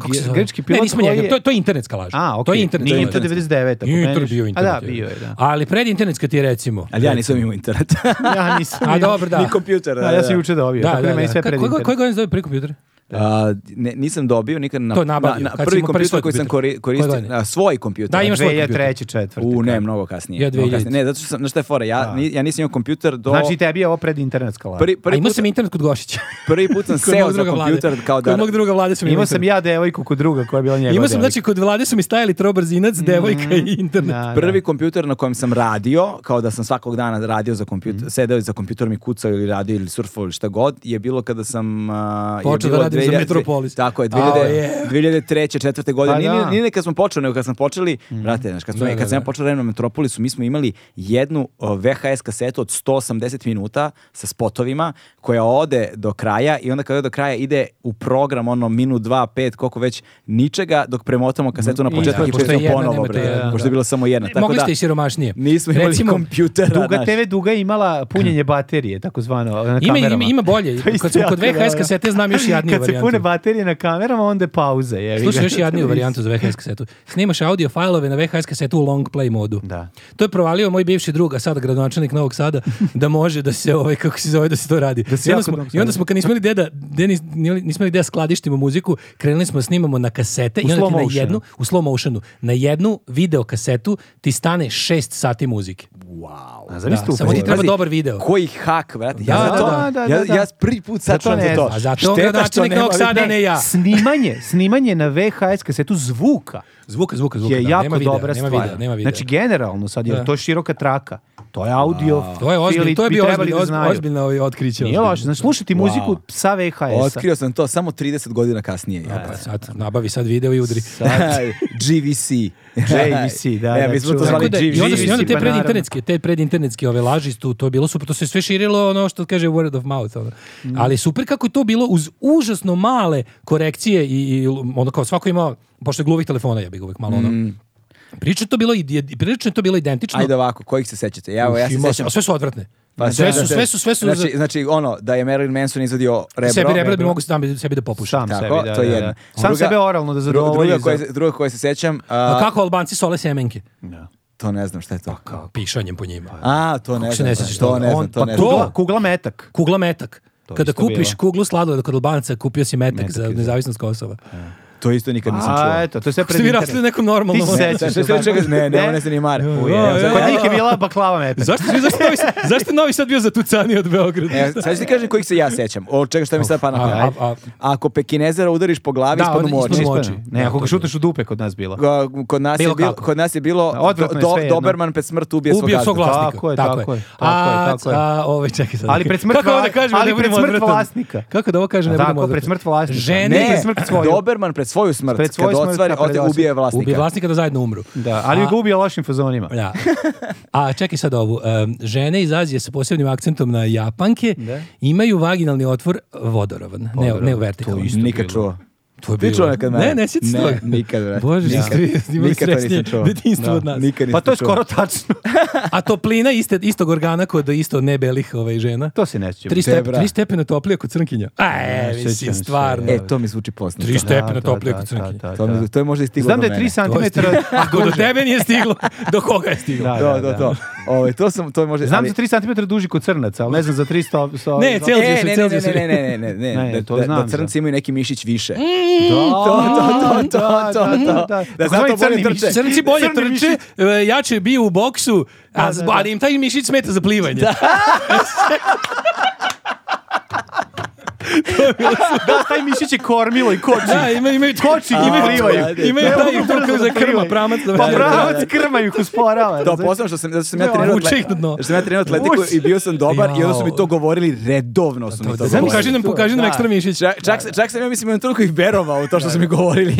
Speaker 2: kako se
Speaker 3: gr-
Speaker 2: zove?
Speaker 3: grčki pilot
Speaker 2: ne, nismo
Speaker 3: koji
Speaker 2: njega,
Speaker 3: je-
Speaker 2: to, to je internetska laž.
Speaker 3: A, okej.
Speaker 2: To je internet.
Speaker 3: Nije
Speaker 2: laž.
Speaker 3: Inter 99, ako
Speaker 2: Inter
Speaker 3: meniš.
Speaker 2: bio
Speaker 3: A
Speaker 2: internet.
Speaker 3: da, bio je, da.
Speaker 2: Ali pred internetska ti je recimo.
Speaker 1: Ali ja nisam imao internet.
Speaker 3: Ja nisam.
Speaker 2: A dobro, da.
Speaker 1: Ni kompjuter.
Speaker 3: Da, ja sam juče dobio,
Speaker 2: Da,
Speaker 3: tako da,
Speaker 2: da,
Speaker 3: meni
Speaker 2: da.
Speaker 3: sve
Speaker 2: Ka-
Speaker 3: pred
Speaker 2: Koje
Speaker 3: internet.
Speaker 2: koje godine se dobio prvi kompjuter?
Speaker 1: A, ne, nisam dobio nikad na,
Speaker 2: To je nabavio,
Speaker 1: na, na
Speaker 2: kad si
Speaker 1: prvi
Speaker 2: imao prvi
Speaker 1: kompjuter
Speaker 2: svoj
Speaker 1: koji sam
Speaker 2: kompjuter.
Speaker 1: kori- koristio,
Speaker 2: Koje godine?
Speaker 1: na svoj kompjuter.
Speaker 2: Da, imaš svoj kompjuter.
Speaker 3: 2003. četvrti.
Speaker 1: U, ne, mnogo kasnije.
Speaker 2: Ja
Speaker 1: mnogo
Speaker 2: 2000.
Speaker 1: kasnije. Ne, zato što sam, znaš šta je fora, ja, ni- ja nisam imao kompjuter do...
Speaker 3: Znači i tebi je ovo predinternetska laž.
Speaker 1: prvi,
Speaker 2: A
Speaker 1: prvi,
Speaker 2: imao
Speaker 1: put,
Speaker 2: sam internet kod Gošića.
Speaker 1: prvi put sam
Speaker 2: Kod
Speaker 1: seo
Speaker 2: mog
Speaker 1: za
Speaker 2: druga vlade.
Speaker 1: kompjuter kao da...
Speaker 2: Kod mog druga vlade sam
Speaker 3: Imao
Speaker 2: imao
Speaker 3: sam
Speaker 2: internet.
Speaker 3: ja devojku kod druga koja je bila njegova
Speaker 2: Imao sam,
Speaker 3: devojka.
Speaker 2: znači, kod vlade su mi stajali trobarzinac, devojka i internet.
Speaker 3: Mm, Da, da.
Speaker 1: Prvi kompjuter na kojem sam radio, kao da sam svakog dana radio za
Speaker 2: Mhm.
Speaker 1: kompjuter, sedeo za kompjuterom i kucao ili radio ili surfao ili šta god, je bilo kada sam... a, je
Speaker 2: Počeo da
Speaker 1: bilo
Speaker 2: radim za
Speaker 1: 2000
Speaker 2: Metropolis.
Speaker 1: Tako je,
Speaker 2: Ao,
Speaker 1: 2000, 2003. četvrte godine.
Speaker 3: Pa
Speaker 1: Nije,
Speaker 3: da.
Speaker 1: nije ne kad smo počeli, nego kad smo počeli, brate, znaš, kad, smo,
Speaker 2: Mhm. Da, da,
Speaker 1: kad sam ja
Speaker 2: da.
Speaker 1: počeo raditi na Metropolisu, mi smo imali jednu o, VHS kasetu od 180 minuta sa spotovima, koja ode do kraja i onda kada do kraja ide u program, ono, minut, dva, pet, koliko već, ničega, dok premotamo kasetu na
Speaker 3: I
Speaker 1: početku
Speaker 2: Mhm. da,
Speaker 1: i
Speaker 2: pošto je
Speaker 1: pustimo
Speaker 2: jedna,
Speaker 1: ponovo,
Speaker 2: nemate
Speaker 1: bre,
Speaker 2: jedna,
Speaker 1: pošto
Speaker 2: da.
Speaker 1: je bilo samo jedna. Tako
Speaker 2: Mogli
Speaker 1: da,
Speaker 2: ste i siromašnije.
Speaker 1: Nismo imali
Speaker 2: Recimo,
Speaker 1: kompjutera.
Speaker 3: Duga
Speaker 1: znaš.
Speaker 3: TV duga je imala punjenje baterije, takozvano, na
Speaker 2: Ima,
Speaker 3: kamerama.
Speaker 2: ima, ima bolje.
Speaker 3: To je
Speaker 2: Kad smo
Speaker 3: isto
Speaker 2: kod
Speaker 3: jako
Speaker 2: VHS
Speaker 3: dobro.
Speaker 2: kasete znam još jadniju
Speaker 3: Kad se
Speaker 2: varijantu.
Speaker 3: pune baterije na kamerama, onda je pauza. Je,
Speaker 2: Slušaj još jadniju varijantu za VHS kasetu. Snimaš audio fajlove na VHS kasetu u long play modu.
Speaker 3: Da.
Speaker 2: To je provalio moj bivši drug, a sad gradonačelnik Novog Sada, da može da se ovaj kako se zove da se to radi.
Speaker 3: se
Speaker 2: I, onda
Speaker 3: jako
Speaker 2: smo,
Speaker 3: Novog
Speaker 2: I onda
Speaker 3: Sada.
Speaker 2: smo kad nismo imali gde da gde nis- nije- nismo imali gde da skladištimo muziku, krenuli smo da snimamo na kasete
Speaker 3: U
Speaker 2: i onda
Speaker 3: slow
Speaker 2: ti na
Speaker 3: motionu.
Speaker 2: jednu u slow motionu, na jednu video kasetu ti stane 6 sati muzike.
Speaker 1: Wow.
Speaker 3: A
Speaker 2: Da,
Speaker 3: zamisli tu Znači,
Speaker 2: samo ti
Speaker 3: fazonu.
Speaker 2: treba
Speaker 1: Pazi,
Speaker 2: dobar video.
Speaker 1: Koji hak, brate. Ja,
Speaker 2: Da,
Speaker 1: za to,
Speaker 3: da, da,
Speaker 1: ja,
Speaker 3: da.
Speaker 1: ja prvi put sačuvam
Speaker 3: Zato
Speaker 1: za
Speaker 3: ne
Speaker 1: to.
Speaker 3: znaš.
Speaker 2: A zato
Speaker 1: Šteta što
Speaker 2: gradonačelnik
Speaker 1: nema-
Speaker 2: Novog Sada ne ja.
Speaker 3: Snimanje, snimanje na VHS kasetu zvuka
Speaker 2: Zvuka, zvuka, zvuka.
Speaker 3: je
Speaker 2: da,
Speaker 3: jako
Speaker 2: nema videa,
Speaker 3: dobra
Speaker 2: nema
Speaker 3: stvar.
Speaker 2: videa, nema videa.
Speaker 3: Znači generalno sad, jer
Speaker 2: Da.
Speaker 3: to je široka traka. To je audio,
Speaker 2: To je ozbiljno,
Speaker 3: fili,
Speaker 2: to je
Speaker 3: bi
Speaker 2: bio
Speaker 3: trebali
Speaker 2: ozbiljno,
Speaker 3: da znaju.
Speaker 2: ozbiljno ovaj otkriće.
Speaker 3: Nije
Speaker 2: ozbiljno.
Speaker 3: loše, znači slušati muziku sa VHS-a.
Speaker 1: Otkrio sam to samo 30 godina kasnije. Ja.
Speaker 2: Pa sad nabavi sad video i udri.
Speaker 1: GVC.
Speaker 3: JVC, da,
Speaker 1: E,
Speaker 3: da,
Speaker 1: mi smo to
Speaker 3: čujem.
Speaker 1: zvali
Speaker 2: Tako da, i onda,
Speaker 1: GVC.
Speaker 2: i onda te
Speaker 3: pa
Speaker 2: predinternetske, te predinternetske ove laži tu, to je bilo super, to se sve širilo ono što kaže word of mouth. Ono. Ali super kako je to bilo uz užasno male korekcije i, i ono kao svako imao, pošto je gluvih telefona, ja bih uvek malo ono, Priča je to bilo, i- i- prilično je to bilo identično.
Speaker 1: Ajde ovako, kojih se sećate? Ja, evo, ja se
Speaker 2: Imao sam-
Speaker 1: sećam.
Speaker 2: a sve su odvratne.
Speaker 1: Pa
Speaker 2: sve,
Speaker 1: sećam
Speaker 2: su,
Speaker 1: se-
Speaker 2: sve su, sve su,
Speaker 1: Znači, znači, ono, da je Marilyn Manson izvodio rebro.
Speaker 2: sebi rebra bi mogu sam sebi da popušam.
Speaker 3: Sam
Speaker 1: Tako,
Speaker 3: sebi, da,
Speaker 1: to je
Speaker 3: da, da.
Speaker 1: jedno.
Speaker 3: Sam
Speaker 1: Druga-
Speaker 3: sebe oralno da
Speaker 1: Dru-
Speaker 3: zadovolji.
Speaker 1: Druga
Speaker 3: za-
Speaker 1: koja, se- druga koja se sećam, a,
Speaker 2: A Pa kako Albanci sole semenke?
Speaker 1: to ne znam šta je to.
Speaker 2: Kao pišanjem po njima.
Speaker 1: A, to ne
Speaker 2: se
Speaker 1: znam.
Speaker 2: ne
Speaker 1: brate,
Speaker 2: sećaš
Speaker 1: To
Speaker 2: toga?
Speaker 1: ne znam,
Speaker 2: On-
Speaker 1: to
Speaker 2: pa
Speaker 1: ne
Speaker 2: to-
Speaker 1: znam.
Speaker 3: Kugla, kugla metak.
Speaker 2: Kugla metak.
Speaker 3: To
Speaker 2: Kada
Speaker 3: isto
Speaker 2: kupiš
Speaker 3: bilo.
Speaker 2: kuglu sladoleda kod Albanca, kupio si metak,
Speaker 3: Metak
Speaker 2: za
Speaker 3: je za-
Speaker 2: nezavisnost Kosova.
Speaker 1: To isto nikad nisam čuo.
Speaker 3: A, eto, to je sve
Speaker 2: Pa Kako
Speaker 3: pred
Speaker 2: ste vi
Speaker 3: internet.
Speaker 2: rasli u nekom normalnom...
Speaker 3: Ti se sećaš.
Speaker 1: Sve- sve čega- ne, ne, one se ni mare.
Speaker 2: Jo, jo,
Speaker 1: Evo,
Speaker 2: jo.
Speaker 1: sad-
Speaker 3: Kod njih je bila baklava metak.
Speaker 2: Zašto, svi- zašto, novi, zašto novi sad bio zatucani od Beograda?
Speaker 3: E,
Speaker 1: Evo, sad ću ti kažem kojih se ja sećam. O čega šta mi sad pa na
Speaker 2: A, a,
Speaker 1: pamet.
Speaker 2: a-
Speaker 1: Ako pekinezera udariš po glavi,
Speaker 2: Da,
Speaker 1: ispadnu
Speaker 2: on-
Speaker 1: mu oči.
Speaker 2: ispadnu mu
Speaker 3: Ispadno.
Speaker 2: oči.
Speaker 3: Ne,
Speaker 2: Da,
Speaker 3: ako ga
Speaker 2: to
Speaker 3: šutneš u dupe kod nas bilo.
Speaker 1: Ga- Kod nas, je
Speaker 2: Bilo
Speaker 1: bilo,
Speaker 2: kako.
Speaker 1: kod nas je bilo
Speaker 3: Odvratno je
Speaker 1: do-
Speaker 3: svejedno.
Speaker 1: Doberman pred smrt ubije svog
Speaker 2: Ubio svog
Speaker 1: gazdu.
Speaker 2: vlasnika.
Speaker 3: Tako je, tako je, tako
Speaker 2: a,
Speaker 3: je, tako je.
Speaker 2: A, ovaj, čekaj sad.
Speaker 3: Ali pred smrt
Speaker 2: Kako ovo da
Speaker 3: vla-
Speaker 2: kažem,
Speaker 3: ali
Speaker 2: ne
Speaker 3: pred
Speaker 2: budemo
Speaker 3: smrt
Speaker 2: odvratan?
Speaker 3: vlasnika.
Speaker 2: Kako da ovo kažem, ne
Speaker 3: Tako,
Speaker 2: budemo
Speaker 3: pred
Speaker 2: odvratan?
Speaker 3: smrt vlasnika.
Speaker 2: Žene,
Speaker 3: Ne,
Speaker 1: Ne,
Speaker 3: pred smrt svoju.
Speaker 1: Doberman pred svoju smrt.
Speaker 3: Pred svoju
Speaker 1: kad
Speaker 3: smrt
Speaker 1: ostvari,
Speaker 3: napravi
Speaker 1: ode-
Speaker 3: osvrt.
Speaker 1: ubije vlasnika.
Speaker 2: Ubije vlasnika da zajedno umru.
Speaker 3: Da, ali
Speaker 2: A-
Speaker 3: ga ubija lošim fazonima.
Speaker 2: Da. A čekaj sad ovu. em, žene iz Azije sa posebnim akcentom na Japanke imaju vaginalni otvor vodorovan, ne, ne vertikalan.
Speaker 3: to isto
Speaker 1: Nikad
Speaker 3: bilo.
Speaker 1: čuo.
Speaker 2: To je
Speaker 1: Ti čuo nekad mene?
Speaker 2: Ne, ne sjećam se
Speaker 1: Ne,
Speaker 2: toga.
Speaker 1: nikad, brate.
Speaker 2: Bože,
Speaker 1: Nikad.
Speaker 2: nikad, nikad,
Speaker 1: Nikad to nisam čuo.
Speaker 2: Detinjstvo od nas.
Speaker 1: Nikad
Speaker 3: Pa
Speaker 1: nisam
Speaker 3: to je
Speaker 1: čuo.
Speaker 3: skoro tačno.
Speaker 2: A toplina iste, istog organa kod isto nebelih ovaj, žena?
Speaker 3: to se ne sjećam.
Speaker 2: Tri, step,
Speaker 1: Debra.
Speaker 2: tri stepena toplija kod crnkinja. A,
Speaker 3: Ne,
Speaker 2: e,
Speaker 3: sjećam
Speaker 2: mislim,
Speaker 3: se.
Speaker 2: stvarno.
Speaker 1: E, to mi zvuči poznato.
Speaker 2: Tri stepena
Speaker 3: da,
Speaker 2: toplije
Speaker 3: da,
Speaker 2: kod
Speaker 3: da,
Speaker 2: crnkinja.
Speaker 3: da,
Speaker 1: To, mi, to je možda i stiglo do
Speaker 3: Znam da je
Speaker 1: mene.
Speaker 3: 3
Speaker 2: To je
Speaker 3: cm.
Speaker 2: stiglo- Ako do tebe nije stiglo, do koga je stiglo?
Speaker 3: Da,
Speaker 1: To, to, to. Ovo, to sam, to je možda...
Speaker 3: Znam
Speaker 1: ali-
Speaker 3: za 3 cm duži kod crnaca, ali ne znam za 300... So,
Speaker 2: Ne,
Speaker 3: so-
Speaker 2: cijel-
Speaker 1: E,
Speaker 2: Celzijus,
Speaker 1: ne, ne, ne,
Speaker 2: Celzijus.
Speaker 1: ne, ne, ne, ne, ne,
Speaker 3: Ne,
Speaker 1: da-
Speaker 3: to
Speaker 1: da-
Speaker 3: znam Mm,
Speaker 1: Da crnci imaju neki mišić više.
Speaker 3: Da,
Speaker 1: to, to, to, to. Da zato bolje
Speaker 3: Takozvani crni
Speaker 1: trče.
Speaker 3: mišić.
Speaker 2: Crnci bolje
Speaker 3: Crni
Speaker 2: trče,
Speaker 3: mišić.
Speaker 2: e, jače bio u boksu, a,
Speaker 3: da,
Speaker 2: zb-
Speaker 3: da.
Speaker 2: ali im taj mišić smeta za plivanje.
Speaker 3: Da, taj mišić je kormilo i koči.
Speaker 2: Da, ima, imaju koči,
Speaker 3: A,
Speaker 2: imaju,
Speaker 3: plivaju.
Speaker 2: imaju
Speaker 3: Evo,
Speaker 2: taj to
Speaker 3: brzo
Speaker 2: kao
Speaker 3: da
Speaker 2: za krma,
Speaker 3: plivaju.
Speaker 2: pramac. Da,
Speaker 3: Pa
Speaker 2: da, da.
Speaker 3: pravac krma ih usporava.
Speaker 1: To
Speaker 3: razumeš?
Speaker 1: posebno što sam, zato što sam ja
Speaker 3: Ne,
Speaker 1: trenirao
Speaker 2: vuče ih na dno.
Speaker 1: atle- što sam ja trenirao atletiku
Speaker 3: Vuče.
Speaker 1: i bio sam dobar i onda su mi to
Speaker 2: Jao.
Speaker 1: govorili redovno su mi to
Speaker 2: Znam,
Speaker 1: govorili.
Speaker 2: pokaži nam, pokaži nam
Speaker 3: Da. E,
Speaker 2: ekstra mišić.
Speaker 1: Čak, čak, se- čak sam ja mislim imam toliko i verovao u to što su mi govorili.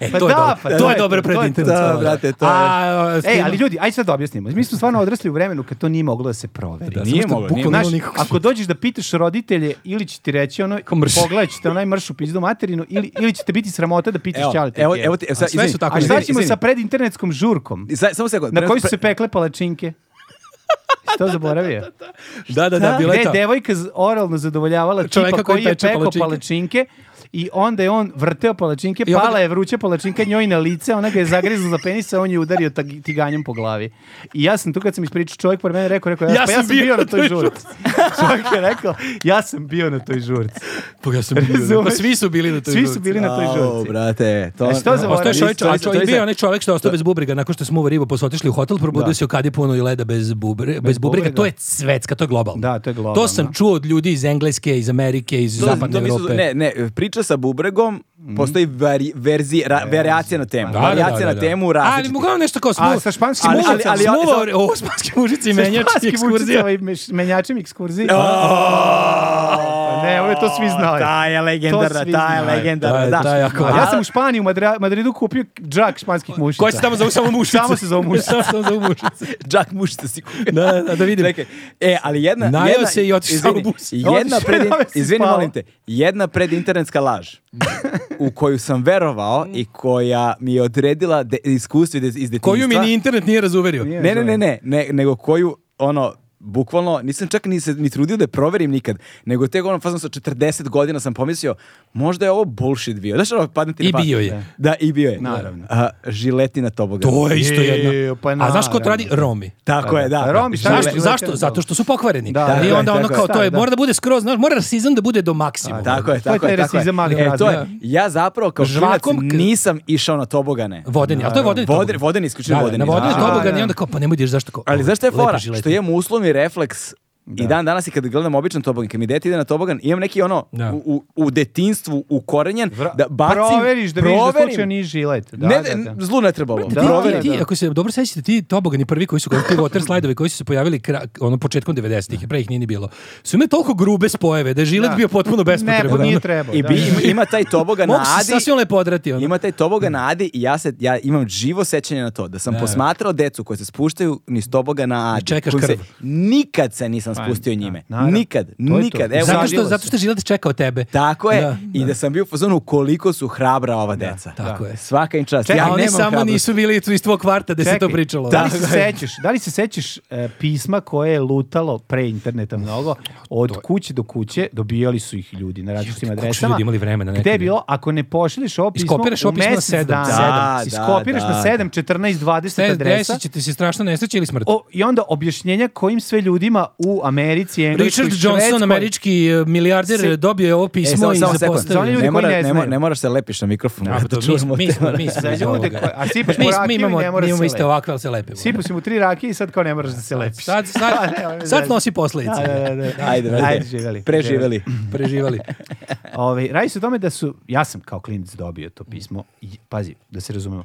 Speaker 2: E,
Speaker 3: Pa
Speaker 2: to je
Speaker 3: da,
Speaker 2: dobro,
Speaker 3: pa
Speaker 2: to
Speaker 3: da,
Speaker 2: je dobro
Speaker 3: to je-
Speaker 2: pred internet.
Speaker 1: da,
Speaker 2: stvarno.
Speaker 1: brate, to je-
Speaker 2: A,
Speaker 3: Ej, E, ali ljudi, aj sad da objasnimo. Mi smo stvarno odrasli u vremenu kad to nije moglo da se proveri.
Speaker 1: nije moglo, nije
Speaker 3: Znaš,
Speaker 2: Znaš,
Speaker 3: ako dođeš da pitaš roditelje, ili će ti reći ono,
Speaker 2: mrš.
Speaker 3: pogledat ćete onaj mrš u pizdu materinu, ili, ili će te biti sramota da pitaš
Speaker 1: Evo,
Speaker 3: ćale te
Speaker 1: evo,
Speaker 3: kjeve.
Speaker 1: evo ti, evo, sad,
Speaker 2: A sve su
Speaker 1: izvini,
Speaker 2: tako
Speaker 3: A šta
Speaker 2: izvini,
Speaker 3: ćemo sa predinternetskom žurkom?
Speaker 1: I sad, samo sekund.
Speaker 3: Na
Speaker 1: pre-
Speaker 3: kojoj su
Speaker 1: pre-
Speaker 3: se pekle palačinke? Jesi to zaboravio?
Speaker 2: Da, da, da, bilo
Speaker 3: Gde
Speaker 2: je
Speaker 3: je
Speaker 2: to.
Speaker 3: devojka z- oralno zadovoljavala
Speaker 2: Čoveka
Speaker 3: tipa
Speaker 2: koji
Speaker 3: koji je
Speaker 2: peče
Speaker 3: pekao
Speaker 2: palačinke.
Speaker 3: palačinke i onda je on vrteo palačinke,
Speaker 2: I onda-
Speaker 3: pala je vruća palačinka njoj na lice, ona ga je zagrizla za penis, a on je udario tag- tiganjem po glavi. I ja sam tu kad sam ispričao, čovjek pored mene rekao, rekao, ja, pa ja sam bio na toj žurci. čovjek je rekao, ja sam bio na toj žurci.
Speaker 2: Pa ja sam bio, pa
Speaker 3: Razumeš?
Speaker 2: svi su bili na toj
Speaker 3: Svi su
Speaker 2: žurci.
Speaker 3: bili na toj
Speaker 1: Au,
Speaker 3: žurci.
Speaker 1: brate, to...
Speaker 3: Jesi to zaboravio?
Speaker 2: Ostao je čovjek,
Speaker 1: Isto,
Speaker 2: a
Speaker 1: isto,
Speaker 2: čovjek
Speaker 1: isto.
Speaker 2: bio je onaj čovjek što je ostao bez bubrega nakon što smo uvo ribu, pa su otišli u hotel, probudio se u kadi puno i leda bez, bubre, bez, bubrega.
Speaker 3: bubrega.
Speaker 2: To je svetska, to je globalno.
Speaker 3: Da, to je globalno.
Speaker 2: To sam čuo od ljudi iz Engleske, iz Amerike, iz
Speaker 1: To-
Speaker 2: Zapadne
Speaker 1: to mi su-
Speaker 2: Evrope. Mhm.
Speaker 1: Ne, ne, priča sa bubregom, postoji vari, verzi, ra- variacija na temu.
Speaker 2: Da, da,
Speaker 1: variacija
Speaker 2: da, da,
Speaker 1: na
Speaker 2: da.
Speaker 1: temu
Speaker 2: Ali
Speaker 1: različitih.
Speaker 2: uglavnom nešto kao smuva.
Speaker 3: sa španskim
Speaker 2: ali, ali,
Speaker 1: mužicama.
Speaker 2: ali,
Speaker 1: Smuva
Speaker 2: smuva o- o španske mužice i menjački
Speaker 3: Španski
Speaker 2: ekskurzija.
Speaker 3: mučicama i meš- menjačem ekskurzije. Ne, ovo je to svi znali.
Speaker 1: Ta je
Speaker 3: To
Speaker 1: legendarna,
Speaker 3: svi
Speaker 1: ta je
Speaker 3: znaju.
Speaker 1: legendarna.
Speaker 2: Da,
Speaker 1: Da,
Speaker 2: da, jako-
Speaker 1: A
Speaker 3: A ja sam u Španiji, u Madra- Madridu kupio džak španskih mušica.
Speaker 2: Koja se tamo zove samo mušice.
Speaker 3: Samo se zove mušice.
Speaker 2: Samo se zove mušice.
Speaker 1: Jack mušice si kupio.
Speaker 2: Da, da, da, da vidim.
Speaker 1: Čekaj, E, ali jedna...
Speaker 2: Najeo
Speaker 1: jedna-
Speaker 2: se i otišao
Speaker 1: izvini,
Speaker 2: u bus.
Speaker 1: Jedna
Speaker 3: Otišao
Speaker 1: pred...
Speaker 3: i najeo se i
Speaker 1: Izvini,
Speaker 3: spavao.
Speaker 1: molim te. Jedna predinternetska laž u koju sam verovao i koja mi je odredila de, iskustvo iz iz detinjstva.
Speaker 2: Koju mi ni internet nije razuverio.
Speaker 1: Ne, ne, ne, ne, ne, nego koju, ono, bukvalno, nisam čak ni, se, ni trudio da je proverim nikad, nego tek ono, fazno sa 40 godina sam pomislio, možda je ovo bullshit bio. Znaš, ono, padne ti na
Speaker 2: I
Speaker 1: pamet.
Speaker 2: bio je.
Speaker 1: Da, i bio je.
Speaker 3: Naravno.
Speaker 1: A, žileti na tobogan.
Speaker 2: To je isto jedno.
Speaker 3: Jejo, pa
Speaker 2: A znaš ko to radi?
Speaker 3: naravno.
Speaker 2: Romi.
Speaker 1: Tako je, da.
Speaker 3: Romi, šta je
Speaker 2: Zašto?
Speaker 3: Žilete
Speaker 2: Zašto?
Speaker 3: na
Speaker 2: Zato što su pokvareni.
Speaker 3: Da,
Speaker 2: I
Speaker 1: da,
Speaker 2: onda
Speaker 1: da,
Speaker 2: ono
Speaker 1: da,
Speaker 2: kao
Speaker 3: da,
Speaker 2: to je,
Speaker 3: da.
Speaker 2: mora da bude skroz, znaš, mora rasizam da bude do maksimuma.
Speaker 1: Tako je,
Speaker 3: To je
Speaker 1: tako je.
Speaker 3: taj
Speaker 1: tako je.
Speaker 3: rasizam malih
Speaker 1: E, to je.
Speaker 3: razmera.
Speaker 1: Ja zapravo kao
Speaker 2: Žvakom
Speaker 1: žvakom
Speaker 2: k-
Speaker 1: nisam išao na tobogane.
Speaker 2: Vodeni, ali to je vodeni
Speaker 1: Vode-
Speaker 2: tobogan.
Speaker 1: vodeni, isključivo
Speaker 2: Da, da,
Speaker 1: vodeni,
Speaker 2: Na vodeni
Speaker 1: da.
Speaker 2: tobogan
Speaker 3: Da,
Speaker 2: i
Speaker 3: da.
Speaker 2: onda kao, pa nemoj da ideš zašto kao.
Speaker 1: Ali
Speaker 2: ovo,
Speaker 1: zašto je
Speaker 2: lepo
Speaker 1: fora?
Speaker 2: žilete.
Speaker 1: Što imam uslovni refleks I dan danas i kad gledam običan tobogan, kad mi dete ide na tobogan, imam neki ono
Speaker 2: Da.
Speaker 1: u, u, u detinstvu ukorenjen, da bacim,
Speaker 3: Proveriš da vidiš da
Speaker 1: proverim.
Speaker 3: slučajno nije žilet. Da,
Speaker 1: ne,
Speaker 3: da, da.
Speaker 1: zlu ne trebalo.
Speaker 2: Ti,
Speaker 3: Da,
Speaker 1: Proverim.
Speaker 2: ti, ti, ako se dobro sećate, ti tobogani prvi koji su kao ti water slajdovi koji su se pojavili kra, ono početkom 90-ih, pre ih nije ni bilo. Su imali toliko grube spojeve da je žilet
Speaker 3: Da.
Speaker 2: bio potpuno
Speaker 3: Ne,
Speaker 2: bespotreban.
Speaker 3: pa nije
Speaker 2: ono.
Speaker 3: trebao.
Speaker 1: I
Speaker 3: da.
Speaker 1: bi, ima, ima taj tobogan na
Speaker 2: Mogu se
Speaker 1: Adi.
Speaker 2: sasvim lepo odrati. Ono.
Speaker 1: Ima taj tobogan na Adi i ja, se, ja imam živo sećanje na to. Da sam posmatrao decu koje se spuštaju niz toboga na Adi.
Speaker 2: čekaš
Speaker 1: kojim se-
Speaker 2: krv.
Speaker 1: nikad se nisam spustio njime.
Speaker 3: Pa, naravno.
Speaker 1: Nikad,
Speaker 3: to.
Speaker 1: nikad. Evo,
Speaker 2: zato,
Speaker 1: zavilo
Speaker 2: što,
Speaker 1: se.
Speaker 2: zato što žilet čekao tebe.
Speaker 1: Tako je.
Speaker 2: Da,
Speaker 1: I da sam bio u fazonu koliko su hrabra ova deca.
Speaker 2: tako je.
Speaker 1: Svaka im čast.
Speaker 3: Čekaj,
Speaker 1: ja
Speaker 2: a one
Speaker 1: nemam
Speaker 2: samo
Speaker 1: hrabrosti.
Speaker 2: nisu bili iz tvog kvarta gde se to
Speaker 3: Čekaj,
Speaker 2: pričalo.
Speaker 3: Da li se sećaš, da li se sećaš e, pisma koje je lutalo pre interneta mnogo, od kuće do kuće, dobijali su ih ljudi na različitim
Speaker 2: Ljudi, kako su
Speaker 3: adresama.
Speaker 2: ljudi imali vremena nekad.
Speaker 3: Gde je bilo, ako ne pošalješ ovo pismo,
Speaker 2: Iskopiraš ovo
Speaker 3: u
Speaker 2: pismo na
Speaker 3: mesec
Speaker 2: sedam,
Speaker 3: dana,
Speaker 2: sedam.
Speaker 1: Da,
Speaker 3: iskopiraš
Speaker 1: da, da.
Speaker 3: na 7, 14, 20
Speaker 2: Sve
Speaker 3: adresa.
Speaker 2: desit će ti se strašna nesreća ili smrt.
Speaker 3: O, I onda objašnjenja kojim sve ljudima u Americi, Engleskoj,
Speaker 2: Richard
Speaker 3: Švedskoj.
Speaker 2: Johnson, američki e, milijarder,
Speaker 3: Se-
Speaker 2: dobio je ovo
Speaker 1: E,
Speaker 2: pismo
Speaker 1: samo,
Speaker 2: i
Speaker 1: samo sekund,
Speaker 2: zapostavio.
Speaker 3: Za oni ljudi
Speaker 1: ne,
Speaker 3: koji
Speaker 1: mora,
Speaker 3: ne
Speaker 1: ne, mo-
Speaker 3: znaju.
Speaker 1: ne moraš se lepiš na mikrofon. Znači,
Speaker 2: A,
Speaker 1: da
Speaker 2: to
Speaker 1: čujemo
Speaker 2: mi,
Speaker 1: te-
Speaker 2: mi smo, mi smo
Speaker 3: Za
Speaker 2: iz
Speaker 3: ljude
Speaker 2: ovoga.
Speaker 3: koji- a sipaš
Speaker 2: mi,
Speaker 3: mu
Speaker 2: mi
Speaker 3: rakiju,
Speaker 2: imamo,
Speaker 3: ne mora
Speaker 2: mi imamo
Speaker 3: se
Speaker 2: iste
Speaker 3: lepi.
Speaker 2: ovakve, ali se lepimo.
Speaker 3: Sipu si mu tri rakije i sad kao ne moraš da se lepiš.
Speaker 2: Sad, sad,
Speaker 3: Da, nema
Speaker 2: sad
Speaker 3: veze.
Speaker 2: nosi posledice.
Speaker 3: Da, da, da, da.
Speaker 1: Ajde,
Speaker 3: Ajde,
Speaker 1: ajde,
Speaker 3: živeli.
Speaker 1: preživeli.
Speaker 2: Preživali.
Speaker 3: Ovaj, radi se o tome da su, ja sam kao klinic dobio to pismo, i, pazi, da se razumemo,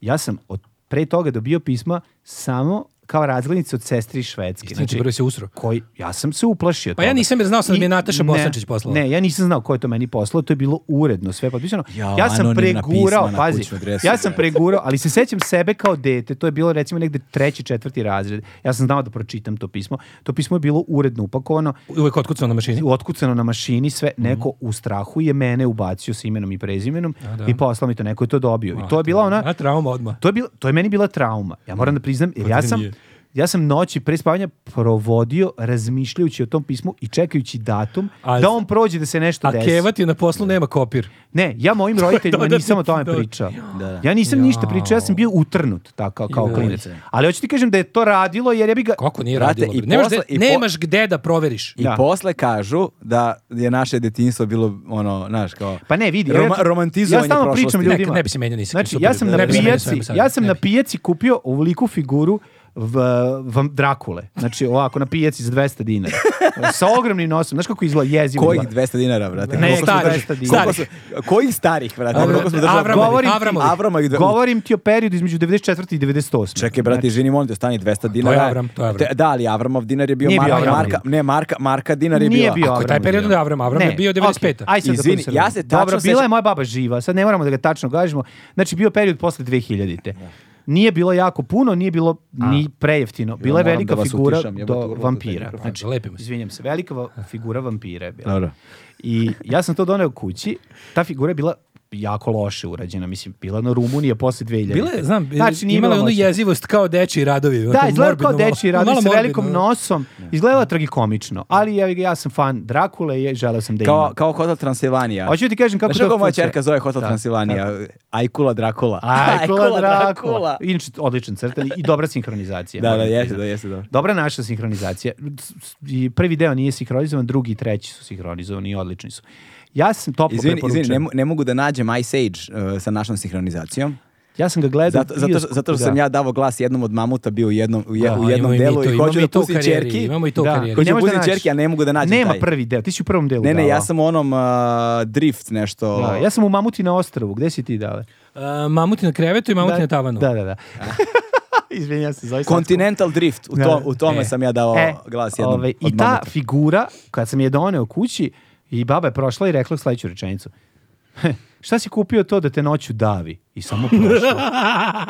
Speaker 3: ja sam od pre toga dobio pisma samo kao razglednica od sestri iz Švedske. Znači,
Speaker 2: Istina ti, prvo si usro.
Speaker 3: Koji, ja sam se uplašio.
Speaker 2: Pa ja
Speaker 3: toga.
Speaker 2: nisam jer znao sam da mi je
Speaker 3: I-
Speaker 2: Nataša
Speaker 3: ne,
Speaker 2: Bosančić poslala.
Speaker 3: Ne, ja nisam znao ko je to meni poslao, to je bilo uredno sve potpisano.
Speaker 1: Jao,
Speaker 3: ja sam
Speaker 1: anonimna
Speaker 3: pregurao,
Speaker 1: pisma na
Speaker 3: pazi,
Speaker 1: kućnu adresu,
Speaker 3: ja sam
Speaker 1: brate.
Speaker 3: pregurao, ali se sećam sebe kao dete, to je bilo recimo negde treći, četvrti razred. Ja sam znao da pročitam to pismo. To pismo je bilo uredno upakovano,
Speaker 2: Uvijek otkucao na mašini.
Speaker 3: otkucano na mašini sve, neko u strahu je mene ubacio sa imenom i prezimenom
Speaker 2: da.
Speaker 3: i poslao mi to, neko je to dobio. I to je bila ona,
Speaker 2: A trauma odmah.
Speaker 3: to je, bilo, to je meni bila trauma. Ja moram
Speaker 2: Mm.
Speaker 3: da priznam, jer ja
Speaker 2: meni
Speaker 3: sam,
Speaker 2: je.
Speaker 3: ja sam noći pre spavanja provodio razmišljajući o tom pismu i čekajući datum
Speaker 2: A-
Speaker 3: da on prođe da se nešto
Speaker 2: A
Speaker 3: desi.
Speaker 2: Keva ti na poslu nema kopir.
Speaker 3: Ne, ja mojim roditeljima
Speaker 2: da,
Speaker 3: nisam o tome
Speaker 2: da.
Speaker 3: pričao. Ja nisam ništa pričao, ja sam bio utrnut tako, kao
Speaker 2: Joj.
Speaker 3: klinac. Ali hoću ti kažem da je to radilo jer ja bi ga...
Speaker 2: Kako nije
Speaker 1: Brate,
Speaker 2: radilo?
Speaker 1: i
Speaker 2: bre? Nemaš,
Speaker 1: posle-
Speaker 2: gde,
Speaker 1: i po-
Speaker 2: nemaš gde da proveriš.
Speaker 1: I
Speaker 3: Da.
Speaker 1: posle kažu da je naše detinjstvo bilo ono, znaš, kao...
Speaker 3: Pa ne, vidi.
Speaker 1: Roma,
Speaker 3: ja-
Speaker 1: romantizovanje
Speaker 3: ja stalno
Speaker 1: prošlosti.
Speaker 3: pričam
Speaker 2: Ne,
Speaker 3: ljudima.
Speaker 2: ne bi se menio, nisam.
Speaker 3: Znači,
Speaker 2: Super,
Speaker 3: ja sam,
Speaker 2: ne
Speaker 3: na
Speaker 2: bi se menio s
Speaker 3: pijaci,
Speaker 2: ovim sad.
Speaker 3: ja sam
Speaker 2: Ne
Speaker 3: na
Speaker 2: bi.
Speaker 3: pijaci kupio ovoliku figuru v, vam Drakule. Znači, ovako, na pijaci za 200 dinara. Sa ogromnim nosom. Znaš kako izgleda jezivo?
Speaker 1: Kojih
Speaker 3: izgleda?
Speaker 1: 200 dinara, brate?
Speaker 3: Ne,
Speaker 1: Koliko smo
Speaker 3: starih,
Speaker 1: držali-
Speaker 3: starih.
Speaker 1: koliko smo- Kojih starih, brate?
Speaker 2: Avra-
Speaker 1: Koliko smo držali-
Speaker 2: Avramovih,
Speaker 1: Govorim ti-
Speaker 2: Avramovih.
Speaker 1: Avramovih.
Speaker 3: Govorim ti o periodu između 94. i Znači- 98.
Speaker 1: Čekaj, brate, izvini, molim te, stani 200 dinara.
Speaker 2: Avram, Znači- to je Avram.
Speaker 1: Te- Da, ali Avramov dinar je bio
Speaker 3: Nije bio
Speaker 1: marka,
Speaker 3: Avram.
Speaker 1: marka, ne, marka, marka dinar je
Speaker 3: Nije
Speaker 1: bila.
Speaker 3: bio
Speaker 2: Ako je taj
Speaker 3: Avram
Speaker 2: period
Speaker 3: bio.
Speaker 2: da Avram, Avram je
Speaker 3: Ne,
Speaker 2: bio 95.
Speaker 3: okej, Aj sad
Speaker 1: Izvini,
Speaker 3: da budem
Speaker 1: ja se
Speaker 3: sredan. Dobro,
Speaker 1: tačno
Speaker 3: bila je
Speaker 1: sećam-
Speaker 3: moja baba živa, sad ne moramo da ga tačno gažemo. Znači, bio je period posle 2000-te. Nije bilo jako puno, nije bilo ni prejeftino. Bila je
Speaker 1: moram
Speaker 3: velika
Speaker 1: da vas
Speaker 3: figura
Speaker 1: utišam, jebote,
Speaker 3: do
Speaker 1: urlate
Speaker 3: vampira.
Speaker 1: mikrofon.
Speaker 3: Znači,
Speaker 2: Lepimo se.
Speaker 3: izvinjam se, velika va- figura vampira je bila.
Speaker 1: Dobro.
Speaker 3: I ja sam to doneo kući. Ta figura je bila jako loše urađena, mislim, bila na Rumunije posle 2000.
Speaker 2: Bila je, znam,
Speaker 3: Znači, nije
Speaker 2: imala je
Speaker 3: bila
Speaker 2: onu
Speaker 3: moćna.
Speaker 2: jezivost kao dečiji radovi.
Speaker 3: Da,
Speaker 2: onako
Speaker 3: izgleda
Speaker 2: morbidno
Speaker 3: kao
Speaker 2: malo.
Speaker 3: dečiji radi
Speaker 2: Malo
Speaker 3: sa
Speaker 2: morbidno.
Speaker 3: velikom nosom. Izgledala tragikomično, ali ja, ja sam fan Drakule i je- želeo sam da
Speaker 1: Kao,
Speaker 3: imam.
Speaker 1: kao Hotel Transilvanija.
Speaker 3: Hoću ti kažem kako
Speaker 1: Znaš kako moja
Speaker 3: funkcija-
Speaker 1: čerka zove Hotel
Speaker 3: Da,
Speaker 1: Transilvanija? Ajkula Drakula.
Speaker 3: Ajkula Drakula. Inače, odličan crtan i dobra sinhronizacija.
Speaker 1: Da, da,
Speaker 3: moram
Speaker 1: jeste,
Speaker 3: priznati.
Speaker 1: da, jeste, dobro.
Speaker 3: Dobra naša sinhronizacija. S- s- i Prvi deo nije sinhronizovan, drugi i treći su sinhronizovani i odlični su. Ja sam toplo
Speaker 1: Izvini,
Speaker 3: preporučujem.
Speaker 1: izvini, ne, mo- ne mogu da nađem Ice Age uh, sa našom sinhronizacijom.
Speaker 3: Ja sam ga
Speaker 2: E,
Speaker 3: gledao.
Speaker 1: Zato, zato, što- zato što sam ja davo glas jednom od mamuta bio u jednom, u, je-
Speaker 2: Da,
Speaker 1: u jednom
Speaker 2: imamo i mi
Speaker 1: delu
Speaker 2: to,
Speaker 1: i
Speaker 2: imamo
Speaker 1: hoću
Speaker 2: i
Speaker 1: da
Speaker 2: to u
Speaker 1: pustim
Speaker 2: karijeri,
Speaker 1: čerki.
Speaker 2: imamo i to u
Speaker 3: Da.
Speaker 2: karijeri.
Speaker 1: Hoću da
Speaker 3: Ne može
Speaker 1: pustim
Speaker 3: da nađe.
Speaker 1: čerki, a ne mogu da nađem
Speaker 3: Nema
Speaker 1: taj.
Speaker 3: prvi deo, ti si u prvom delu
Speaker 1: Ne, ne, ja
Speaker 3: davao.
Speaker 1: sam u onom uh, drift nešto.
Speaker 3: Da, ja sam u Mamuti na ostrvu, gde si ti dale?
Speaker 2: E, mamuti na krevetu i mamuti na tavanu.
Speaker 3: Da, da, da. Izvini, ja se zove
Speaker 1: Continental drift, u, to,
Speaker 3: Da.
Speaker 1: u tome
Speaker 2: E.
Speaker 1: sam ja dao
Speaker 3: E,
Speaker 1: glas jednom
Speaker 3: ovaj,
Speaker 1: od
Speaker 3: I ta
Speaker 1: mamuta.
Speaker 3: figura, kad sam je doneo kući, i baba je prošla i rekla sledeću rečenicu. Šta si kupio to da te noću davi? I samo prošla.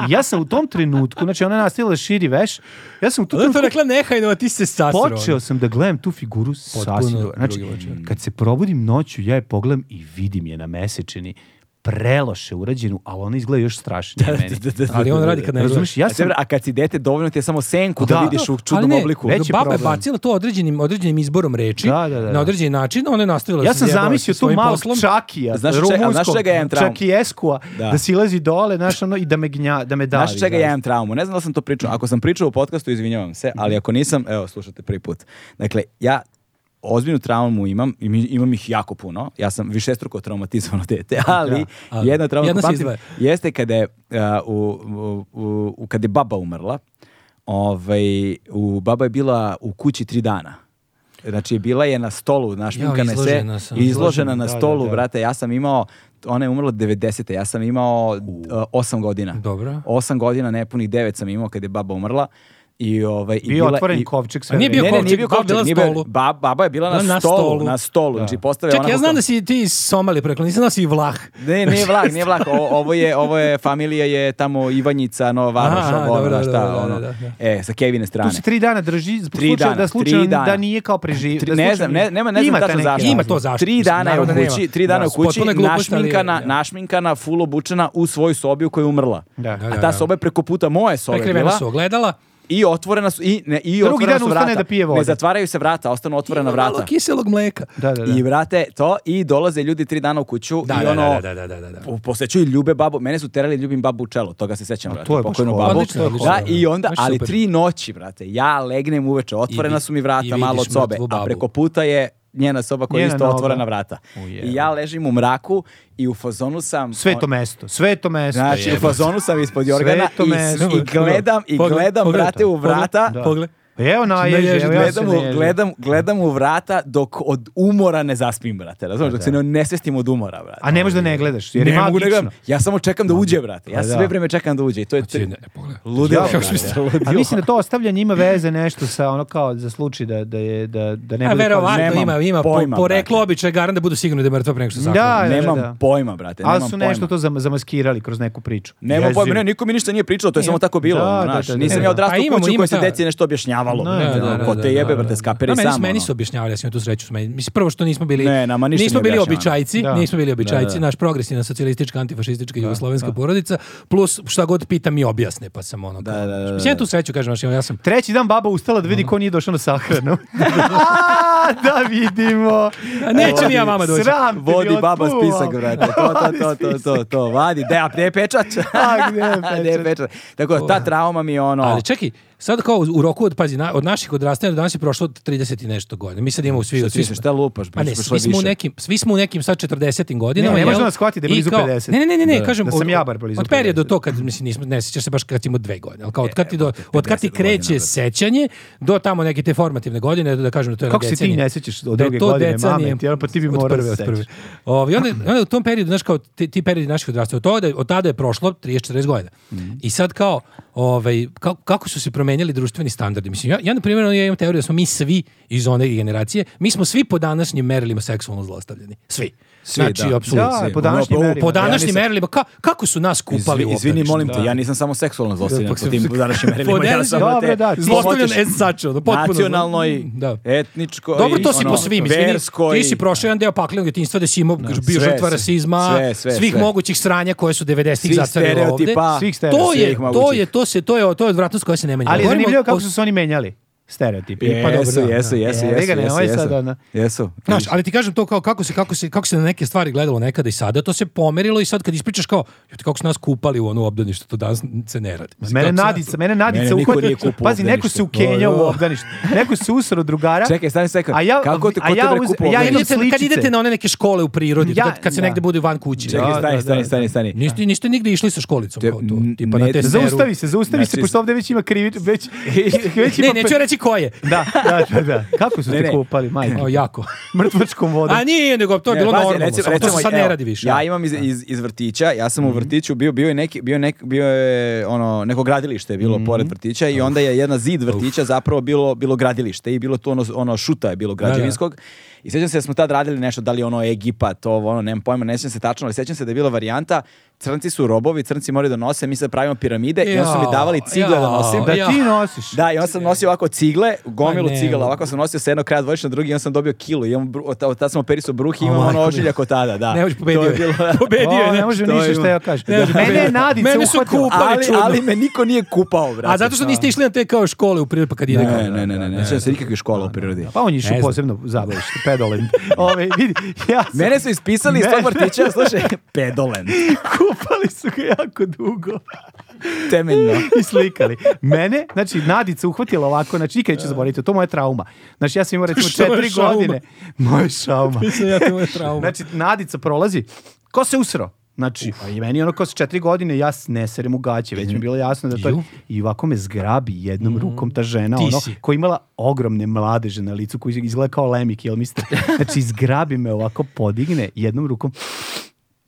Speaker 3: I ja sam u tom trenutku, znači ona je nastavila da širi veš, ja sam u tom
Speaker 2: Zato je to
Speaker 3: trenutku
Speaker 2: rekla ono. nehajno, a ti se sasro.
Speaker 3: počeo sam da gledam tu figuru sasvim drugo. Znači,
Speaker 2: drugi
Speaker 1: Mm.
Speaker 2: očima.
Speaker 3: kad se probudim noću, ja je pogledam i vidim je na mesečini preloše urađenu, ali ona izgleda još strašnije meni.
Speaker 2: Ali on radi kad ne
Speaker 3: Razumeš, ja
Speaker 1: A,
Speaker 3: sam
Speaker 1: tebe, E, a kad si dete, dovoljno ti je samo senku da,
Speaker 3: Da.
Speaker 1: vidiš u
Speaker 2: Ali
Speaker 1: čudnom
Speaker 2: ne,
Speaker 1: obliku.
Speaker 3: Veći
Speaker 2: baba je
Speaker 3: problem.
Speaker 2: bacila to određenim, određenim izborom reči,
Speaker 3: Da, da, da,
Speaker 2: na
Speaker 3: da.
Speaker 2: određeni način, ona je
Speaker 1: Pa
Speaker 2: nastavila
Speaker 3: Ja
Speaker 2: se
Speaker 3: sam
Speaker 2: jebala
Speaker 3: zamislio
Speaker 2: sa
Speaker 3: tu
Speaker 2: svojim
Speaker 3: malog
Speaker 2: poslom.
Speaker 3: Čakija,
Speaker 1: Znaš če- a
Speaker 3: rumunskog,
Speaker 1: znaš čega ja imam traumu?
Speaker 3: Čakijeskua,
Speaker 1: Da.
Speaker 3: da. si silazi dole, znaš, ono, i da me, gnja, da me davi.
Speaker 1: Znaš čega ja
Speaker 3: znaš.
Speaker 1: imam traumu? Ne znam da li sam to pričao. Ako sam pričao u podcastu, izvinjavam se, ali ako nisam, evo, slušate prvi put. Dakle, ja ozbiljnu traumu imam, i mi- imam ih jako puno. Ja sam višestruko traumatizovano dete, ali,
Speaker 2: ali
Speaker 1: jedna trauma
Speaker 2: jedna se
Speaker 1: koju pamtim
Speaker 2: izdvaja.
Speaker 1: jeste kada je, a, u, u, u- u- kad je baba umrla, ovaj, u, baba je bila u kući tri dana. Znači, bila je na stolu, naš šminkane se,
Speaker 2: izložena sam.
Speaker 1: izložena na
Speaker 3: Da, da,
Speaker 1: stolu,
Speaker 3: da.
Speaker 1: brate, ja sam imao, ona je umrla 90. Ja sam imao uh, 8 godina.
Speaker 2: Dobro.
Speaker 1: 8 godina, nepunih 9 sam imao kad je baba umrla. I, ovaj, i
Speaker 3: Bio
Speaker 1: bila-
Speaker 3: otvoren
Speaker 1: i-
Speaker 3: kovčeg
Speaker 2: A
Speaker 3: sve.
Speaker 2: nije bio
Speaker 3: vreme.
Speaker 1: Ne, ne, nije bio
Speaker 2: Baba je
Speaker 1: kovčeg,
Speaker 2: bila na
Speaker 1: nije bio-
Speaker 2: stolu.
Speaker 1: ba- baba je bila na,
Speaker 2: Na
Speaker 1: stolu,
Speaker 2: stolu.
Speaker 1: na stolu. Znači, postave
Speaker 2: Čekaj,
Speaker 1: ona
Speaker 2: ja
Speaker 1: po
Speaker 2: znam
Speaker 1: to-
Speaker 2: da si ti iz Somalije prekla, nisam znao da si i Vlah.
Speaker 1: Ne, nije vlak, nije vlak. O- ovo je, ovo je, familija je tamo Ivanjica, Nova Varoš,
Speaker 2: Aha,
Speaker 1: ovo, ono,
Speaker 2: dobro,
Speaker 1: šta,
Speaker 2: dobro, da,
Speaker 1: ono.
Speaker 2: da, da, da.
Speaker 1: E, sa Kevine strane.
Speaker 3: Tu se tri dana drži, zbog
Speaker 1: Tri
Speaker 3: slučaja
Speaker 1: dana,
Speaker 3: da slučajno
Speaker 1: tri dana.
Speaker 3: da nije kao preživio.
Speaker 1: Tri- ne znam, ne, nema, ne znam tačno zašto.
Speaker 2: Ima to zašto,
Speaker 1: Tri
Speaker 2: mislim,
Speaker 1: dana je u
Speaker 2: naravno da nema.
Speaker 1: kući, tri dana
Speaker 2: Da,
Speaker 1: je u kući,
Speaker 2: potpuno je glupost, ali je,
Speaker 1: našminkana,
Speaker 2: da.
Speaker 1: našminkana, full obučena u svojoj sobi u kojoj je umrla.
Speaker 3: Da. Da,
Speaker 1: A
Speaker 2: da,
Speaker 1: ta
Speaker 2: da.
Speaker 1: soba je preko puta moje sobe
Speaker 2: Prekrivena
Speaker 1: bila.
Speaker 2: su ogledala.
Speaker 1: I otvorena su, i, ne, i
Speaker 3: Drugi
Speaker 1: otvorena
Speaker 3: dan
Speaker 1: su
Speaker 3: ustane
Speaker 1: vrata.
Speaker 3: da pije vodu.
Speaker 1: Ne zatvaraju se vrata, ostanu otvorena
Speaker 2: Malo
Speaker 1: vrata.
Speaker 2: kiselog mleka.
Speaker 3: Da, da, da.
Speaker 1: I vrate to, i dolaze ljudi tri dana u kuću
Speaker 2: Da,
Speaker 1: i
Speaker 2: da,
Speaker 1: ono,
Speaker 2: da, da, da, da, da.
Speaker 1: po- posećuju ljube babu. Mene su terali ljubim babu u čelo, toga se sećam, brate.
Speaker 3: to je baš
Speaker 1: pokojnu
Speaker 3: horor.
Speaker 1: babu.
Speaker 2: Odlično, odlično,
Speaker 1: da,
Speaker 2: da.
Speaker 1: i onda,
Speaker 2: Baš
Speaker 1: ali
Speaker 2: super.
Speaker 1: tri noći, brate, ja legnem uveče, otvorena
Speaker 2: vi-
Speaker 1: su mi
Speaker 2: i
Speaker 1: vrata
Speaker 2: vidiš
Speaker 1: malo od sobe,
Speaker 2: mrtvu babu.
Speaker 1: a preko puta je njena soba koja je
Speaker 3: Njena
Speaker 1: isto
Speaker 3: nova.
Speaker 1: otvorena vrata.
Speaker 3: Ujebe.
Speaker 1: I ja ležim u mraku i u fazonu sam...
Speaker 3: Sve to mesto, sve to mesto.
Speaker 1: Znači, u fazonu sam ispod jorgana
Speaker 3: to
Speaker 1: i,
Speaker 3: mesto.
Speaker 1: i gledam, i
Speaker 2: Pogled-
Speaker 1: gledam,
Speaker 2: pogledaj
Speaker 1: brate,
Speaker 2: to,
Speaker 1: u vrata.
Speaker 2: pogledaj, Pogledaj. Znači,
Speaker 3: Pa Evo naježi,
Speaker 2: Naježi,
Speaker 3: evo ja se
Speaker 1: Gledam, u,
Speaker 3: naježim.
Speaker 1: gledam, gledam u vrata dok od umora ne zaspim, brate. Razumiješ, dok se ne, ne svestim od umora, brate.
Speaker 3: A ne možeš da ne gledaš, jer je
Speaker 1: ne mogu da
Speaker 3: magično.
Speaker 1: gledam. Ja samo čekam da uđe, brate.
Speaker 3: Pa
Speaker 1: Ja
Speaker 3: da.
Speaker 1: sve vreme čekam da uđe. I to je
Speaker 2: Znači,
Speaker 1: tri...
Speaker 2: ne, pogledaj.
Speaker 1: ludilo,
Speaker 3: Jako
Speaker 1: brate.
Speaker 2: što-
Speaker 3: A mislim da to ostavljanje ima veze nešto sa ono kao za slučaj da, da, je, da, da ne
Speaker 2: A
Speaker 3: bude... kao-
Speaker 1: verovatno
Speaker 2: verovatno
Speaker 1: nemam
Speaker 2: ima, ima po-
Speaker 1: pojma,
Speaker 2: poreklo
Speaker 1: brate.
Speaker 2: običaj garan da budu sigurni da je mrtva pre nego što se
Speaker 3: Da,
Speaker 2: zakloni.
Speaker 3: da, da,
Speaker 1: Nemam
Speaker 3: da.
Speaker 1: pojma, brate.
Speaker 3: Ali
Speaker 1: Nemam
Speaker 3: su nešto
Speaker 1: pojma.
Speaker 3: to zam- zamaskirali kroz neku priču.
Speaker 1: Nemam
Speaker 3: Jezivo.
Speaker 1: pojma, ne, niko mi ništa nije pričao, to je samo tako bilo.
Speaker 3: Da,
Speaker 1: ono,
Speaker 3: da,
Speaker 1: znaš.
Speaker 3: da, da,
Speaker 1: Nisam
Speaker 3: da.
Speaker 1: ja odrastao
Speaker 2: Pa
Speaker 1: u
Speaker 2: imamo,
Speaker 1: kuću
Speaker 2: imamo
Speaker 1: koja se
Speaker 2: ta-
Speaker 1: deci nešto objašnjavalo.
Speaker 3: Da,
Speaker 1: brate,
Speaker 3: da,
Speaker 1: ono,
Speaker 3: da,
Speaker 1: Ko te jebe, brate,
Speaker 2: Da,
Speaker 1: skapiraj
Speaker 2: meni,
Speaker 1: sam.
Speaker 2: meni
Speaker 1: ono.
Speaker 2: su objašnjavali, ja sam imao tu sreću. s meni- Mislim, prvo što nismo bili,
Speaker 1: Ne, nama ništa
Speaker 2: nismo
Speaker 1: nije
Speaker 2: bili
Speaker 1: objašnjavano.
Speaker 2: običajci,
Speaker 3: Da.
Speaker 2: nismo bili običajci,
Speaker 1: da.
Speaker 2: naš progresivna socijalistička, antifašistička jugoslovenska porodica, plus šta god pitam i objasne, pa sam ono. Da,
Speaker 1: da, da,
Speaker 2: Mislim, ja tu sreću, kažem, znaš, ja sam
Speaker 3: Treći dan baba ustala da vidi ko nije došao na sahranu. da vidimo.
Speaker 2: A nećem ja vama doći.
Speaker 3: Sram te
Speaker 1: Vodi
Speaker 3: bilo, ono.
Speaker 1: baba
Speaker 3: puvao.
Speaker 1: spisak, brate. To, to, to, to, to, to. Vadi, de, a gde je pečat?
Speaker 3: A, gde je
Speaker 1: Gde je pečat? Tako da, ta trauma mi je ono...
Speaker 2: Ali čekaj, sad kao u roku od, pazi, na- od naših odrastanja do danas je prošlo 30 i nešto godina. Mi sad imamo svi...
Speaker 1: Šta
Speaker 2: svi
Speaker 1: ti
Speaker 2: smo-
Speaker 1: se, šta lupaš?
Speaker 2: Pa ne,
Speaker 1: Prošlo
Speaker 2: svi
Speaker 1: je
Speaker 2: smo, u
Speaker 1: više.
Speaker 2: nekim, svi smo u nekim sad 40. godinama.
Speaker 3: Ne, ne
Speaker 2: jel?
Speaker 3: možemo da shvati da je
Speaker 2: I
Speaker 3: blizu
Speaker 2: kao-
Speaker 3: 50.
Speaker 2: Ne, ne, ne, ne, kažem,
Speaker 3: Da sam
Speaker 2: od-
Speaker 3: ja bar blizu
Speaker 2: Od perioda
Speaker 3: 50.
Speaker 2: to kad, mislim, nismo, ne sjećaš se baš kad imamo dve godine, ali kao od kad ti, do, od kad ti
Speaker 1: 50 godina,
Speaker 2: kreće
Speaker 1: brate.
Speaker 2: sećanje do tamo neke te formativne godine, da kažem da to je
Speaker 3: Kako se ti
Speaker 2: decenija.
Speaker 3: ne sjećaš od
Speaker 2: Da je
Speaker 3: druge
Speaker 2: to
Speaker 3: godine,
Speaker 2: decenija-
Speaker 3: mame ti, ono, pa ti bi
Speaker 2: od
Speaker 3: morao
Speaker 2: prve,
Speaker 3: da
Speaker 2: od
Speaker 3: se
Speaker 2: prve.
Speaker 3: sećaš.
Speaker 2: Ovaj, onda, onda u tom periodu, znaš, kao ti, ti periodi naših odrastanja, od, toga, od tada je prošlo 30-40 godina.
Speaker 1: Mhm.
Speaker 2: I sad kao, ovaj, ka- kako su se promenjali društveni standardi? Mislim, ja, ja na primjer, ono, ja imam teoriju da smo mi svi iz one generacije, mi smo svi po današnjim merilima seksualno zlostavljeni. Svi.
Speaker 1: Svi,
Speaker 2: znači,
Speaker 1: da.
Speaker 2: apsolutno.
Speaker 3: Da,
Speaker 2: svi.
Speaker 3: po današnjim
Speaker 1: Ono,
Speaker 3: merilima.
Speaker 2: Po
Speaker 1: ja
Speaker 2: današnjim
Speaker 1: nisam-
Speaker 2: merilima, ka- kako su nas kupali
Speaker 1: Izvi-
Speaker 2: u
Speaker 1: Izvini,
Speaker 2: obdaništu?
Speaker 1: molim te, ja nisam samo seksualno zlostavljan po tim današnjim merilima. Ja sam,
Speaker 3: Dobro,
Speaker 1: brate,
Speaker 3: da, ti-
Speaker 2: Zlostavljan
Speaker 1: smotiš
Speaker 2: as such, ono, potpuno.
Speaker 1: Nacionalnoj,
Speaker 2: Da.
Speaker 1: etničkoj,
Speaker 2: Dobro, to si
Speaker 1: ono,
Speaker 2: po svim, izvini.
Speaker 1: verskoj.
Speaker 2: Ti si prošao jedan deo paklenog djetinjstva da si imao, kažu, bio
Speaker 1: Sve,
Speaker 2: žrtva
Speaker 1: sve,
Speaker 2: rasizma,
Speaker 1: sve, sve,
Speaker 2: svih
Speaker 1: sve.
Speaker 2: mogućih sranja koje su 90-ih
Speaker 1: Svih
Speaker 2: zacarilo ovde.
Speaker 1: stereotipa.
Speaker 3: Svih stereotipa.
Speaker 2: To
Speaker 1: svih
Speaker 2: je, to
Speaker 1: mogućih.
Speaker 2: je, to se, to je, to je odvratnost koja se ne menja.
Speaker 3: Ali je
Speaker 2: Govorimo
Speaker 3: zanimljivo
Speaker 2: o-
Speaker 3: kako su se oni menjali stereotipi. Pa dobro,
Speaker 1: E, Jesu,
Speaker 3: da,
Speaker 1: jesu,
Speaker 3: da.
Speaker 1: jesu,
Speaker 3: Jebi ga,
Speaker 1: jesu,
Speaker 3: nemoj
Speaker 1: jesu,
Speaker 3: sad, ono.
Speaker 1: jesu. Jesu.
Speaker 2: Znaš, ali ti kažem to kao kako se, kako se, kako se na neke stvari gledalo nekada i sada, to se pomerilo i sad kad ispričaš kao, jute, kako su nas kupali u ono obdanište, to danas se ne radi. Mislim,
Speaker 3: Mene
Speaker 2: kako se-
Speaker 3: Nadica, mene Nadica
Speaker 1: Znači, Mene niko
Speaker 3: uhvati-
Speaker 1: nije kupao u
Speaker 3: Pazi, neko se
Speaker 1: obdaništu.
Speaker 3: ukenjao
Speaker 2: Da, da.
Speaker 3: u obdaništu. Neko se usro drugara.
Speaker 1: Čekaj, stani sekund.
Speaker 3: A ja-
Speaker 1: Kako te,
Speaker 3: a
Speaker 1: ko
Speaker 3: ja
Speaker 1: te bre
Speaker 3: uz-
Speaker 1: kupao
Speaker 3: ja
Speaker 1: ovde?
Speaker 2: Kad
Speaker 3: imam
Speaker 2: idete, kad
Speaker 3: sličice.
Speaker 2: idete na one neke škole u prirodi,
Speaker 3: Ja-
Speaker 2: kad, kad se
Speaker 3: da.
Speaker 2: negde bude van kuće.
Speaker 1: Čekaj,
Speaker 3: Da, da,
Speaker 1: stani, stani,
Speaker 3: da.
Speaker 1: stani, stani.
Speaker 2: Niste, niste nigde išli sa školicom
Speaker 1: Te-
Speaker 2: kao to,
Speaker 1: n-
Speaker 2: tipa na
Speaker 1: ne-
Speaker 2: te seru.
Speaker 3: Zaustavi se, zaustavi se,
Speaker 1: Znači-
Speaker 3: pošto ovde već ima krivi, već, već ima...
Speaker 2: Ne, neću ja reći ko je.
Speaker 3: Da, da, da, da. Kako su
Speaker 1: Ne,
Speaker 3: te
Speaker 1: ne.
Speaker 3: kupali, majke?
Speaker 2: O, jako.
Speaker 3: Mrtvačkom vodom.
Speaker 2: A nije, nego to je bilo
Speaker 1: Ne, pazi,
Speaker 2: normalno.
Speaker 1: recimo-
Speaker 2: samo to se
Speaker 1: recimo,
Speaker 2: sad
Speaker 1: evo,
Speaker 2: ne radi više. Mhm.
Speaker 1: Ja imam iz, iz, iz vrtića, ja sam u vrtiću bio, bio je neki, bio je nek, bio je ono, neko gradilište je bilo
Speaker 2: Mhm.
Speaker 1: pored vrtića i onda je jedna zid vrtića zapravo bilo, bilo gradilište i bilo to ono, ono šuta je bilo građevinskog. I sjećam se da smo tad radili nešto, da li ono Egipat, ovo, ono, nemam pojma, ne sjećam se tačno, ali sjećam se da je bila varijanta, crnci su robovi, crnci moraju da nose, mi sad pravimo piramide i onda su mi
Speaker 2: Jao,
Speaker 1: davali cigle da
Speaker 2: jao.
Speaker 1: nosim.
Speaker 3: Da
Speaker 2: Ja.
Speaker 3: ti nosiš.
Speaker 1: Da, i onda sam nosio ovako cigle, gomilu
Speaker 2: Pa ne,
Speaker 1: cigla,
Speaker 2: mogu.
Speaker 1: ovako sam nosio sa jednog kraja dvojično na drugi i onda sam dobio kilu. I imam, bru- od ta- od tad sam operisao bruh i
Speaker 2: O,
Speaker 1: imam
Speaker 2: majko
Speaker 1: ono
Speaker 2: mi.
Speaker 1: ožiljak od tada, da.
Speaker 2: Ne, hoće, pobedio
Speaker 1: To
Speaker 2: je.
Speaker 1: bilo-
Speaker 2: Pobedio je,
Speaker 3: O, ne
Speaker 2: ne.
Speaker 3: može
Speaker 1: to
Speaker 3: ništa
Speaker 1: je
Speaker 3: šta ja kažem.
Speaker 2: Ne,
Speaker 3: Mene je
Speaker 2: mene-
Speaker 3: Nadica
Speaker 2: mene su
Speaker 3: uhvatila.
Speaker 2: kupali. upali
Speaker 1: ali,
Speaker 2: čudno.
Speaker 1: ali me niko nije kupao, brate.
Speaker 2: A zato što niste išli na te kao škole u prirodi, pa kad ide
Speaker 1: Ne,
Speaker 2: kao-
Speaker 1: ne, ne, ne, ne, ne, sjećam se nikakve škole u prirodi.
Speaker 3: Pa on je išao
Speaker 2: Ne znam.
Speaker 3: posebno zabavište, pedolin. Ove, vidi, ja sam,
Speaker 1: Mene su ispisali iz tog
Speaker 3: Ne.
Speaker 1: vrtića, slušaj, pedolen,
Speaker 3: kupali su ga jako dugo.
Speaker 1: temeljno.
Speaker 3: I slikali. Mene, znači, Nadica uhvatila ovako, znači, nikad neću zaboraviti, to je moja trauma. Znači, ja sam imao, recimo,
Speaker 2: Što je
Speaker 3: četiri
Speaker 2: šauma?
Speaker 3: godine. Moja šauma.
Speaker 2: Mislim, ja to je trauma.
Speaker 3: Znači, Nadica prolazi. Ko se usro? Znači, a i meni ono kao sa četiri godine, ja s- ne serem u gaće, već mi je bilo jasno da to je...
Speaker 2: Mhm. Ju. Mhm.
Speaker 3: I ovako me zgrabi jednom rukom ta žena,
Speaker 2: Ti
Speaker 3: ono,
Speaker 2: si.
Speaker 3: koja je imala ogromne mladeže na licu, koji izgleda kao lemik, jel mislite? Znači, zgrabi me ovako, podigne jednom rukom,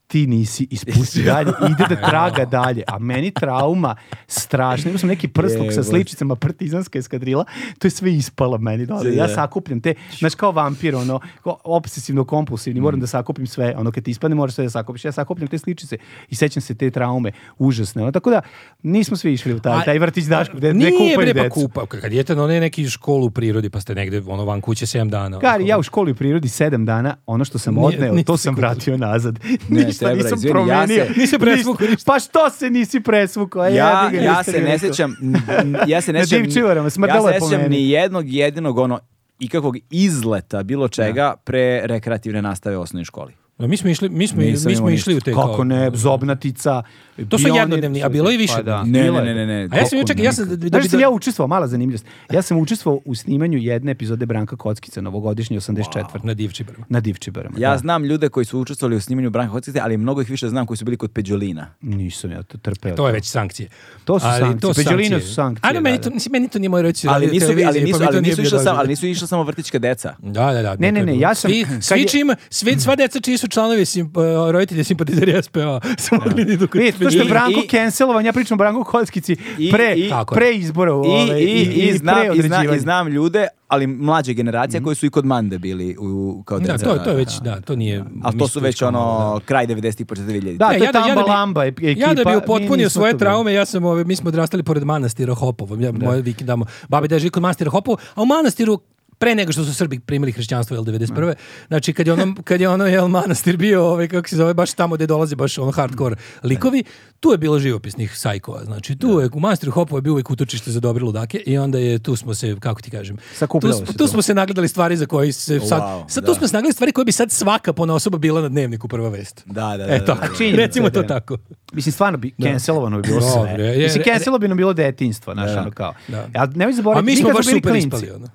Speaker 3: ti nisi ispusti dalje, ide da traga dalje, a meni trauma strašna, imao sam neki prsluk sa
Speaker 1: Jebote.
Speaker 3: sličicama partizanska eskadrila, to je sve ispalo meni dole, ja
Speaker 1: Da.
Speaker 3: sakupljam te, znaš kao vampir, ono, kao obsesivno kompulsivni,
Speaker 2: Mm.
Speaker 3: moram da sakupim sve, ono kad ti ispadne moraš sve da sakupiš, ja sakupljam te sličice i sećam se te traume, užasne, ono, tako da nismo svi išli u taj,
Speaker 2: A-
Speaker 3: taj vrtić dašku, gde, gde
Speaker 2: Nije
Speaker 3: kupaju
Speaker 2: bre pa
Speaker 3: decu.
Speaker 2: kupa. Kad idete na one neki školu u prirodi, pa ste negde ono van kuće 7 dana.
Speaker 3: Kari,
Speaker 2: ono.
Speaker 3: ja u školi u prirodi sedam dana, ono što sam
Speaker 2: Nije-
Speaker 3: odneo,
Speaker 2: niste
Speaker 3: to sam
Speaker 2: kupili.
Speaker 3: vratio nazad.
Speaker 1: Ne,
Speaker 3: Ništa
Speaker 1: 15 evra, izvini, ja se...
Speaker 2: Nisi presvukao ništa.
Speaker 3: Pa što se nisi
Speaker 2: Pa
Speaker 3: presvukao? E,
Speaker 1: Ja,
Speaker 3: jebi ga,
Speaker 1: ja
Speaker 3: niste
Speaker 1: se
Speaker 3: ni
Speaker 1: ne
Speaker 3: rekao.
Speaker 1: sećam, n- ja se ne
Speaker 3: Na
Speaker 1: sećam,
Speaker 3: Divčivarama,
Speaker 1: ja
Speaker 3: smrdelo
Speaker 1: se
Speaker 3: je
Speaker 1: ne
Speaker 3: po
Speaker 1: sećam
Speaker 3: meni.
Speaker 1: ni jednog jedinog ono ikakvog izleta bilo čega pre rekreativne nastave u osnovnoj školi.
Speaker 2: No, mi smo išli, mi smo, mi
Speaker 1: Nisam
Speaker 2: smo
Speaker 1: imao
Speaker 2: išli u te kao-
Speaker 3: Kako ne, zobnatica.
Speaker 2: To su
Speaker 3: pionir-
Speaker 2: jednodnevni, a bilo je i više.
Speaker 3: Pa da.
Speaker 1: Ne,
Speaker 3: Bilo
Speaker 1: ne,
Speaker 3: je.
Speaker 1: ne, ne, ne.
Speaker 2: A ja sam juče, ja sam... da bi- da
Speaker 3: Znaš
Speaker 2: bi-
Speaker 3: da sam ja učestvovao, mala zanimljivost. Ja sam učestvovao u snimanju jedne epizode Branka Kockica novogodišnje 84.
Speaker 2: na Divčibarama.
Speaker 3: Na Divčibarama.
Speaker 1: Ja
Speaker 3: da.
Speaker 1: znam ljude koji su učestvovali u snimanju Branka Kockice, ali mnogo ih više znam koji su bili kod Peđolina.
Speaker 3: Nisam ja to trpeo.
Speaker 2: To je već sankcije.
Speaker 3: To su
Speaker 2: Ali
Speaker 3: sankcije. Peđoline
Speaker 2: sankcije.
Speaker 3: su sankcije,
Speaker 2: Ajde, meni
Speaker 3: da,
Speaker 2: to, mislim, meni to nije moj reći.
Speaker 1: Ali nisu,
Speaker 2: radioteleviziji,
Speaker 1: ali
Speaker 2: pa
Speaker 1: nisu,
Speaker 2: mi to
Speaker 1: ali
Speaker 2: nije
Speaker 1: nisu
Speaker 2: bio
Speaker 1: išla samo,
Speaker 2: doživljaj.
Speaker 1: ali nisu išla samo vrtićka deca.
Speaker 2: Da, da, da.
Speaker 3: Ne, ne,
Speaker 2: to je
Speaker 3: ne,
Speaker 2: bilo.
Speaker 3: ja sam-
Speaker 2: Svi,
Speaker 3: kad
Speaker 2: svi,
Speaker 3: je-
Speaker 2: čime, svi, sva deca čiji su članovi sim, uh, roditelji simpatizeri SPA su mogli da idu kod
Speaker 3: Vidite, E, to što je
Speaker 1: I-
Speaker 3: Branko
Speaker 1: i-
Speaker 3: cancelovan, ja pričam o Branku Kockici
Speaker 1: I-
Speaker 3: pre,
Speaker 1: i-
Speaker 2: Tako je.
Speaker 3: pre izbora.
Speaker 1: I,
Speaker 3: ovaj,
Speaker 1: i, i, znam, i, znam,
Speaker 3: preodređivanja.
Speaker 1: i znam ljude, ali mlađe generacije koji su i kod Mande bili u, kao deca.
Speaker 2: Mhm. Da, to, to je već, da, to nije...
Speaker 1: Ali to su
Speaker 2: mislim,
Speaker 1: već ono kraj 90-ih, početak 2000-ih.
Speaker 3: Da,
Speaker 2: Ne,
Speaker 3: to je
Speaker 2: ja da- ja da bi-
Speaker 3: Tamba Lamba ep- ekipa.
Speaker 2: Ja da bi
Speaker 3: mi
Speaker 2: upotpunio
Speaker 3: nismo
Speaker 2: svoje
Speaker 3: to bili.
Speaker 2: traume, ja sam ove, mi smo odrastali pored manastira Hopovo. Ja, Moje vikend damo, babi da živi kod manastira Hopovo, a u manastiru pre nego što su Srbi primili hrišćanstvo jel 91. Znači kad je ono kad je ono jel manastir bio ovaj kako se zove baš tamo gde dolaze baš ono hardcore likovi, tu je bilo živopisnih sajkova. Znači tu je u manastiru Hopovo je bio uvek utočište za dobre ludake i onda je tu smo se kako ti kažem,
Speaker 3: Sakupljalo
Speaker 2: tu, smo-
Speaker 3: se
Speaker 2: tu
Speaker 3: to.
Speaker 2: smo se nagledali stvari za koje se sad
Speaker 1: Wow,
Speaker 2: sad tu
Speaker 1: da.
Speaker 2: smo se nagledali stvari koje bi sad svaka pona osoba bila na dnevniku prva vest.
Speaker 1: Da, da, da,
Speaker 2: E
Speaker 1: da,
Speaker 2: tako.
Speaker 1: da,
Speaker 3: da, da.
Speaker 2: Recimo to
Speaker 3: Da.
Speaker 2: tako.
Speaker 3: Mislim, stvarno bi cancelovano bi bilo sve.
Speaker 2: Dobre, je-
Speaker 3: Mislim, cancelo bi nam bilo detinjstvo, znaš, ono kao.
Speaker 2: Da.
Speaker 3: A nemoj
Speaker 2: A
Speaker 3: zaboraviti,
Speaker 2: mi smo
Speaker 3: nikad
Speaker 2: baš
Speaker 3: bili
Speaker 2: super
Speaker 3: klinci.
Speaker 2: ispali. Ono.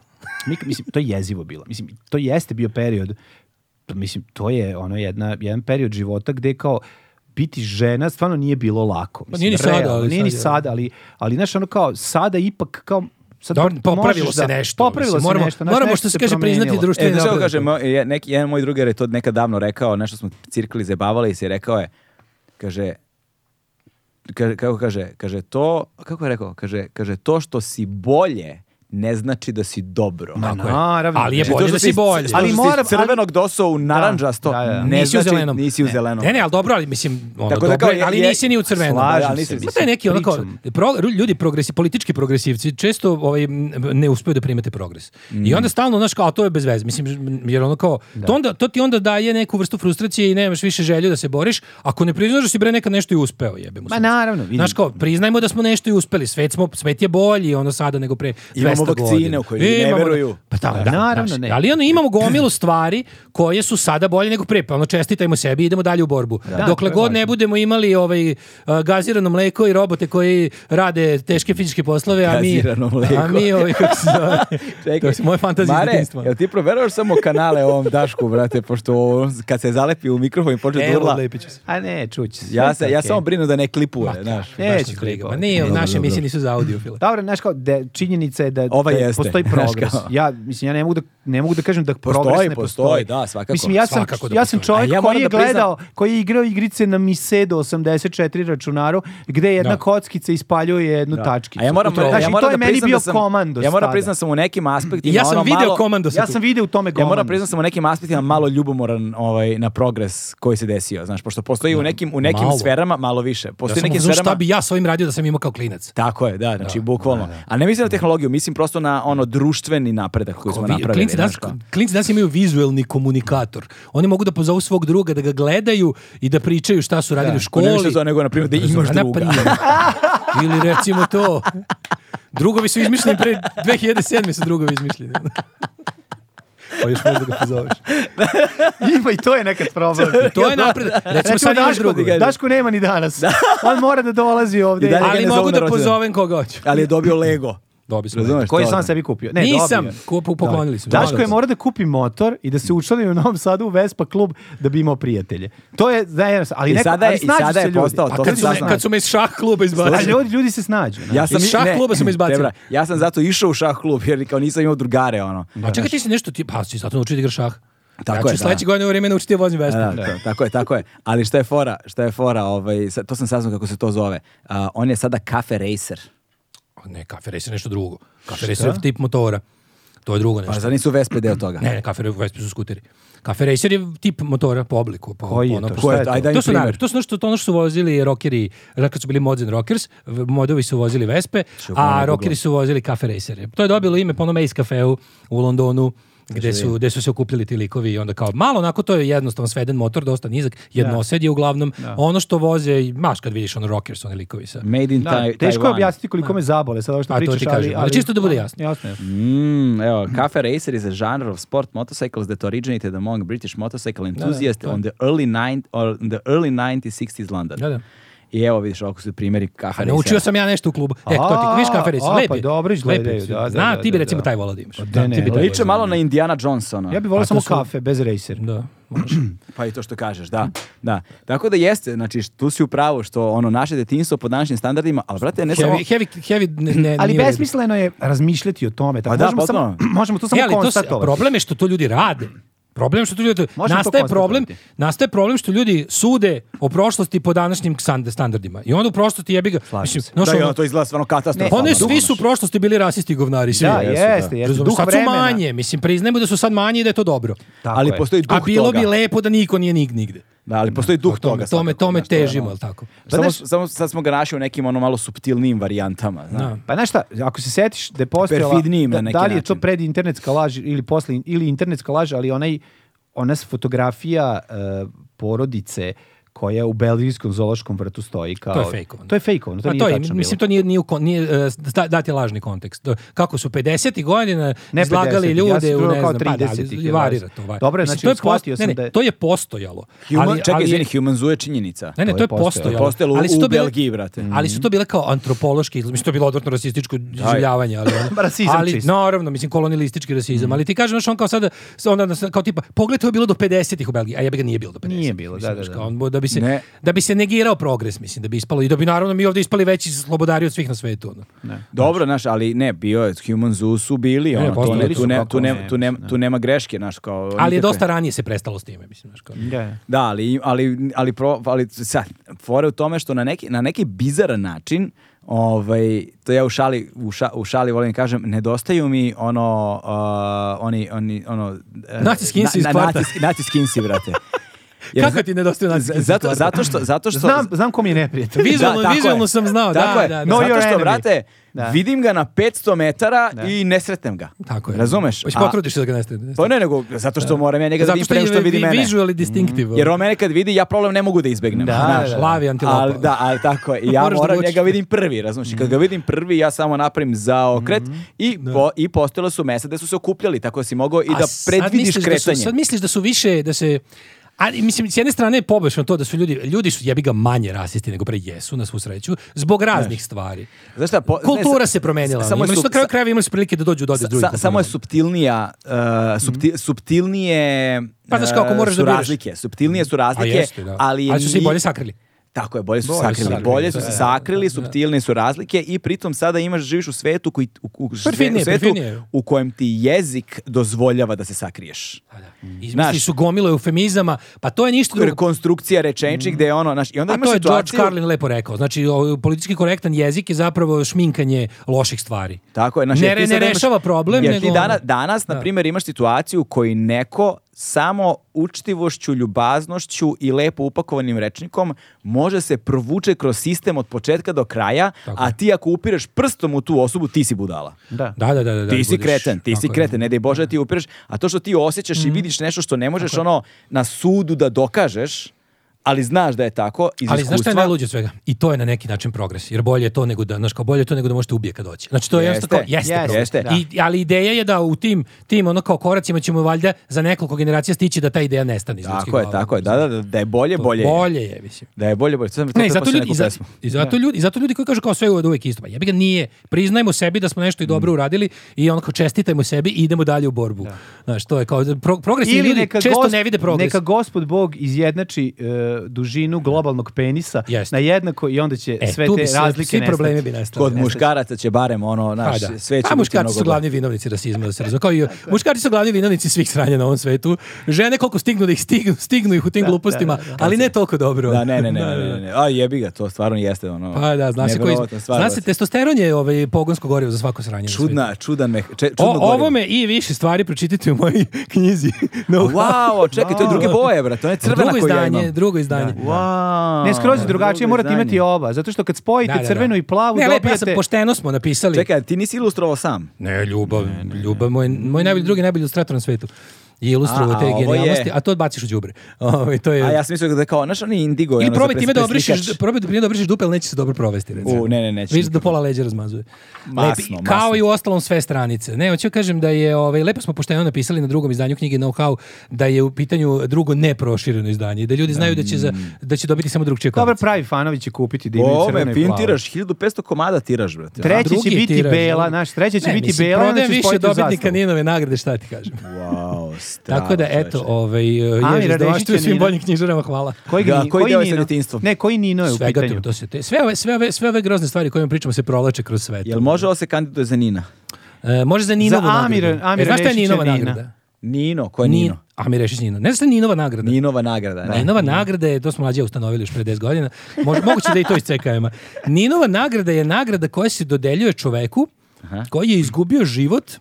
Speaker 3: Mi, mislim, to je jezivo bilo. Mislim, to jeste bio period, pa mislim, to je ono jedna, jedan period života gde kao biti žena stvarno nije bilo lako. Mislim,
Speaker 2: Pa nije ni sada,
Speaker 3: realno,
Speaker 2: ali
Speaker 3: nije ni
Speaker 2: sad je-
Speaker 3: sada, ali, ali znaš, ono kao, sada ipak kao, sad
Speaker 2: Dobro, popravilo
Speaker 3: možeš
Speaker 2: se
Speaker 3: da-
Speaker 2: nešto, ono,
Speaker 3: Popravilo
Speaker 2: mislim,
Speaker 3: se
Speaker 2: moramo-
Speaker 3: nešto. znaš,
Speaker 2: moramo,
Speaker 3: nešto
Speaker 2: što se
Speaker 3: se
Speaker 2: kaže,
Speaker 3: promenilo.
Speaker 2: priznati društvo-
Speaker 1: E,
Speaker 2: Što je
Speaker 1: znaš što
Speaker 2: napravio?
Speaker 1: kažem, moj- je- neki, jedan moj drugar je to nekad davno rekao, nešto smo cirkali, zabavali se i rekao je, kaže, ka- kako kaže, kaže to, kako je rekao, kaže, kaže to što si bolje ne znači da si dobro. Tako
Speaker 2: Tako je.
Speaker 3: naravno.
Speaker 2: Pa ali je
Speaker 3: Znači,
Speaker 1: To
Speaker 2: bolje
Speaker 1: što
Speaker 2: da
Speaker 1: si-
Speaker 2: si bolje.
Speaker 1: Ali
Speaker 3: Ali
Speaker 1: mora
Speaker 3: mora-
Speaker 1: crvenog dosa u narandžasto,
Speaker 3: Da, da, da.
Speaker 1: ne
Speaker 2: nisi
Speaker 1: znači
Speaker 2: u zelenom.
Speaker 1: nisi u zelenom.
Speaker 2: Ne, ne, ali dobro, ali mislim, ono,
Speaker 1: Tako da
Speaker 2: dobro,
Speaker 1: kao je-
Speaker 2: ali
Speaker 1: je-
Speaker 2: nisi ni u crvenom.
Speaker 1: Slažem
Speaker 2: Da, ali
Speaker 1: se,
Speaker 2: nisi-
Speaker 1: mislim,
Speaker 2: to je neki ono kao,
Speaker 3: pričam.
Speaker 2: pro- ljudi progresi, politički progresivci često ovaj, m, ne uspeju da primete progres. I
Speaker 1: Mm.
Speaker 2: onda stalno, znaš, kao, a to je bez veze. Mislim, jer ono kao, to, onda, to ti onda daje neku vrstu frustracije i nemaš više želju da se boriš. Ako ne priznaš da si bre nekad nešto i uspeo, jebe mu
Speaker 3: Ma
Speaker 2: sunce.
Speaker 3: naravno, vidim.
Speaker 2: Znaš kao, priznajmo da smo nešto i uspeli. Svet, smo, svet je bolji, ono sada nego pre 200
Speaker 1: Imamo vakcine
Speaker 2: godina.
Speaker 1: u koje ne
Speaker 2: Imamo, da.
Speaker 1: veruju.
Speaker 2: Pa tako,
Speaker 3: Da,
Speaker 2: da,
Speaker 3: naravno,
Speaker 2: znaš.
Speaker 3: ne.
Speaker 2: Ali ono imamo gomilu stvari koje su sada bolje nego pre, pa ono čestitajmo sebi i idemo dalje u borbu. Dokle
Speaker 3: to je
Speaker 2: god ne budemo imali ovaj a, gazirano mleko i robote koji rade teške fizičke poslove, a mi
Speaker 1: Gazirano mleko.
Speaker 2: a mi ovaj kako se zove. to su moje fantazije iz
Speaker 1: Mare,
Speaker 2: detinjstva.
Speaker 1: jel ti proveravaš samo kanale ovom Dašku, brate, pošto on kad se zalepi u mikrofon i počne da
Speaker 2: Evo,
Speaker 1: urla.
Speaker 2: lepiću se.
Speaker 3: A ne, čući se.
Speaker 1: Ja, se, ja
Speaker 3: Okej.
Speaker 1: samo brinu da ne klipuje, znaš.
Speaker 3: Ne,
Speaker 2: Baš
Speaker 3: ću
Speaker 2: nas briga. Ma
Speaker 3: klipovati.
Speaker 2: nije,
Speaker 1: Dobro,
Speaker 2: Pa naše
Speaker 1: dobro.
Speaker 2: emisije nisu za audiofile.
Speaker 3: Dobro, znaš kao, de, činjenica je da,
Speaker 1: Ova
Speaker 3: da
Speaker 1: jeste,
Speaker 3: postoji
Speaker 1: znaš
Speaker 3: progres.
Speaker 1: kao.
Speaker 3: Ja, mislim, ja ne mogu da, ne mogu da kažem da
Speaker 1: Postoji,
Speaker 3: progres ne
Speaker 1: postoji,
Speaker 3: postoji.
Speaker 1: da, svakako.
Speaker 3: Mislim, ja sam,
Speaker 2: Svakako da
Speaker 3: ja sam
Speaker 2: postoji.
Speaker 3: čovjek
Speaker 1: A ja moram
Speaker 3: koji je
Speaker 1: da priznam-
Speaker 3: gledao, koji je igrao igrice na Misedo 84 računaru, gde jedna
Speaker 2: Da.
Speaker 3: kockica ispaljuje jednu
Speaker 1: A
Speaker 3: tačkicu.
Speaker 1: ja moram,
Speaker 3: Znači,
Speaker 1: ja moram
Speaker 3: to je
Speaker 1: da
Speaker 3: meni
Speaker 1: priznam
Speaker 3: bio
Speaker 1: da sam,
Speaker 3: komando
Speaker 1: Ja moram
Speaker 3: stada.
Speaker 1: priznam da sam u nekim aspektima
Speaker 2: I ja sam
Speaker 1: ono
Speaker 2: video
Speaker 1: malo,
Speaker 2: komando sa
Speaker 3: Ja
Speaker 2: tu.
Speaker 3: sam video u tome
Speaker 1: Ja
Speaker 3: komando.
Speaker 1: moram priznam da sam u nekim aspektima malo ljubomoran ovaj, na progres koji se desio, znaš, pošto postoji u nekim, u nekim
Speaker 2: Malo.
Speaker 1: sferama malo više.
Speaker 2: Ja
Speaker 1: Postoji
Speaker 2: sam
Speaker 1: u nekim
Speaker 2: uzeo
Speaker 1: sferama...
Speaker 2: šta bi ja s ovim radio da sam imao kao klinac.
Speaker 1: Tako je, da, znači bukvalno. A ne mislim na tehnologiju, mislim prosto na ono društveni napredak koji smo
Speaker 2: Vi-
Speaker 1: napravili.
Speaker 2: Klinci
Speaker 1: znaš
Speaker 2: danas,
Speaker 1: kao.
Speaker 2: klinci danas imaju vizuelni komunikator. Oni mogu da pozovu svog druga, da ga gledaju i da pričaju šta su radili u školi.
Speaker 1: pa
Speaker 2: Pa
Speaker 1: Ne više to nego, na primjer, da imaš
Speaker 2: A,
Speaker 1: druga.
Speaker 2: naprimjer. Ili recimo to. Drugovi su izmišljeni pre 2007. su drugovi izmišljeni. Pa još možda ga pozoveš.
Speaker 3: Ima i to je nekad problem.
Speaker 2: To je napred. Recimo sad imaš
Speaker 3: Daško,
Speaker 2: drugovi.
Speaker 3: Daško nema ni danas. On mora da dolazi ovde.
Speaker 1: I dalje-
Speaker 2: Ali
Speaker 1: ne zovu
Speaker 2: mogu
Speaker 1: na
Speaker 2: da
Speaker 1: rođendan.
Speaker 2: pozovem koga hoću.
Speaker 1: Ali je dobio Lego.
Speaker 2: Dobio sam.
Speaker 1: Razumeš?
Speaker 3: Koji
Speaker 1: to,
Speaker 3: sam
Speaker 1: da.
Speaker 3: sebi kupio? Ne,
Speaker 2: Nisam.
Speaker 3: dobio je.
Speaker 2: Kupu, poklonili su.
Speaker 3: Daško
Speaker 2: Molim
Speaker 3: je
Speaker 2: vas.
Speaker 3: morao da kupi motor i da se učlani u Novom Sadu u Vespa klub da bi imao prijatelje. To je zajedno, ali
Speaker 1: I
Speaker 3: neko,
Speaker 1: sada je-
Speaker 3: ali
Speaker 1: i
Speaker 3: snađu
Speaker 1: sada
Speaker 3: se
Speaker 1: je
Speaker 3: ljudi.
Speaker 1: postao
Speaker 3: A
Speaker 1: to
Speaker 3: kad
Speaker 2: Pa Kad su,
Speaker 3: su
Speaker 2: me,
Speaker 1: saznali.
Speaker 2: kad su me iz šah kluba
Speaker 3: A
Speaker 2: izbacili.
Speaker 3: ljudi, ljudi se snađu. znaš.
Speaker 1: Ja sam
Speaker 2: Iz šah
Speaker 1: ne,
Speaker 2: kluba su me izbacili.
Speaker 1: Debra, ja sam zato išao u šah klub jer kao nisam imao drugare ono.
Speaker 2: A čekaj, ti si nešto, ti, pa si zato naučiti da igraš šah.
Speaker 1: Tako
Speaker 2: ja ću
Speaker 1: je, da.
Speaker 2: sledeće godine u vreme naučiti da vozim Vespu.
Speaker 1: Da, da, to- tako je, tako je. Ali šta je fora? Šta je fora? Ovaj, sa- to sam saznao kako se to zove. A, on je sada kafe racer.
Speaker 2: Ne, kafe racer je nešto drugo. Kafe racer je tip motora. To je drugo
Speaker 1: Pa
Speaker 2: nešto.
Speaker 1: zar nisu Vespe deo toga?
Speaker 2: Ne, ne, kafe Vespa su skuteri. Kafe racer je tip motora po obliku. Po,
Speaker 3: Koji
Speaker 2: po
Speaker 3: je
Speaker 2: ono,
Speaker 3: to?
Speaker 2: po
Speaker 3: Koji je
Speaker 2: svetu.
Speaker 1: to? Ajde, daj mi
Speaker 2: to su
Speaker 1: primer.
Speaker 2: naravno, to su nešto, to ono što su vozili rockeri, znači kad su bili Mods and Rockers, v- modovi su vozili Vespe,
Speaker 1: Čekaj, moram
Speaker 2: a
Speaker 1: da
Speaker 2: rockeri su vozili kafe racere. To je dobilo ime po onom Ace kafeu u Londonu gde su, gde su se okupljali ti likovi i onda kao malo onako to je jednostavan sveden motor, dosta nizak, jednosed je uglavnom. Ono što voze, i maš kad vidiš ono rockers, oni likovi sa...
Speaker 1: Made in
Speaker 3: Da,
Speaker 1: Taj-
Speaker 3: teško je
Speaker 1: Taiwan.
Speaker 3: objasniti koliko me zabole sad ovo što
Speaker 2: Pa, to ti
Speaker 3: pričaš, ali,
Speaker 2: kažem, ali čisto da bude jasno.
Speaker 3: Jasno je.
Speaker 1: Mm, evo, Cafe Racer is a genre of sport motorcycles that originated among British motorcycle enthusiasts on the early 90 or on the early 1960s London.
Speaker 2: Da, da.
Speaker 1: I evo vidiš ovako su primeri Cafe
Speaker 2: Pa
Speaker 1: Racera.
Speaker 2: naučio sam ja nešto u klubu. E, to ti,
Speaker 3: A,
Speaker 2: viš kafe resa,
Speaker 3: a,
Speaker 2: lepi.
Speaker 3: pa dobro izgledaju,
Speaker 2: Lepi su.
Speaker 3: da, da,
Speaker 2: Zna,
Speaker 3: da,
Speaker 2: ti bi
Speaker 3: da,
Speaker 2: recimo
Speaker 3: da.
Speaker 2: taj vola da imaš.
Speaker 3: ne,
Speaker 2: ti bi taj
Speaker 1: Liče
Speaker 2: vola da
Speaker 1: malo na Indiana Johnsona.
Speaker 3: Ja bih volio
Speaker 2: Pa, to
Speaker 3: samo
Speaker 2: su-
Speaker 3: kafe, bez racer.
Speaker 2: imaš. Da, može.
Speaker 1: Pa i to što kažeš, da. da. Tako da jeste, znači tu si u pravu što ono naše detinjstvo po današnjim standardima, ali brate, ne samo...
Speaker 2: Heavy, heavy, heavy ne, ne,
Speaker 3: Ali
Speaker 2: nije u redu.
Speaker 3: besmisleno je razmišljati o tome. Tako
Speaker 1: Pa da,
Speaker 3: možemo, samo,
Speaker 1: potpuno.
Speaker 3: možemo tu samo
Speaker 2: E, ali to se-
Speaker 3: konstatovati.
Speaker 2: problem je što to ljudi rade. Problem je što to ljudi
Speaker 3: Možemo to
Speaker 2: nastaje problem,
Speaker 3: konstatovati.
Speaker 2: nastaje problem što ljudi sude o prošlosti po današnjim sand- standardima. I onda u prošlosti jebi ga. Mislim,
Speaker 1: Da,
Speaker 2: znaš,
Speaker 1: i
Speaker 2: ono-
Speaker 1: ono, to izgleda stvarno
Speaker 2: Pa
Speaker 1: katastrofalno.
Speaker 2: ne, svi su u prošlosti bili rasisti i govnari, svi.
Speaker 3: Da,
Speaker 1: jesu, da.
Speaker 3: jeste, jeste.
Speaker 2: Razumeš,
Speaker 3: Duh
Speaker 2: sad su
Speaker 3: vremena.
Speaker 2: manje, mislim, priznajmo da su sad manje i da je to dobro.
Speaker 3: Tako
Speaker 1: ali
Speaker 3: je.
Speaker 1: postoji duh
Speaker 2: A bilo
Speaker 1: toga.
Speaker 2: bi Pa lepo da niko nije nig nigde.
Speaker 1: Da, ali postoji duh
Speaker 2: Tome,
Speaker 1: toga.
Speaker 2: tome,
Speaker 1: svakako,
Speaker 2: tome
Speaker 1: znaš, to je ono-
Speaker 2: težimo, Pa jel tako?
Speaker 1: Samo,
Speaker 3: Pa znaš-
Speaker 1: samo sad smo ga našli u nekim ono malo suptilnim varijantama. znaš.
Speaker 2: Da.
Speaker 3: Pa znaš šta, ako se setiš da je postojala,
Speaker 1: Perfidnijim na
Speaker 3: da,
Speaker 1: neki
Speaker 3: da li je to
Speaker 1: način.
Speaker 3: pred internetska laž ili posle, ili internetska laž, ali onaj, ona s fotografija e, porodice koja u belgijskom zoološkom vrtu stoji kao...
Speaker 2: To je fejkovano.
Speaker 3: To je fejkovano, Ono, to
Speaker 2: Pa
Speaker 3: nije
Speaker 2: to je,
Speaker 3: tačno
Speaker 2: mislim,
Speaker 3: bilo.
Speaker 2: to nije, nije, u kon- nije e, da- dati lažni kontekst. To- Kako su 50. godina
Speaker 3: Ne 50-ih,
Speaker 2: izlagali
Speaker 3: ja
Speaker 2: ljude
Speaker 3: sam
Speaker 2: u
Speaker 3: čuo
Speaker 2: ne
Speaker 3: kao
Speaker 2: znam, pa da,
Speaker 3: 30-ih,
Speaker 2: ali
Speaker 3: jel'
Speaker 2: varira
Speaker 3: vas?
Speaker 2: to. varira.
Speaker 3: Dobro,
Speaker 2: Mislim,
Speaker 3: znači,
Speaker 2: to je post-
Speaker 3: shvatio sam
Speaker 2: ne, ne,
Speaker 3: da je-
Speaker 2: To je postojalo.
Speaker 1: Human,
Speaker 2: ali-
Speaker 1: čekaj,
Speaker 2: ali-
Speaker 1: izvini, Human Zoo je činjenica.
Speaker 2: Ne, ne, to je
Speaker 3: postojalo.
Speaker 2: postojalo.
Speaker 1: Postojalo
Speaker 2: ali su
Speaker 1: u
Speaker 2: to bile- Mm-hmm.
Speaker 1: Belgiji, brate.
Speaker 2: Ali su to bile kao antropološki, izgled- mislim to je bilo odvratno rasističko življavanje, ali ono-
Speaker 3: Rasizam
Speaker 2: ali
Speaker 3: čist.
Speaker 2: naravno, mislim kolonijalistički
Speaker 1: Mm-hmm.
Speaker 2: rasizam, ali ti kažeš znaš, on kao sada onda nas- kao tipa pogledaj to je bilo do 50-ih u Belgiji, a jebe ga nije bilo do 50-ih.
Speaker 3: Nije bilo,
Speaker 2: mislim,
Speaker 3: da, da,
Speaker 2: znaš,
Speaker 3: da.
Speaker 2: kao on bo- da bi se
Speaker 1: Ne.
Speaker 2: da bi se negirao progres, mislim, da bi ispalo i da bi naravno mi ovdje ispali veći slobodari od svih na svetu. ono.
Speaker 1: Dobro, znaš, ali ne, bio je, Human Zoo su bili, ono, to
Speaker 2: postojali
Speaker 1: ne,
Speaker 3: su,
Speaker 1: tu, ne,
Speaker 3: kako
Speaker 1: tu, ne,
Speaker 3: ne,
Speaker 1: tu, ne, tu nema greške, znaš, kao...
Speaker 2: Ali je
Speaker 1: nikakve.
Speaker 2: dosta ranije se prestalo s time, mislim, znaš, kao.
Speaker 3: Da.
Speaker 1: Da, ali, ali, ali, pro, ali sad, fore u tome što na neki, na neki bizaran način, ovaj, to ja u šali, u, ša- u šali volim kažem, nedostaju mi ono, uh, oni, oni, ono... eh,
Speaker 2: Nazi skinsi iz kvarta.
Speaker 1: nazi- nazi skinsi, brate. Jer
Speaker 2: Kako
Speaker 1: za-
Speaker 2: ti nedostaju nazi
Speaker 1: za-
Speaker 2: skinsi iz
Speaker 1: zato,
Speaker 2: kvarta?
Speaker 1: zato što, zato što,
Speaker 3: Znam, znam ko mi je neprijatelj.
Speaker 2: Vi- Vizualno-
Speaker 1: tako
Speaker 2: vizualno
Speaker 1: je.
Speaker 2: sam znao, da,
Speaker 1: Tako je.
Speaker 2: da, da.
Speaker 1: Zato
Speaker 3: Know your
Speaker 1: što,
Speaker 3: enemy.
Speaker 1: brate,
Speaker 3: Da.
Speaker 1: vidim ga na 500 metara i ne sretnem ga.
Speaker 2: Tako je.
Speaker 1: Razumeš?
Speaker 2: Hoćeš
Speaker 1: A-
Speaker 2: potrudiš se da ga ne stavite?
Speaker 1: Pa ne, nego zato što moram ja njega da
Speaker 2: Zato
Speaker 1: vidim
Speaker 2: što
Speaker 1: pre nego što
Speaker 2: je
Speaker 1: vidi
Speaker 2: vi-
Speaker 1: mene. Mhm.
Speaker 2: visually distinctive.
Speaker 1: Jer on mene kad vidi, ja problem ne mogu da izbegnem.
Speaker 3: Da,
Speaker 1: znaš.
Speaker 3: da,
Speaker 2: Lavi antilopa.
Speaker 1: Ali, da, ali tako je. I Ja
Speaker 2: Moraš da
Speaker 1: moram,
Speaker 2: vučeš.
Speaker 1: ja ga vidim prvi, razumiješ? Kad ga vidim prvi, ja samo napravim zaokret
Speaker 2: Mhm.
Speaker 1: i, po, i postojala su mesta gde su se okupljali, tako da si mogao i
Speaker 2: A
Speaker 1: da
Speaker 2: sad
Speaker 1: predvidiš
Speaker 2: misliš Da su,
Speaker 1: kretanje.
Speaker 2: sad misliš da su više, da se... Ali, mislim, s jedne strane je pobešno to da su ljudi, ljudi su jebi ga manje rasisti nego pre jesu, na svu sreću, zbog raznih stvari.
Speaker 1: Znaš šta, po- ne,
Speaker 2: Kultura
Speaker 1: sa-
Speaker 2: se promenila.
Speaker 1: samo
Speaker 2: Samo
Speaker 1: je
Speaker 2: imali su
Speaker 1: su-
Speaker 2: na kraju krajeva imali su prilike da dođu do drugih.
Speaker 1: Sa-
Speaker 2: kultura.
Speaker 1: samo je suptilnija, uh,
Speaker 2: Mhm.
Speaker 1: supti- suptilnije
Speaker 2: Pa znaš kako
Speaker 1: uh,
Speaker 2: moraš
Speaker 1: su
Speaker 2: da biraš.
Speaker 1: razlike. Suptilnije su
Speaker 2: Mhm. A
Speaker 1: razlike,
Speaker 2: jeste, da.
Speaker 1: ali,
Speaker 2: Ali su se i
Speaker 1: ni-
Speaker 2: bolje sakrili.
Speaker 1: Tako je, bolje su
Speaker 2: Bolje su
Speaker 1: sakrili.
Speaker 2: sakrili,
Speaker 1: bolje su se
Speaker 2: da,
Speaker 1: sakrili,
Speaker 2: da.
Speaker 1: suptilnije su razlike i pritom sada imaš, živiš u svetu, koji, u, u, sve- u
Speaker 2: Perfidnije,
Speaker 1: svetu
Speaker 2: perfidnije.
Speaker 1: u kojem ti jezik dozvoljava da se sakriješ.
Speaker 2: Da, da. Izmislili
Speaker 1: Znaš-
Speaker 2: su gomilo eufemizama, pa to je ništa drugo. Mhm.
Speaker 1: Rekonstrukcija rečeničnih gde je ono, znaš, i onda
Speaker 2: A
Speaker 1: imaš
Speaker 2: to je George
Speaker 1: situaciju...
Speaker 2: Carlin lepo rekao. Znači, o, politički korektan jezik je zapravo šminkanje loših stvari.
Speaker 1: Tako je, znaš,
Speaker 2: Ne
Speaker 1: jer ti
Speaker 2: re- ne
Speaker 1: sad imaš-
Speaker 2: rešava problem,
Speaker 1: jer
Speaker 2: nego
Speaker 1: ti
Speaker 2: ono-
Speaker 1: dana- danas, na
Speaker 2: Da.
Speaker 1: primjer, imaš situaciju u kojoj neko samo učtivošću, ljubaznošću i lepo upakovanim rečnikom može se provuče kroz sistem od početka do kraja,
Speaker 2: Tako
Speaker 1: a
Speaker 2: je.
Speaker 1: ti ako upireš prstom u tu osobu, ti si budala.
Speaker 3: Da.
Speaker 2: Da, da, da. da
Speaker 1: ti si
Speaker 2: budiš-
Speaker 1: kreten, ti si
Speaker 2: Tako je. Mhm.
Speaker 1: kreten, ne daj Bože da ti upireš, a to što ti osjećaš i vidiš nešto što ne možeš ono na sudu da dokažeš, ali znaš da je tako iz
Speaker 2: Ali znaš šta je
Speaker 1: iskustva.
Speaker 2: najluđe od svega? I to je na neki način progres, jer bolje je to nego da, znaš, kao bolje je to nego da možete ubije kad doći. Znači to je
Speaker 1: Jeste,
Speaker 2: jednostavno kao, jeste,
Speaker 3: jeste,
Speaker 2: progres.
Speaker 1: jeste.
Speaker 2: I, ali ideja je da u tim, tim ono kao koracima ćemo valjda za nekoliko generacija stići da ta ideja nestane iz ljudskih
Speaker 1: Tako je,
Speaker 2: glava.
Speaker 1: tako je, da, da, da, da je bolje, bolje. je.
Speaker 2: Bolje je, mislim.
Speaker 1: Da je bolje, bolje. Sad sam
Speaker 2: Ne, i
Speaker 1: to
Speaker 2: zato
Speaker 1: preposlao
Speaker 2: ljudi,
Speaker 1: neku
Speaker 2: i, za,
Speaker 1: pesmu.
Speaker 2: i zato ljudi, i zato ljudi koji kažu kao sve je od uvek isto, pa jebi ga nije. Priznajmo sebi da smo nešto i
Speaker 1: Mm.
Speaker 2: dobro uradili i onako čestitajmo sebi i idemo dalje u borbu. Znaš, to je kao pro, progresivni
Speaker 3: Ili
Speaker 2: ljudi
Speaker 3: neka,
Speaker 2: često
Speaker 3: gos-
Speaker 2: ne vide progres.
Speaker 3: neka gospod Bog izjednači e, dužinu globalnog penisa
Speaker 2: Jeste.
Speaker 3: na jednako i onda će
Speaker 2: E,
Speaker 3: sve
Speaker 2: tu
Speaker 3: te
Speaker 2: bi se-
Speaker 3: razlike
Speaker 2: svi
Speaker 3: nestati.
Speaker 2: problemi bi nestali.
Speaker 1: Kod muškaraca će barem ono, naš,
Speaker 2: Pa da.
Speaker 1: sve će
Speaker 2: A
Speaker 1: biti
Speaker 2: muškarci
Speaker 1: mnogo
Speaker 2: su glavni vinovnici rasizma, da se razume. Kao i, muškarci su glavni vinovnici svih sranja na ovom svetu. Žene koliko stignu da ih stignu, stignu ih u tim glupostima, ali ne toliko dobro.
Speaker 1: Da, ne, ne, ne,
Speaker 2: Da,
Speaker 1: ne,
Speaker 2: da.
Speaker 1: ne, ne. A jebi ga, to stvarno jeste ono.
Speaker 2: Pa da, zna se koji...
Speaker 1: nevjerovatna stvar,
Speaker 2: Zna se,
Speaker 1: brate.
Speaker 2: testosteron je ovaj, pogonsko gorivo za svako sranje na svetu.
Speaker 1: Čudna, čudan me, če, čudno
Speaker 2: O,
Speaker 1: gorivo.
Speaker 2: ovome i više stvari pročitajte u mojoj knjizi. No,
Speaker 1: Wow, čekaj, to je druge boje, brate, to je crvena
Speaker 2: drugo
Speaker 1: koju ja
Speaker 2: izdanje,
Speaker 1: imam.
Speaker 2: drugo izdanje.
Speaker 1: Wow.
Speaker 3: Ne, skroz je drugačije, morate imati
Speaker 2: ovaj-
Speaker 3: oba. Zato što kad spojite
Speaker 2: Da, da, da.
Speaker 3: crvenu i plavu,
Speaker 2: Ne, lepo, ja sam,
Speaker 3: dobijate...
Speaker 2: pošteno smo napisali.
Speaker 1: Čekaj, ti nisi ilustrovao sam.
Speaker 2: Ne, ljubav, ljubav, moj, moj najbolji, drugi najbolji ilustrator na svetu. I
Speaker 1: A, a
Speaker 2: ilustrovao te
Speaker 1: ovo je-
Speaker 2: genijalnosti, a to odbaciš u đubre. Ovaj, to je...
Speaker 1: A ja sam mislio da je kao, znaš, oni indigo. ono
Speaker 2: Ili
Speaker 1: za
Speaker 2: probaj
Speaker 1: pres-
Speaker 2: time da
Speaker 1: preslikač.
Speaker 2: obrišeš, probaj time da obrišeš dupe, ali neće se dobro provesti. Recimo.
Speaker 1: U, ne, ne, neće
Speaker 2: Viš da
Speaker 1: nikako.
Speaker 2: pola leđa razmazuje.
Speaker 1: Masno,
Speaker 2: Lepi-
Speaker 1: masno.
Speaker 2: Kao i u ostalom sve stranice. Ne, hoću kažem da je, ovaj, lepo smo pošteno napisali na drugom izdanju knjige Know-how, da je u pitanju drugo neprošireno izdanje. i Da ljudi znaju da će, za, da će dobiti samo drugčije
Speaker 3: Dobro,
Speaker 2: kovac.
Speaker 3: pravi fanovi će kupiti
Speaker 2: pa-
Speaker 3: da imaju crvenu i
Speaker 1: Ome,
Speaker 3: plavu.
Speaker 1: pintiraš, 1500 komada tiraš, brate.
Speaker 3: Treći će
Speaker 2: Drugi
Speaker 3: biti
Speaker 2: tiraž,
Speaker 3: bela,
Speaker 2: da.
Speaker 3: znaš, treći će
Speaker 2: Ne,
Speaker 3: biti
Speaker 2: mislim,
Speaker 3: bela, onda
Speaker 2: prodajem
Speaker 3: će
Speaker 2: više
Speaker 3: spojiti
Speaker 2: dobitnika
Speaker 3: zastavu.
Speaker 2: Ninove nagrade, šta ti kažem.
Speaker 1: Wow, strava.
Speaker 2: Tako da, eto,
Speaker 1: čoveče.
Speaker 2: ovaj, jež
Speaker 3: Radešić
Speaker 2: izdavaštvo je
Speaker 3: je
Speaker 2: svim
Speaker 3: Nina.
Speaker 2: boljim knjižarama, hvala.
Speaker 3: Koji,
Speaker 1: Da,
Speaker 3: Ni-
Speaker 1: koji deo je
Speaker 3: Nino?
Speaker 1: sredinstvo?
Speaker 3: Ne, koji Nino je u
Speaker 2: Svega tu,
Speaker 3: pitanju?
Speaker 2: to se te, sve, ove, sve, ove, sve ove grozne stvari kojima pričamo se provlače kroz sve. to.
Speaker 1: Jel može ovo se kandiduje za Nina?
Speaker 2: E, može za Ninovu
Speaker 3: Za Amira-
Speaker 2: nagradu.
Speaker 3: Amira
Speaker 2: E, znaš šta je
Speaker 3: Rešića
Speaker 2: Ninova
Speaker 3: Nina?
Speaker 2: nagrada?
Speaker 1: Nino, ko je
Speaker 2: Ni-
Speaker 1: Nino?
Speaker 2: Amir Rešić Nino. Ne znaš šta je Ninova nagrada?
Speaker 1: Ninova nagrada, ne?
Speaker 2: Ninova nagrada je, to smo mlađe ustanovili još pre 10 godina, Mož, moguće da je i to iz CKM-a. Ninova nagrada je nagrada koja se dodeljuje čoveku koji je izgubio život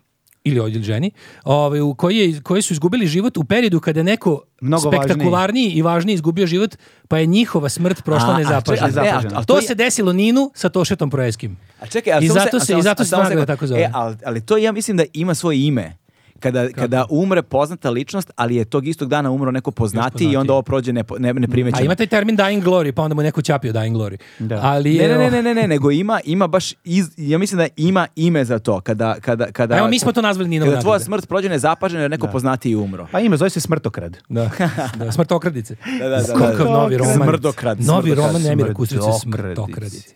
Speaker 2: ili odjel ženi, ovaj, u koji, je, koji su izgubili život u periodu kada je neko
Speaker 3: Mnogo
Speaker 2: spektakularniji i važniji izgubio život, pa je njihova smrt
Speaker 1: A,
Speaker 2: prošla
Speaker 1: a,
Speaker 2: nezapažena.
Speaker 1: čekaj, a, ne, a- a
Speaker 2: to,
Speaker 1: to je-
Speaker 2: se desilo Ninu sa Tošetom Proeskim.
Speaker 1: A čekaj, a
Speaker 2: I
Speaker 1: samo
Speaker 2: zato
Speaker 1: a
Speaker 2: se-
Speaker 1: samo-
Speaker 2: i zato
Speaker 1: a
Speaker 2: se
Speaker 1: samo
Speaker 2: nagrada
Speaker 1: sekund.
Speaker 2: tako zove.
Speaker 1: E, ali, ali to ja mislim da ima svoje ime. Kada, kada umre poznata ličnost, ali je tog istog dana umro neko poznatiji i
Speaker 2: poznatiji.
Speaker 1: onda ovo prođe nepo- ne,
Speaker 2: A
Speaker 1: neprimećeno.
Speaker 2: ima taj termin Dying Glory, pa onda mu je neko ćapio Dying Glory.
Speaker 3: Da.
Speaker 2: Ali
Speaker 1: Ne,
Speaker 2: je,
Speaker 1: ne, ne, ne, ne, ne, nego ima, ima baš, iz, ja mislim da ima ime za to, kada, kada, kada,
Speaker 2: Evo, mi smo to nazvali Ninova
Speaker 1: kada tvoja
Speaker 2: nagrada.
Speaker 1: smrt prođe nezapažena jer neko poznatiji umro.
Speaker 3: Pa ima, zove se Smrtokrad.
Speaker 2: Da, da, smrtokradice.
Speaker 1: Da, da, da,
Speaker 2: Kakav
Speaker 1: da.
Speaker 2: novi roman.
Speaker 1: Smrdokrad,
Speaker 2: Novi
Speaker 1: smrdokrad,
Speaker 2: roman Nemira Kusturice,
Speaker 3: smrdokradice.
Speaker 2: smrtokradice.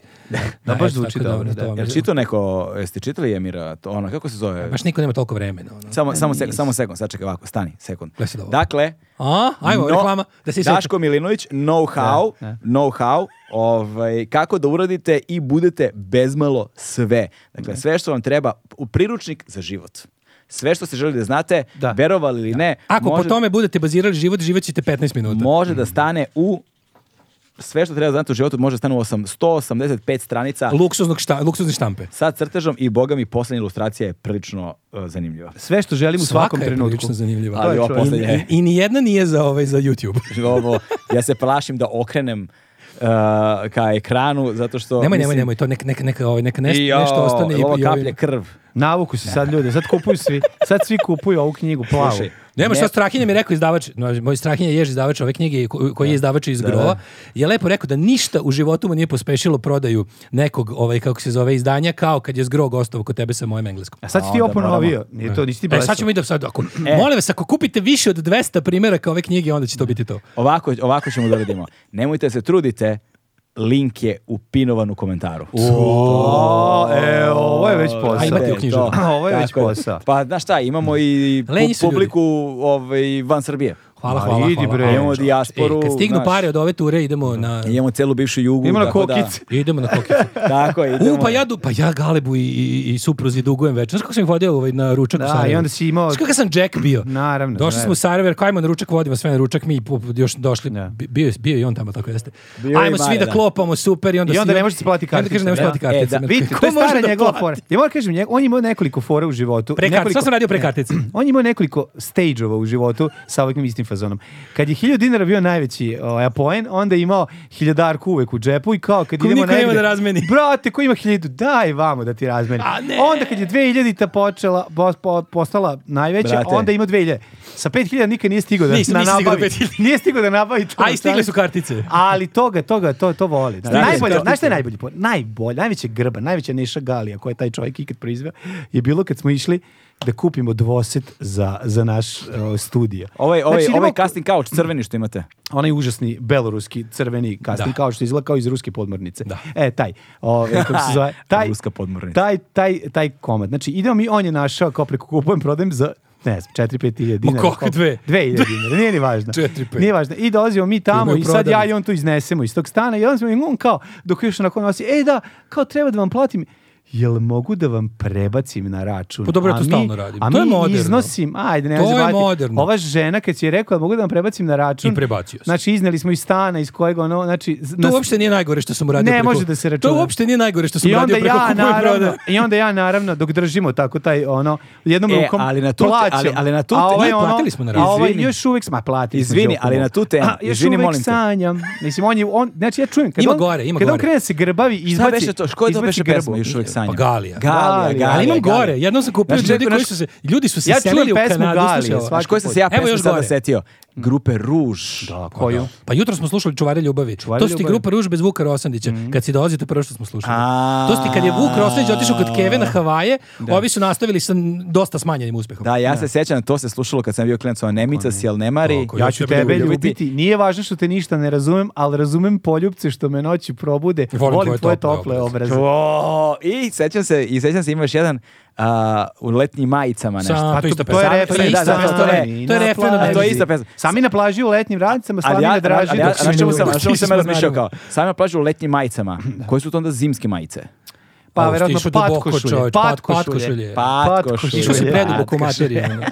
Speaker 3: Da, baš zvuči
Speaker 2: tako ono,
Speaker 3: dobro,
Speaker 2: to
Speaker 3: da.
Speaker 2: vam je-
Speaker 1: Jel čitao neko, jeste čitali Emira, to, ono, kako se zove?
Speaker 2: Baš niko nema toliko vremena. Ono.
Speaker 1: Samo, samo, sek, samo sekund, sad čekaj ovako, stani, sekund.
Speaker 2: Gle sad ovo.
Speaker 1: Dakle,
Speaker 2: A, ajmo,
Speaker 1: no-
Speaker 2: reklama. Da se
Speaker 1: Daško Milinović, know-how, know-how, ovaj, kako da uradite i budete bezmalo sve. Dakle, sve što vam treba, u priručnik za život. Sve što ste želi da znate,
Speaker 3: Da.
Speaker 1: verovali ili ne,
Speaker 2: Ako
Speaker 1: može,
Speaker 2: po tome budete bazirali život, živjet ćete 15 minuta.
Speaker 1: može da stane u sve što treba da znate u životu može da stane u osam- 185 stranica
Speaker 2: Luksuznog šta, luksuzne štampe.
Speaker 1: sa crtežom i boga mi poslednja ilustracija je prilično eh, zanimljiva.
Speaker 3: Sve što želim u
Speaker 2: Svaka
Speaker 3: svakom
Speaker 2: je
Speaker 3: trenutku.
Speaker 2: prilično zanimljiva.
Speaker 1: Ali
Speaker 3: je
Speaker 1: ova
Speaker 3: čuveno.
Speaker 1: poslednja je.
Speaker 2: I, I nijedna nije za, ovaj, za YouTube.
Speaker 1: Ovo, ja se plašim da okrenem eh, ka ekranu zato
Speaker 3: Pa,
Speaker 1: što
Speaker 2: Nemoj, nemoj,
Speaker 1: mislim-
Speaker 2: nemoj, to nek, nek, neka, ovaj, neka neš-
Speaker 1: I jao,
Speaker 2: nešto ostane. i-
Speaker 1: ovo
Speaker 2: i ovaj-
Speaker 1: kaplje krv.
Speaker 3: Navuku se sad ljude, sad kupuju svi. Sad svi kupuju ovu knjigu plavu.
Speaker 1: Slušaj,
Speaker 2: Nema
Speaker 1: Ne-
Speaker 2: šta, Strahinja mi je rekao izdavač, no, moj Strahinja jež izdavač ove knjige ko- koji je izdavač iz Grova, je lepo rekao da ništa u životu mu nije pospešilo prodaju nekog, ovaj, kako se zove, izdanja, kao kad je zgro gostov kod tebe sa mojim engleskom.
Speaker 3: A sad si
Speaker 1: A,
Speaker 3: ti
Speaker 1: onda
Speaker 3: oponovio. Nije to, nisi ti
Speaker 2: E,
Speaker 3: E. blesao.
Speaker 2: sad ćemo i da sad, ako, molim vas, ako kupite više od 200 primjeraka ove knjige, onda će to biti to.
Speaker 1: Ovako, ovako ćemo da radimo. Nemojte da se trudite, link je upinovan u komentaru.
Speaker 3: O, e, ovo je već posao.
Speaker 2: A imate u knjiži.
Speaker 1: To.
Speaker 3: Ovo je već
Speaker 1: Tako
Speaker 3: posao.
Speaker 1: Pa znaš šta, imamo i pu-
Speaker 2: Lenji su ljudi.
Speaker 1: publiku ovaj, van Srbije.
Speaker 2: Hvala,
Speaker 3: Ma,
Speaker 2: hvala,
Speaker 3: idi
Speaker 2: hvala.
Speaker 3: bre.
Speaker 2: hvala.
Speaker 1: Imamo dijasporu,
Speaker 2: E, kad stignu
Speaker 1: znaš.
Speaker 2: pare od ove ture, idemo na...
Speaker 1: Imamo celu bivšu jugu.
Speaker 3: Ima na
Speaker 1: tako da-
Speaker 3: kokice.
Speaker 2: Idemo na kokicu.
Speaker 1: Tako je, idemo.
Speaker 2: U, pa ja, du- pa ja Galebu i, i, i supruzi dugujem već. Znaš kako sam ih vodio ovaj, na ručak u
Speaker 3: Da,
Speaker 2: Sarajevu?
Speaker 3: i onda si imao-
Speaker 2: Znaš kakav sam Jack bio?
Speaker 3: Naravno,
Speaker 2: Došli smo
Speaker 3: naravno.
Speaker 2: u Sarajevo, jer kao ajmo na ručak, vodimo sve na ručak, mi pu- pu- još došli,
Speaker 3: Da.
Speaker 2: bi- bio, je- bio je i on tamo, tako jeste.
Speaker 1: Bio je
Speaker 2: ajmo
Speaker 1: i
Speaker 2: svi
Speaker 1: Mare,
Speaker 2: da
Speaker 1: da.
Speaker 2: klopamo, super, i onda,
Speaker 3: I onda
Speaker 2: svi-
Speaker 3: ne može se platiti
Speaker 2: i onda kaže,
Speaker 3: karticom,
Speaker 2: ne može
Speaker 3: da.
Speaker 2: plati
Speaker 1: E,
Speaker 2: karticom.
Speaker 1: da,
Speaker 3: Vidite,
Speaker 2: Ko
Speaker 3: to je
Speaker 2: može
Speaker 3: stara
Speaker 2: da
Speaker 3: njegova
Speaker 2: plati?
Speaker 3: fora. Ja moram kažem, njeg- on je imao nekoliko fora u životu.
Speaker 2: Pre kartice,
Speaker 3: nekoliko-
Speaker 2: šta sam radio pre kartice?
Speaker 3: On je imao nekoliko stage-ova u životu sa ovakvim istim fazonom. Kad je 1000 dinara bio najveći ovaj, apoen, onda je imao hiljadarku uvek u džepu i kao kad
Speaker 2: Ko
Speaker 3: idemo
Speaker 2: niko nema
Speaker 3: negde,
Speaker 2: da razmeni.
Speaker 3: Brate, ko ima 1000, daj vamo da ti razmeni.
Speaker 2: A ne.
Speaker 3: Onda kad je 2000-ta počela, bo- po- postala najveća,
Speaker 1: Brate.
Speaker 3: onda je imao 2000. Sa 5000 nikad nije stigao da
Speaker 2: Nisam,
Speaker 3: na
Speaker 2: nisam stigao do
Speaker 3: nabavi.
Speaker 2: 5000.
Speaker 3: Nije stigao da nabavi to.
Speaker 2: A i stigle su kartice.
Speaker 3: Ali toga, toga, to, to voli. Znači,
Speaker 1: Stigle su
Speaker 3: najbolje,
Speaker 1: kartice.
Speaker 3: znaš šta je najbolji po- Najbolje, najveća grba, najveća neša galija koja je taj čovjek ikad proizveo je bilo kad smo išli da kupimo dvoset za, za naš uh, studio.
Speaker 1: Ovaj, ovaj,
Speaker 3: Znači, idemo
Speaker 1: ovaj
Speaker 3: k-
Speaker 1: casting couch, crveni što imate.
Speaker 3: Onaj užasni beloruski crveni
Speaker 2: Da.
Speaker 3: casting, kao što izgleda kao iz ruske podmornice.
Speaker 2: Da.
Speaker 3: E, taj. Ove, kako se zove, taj,
Speaker 1: Ruska podmornica.
Speaker 3: Taj, taj, taj komad. Znači, idemo mi, on je našao kao preko kupujem, prodajem za ne znam, 4-5 hiljada
Speaker 2: Ma
Speaker 3: dinara.
Speaker 2: kako
Speaker 3: koliko?
Speaker 2: dve?
Speaker 3: Dve hiljade dinara, nije ni važno.
Speaker 2: Četiri, pet.
Speaker 3: Nije važno. I dolazimo mi tamo
Speaker 2: Imaju
Speaker 3: i sad ja
Speaker 2: prodali.
Speaker 3: i on tu iznesemo iz tog stana i onda smo i on kao, dok još onako nosi, ej da, kao "E, treba da vam platim. jel mogu da vam prebacim na račun?
Speaker 2: Pa dobro, ja to
Speaker 3: A mi-
Speaker 2: stalno radim.
Speaker 3: A
Speaker 2: To je
Speaker 3: mi
Speaker 2: moderno.
Speaker 3: iznosim, ajde, ovaj ne
Speaker 2: To je moderno.
Speaker 3: Ova žena kad si je rekla da mogu da vam prebacim na račun,
Speaker 2: I prebacio sam.
Speaker 3: Znači, izneli smo iz stana, iz kojeg ono, znači... z-
Speaker 2: To
Speaker 3: nas-
Speaker 2: uopšte nije najgore što sam uradio
Speaker 3: Ne
Speaker 2: preko...
Speaker 3: može da se računa.
Speaker 2: To uopšte nije najgore što sam
Speaker 3: I onda
Speaker 2: uradio preko
Speaker 3: ja
Speaker 2: kupuje
Speaker 3: naravno,
Speaker 2: prodaje.
Speaker 3: i onda ja naravno dok držimo tako taj ono jednom
Speaker 1: E,
Speaker 3: rukom
Speaker 1: ali na to te-
Speaker 3: plaćam.
Speaker 1: ali- ali na to
Speaker 3: a
Speaker 1: te-
Speaker 3: ovaj
Speaker 2: ne,
Speaker 3: ono,
Speaker 2: platili smo na
Speaker 3: a
Speaker 2: račun.
Speaker 3: ovaj
Speaker 1: Izvini.
Speaker 3: još uvek sma platili smo,
Speaker 1: Izvini,
Speaker 3: Đoku
Speaker 1: ali
Speaker 3: mom.
Speaker 1: na tu temu.
Speaker 3: A, još
Speaker 1: Izvini,
Speaker 3: uvek
Speaker 1: molim te.
Speaker 3: sanjam. Mislim on je on znači ja čujem kad
Speaker 2: Ima
Speaker 3: on
Speaker 2: gore, ima
Speaker 3: kad on
Speaker 2: gore.
Speaker 3: krene da se grbavi izbaci.
Speaker 1: Šta beše to? Ško je to
Speaker 3: izbaci
Speaker 1: beše
Speaker 3: grbu.
Speaker 1: pesma? Još uvek sanjam.
Speaker 2: Pa Galija.
Speaker 1: Galija,
Speaker 3: Galija.
Speaker 1: Galija.
Speaker 2: Ali imam
Speaker 1: Galija.
Speaker 2: gore. Jednom sam kupio
Speaker 1: Znaš,
Speaker 2: ljudi
Speaker 1: neko-
Speaker 2: koji
Speaker 1: znaš-
Speaker 2: su se... Ljudi su se
Speaker 3: Ja čujem
Speaker 2: selili u
Speaker 3: pesmu
Speaker 2: Kanadu.
Speaker 3: Galije,
Speaker 2: slušaj ovo.
Speaker 3: svaki
Speaker 1: Znaš koja sam se ja
Speaker 2: Znači, Evo
Speaker 1: pesma
Speaker 2: još
Speaker 1: sada
Speaker 2: gore.
Speaker 1: setio? Grupe Ruž.
Speaker 3: Da, koju?
Speaker 2: Pa jutro smo slušali Čuvare ljubavi. to su ti
Speaker 3: ljubavi.
Speaker 2: grupa Ruž bez Vuka Rosandića. Kad si dolazio, to je prvo što smo slušali.
Speaker 1: A.
Speaker 2: To su ti kad je Vuk Rosandić otišao kod Keve na Havaje, ovi su nastavili sa n- dosta smanjenim uspehom.
Speaker 1: Da, ja se sećam, to se slušalo kad sam bio klinac Anemica, Sjelnemari.
Speaker 2: Tako je.
Speaker 3: Ja ću
Speaker 2: Hoćete me
Speaker 3: tebe
Speaker 1: ljubiti?
Speaker 3: ljubiti. Nije važno što te ništa ne razumem, ali razumem poljubce što me noći probude.
Speaker 2: Volim
Speaker 3: Volim,
Speaker 2: tvoje
Speaker 3: tvoje
Speaker 2: tople
Speaker 3: tople obraze.
Speaker 1: O, I sećam se, i sećam se imaš jedan a, u letnjim majicama nešto.
Speaker 2: Sa-
Speaker 1: Pa
Speaker 2: to je ista
Speaker 3: To je
Speaker 2: pesma.
Speaker 1: To je
Speaker 3: refren,
Speaker 1: ista
Speaker 3: da, da,
Speaker 1: pesma,
Speaker 3: to
Speaker 1: to je-
Speaker 3: je-
Speaker 2: to je
Speaker 3: na
Speaker 2: refren od
Speaker 3: plaži.
Speaker 1: To je ista pesma.
Speaker 3: Sami na plaži u letnjim radicama,
Speaker 1: Ali
Speaker 3: slavine
Speaker 1: ja,
Speaker 3: draži.
Speaker 1: ali ja,
Speaker 3: dok se
Speaker 1: znaš
Speaker 3: ne
Speaker 1: čemu
Speaker 3: uvede.
Speaker 1: sam, znaš čemu
Speaker 2: Ti si
Speaker 1: sam ja razmišljao kao,
Speaker 2: naravno.
Speaker 1: sam ja plažu u letnjim majicama, koje su to onda zimske majice?
Speaker 3: Pa
Speaker 2: Ovo,
Speaker 3: verovatno
Speaker 2: ti išao
Speaker 3: pat
Speaker 2: duboko,
Speaker 3: košulje.
Speaker 2: čoveč,
Speaker 3: Pat
Speaker 2: pat-
Speaker 3: košulje.
Speaker 2: patkošulje.
Speaker 1: Pat košulje.
Speaker 2: Išao si
Speaker 1: Ja,
Speaker 2: preduboko u materiju. ono.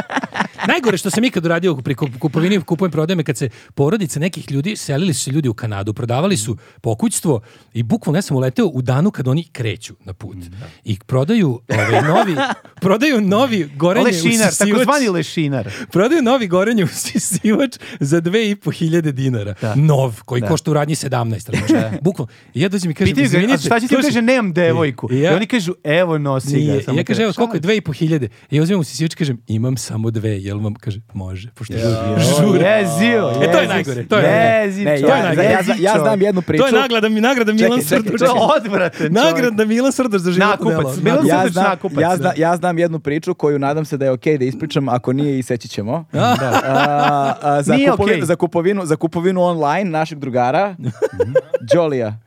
Speaker 2: Najgore što sam ikad uradio pri kup- kupovini, kupujem prodajem, je kad se porodice nekih ljudi, selili su se ljudi u Kanadu, prodavali su pokućstvo i bukvalno ja sam uleteo u danu kad oni kreću na put. I prodaju ovaj, novi, prodaju novi gorenje
Speaker 3: Lešinar,
Speaker 2: usisivač.
Speaker 3: takozvani lešinar.
Speaker 2: Prodaju novi gorenje usisivač za 2.500 hiljade dinara. Nov, koji košta u radnji 17. razumeš? Bukvalno. I ja dođem i kažem,
Speaker 3: Pitaju ga,
Speaker 2: izvinite.
Speaker 3: a šta će ti
Speaker 2: slušaj,
Speaker 3: kaže, nemam devojku. I
Speaker 2: Ja-
Speaker 3: oni kažu, evo nosi ga.
Speaker 2: Nije.
Speaker 3: samo
Speaker 2: ja kažem, evo,
Speaker 3: kažeš,
Speaker 2: koliko je? Dve i po hiljade. Ja uzmem mu sisivač i kažem, imam samo dve. Jel vam? Kaže, može. Pošto žuri.
Speaker 3: "Jao,
Speaker 2: žuri.
Speaker 3: Jezio,
Speaker 2: E, to je
Speaker 3: jezio
Speaker 2: najgore,
Speaker 3: si.
Speaker 2: to je najgore.
Speaker 3: Jezio,
Speaker 1: Ne,
Speaker 3: čovjek,
Speaker 1: ja,
Speaker 2: najgore.
Speaker 1: ja,
Speaker 3: jezio,
Speaker 1: ja znam
Speaker 3: čovjek.
Speaker 1: jednu priču.
Speaker 2: To je nagrada, mi- nagrada Milan
Speaker 1: Čekaj, čekaj,
Speaker 2: Srdoš.
Speaker 1: čekaj.
Speaker 3: Odvratan čovjek.
Speaker 2: Nagrada Milan Srdoš za životno
Speaker 3: Nakupac,
Speaker 2: delo.
Speaker 3: Milan
Speaker 2: Nakupac.
Speaker 1: ja
Speaker 3: Srdoš
Speaker 1: znam,
Speaker 3: nakupac,
Speaker 1: ja,
Speaker 3: da.
Speaker 1: zna, ja znam jednu priču koju nadam se da je okej da ispričam, ako nije i seći ćemo. A, a, za,
Speaker 3: Nije
Speaker 1: kupovinu,
Speaker 3: okej.
Speaker 1: za, kupovinu, za kupovinu online našeg drugara,
Speaker 2: Mhm.
Speaker 1: Đolija.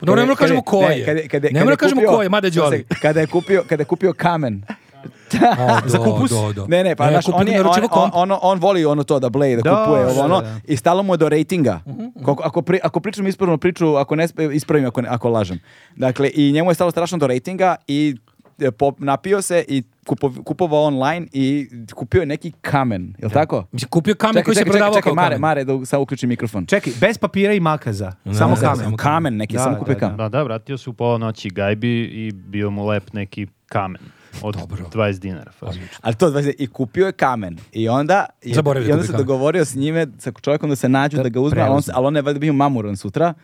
Speaker 2: Dobro, ne moramo
Speaker 1: Kada je-
Speaker 2: kažemo ko
Speaker 1: ne,
Speaker 2: je.
Speaker 1: kada je- kada je-
Speaker 2: Ne
Speaker 1: kada
Speaker 2: moramo
Speaker 1: je
Speaker 2: kažemo
Speaker 1: kupio-
Speaker 2: ko je, mada je Đoli.
Speaker 1: Kada je kupio, kada je kupio kamen.
Speaker 2: O, do,
Speaker 3: Za kupus?
Speaker 2: do, do.
Speaker 1: Ne, ne, pa znaš,
Speaker 2: kupio
Speaker 1: on, je, on,
Speaker 2: naručivo
Speaker 1: on,
Speaker 2: komp.
Speaker 1: on, on voli ono to da bleje, da,
Speaker 3: Da,
Speaker 1: kupuje, ovo,
Speaker 3: da,
Speaker 1: ono,
Speaker 3: da.
Speaker 1: i stalo mu je do rejtinga.
Speaker 2: Mhm,
Speaker 1: Koliko- ako, pri- ako pričam ispravnu priču, ako ne, sp- ispravim ako, ne- ako lažem. Dakle, i njemu je stalo strašno do rejtinga i e, pop- napio se i kupo- kupovao online i kupio je neki kamen, je li tako?
Speaker 2: Mislim, kupio kamen koji se prodavao
Speaker 1: čekaj,
Speaker 2: kao
Speaker 1: Mare,
Speaker 2: kamen.
Speaker 1: Mare, da sad uključi mikrofon.
Speaker 3: Čekaj, bez papira i makaza. Samo
Speaker 2: da,
Speaker 3: kamen.
Speaker 2: samo
Speaker 1: Kamen neki,
Speaker 3: Da,
Speaker 1: samo kupio
Speaker 3: da,
Speaker 1: kamen.
Speaker 5: Da, da, vratio se u pola noći gajbi i bio mu lep neki kamen od 20 dinara. fazon.
Speaker 1: Ali to, dvadeset- i kupio je kamen. I onda, je,
Speaker 2: Zaboravio
Speaker 1: i
Speaker 2: da
Speaker 1: onda
Speaker 2: kupi
Speaker 1: se
Speaker 2: kamen.
Speaker 1: dogovorio s njime, sa čovjekom da se nađu, da, ga uzme, ali on, se- ali on je valjda bio mamuran sutra.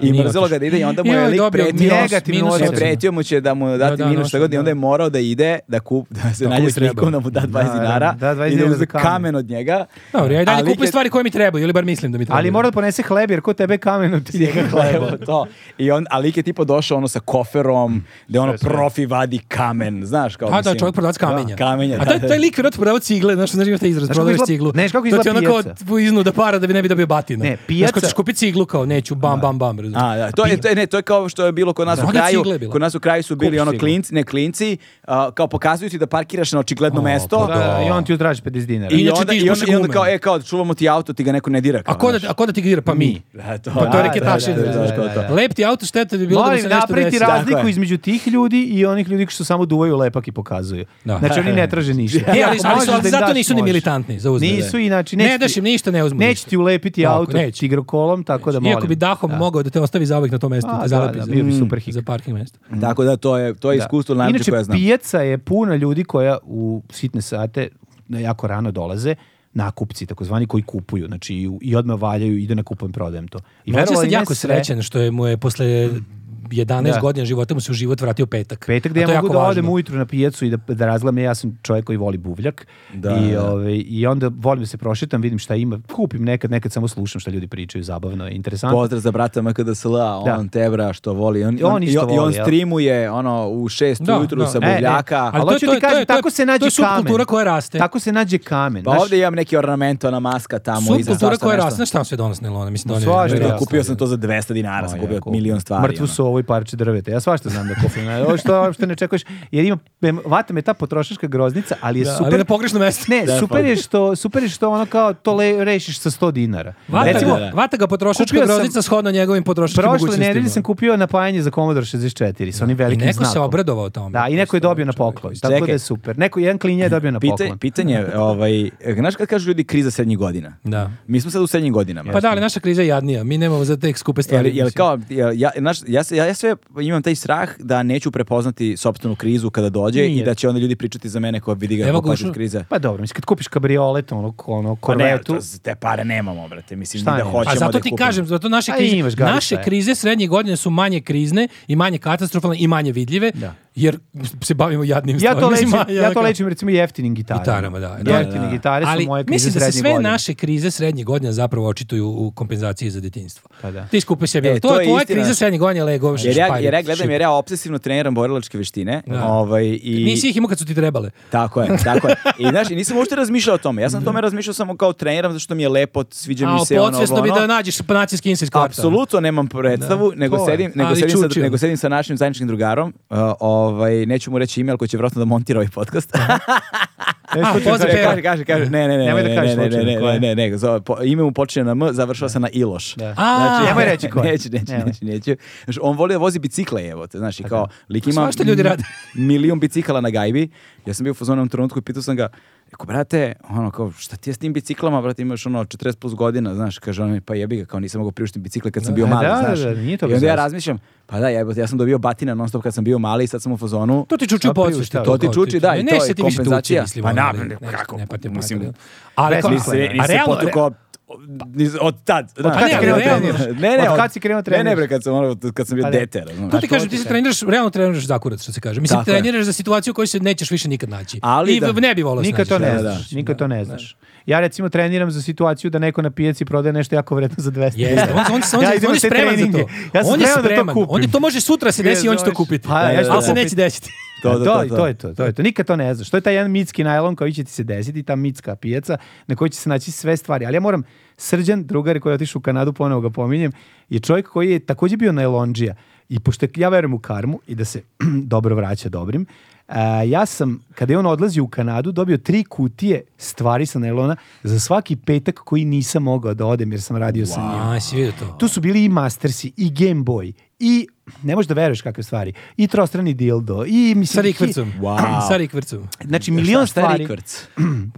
Speaker 1: I
Speaker 2: Nije
Speaker 1: mrzelo ga
Speaker 2: otišao.
Speaker 1: da ide i onda mu je
Speaker 2: Joj,
Speaker 1: lik
Speaker 2: dobio
Speaker 1: pretio.
Speaker 2: minus-
Speaker 3: negativno
Speaker 2: minus
Speaker 1: Ne,
Speaker 3: ocenu.
Speaker 2: ocena.
Speaker 1: pretio mu će da mu dati
Speaker 2: da,
Speaker 1: minus šta god i
Speaker 2: nošao,
Speaker 1: onda je morao da ide, da, kup, da se
Speaker 2: Da,
Speaker 1: nađe
Speaker 2: kupi
Speaker 1: s
Speaker 2: treba.
Speaker 1: likom, da mu da 20
Speaker 3: Da,
Speaker 1: dinara
Speaker 3: da, 20
Speaker 1: i da
Speaker 3: dinara
Speaker 1: uzme
Speaker 3: za
Speaker 1: kamen.
Speaker 3: kamen.
Speaker 1: od njega.
Speaker 2: Dobro, ja i dalje
Speaker 1: Ali
Speaker 2: kupujem
Speaker 1: kad-
Speaker 2: stvari koje mi trebaju, ili bar mislim da mi trebaju.
Speaker 3: Ali mora da ponese hleb, jer ko tebe kamenu ti njega hleba.
Speaker 1: Evo to. I on, ali lik je tipa došao ono sa koferom, gde ono
Speaker 5: sve.
Speaker 1: profi vadi kamen, znaš kao
Speaker 2: Mm. A da,
Speaker 1: mislim.
Speaker 2: čovjek prodavac
Speaker 1: Da,
Speaker 2: kamenja.
Speaker 1: kamenja,
Speaker 2: A
Speaker 1: da,
Speaker 2: taj,
Speaker 1: da.
Speaker 2: taj lik vjerojatno prodava cigle, znaš, znaš ima taj izraz,
Speaker 3: Znaš kako
Speaker 2: prodavaš
Speaker 3: izgleda-
Speaker 2: ciglu.
Speaker 3: znaš kako
Speaker 2: To ti
Speaker 3: izgleda
Speaker 2: ono kao
Speaker 3: pijaca?
Speaker 2: tvu iznu da para da bi ne bi dobio batina.
Speaker 3: Ne,
Speaker 2: Znaš ko
Speaker 3: pijaca-
Speaker 2: ćeš kupiti ciglu kao neću, bam, bam, bam. razumiješ?
Speaker 1: A, da, to je, to je, ne, to je kao što je bilo kod nas u
Speaker 2: Mnoge
Speaker 1: kraju.
Speaker 2: cigle je bilo.
Speaker 1: Kod nas u kraju su bili
Speaker 3: Kupiš
Speaker 1: ono
Speaker 3: ciglu.
Speaker 1: klinci, ne klinci, a, kao pokazuju ti da parkiraš na očigledno
Speaker 2: O,
Speaker 1: mesto.
Speaker 2: pa da.
Speaker 3: I on ti utraži 50 dinara.
Speaker 1: I,
Speaker 2: Inače
Speaker 1: onda,
Speaker 2: ti
Speaker 1: i, onda,
Speaker 2: ispuši
Speaker 1: i onda
Speaker 2: gume.
Speaker 1: kao, e, kao, čuvamo ti auto, ti ga neko ne dira. Kao,
Speaker 2: A ko
Speaker 1: znaš.
Speaker 2: da, a ko da ti gira? Pa mi.
Speaker 1: Da, to,
Speaker 2: Pa to je
Speaker 1: da,
Speaker 2: reketašenje,
Speaker 1: da, da, da,
Speaker 2: znaš,
Speaker 1: da,
Speaker 3: kao to.
Speaker 1: da.
Speaker 2: Lep ti auto šteta bi bilo da mu
Speaker 3: Molim,
Speaker 2: se nešto
Speaker 3: napraviti
Speaker 2: desi.
Speaker 1: raz-
Speaker 3: razliku
Speaker 1: Tako je.
Speaker 3: između tih ljudi i onih ljudi što samo duvaju lepak i pokazuju.
Speaker 2: Da.
Speaker 3: Znači, oni ne traže ništa.
Speaker 2: E,
Speaker 3: Ako
Speaker 2: ali, ali,
Speaker 3: možeš
Speaker 2: su-
Speaker 3: da im
Speaker 2: zato
Speaker 3: daš,
Speaker 2: nisu ni
Speaker 3: možeš.
Speaker 2: militantni za uzbune.
Speaker 3: Nisu i znači... neće
Speaker 2: Ne daš
Speaker 3: ti-
Speaker 2: im ništa, ne uzmu
Speaker 3: Neće
Speaker 2: ništa.
Speaker 3: ti ulepiti
Speaker 2: Tako,
Speaker 3: auto
Speaker 2: neće.
Speaker 3: igrokolom, tako da molim.
Speaker 2: Iako bi dahom mogao da te ostavi zauvek na tom mestu,
Speaker 3: A,
Speaker 2: da te
Speaker 3: da,
Speaker 2: zalepi
Speaker 3: da,
Speaker 2: za-
Speaker 3: bio bi super hik.
Speaker 2: za parking mesto.
Speaker 1: Tako da, to je, to je
Speaker 3: Da.
Speaker 1: iskustvo najbolje koje ja znam.
Speaker 3: Inače, pijaca je puna ljudi koja u sitne sate na jako rano dolaze, nakupci takozvani koji kupuju, znači i, i odmah valjaju, idu na kupujem, prodajem to. I
Speaker 2: Mlađe
Speaker 3: verovali
Speaker 2: sam
Speaker 3: ne,
Speaker 2: jako
Speaker 3: sve-
Speaker 2: srećen što je mu je posle 11
Speaker 3: Da.
Speaker 2: godina života mu se u život vratio petak.
Speaker 3: Petak da
Speaker 2: A
Speaker 3: ja
Speaker 2: to je
Speaker 3: mogu
Speaker 2: jako
Speaker 3: da
Speaker 2: važno.
Speaker 3: odem ujutru na pijacu i da, da razgledam, ja sam čovjek koji voli buvljak
Speaker 1: Da,
Speaker 3: i,
Speaker 1: da.
Speaker 3: ovaj, i onda volim da se prošetam, vidim šta ima, kupim nekad, nekad samo slušam šta ljudi pričaju, zabavno je, interesantno.
Speaker 1: Pozdrav za brata MKDSL-a, on
Speaker 3: Da.
Speaker 1: tebra što voli. On,
Speaker 3: I on isto
Speaker 1: i i on
Speaker 3: voli, jel?
Speaker 1: streamuje ono, u šest
Speaker 2: Da,
Speaker 1: ujutru
Speaker 2: da.
Speaker 1: sa
Speaker 2: E,
Speaker 3: e,
Speaker 1: buvljaka.
Speaker 2: Ali
Speaker 3: Ali,
Speaker 2: to je-
Speaker 3: hoću
Speaker 2: to je-
Speaker 3: ti
Speaker 2: to je-
Speaker 3: kažem,
Speaker 2: to je-
Speaker 3: tako se
Speaker 2: to
Speaker 3: nađe
Speaker 2: je subkultura
Speaker 3: kamen.
Speaker 2: koja raste.
Speaker 3: Tako se nađe kamen.
Speaker 1: Pa
Speaker 3: znaš.
Speaker 1: ovdje imam neki ornament, ona maska tamo iza
Speaker 2: Subkultura
Speaker 1: svašta
Speaker 2: koja
Speaker 1: nešto.
Speaker 2: raste, znaš šta vam sve donosne lona, mislim da
Speaker 3: Svašta.
Speaker 1: Znaš,
Speaker 3: Ja,
Speaker 1: kupio sam to za 200 dinara, sam
Speaker 3: A,
Speaker 1: kupio
Speaker 3: jako.
Speaker 1: milion stvari.
Speaker 3: Mrtvu
Speaker 1: ono.
Speaker 3: sovu kafu i parče drveta. Ja svašta znam da kofim. Ovo što uopšte ne čekuješ. Jer ima, em, vata me ta potrošačka groznica, ali je
Speaker 2: Da,
Speaker 3: super.
Speaker 2: ali na pogrešno mesto.
Speaker 3: Ne, super je, što, super je što ono kao to le, rešiš sa 100 dinara.
Speaker 2: Vata,
Speaker 3: Recimo,
Speaker 2: ga, vata ga potrošačka
Speaker 3: kupio sam-
Speaker 2: groznica shodno njegovim potrošačkim
Speaker 3: prošle
Speaker 2: mogućnostima.
Speaker 3: nedelje sam kupio napajanje za Commodore 64 sa onim
Speaker 2: I
Speaker 3: velikim
Speaker 2: neko
Speaker 3: znakom.
Speaker 2: se obradovao tome.
Speaker 3: Da, i neko je dobio na poklon. Tako
Speaker 1: Čekaj.
Speaker 3: da je super. Neko, jedan klinja je dobio na
Speaker 1: Pita,
Speaker 3: poklon.
Speaker 1: pitanje, je, ovaj, e, znaš kad kažu ljudi kriza srednjih godina?
Speaker 2: Da.
Speaker 1: Mi smo sad u srednjim godinama.
Speaker 2: Pa da, ali naša kriza je jadnija. Mi nemamo za te skupe
Speaker 1: Jel,
Speaker 2: stvari.
Speaker 1: jel
Speaker 2: mislim.
Speaker 1: kao, jel, ja, znaš, ja, se- ja, ja sve imam taj strah da neću prepoznati sopstvenu krizu kada dođe
Speaker 3: Nije.
Speaker 1: i da će onda ljudi pričati za mene kao vidi ga
Speaker 2: Evo
Speaker 1: kako
Speaker 2: ga
Speaker 1: plaćaš
Speaker 2: ušao.
Speaker 1: kriza.
Speaker 3: Pa dobro, mislim, kad kupiš kabriolet, ono, ono,
Speaker 1: Pa ne,
Speaker 3: korvetu,
Speaker 1: to, te pare nemamo, brate. Mislim,
Speaker 3: Šta
Speaker 1: ni da
Speaker 3: nema?
Speaker 1: hoćemo
Speaker 2: A zato
Speaker 1: da
Speaker 2: ti
Speaker 1: kupimo.
Speaker 2: kažem, zato naše
Speaker 3: A
Speaker 2: krize,
Speaker 3: imaš ga, šta
Speaker 2: naše
Speaker 3: je.
Speaker 2: krize srednje godine su manje krizne i manje katastrofalne i manje vidljive,
Speaker 3: Da.
Speaker 2: jer se bavimo jadnim
Speaker 3: Ja to
Speaker 2: stvarima.
Speaker 3: lečim,
Speaker 2: Mislim,
Speaker 3: ja to
Speaker 2: kao-
Speaker 3: lečim recimo jeftinim gitarama.
Speaker 2: Gitarama, da. Da,
Speaker 3: Jeftine
Speaker 1: da.
Speaker 3: gitare su
Speaker 2: Ali
Speaker 3: moje krize
Speaker 2: mislim da se
Speaker 3: srednje
Speaker 2: sve
Speaker 3: godine.
Speaker 2: naše krize srednjih godina zapravo očituju u kompenzaciji za djetinjstvo.
Speaker 3: Pa da.
Speaker 2: Ti skupe sebi,
Speaker 1: E, to
Speaker 2: to, to
Speaker 1: je
Speaker 2: je tvoja
Speaker 1: istina.
Speaker 2: kriza srednjih godina, Lego,
Speaker 1: Jer ja,
Speaker 2: špajret,
Speaker 1: jer ja gledam,
Speaker 2: šip.
Speaker 1: jer ja obsesivno treniram borilačke veštine.
Speaker 2: Da.
Speaker 1: Ovaj, i...
Speaker 2: Nisi ih imao kad su ti trebale.
Speaker 1: Tako je, tako je. I znaš, i nisam uopšte razmišljao o tome. Ja sam o tome razmišljao samo kao treniram, zato što mi je lepo, sviđa
Speaker 2: A
Speaker 1: mi se ono,
Speaker 2: podsvesno
Speaker 1: ovo,
Speaker 2: bi
Speaker 1: ono.
Speaker 2: da nađeš panacije skinsa iz kvarta.
Speaker 1: Apsolutno nemam predstavu, nego,
Speaker 3: to je.
Speaker 1: sedim, nego,
Speaker 2: Ali
Speaker 1: sedim sa,
Speaker 2: čučio.
Speaker 1: nego sedim sa našim zajedničkim drugarom, uh, ovaj, neću mu reći ime, ali koji će vjerojatno da montira ovaj podcast.
Speaker 3: E, što ti
Speaker 2: pozdrav,
Speaker 3: kažem?
Speaker 2: Pera.
Speaker 1: kaže, kaže, kaže, ne, ne, ne,
Speaker 3: Nemoj
Speaker 1: ne,
Speaker 3: da
Speaker 1: ne,
Speaker 3: kažeš
Speaker 1: ne, ne,
Speaker 3: slučajno
Speaker 1: ne,
Speaker 3: ko je.
Speaker 1: ne, ne, ne, zove, po- ime mu počinje na M, završava se na Iloš. Znači,
Speaker 3: Da.
Speaker 2: A,
Speaker 3: nemoj reći ko je.
Speaker 1: Neću, neću,
Speaker 3: Nemoj.
Speaker 1: neću, neću. Znaš, on voli da vozi bicikle, evo te, znaš, i kao, lik ima
Speaker 2: Svašta ljudi rade.
Speaker 1: milijun bicikala na gajbi. Ja sam bio u fazonom trenutku i pitao sam ga, Eko, brate, ono, kao, šta ti je s tim biciklama, brate, imaš ono 40 plus godina, znaš, kaže on mi, pa jebi ga, kao nisam mogao priuštiti bicikle kad sam bio
Speaker 3: Da,
Speaker 1: mali,
Speaker 3: da,
Speaker 1: znaš.
Speaker 3: da, da, nije
Speaker 1: I onda
Speaker 3: to
Speaker 1: ja
Speaker 3: bezazleno.
Speaker 1: razmišljam, pa da, jebote, ja sam dobio batina non stop kad sam bio mali i sad sam u fazonu,
Speaker 2: To ti čuči u
Speaker 3: Šta priju,
Speaker 2: podsvesti.
Speaker 3: šta?
Speaker 1: To ti
Speaker 2: kao,
Speaker 1: čuči, da, i
Speaker 2: ne
Speaker 1: to
Speaker 2: se
Speaker 1: je
Speaker 2: ti više tući,
Speaker 1: kompenzacija.
Speaker 2: mislim,
Speaker 1: Pa
Speaker 2: ono,
Speaker 1: naravno,
Speaker 2: ne, ne,
Speaker 1: kako,
Speaker 2: ne, pa ti je
Speaker 1: mislim,
Speaker 2: majka, da.
Speaker 3: E,
Speaker 2: ali kao,
Speaker 1: Nisi,
Speaker 3: Mislim,
Speaker 2: a
Speaker 1: nisi
Speaker 2: realno,
Speaker 1: potukao niz- od tad. Od
Speaker 3: kad
Speaker 2: si krenuo treniraš?
Speaker 1: Ne, ne,
Speaker 3: Od kad si krenuo
Speaker 1: Ne, ne,
Speaker 3: treniraš?
Speaker 1: bre, kad sam, ono, kad sam bio
Speaker 3: Pa da.
Speaker 1: dete, razumeš.
Speaker 2: To ti
Speaker 3: to
Speaker 2: kažem,
Speaker 3: ti
Speaker 2: ti se
Speaker 3: kažem.
Speaker 2: treniraš, realno treniraš za kurac, što se kaže. Mislim,
Speaker 1: Tako je.
Speaker 2: treniraš za situaciju u kojoj se nećeš više nikad naći.
Speaker 1: Ali
Speaker 2: I
Speaker 1: da.
Speaker 2: ne bi volao
Speaker 3: Nikad
Speaker 2: snaći.
Speaker 3: to ne
Speaker 1: Da, da.
Speaker 3: znaš. Nikad to ne znaš. Ja recimo treniram za situaciju da neko na pijaci prodaje nešto jako vredno za 200.
Speaker 2: Jeste, on, on, on,
Speaker 3: Ja
Speaker 2: on, on
Speaker 3: idem na
Speaker 2: je
Speaker 3: te
Speaker 2: spreman za
Speaker 3: treninge.
Speaker 2: to.
Speaker 3: Ja sam
Speaker 2: on je
Speaker 3: spreman da to
Speaker 2: spreman.
Speaker 3: kupim.
Speaker 2: on je to može sutra se desi, on će to
Speaker 3: Razumeš?
Speaker 2: kupiti.
Speaker 3: Pa, ja ću to
Speaker 2: ali se
Speaker 3: kupiti.
Speaker 2: neće desiti.
Speaker 1: To, to,
Speaker 3: to,
Speaker 1: to,
Speaker 3: i E, to je to, to je to. Nikad to ne znaš. To je taj jedan mitski najlon koji će ti se desiti, ta mitska pijaca na kojoj će se naći sve stvari. Ali ja moram, Srđan, drugar koji je otišao u Kanadu, ponovo ga pominjem, je čovjek koji je takođe bio najlonđija. I pošto ja verujem u karmu i da se dobro vraća dobrim, a, ja sam, kada je on odlazio u Kanadu, dobio tri kutije stvari sa najlona za svaki petak koji nisam mogao da odem jer sam radio sa njim.
Speaker 2: A, si vidio to.
Speaker 3: Tu su bili i Mastersi, i Game Boy, i ne možeš da veruješ kakve stvari. I trostrani dildo, i mislim...
Speaker 2: Sa rikvrcom.
Speaker 1: Wow.
Speaker 2: Sa rikvrcom.
Speaker 3: Znači milion stvari.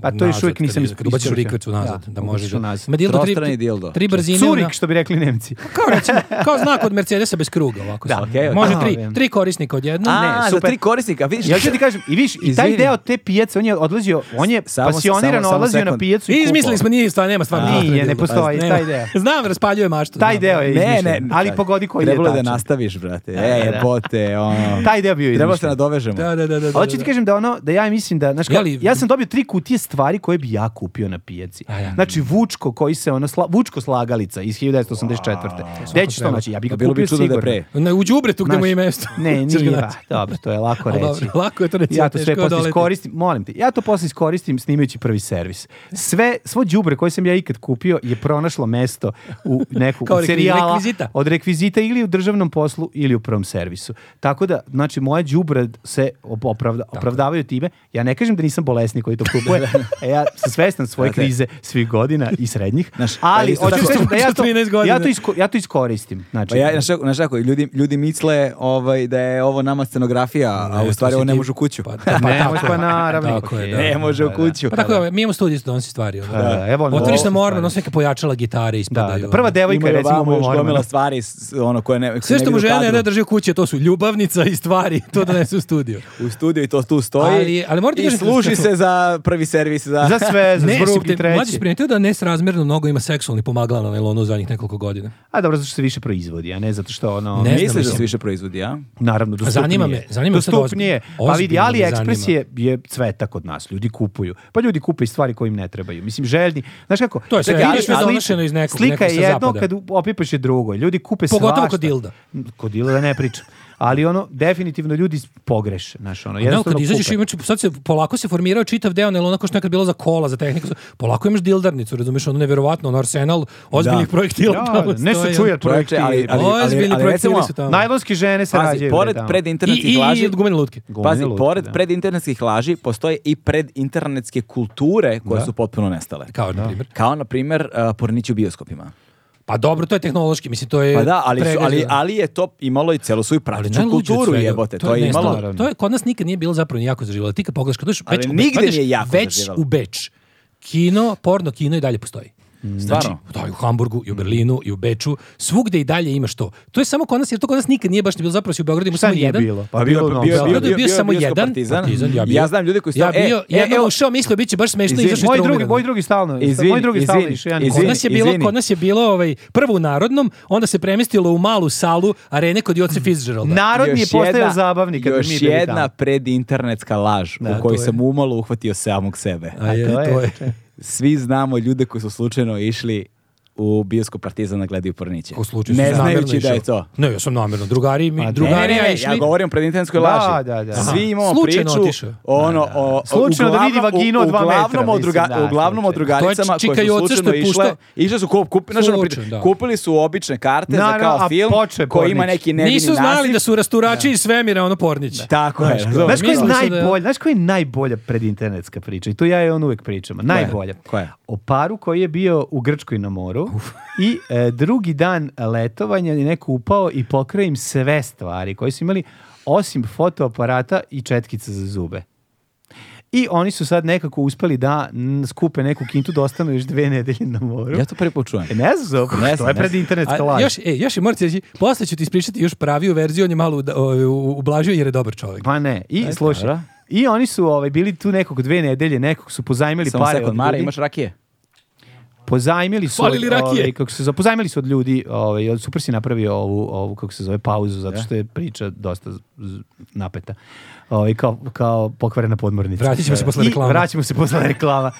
Speaker 3: Pa to još
Speaker 2: Nazad,
Speaker 3: uvijek nisam
Speaker 2: kad je- kad ubaciš
Speaker 3: ispričao.
Speaker 2: rikvercu nazad, da, može
Speaker 3: ubaciš u
Speaker 2: da.
Speaker 3: nazad.
Speaker 2: Ma dildo tri,
Speaker 1: Trostrani dildo.
Speaker 2: tri brzine.
Speaker 3: Curik,
Speaker 2: ona-
Speaker 3: što bi rekli Nemci.
Speaker 2: Kao recimo, kao znak od Mercedesa bez kruga, ovako.
Speaker 3: Da,
Speaker 2: samo.
Speaker 1: okej, okej.
Speaker 2: Može
Speaker 3: Aha,
Speaker 2: tri,
Speaker 3: vem.
Speaker 2: tri korisnika odjednom.
Speaker 1: A,
Speaker 3: Ne,
Speaker 1: za
Speaker 3: super.
Speaker 1: tri korisnika, vidiš.
Speaker 3: Ja ću ti kažem, i viš, i taj
Speaker 1: Izvini.
Speaker 3: deo te pijace, on je odlazio, on je
Speaker 1: Samo-
Speaker 3: pasionirano
Speaker 1: samo- samo
Speaker 3: odlazio na
Speaker 1: sekund.
Speaker 3: pijacu i
Speaker 2: I
Speaker 3: kupovao.
Speaker 2: izmislili smo, nije stvar, nema stvarno.
Speaker 3: Nije,
Speaker 2: prostora
Speaker 3: ne
Speaker 2: dildo.
Speaker 3: postoji,
Speaker 2: Nema.
Speaker 3: taj deo.
Speaker 2: Znam, raspaljuje maštu.
Speaker 3: Taj
Speaker 2: znam.
Speaker 3: deo je
Speaker 1: Ne,
Speaker 3: izmišljen.
Speaker 1: ne,
Speaker 3: ali pogodi koji je
Speaker 1: Trebalo je da
Speaker 3: tačan.
Speaker 1: nastaviš, brate. E, jebote, ono.
Speaker 3: Taj deo bio je
Speaker 1: Trebalo se
Speaker 3: izmišljen.
Speaker 1: nadovežemo.
Speaker 2: Da, da, da, da.
Speaker 3: Ali hoću ti
Speaker 2: da.
Speaker 3: kažem da ono, da ja mislim da, znaš, kao,
Speaker 2: Jeli-
Speaker 3: ja sam dobio tri kutije stvari koje bi ja kupio na pijaci.
Speaker 2: A ja.
Speaker 3: Znači, Vučko koji se ono, sla, Vučko slagalica iz 1984. Gde ćeš to
Speaker 2: treba.
Speaker 3: naći? Ja bih ga
Speaker 1: Pa bilo
Speaker 3: kupio
Speaker 1: bi čudo da
Speaker 3: sigurno.
Speaker 1: je pre.
Speaker 2: Ne, u đubretu gde
Speaker 3: Znaš,
Speaker 2: mu je mesto.
Speaker 3: Ne,
Speaker 2: Ćeš ga
Speaker 3: nije.
Speaker 2: naći.
Speaker 3: a, Dobro, to je lako
Speaker 2: A,
Speaker 3: reći.
Speaker 2: dobro, lako je to reći,
Speaker 3: Ja
Speaker 2: a
Speaker 3: to sve
Speaker 2: teško je
Speaker 3: posle
Speaker 2: odoleti.
Speaker 3: iskoristim, molim te. Ja to posle iskoristim snimajući prvi servis. Sve, svo đubre koje sam ja ikad kupio je pronašlo mesto u neku
Speaker 2: Kao
Speaker 3: od serijala,
Speaker 2: rekvizita.
Speaker 3: od rekvizita ili u državnom poslu ili u prvom servisu. Tako da, znači, moja đubre se op- opravda, opravdavaju time. Ja ne kažem da nisam bolesnik koji to kupuje. e, ja sam svestan svoje
Speaker 1: Znate.
Speaker 3: krize svih godina i srednjih.
Speaker 1: Znaš,
Speaker 3: ali,
Speaker 1: isto
Speaker 3: hoću
Speaker 1: tako-
Speaker 3: kažem da ja to,
Speaker 2: 13 godina.
Speaker 3: ja, to isko- ja to iskoristim. Znači,
Speaker 1: Pa ja, znaš kako- znaš kako, ljudi, ljudi misle ovaj, da je ovo nama scenografija, a u
Speaker 2: to
Speaker 1: stvari
Speaker 2: si
Speaker 1: ovo ne
Speaker 2: ti-
Speaker 1: može u kuću.
Speaker 2: Pa, pa,
Speaker 3: Ne,
Speaker 2: tako
Speaker 3: može,
Speaker 2: je.
Speaker 3: pa naravno.
Speaker 2: Tako je, da.
Speaker 1: Ne može u kuću.
Speaker 2: Pa tako je, mi imamo studiju donosi stvari. ono.
Speaker 3: Da, evo, ono,
Speaker 2: Otvoriš
Speaker 3: ovo
Speaker 2: na
Speaker 3: su
Speaker 2: mormon,
Speaker 3: stvari.
Speaker 2: ono sve kao pojačala gitare
Speaker 3: Da,
Speaker 2: ispadaju.
Speaker 3: da. Prva
Speaker 2: ono.
Speaker 3: devojka je
Speaker 1: Imaju
Speaker 3: recimo
Speaker 1: ovamo još
Speaker 3: Mormona.
Speaker 1: gomila stvari s- ono koje ne koje
Speaker 2: Sve
Speaker 1: ne
Speaker 2: što mu
Speaker 1: vide u
Speaker 2: žena ne
Speaker 1: kadru.
Speaker 2: da drži u kući, to su ljubavnica i stvari, to donese u studiju.
Speaker 1: u studiju i to tu stoji.
Speaker 2: Ali- ali morate
Speaker 1: I
Speaker 2: kažem-
Speaker 1: služi se za prvi servis za,
Speaker 3: Za sve, za
Speaker 2: Ne, si
Speaker 3: zbrug i
Speaker 2: primi- mlađi si
Speaker 3: treći.
Speaker 2: primetio da nesrazmjerno mnogo ima seksualni pomagala na nailonu u zadnjih nekoliko godina. Pa
Speaker 3: A dobro, zato što se više proizvodi, a ne zato što ono...
Speaker 2: Ne znam,
Speaker 1: Misliš da
Speaker 2: mislim.
Speaker 1: se više proizvodi, a?
Speaker 3: Naravno, dostupnije.
Speaker 2: Zanima me, zanima me sad
Speaker 3: Dostupnije.
Speaker 2: ozbiljno.
Speaker 3: Pa vidi,
Speaker 2: Ozbiljno me
Speaker 3: AliExpress
Speaker 2: zanima.
Speaker 3: je, je cveta kod nas. Ljudi kupuju. Pa ljudi kupe i stvari koje im ne trebaju. Mislim, željni. Znaš kako?
Speaker 2: To je sve-
Speaker 3: Čekaj,
Speaker 2: ali sve
Speaker 3: slika-
Speaker 2: donošeno iz nekog-
Speaker 3: Slika
Speaker 2: nekog
Speaker 3: je
Speaker 2: sa
Speaker 3: jedno,
Speaker 2: zapada.
Speaker 3: kad u- opipaš je drugo. Ljudi kupe
Speaker 2: Pogotovo
Speaker 3: svašta.
Speaker 2: kod dilda.
Speaker 3: kod dilera ne pričam. Ali ono, definitivno ljudi pogreše. Znaš, ono,
Speaker 2: Evo
Speaker 3: jednostavno
Speaker 2: kad izađeš
Speaker 3: kupe.
Speaker 2: imaš sad se polako se formirao čitav deo nel onako što je nekad bilo za kola, za tehniku. za- Polako imaš dildarnicu, razumiješ, ono neverovatno, ono arsenal ozbiljnih
Speaker 1: Da.
Speaker 2: projektila.
Speaker 3: Da,
Speaker 2: tamo ono
Speaker 3: ne
Speaker 2: stoje.
Speaker 3: se čuje
Speaker 1: Čovječe,
Speaker 3: projekti.
Speaker 1: ali, ali, ali, ali,
Speaker 2: Ozbiljni
Speaker 1: recimo,
Speaker 2: projektili su tamo.
Speaker 3: Najlonske žene se
Speaker 1: pazi,
Speaker 3: rađaju.
Speaker 1: pored
Speaker 3: tamo.
Speaker 2: I,
Speaker 1: predinternetskih
Speaker 2: i,
Speaker 1: laži,
Speaker 2: i od gumene lutke.
Speaker 3: Gomila
Speaker 1: Pazi,
Speaker 3: lutke,
Speaker 1: pored
Speaker 3: da.
Speaker 1: predinternetskih laži postoje i predinternetske kulture koje su potpuno nestale.
Speaker 2: Kao, na primjer.
Speaker 1: Kao, na primjer, uh, pornići u bioskopima.
Speaker 2: Pa dobro, to je tehnološki, mislim, to je...
Speaker 1: Pa da, ali, su, ali,
Speaker 2: pregaženo.
Speaker 1: ali je to imalo i celu svoju
Speaker 2: Ali
Speaker 1: praktičnu
Speaker 2: najluđe od
Speaker 1: kulturu
Speaker 2: svega,
Speaker 1: jebote. To je
Speaker 2: nestalo.
Speaker 1: imalo...
Speaker 2: To je kod nas nikad nije bilo zapravo ni jako zaživjelo. Ti kad pogledaš, kad dođeš
Speaker 1: Ali
Speaker 2: već, u Be-
Speaker 1: nigde
Speaker 2: odeš
Speaker 1: nije jako
Speaker 2: već
Speaker 1: zaživelo.
Speaker 2: u Beč, kino, porno kino i dalje postoji. Znači,
Speaker 1: Stvarno?
Speaker 2: da, i u Hamburgu, i u Berlinu, i u Beču, svugdje i dalje imaš to. To je samo kod nas, jer to kod nas nikad nije baš ni bilo, zapravo si u Beogradu imao
Speaker 3: Šta
Speaker 2: samo
Speaker 3: nije
Speaker 2: jedan.
Speaker 3: bilo?
Speaker 1: Pa bio, bio, bio,
Speaker 2: Beogradu
Speaker 1: bio,
Speaker 2: je bio samo
Speaker 1: bioskop
Speaker 2: jedan,
Speaker 1: Partizan.
Speaker 2: Partizan, ja bio.
Speaker 1: ja znam ljude koji su...
Speaker 2: Ja
Speaker 1: tamo-
Speaker 2: bio,
Speaker 1: e,
Speaker 2: jednom
Speaker 1: evo,
Speaker 2: ušao, mislio, bit će baš smešno,
Speaker 1: Izvini,
Speaker 2: izašao iz
Speaker 3: Moj
Speaker 2: traume
Speaker 3: drugi,
Speaker 2: dan.
Speaker 3: moj drugi stalno.
Speaker 1: Izvini,
Speaker 3: moj drugi stalno
Speaker 1: izvini,
Speaker 3: išao jedan
Speaker 1: izvini.
Speaker 2: Kod nas je bilo,
Speaker 1: Izvini.
Speaker 2: kod nas je bilo ovaj, prvo u Narodnom, onda se premestilo u malu salu arene kod Joce Fitzgeralda.
Speaker 3: Narodni je
Speaker 1: još
Speaker 3: postao
Speaker 1: jedna-
Speaker 3: zabavni kad bi mi
Speaker 1: Još
Speaker 3: bili
Speaker 1: jedna
Speaker 3: tamo.
Speaker 1: predinternetska laž
Speaker 2: Da,
Speaker 1: u kojoj
Speaker 2: to je.
Speaker 1: sam umalo uhvatio samog sebe.
Speaker 2: A je,
Speaker 3: to je,
Speaker 2: to je.
Speaker 1: Svi znamo ljude koji su slučajno išli u bioskop Partizan da gledaju porniće.
Speaker 2: Pa U slučaju
Speaker 1: ne
Speaker 2: sam namjerno
Speaker 1: znajući da
Speaker 2: išao.
Speaker 1: je to.
Speaker 2: Ne, ja sam namjerno. Drugari mi,
Speaker 3: A, ne,
Speaker 1: Ne,
Speaker 2: drugari
Speaker 1: ne, ne,
Speaker 2: ja
Speaker 1: ne,
Speaker 2: išli.
Speaker 1: ja govorim o predinternetskoj
Speaker 3: Da,
Speaker 1: laži.
Speaker 3: da, da.
Speaker 1: Svi imamo
Speaker 2: Slučajno
Speaker 1: priču.
Speaker 2: otišao.
Speaker 1: Ono, o- o-
Speaker 3: Slučajno da vidi
Speaker 1: uglavnom-
Speaker 3: vaginu od dva
Speaker 1: Uglavnom,
Speaker 3: metra,
Speaker 1: o,
Speaker 3: mislim,
Speaker 1: druga,
Speaker 3: da,
Speaker 1: uglavnom o
Speaker 3: slučajno.
Speaker 1: drugaricama
Speaker 2: To je
Speaker 1: koje
Speaker 2: čika
Speaker 1: su
Speaker 2: Joce
Speaker 1: slučajno
Speaker 2: što je
Speaker 1: išle.
Speaker 2: puštao-
Speaker 1: Išle su kup, kup, znaš, ono, pri-
Speaker 2: Slučajno, da.
Speaker 1: kupili su obične karte za
Speaker 3: Naravno,
Speaker 1: kao
Speaker 3: a
Speaker 1: film
Speaker 3: počeo je
Speaker 1: koji ima
Speaker 3: pornić.
Speaker 1: neki nevini
Speaker 2: Nisu znali
Speaker 1: naslov.
Speaker 2: da su rasturači iz svemira, ono pornić.
Speaker 1: Tako je. razumeš?
Speaker 3: Znaš koji
Speaker 2: Mislili
Speaker 3: je
Speaker 2: su da-
Speaker 3: najbolja, znaš koji je najbolja predinternetska priča? I to ja i on uvek pričam. Najbolja.
Speaker 1: Koja je?
Speaker 3: O paru koji je bio u Grčkoj na moru i e, drugi dan letovanja je neko upao i pokrao im sve stvari koje su imali osim fotoaparata i četkica za zube. I oni su sad nekako uspeli da mm, skupe neku kintu da ostanu još dve nedelje na moru.
Speaker 1: Ja to prvi put čujem.
Speaker 3: E, ne znam, zapravo,
Speaker 1: Ne
Speaker 3: to
Speaker 1: znam, ne
Speaker 3: je
Speaker 1: znam.
Speaker 3: predinternetska
Speaker 2: A,
Speaker 3: laž.
Speaker 2: još, e, još je morate reći, posle ću ti ispričati još praviju verziju, on je malo uda- o, u- ublažio jer je dobar čovjek.
Speaker 3: Pa ne. I slušaj, i oni su ovaj, bili tu nekog dve nedelje, nekog su pozajmili
Speaker 1: Samo
Speaker 3: pare
Speaker 1: sekund,
Speaker 3: od
Speaker 1: Mare,
Speaker 3: ljudi.
Speaker 1: imaš rakije?
Speaker 3: pozajmili su
Speaker 2: Falili rakije.
Speaker 3: ovaj, kako se zove, pozajmili su od ljudi, ovaj od super si napravio ovu ovu kako se zove pauzu zato što je priča dosta z- z- napeta. Ovaj kao kao pokvarena podmornica. E,
Speaker 2: Vratit ćemo se posle
Speaker 3: I
Speaker 2: reklama.
Speaker 3: Vraćamo se posle reklama.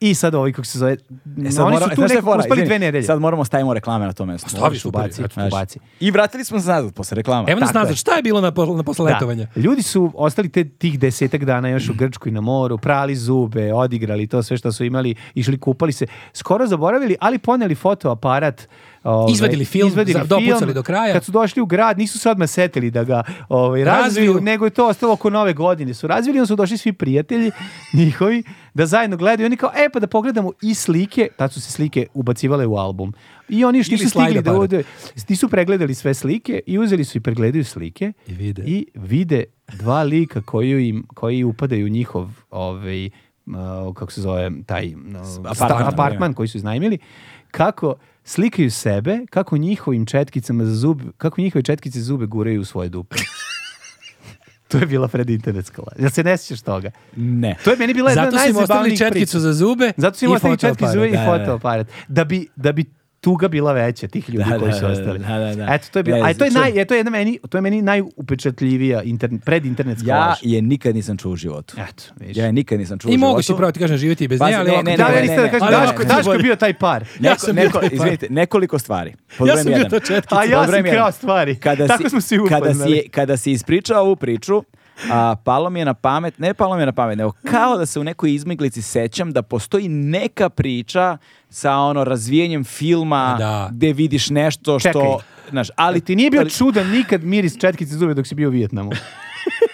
Speaker 3: I sad ovaj kako se zove,
Speaker 1: E, sad
Speaker 3: oni
Speaker 1: mora-
Speaker 3: su
Speaker 1: znaš
Speaker 3: tu
Speaker 1: šta je
Speaker 3: nekako
Speaker 1: fora?
Speaker 3: uspeli
Speaker 1: Izvini,
Speaker 3: dve nedelje.
Speaker 1: Sad moramo stavimo reklame na to mesto.
Speaker 2: Stavi,
Speaker 1: Možeš
Speaker 2: super,
Speaker 1: ubaciti,
Speaker 3: eto,
Speaker 1: znaš.
Speaker 3: ubaci.
Speaker 1: I vratili smo se nazad posle reklama.
Speaker 2: Evo nas
Speaker 3: tako je.
Speaker 2: nazad, šta je bilo na, po- na posle
Speaker 3: Da.
Speaker 2: letovanja?
Speaker 3: Ljudi su ostali te, tih desetak dana još u Grčkoj na moru, prali zube, odigrali to sve što su imali, išli kupali se, skoro zaboravili, ali poneli fotoaparat. ovaj,
Speaker 2: Izvadili film, za- dopucali do kraja.
Speaker 3: Kad su došli u grad, nisu se odmah setili da ga ovaj, razviju,
Speaker 2: Razviju.
Speaker 3: nego je to ostalo oko nove godine. Su razvili, onda su došli svi prijatelji njihovi da zajedno gledaju. Oni kao, e pa da pogledamo i slike, tad su se slike ubacivale u album. I oni još
Speaker 2: Ili
Speaker 3: nisu stigli da
Speaker 2: slajdaparat.
Speaker 3: ovde, nisu pregledali sve slike i uzeli su i pregledaju slike
Speaker 2: I vide.
Speaker 3: i vide dva lika koji im koji upadaju u njihov ovaj uh, kako se zove taj uh, apartman, apartman koji su iznajmili kako slikaju sebe kako njihovim četkicama za zub kako njihove četkice za zube guraju u svoje dupe to je bila pred internetska laž. Jel se ne sjećaš toga?
Speaker 1: Ne.
Speaker 3: To je meni bila jedna
Speaker 2: Zato su im
Speaker 3: najzabavnijih
Speaker 2: ostavili
Speaker 3: priča.
Speaker 2: četkicu za zube
Speaker 3: Zato
Speaker 2: i
Speaker 3: su imali ostavili četke
Speaker 2: fotoaparat.
Speaker 3: zube i
Speaker 2: Da, da.
Speaker 3: fotoaparat. Da bi, da bi tuga bila veća tih ljudi
Speaker 1: Da,
Speaker 3: koji
Speaker 1: da,
Speaker 3: su
Speaker 1: da,
Speaker 3: ostali.
Speaker 1: da, da, da.
Speaker 3: Eto, to je bilo.
Speaker 1: Ne,
Speaker 3: A to je,
Speaker 1: čuj.
Speaker 3: naj, e, to je jedna meni, to je meni najupečatljivija interne, predinternetska
Speaker 1: Ja
Speaker 3: laž.
Speaker 1: je nikad nisam čuo u životu.
Speaker 3: Eto, vidiš.
Speaker 1: Ja je nikad nisam čuo u
Speaker 2: I
Speaker 1: životu.
Speaker 2: mogu si pravo ti kažem živjeti i bez
Speaker 1: Pazi,
Speaker 2: nje, ali
Speaker 1: ne,
Speaker 2: ovako
Speaker 1: ne,
Speaker 2: ti
Speaker 3: Da,
Speaker 2: bolje.
Speaker 3: ja nisam da kažem,
Speaker 2: Ali
Speaker 3: Daško,
Speaker 2: ovako ti
Speaker 3: Daško je
Speaker 2: bolje.
Speaker 3: bio taj par.
Speaker 1: Neko-
Speaker 2: Ja sam bio
Speaker 1: neko,
Speaker 2: taj par.
Speaker 1: izvinite, nekoliko stvari. Pod
Speaker 2: Ja
Speaker 1: brojem
Speaker 2: sam bio
Speaker 1: jedan.
Speaker 2: ta četkica.
Speaker 3: A ja
Speaker 1: Pod
Speaker 3: sam
Speaker 1: brojem jedan.
Speaker 3: krao stvari.
Speaker 1: Kada
Speaker 3: Tako
Speaker 1: si-
Speaker 3: smo svi
Speaker 1: Kada
Speaker 3: upoznali.
Speaker 1: si, kada si ispričao ovu priču, a, palo mi je na pamet, ne palo mi je na pamet, nego kao da se u nekoj izmiglici sećam da postoji neka priča sa ono razvijenjem filma
Speaker 2: Da.
Speaker 1: gde vidiš nešto što...
Speaker 3: Čekaj.
Speaker 1: Znaš, ali
Speaker 3: Ali ti nije bio
Speaker 1: ali-
Speaker 3: čudan nikad miris četkice zube dok si bio u Vijetnamu.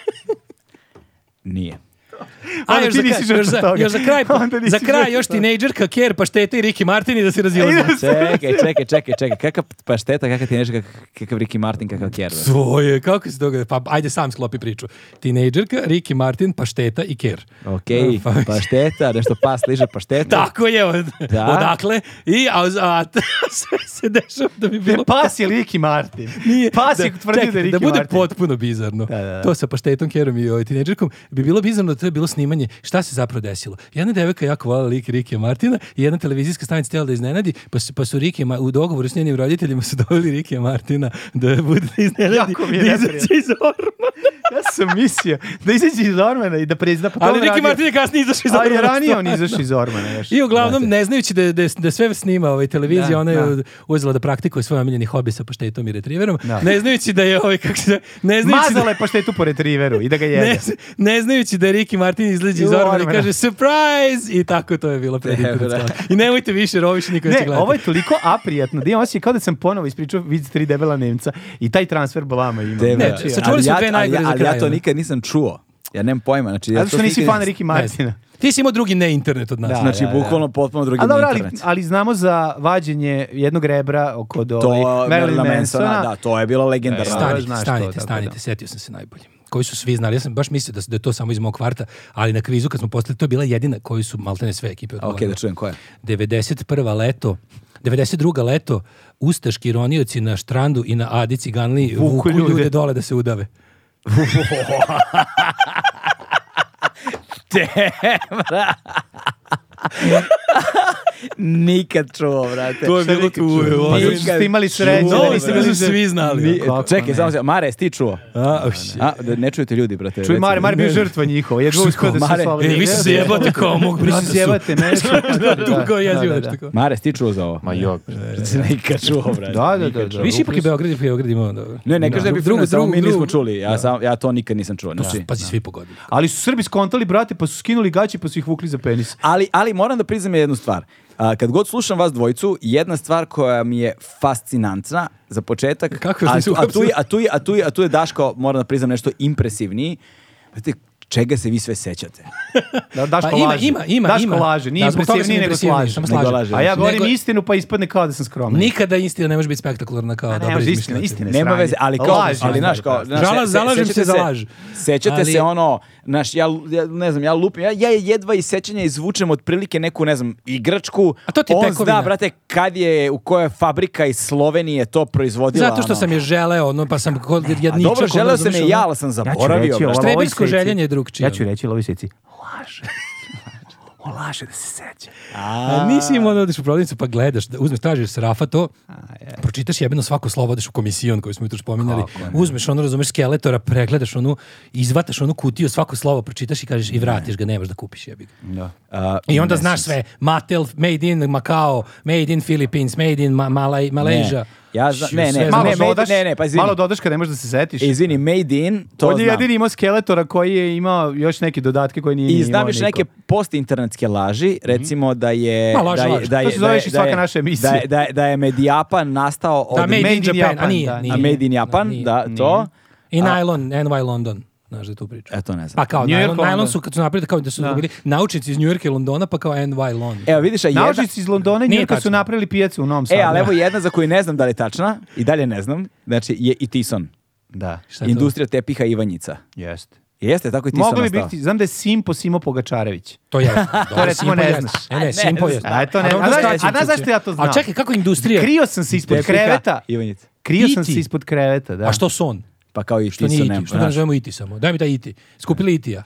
Speaker 1: Nije.
Speaker 2: A
Speaker 3: Onda
Speaker 2: još
Speaker 3: ti
Speaker 2: za,
Speaker 3: nisi
Speaker 2: kraj,
Speaker 3: žrtva
Speaker 2: još, za,
Speaker 3: toga.
Speaker 2: još za kraj,
Speaker 3: Onda nisi
Speaker 2: za kraj
Speaker 3: žrtva
Speaker 2: još
Speaker 3: toga.
Speaker 2: tinejdžerka, Ker, Pašteta i Ricky Martin i da se razilaze.
Speaker 1: Čekaj, čekaj, čekaj, čekaj. Kakav pašteta, kakav ti neš, kakav, kakav Ricky Martin, kakav Kjer.
Speaker 2: Svoje, kako se događa? Pa ajde sam sklopi priču. Tinejdžerka, Ricky Martin, Pašteta i Ker.
Speaker 1: Ok,
Speaker 2: Pa-
Speaker 1: pašteta, nešto pas liže pašteta.
Speaker 2: Tako je, od,
Speaker 1: Da.
Speaker 2: odakle. I, a, a sve se dešava da bi
Speaker 3: Ne,
Speaker 2: bilo...
Speaker 3: pas je Liki Martin. pas je tvrdio pa, da
Speaker 2: čekaj,
Speaker 3: je Liki
Speaker 2: da bude
Speaker 3: Martin.
Speaker 2: potpuno bizarno.
Speaker 3: da, da.
Speaker 2: To sa paštetom, kerom i ovaj tinejdžerkom bi bilo bizarno, to je bilo snimanje, šta se zapravo desilo? Jedna devojka jako vola lik Rike Martina i jedna televizijska stanica htjela da iznenadi, pa su, pa su Rike, Ma- u dogovoru s njenim roditeljima su doveli Rike Martina da bude da iznenadi,
Speaker 3: Jako mi je
Speaker 2: da
Speaker 3: neprijatno.
Speaker 2: izađe iz ormana.
Speaker 3: Ja sam mislio da izađe iz Ormana i da prezna. Pa to
Speaker 2: Ali
Speaker 3: on
Speaker 2: Rike
Speaker 3: radio.
Speaker 2: Martin je kasnije izašao iz
Speaker 3: Ali
Speaker 2: ormana.
Speaker 3: ranije on izašao iz Ormana. Još.
Speaker 2: I uglavnom,
Speaker 3: Znate.
Speaker 2: ne znajući da, da, da sve snima ovaj, televizija,
Speaker 3: Da,
Speaker 2: ona
Speaker 3: da.
Speaker 2: je uzela da praktikuje svoj omiljeni hobi sa paštetom i retriverom.
Speaker 3: Da.
Speaker 2: Ne znajući da je ovaj, kako se... Ne znajući da,
Speaker 3: Mazala je paštetu po retriveru i da ga jede.
Speaker 2: Znači, ne, z- ne znajući da je Ricky Martin izleđe
Speaker 3: I
Speaker 2: iz
Speaker 3: u
Speaker 2: ormana i
Speaker 3: ormana.
Speaker 2: kaže surprise i tako to je bilo pred internet skala. I nemojte više, jer ovo više niko neće
Speaker 3: Ne,
Speaker 2: gledati.
Speaker 3: ovo je toliko aprijatno. Da imam osjećaj kao da sam ponovo ispričao vic tri debela Nemca i taj transfer blama imam. Znači,
Speaker 1: Tebe.
Speaker 2: Ne,
Speaker 1: Znači, Ali
Speaker 2: sačuvali smo
Speaker 1: ja-
Speaker 2: dve
Speaker 1: ali
Speaker 2: najgore
Speaker 1: ja-
Speaker 2: za
Speaker 1: Ali ja
Speaker 2: kraj,
Speaker 1: to
Speaker 2: ono.
Speaker 1: nikad nisam čuo. Ja nemam pojma. Znači, ja
Speaker 3: Zato što
Speaker 1: to
Speaker 3: nisi
Speaker 1: nikad
Speaker 3: fan
Speaker 1: nisam-
Speaker 3: Riki
Speaker 2: Ne znam.
Speaker 3: Martina.
Speaker 2: Ti si imao drugi ne internet od nas.
Speaker 3: Da.
Speaker 1: Znači, bukvalno potpuno drugi
Speaker 3: A dobro, ali,
Speaker 1: internet.
Speaker 3: ali znamo za vađenje jednog rebra kod
Speaker 1: To
Speaker 3: ovaj, Marilyn E,
Speaker 1: Mansona,
Speaker 3: Mansona.
Speaker 1: da, to je bila legendarna.
Speaker 3: Stani.
Speaker 2: Stanite,
Speaker 3: znaš to,
Speaker 2: stanite,
Speaker 3: tako da.
Speaker 2: stanite, setio sam se najbolje. Koji su svi znali. Ja sam baš mislio da, s- da je to samo iz mog kvarta, ali na kvizu kad smo postali, to je bila jedina koju su maltene sve ekipe
Speaker 1: Ok,
Speaker 2: odgovorili.
Speaker 1: da čujem koja.
Speaker 2: 91. leto, 92. leto, ustaški ronioci na štrandu i na Adici ganli
Speaker 3: Vuku
Speaker 2: vuku
Speaker 3: ljude.
Speaker 2: ljude. dole da se udave.
Speaker 1: Nikad čuo, brate.
Speaker 2: To je
Speaker 3: Šta
Speaker 2: bilo
Speaker 3: nikad
Speaker 2: tu,
Speaker 3: čuo?
Speaker 2: evo,
Speaker 3: Pa zato
Speaker 2: nikad
Speaker 3: što ste imali
Speaker 1: E,
Speaker 3: sreće.
Speaker 2: čuo,
Speaker 3: da
Speaker 2: no,
Speaker 3: niste
Speaker 2: mislim da
Speaker 3: bili
Speaker 2: su
Speaker 3: za-
Speaker 2: svi znali.
Speaker 3: Ni-
Speaker 1: Kako Čekaj,
Speaker 3: ne.
Speaker 1: samo se, Mare, jesi ti čuo?
Speaker 2: A, oh, shit.
Speaker 1: A, da ne čujete ljudi, brate.
Speaker 3: Čuj,
Speaker 1: recimo.
Speaker 3: Mare, Mare bio žrtva njihova. Jedva uspio da se
Speaker 1: Mare,
Speaker 3: slobodi.
Speaker 2: E, vi se zjebate kao mog
Speaker 3: Vi
Speaker 2: brata
Speaker 3: se
Speaker 2: su.
Speaker 3: zjebate, mene su.
Speaker 2: Da, dugo je
Speaker 3: Da,
Speaker 2: jezivo
Speaker 3: da,
Speaker 2: nešto
Speaker 3: da.
Speaker 2: tako.
Speaker 1: Mare, jesi ti čuo za ovo?
Speaker 5: Ma jok.
Speaker 1: Nikad čuo, brate.
Speaker 3: Da, da, da. da.
Speaker 2: Više ipak je Beograd, ipak je Beograd imao. dobro.
Speaker 1: Ne, ne kaže da bi drugu, drugu, mi
Speaker 2: drugu.
Speaker 1: nismo čuli. Ja, sam, ja to nikad nisam čuo. Znači,
Speaker 2: Pazi, svi pogodili.
Speaker 3: Ali su Srbi skontali, brate, pa su skinuli gaće, pa su ih vukli za penis.
Speaker 1: Ali, ali moram da priznam jednu stvar. A, kad god slušam vas dvojicu, jedna stvar koja mi je fascinantna za početak,
Speaker 2: Kako
Speaker 1: a,
Speaker 2: vas nisu
Speaker 1: a, tu je, a, tu je, a, tu je, a tu je Daško, moram da priznam nešto impresivniji, Znate, čega se vi sve sećate?
Speaker 3: Da, Daško
Speaker 2: Pa ima,
Speaker 3: laže.
Speaker 2: ima, ima,
Speaker 3: Daško
Speaker 2: ima.
Speaker 3: laže, nije
Speaker 2: Da,
Speaker 3: zbog toga
Speaker 2: impresivni,
Speaker 3: nije nego
Speaker 2: impresivni,
Speaker 3: slaže.
Speaker 2: samo
Speaker 1: slaže. Nego laže.
Speaker 3: A ja govorim
Speaker 2: Nego-
Speaker 3: istinu, pa ispadne kao da sam skroman.
Speaker 2: Nikada istina ne može biti spektakularna kao
Speaker 3: A ne,
Speaker 2: dobra
Speaker 3: može,
Speaker 2: izmišljotina.
Speaker 3: istina, istina. Ne
Speaker 1: Nema
Speaker 3: sranje.
Speaker 1: veze, ali kao,
Speaker 3: Laži,
Speaker 1: ali znaš
Speaker 3: laži,
Speaker 1: kao,
Speaker 3: da.
Speaker 1: znaš,
Speaker 2: Žala-
Speaker 1: se-
Speaker 2: zalažem
Speaker 1: sećate
Speaker 2: se za laž.
Speaker 1: Sećate
Speaker 2: Ali-
Speaker 1: se ono, znaš, ja, ja, ne znam, ja lupim, ja, ja jedva iz sećanja izvučem otprilike neku, ne znam, igračku.
Speaker 2: A to ti je
Speaker 1: On
Speaker 2: tekovina.
Speaker 1: zna, brate, kad je, u kojoj je fabrika iz Slovenije to proizvodila.
Speaker 2: Zato što
Speaker 1: ono.
Speaker 2: sam je želeo, ono, pa sam kod
Speaker 1: A
Speaker 2: jedničak.
Speaker 1: dobro,
Speaker 2: ono,
Speaker 1: želeo sam je
Speaker 2: razumeš,
Speaker 1: ja,
Speaker 2: ono.
Speaker 1: ali sam zaboravio. brate.
Speaker 2: ovako, Štrebersko željenje je drugčije.
Speaker 3: Ja ću reći ovoj seci, laže. On laže da se seća.
Speaker 2: A nisi imao da odeš u prodavnicu pa gledaš, da uzmeš, tražiš s rafa to, pročitaš jebeno svako slovo, odeš u komisijon koju smo jutro spominjali, uzmeš ono, razumeš, skeletora, pregledaš onu, izvataš onu kutiju, svako slovo pročitaš i kažeš i vratiš ga, nemaš da kupiš jebi ga.
Speaker 1: A,
Speaker 2: I onda znaš sve, Matel, Made in Macau, Made in Philippines, Made in Ma Malaj, Malaysia.
Speaker 1: Ja zna-
Speaker 2: Šu,
Speaker 1: ne, ne,
Speaker 2: sve
Speaker 1: ma-
Speaker 3: Malo
Speaker 2: znaš.
Speaker 1: ne, made-
Speaker 3: dodaš,
Speaker 1: ne, ne, pa izvini.
Speaker 3: malo dodaš kada ne možeš da se setiš.
Speaker 1: Izvini, made in, to
Speaker 3: On je
Speaker 1: znam.
Speaker 3: jedini imao skeletora koji je imao još neke dodatke koje nije
Speaker 1: I
Speaker 3: imao
Speaker 1: znam još neke post-internetske laži, recimo da je...
Speaker 2: Ma, laž,
Speaker 1: da je-
Speaker 2: laž.
Speaker 1: Da je,
Speaker 3: To se zove
Speaker 1: da je- da
Speaker 3: i svaka
Speaker 1: je-
Speaker 3: naša emisija.
Speaker 1: Da je, da je, da je Medijapan nastao od...
Speaker 2: Da, Made, in Japan, a nije,
Speaker 3: da.
Speaker 2: nije.
Speaker 1: a made in Japan,
Speaker 2: nije.
Speaker 1: da, to.
Speaker 2: I Nylon, NY London. Znaš da je tu priča.
Speaker 1: E, to ne znam.
Speaker 2: Pa kao
Speaker 3: New York,
Speaker 2: Nylon, Nylon
Speaker 3: London.
Speaker 2: su kad su napravili kao da su bili naučnici iz Njujorka i Londona pa kao NY London.
Speaker 1: Evo, vidiš, a jedna...
Speaker 3: Naučnici iz Londona i
Speaker 2: Nije
Speaker 3: Njurka su
Speaker 2: tačno.
Speaker 3: napravili pijacu u Novom Sadu.
Speaker 1: E, ali evo jedna za koju ne znam da li je tačna, i dalje ne znam, znači je i Tison.
Speaker 3: Da,
Speaker 2: Šta je to?
Speaker 1: Industrija tepiha Ivanjica.
Speaker 3: jeste.
Speaker 1: Jeste, tako i Tison
Speaker 3: Mogli bi
Speaker 1: nastao.
Speaker 3: biti, znam da je Simpo Simo Pogačarević.
Speaker 2: To je.
Speaker 3: To recimo ne znaš.
Speaker 2: E, ne, Simpo je.
Speaker 3: A, to ne-
Speaker 2: dobro,
Speaker 3: a znaš-
Speaker 2: skraćim
Speaker 3: a znaš
Speaker 2: ću
Speaker 3: zašto
Speaker 2: ti.
Speaker 3: ja to znam?
Speaker 2: A čekaj, kako industrija?
Speaker 3: Krio sam se ispod
Speaker 1: Tepiha
Speaker 3: kreveta.
Speaker 1: Ivanjica.
Speaker 3: Krio sam
Speaker 2: Iti.
Speaker 3: se ispod kreveta, da.
Speaker 2: A što son?
Speaker 1: Pa kao i
Speaker 2: Što nije
Speaker 1: Tison. nema,
Speaker 2: iti? Što ga
Speaker 1: znaš.
Speaker 2: nazovemo iti samo? Daj mi taj iti. Skupili itija.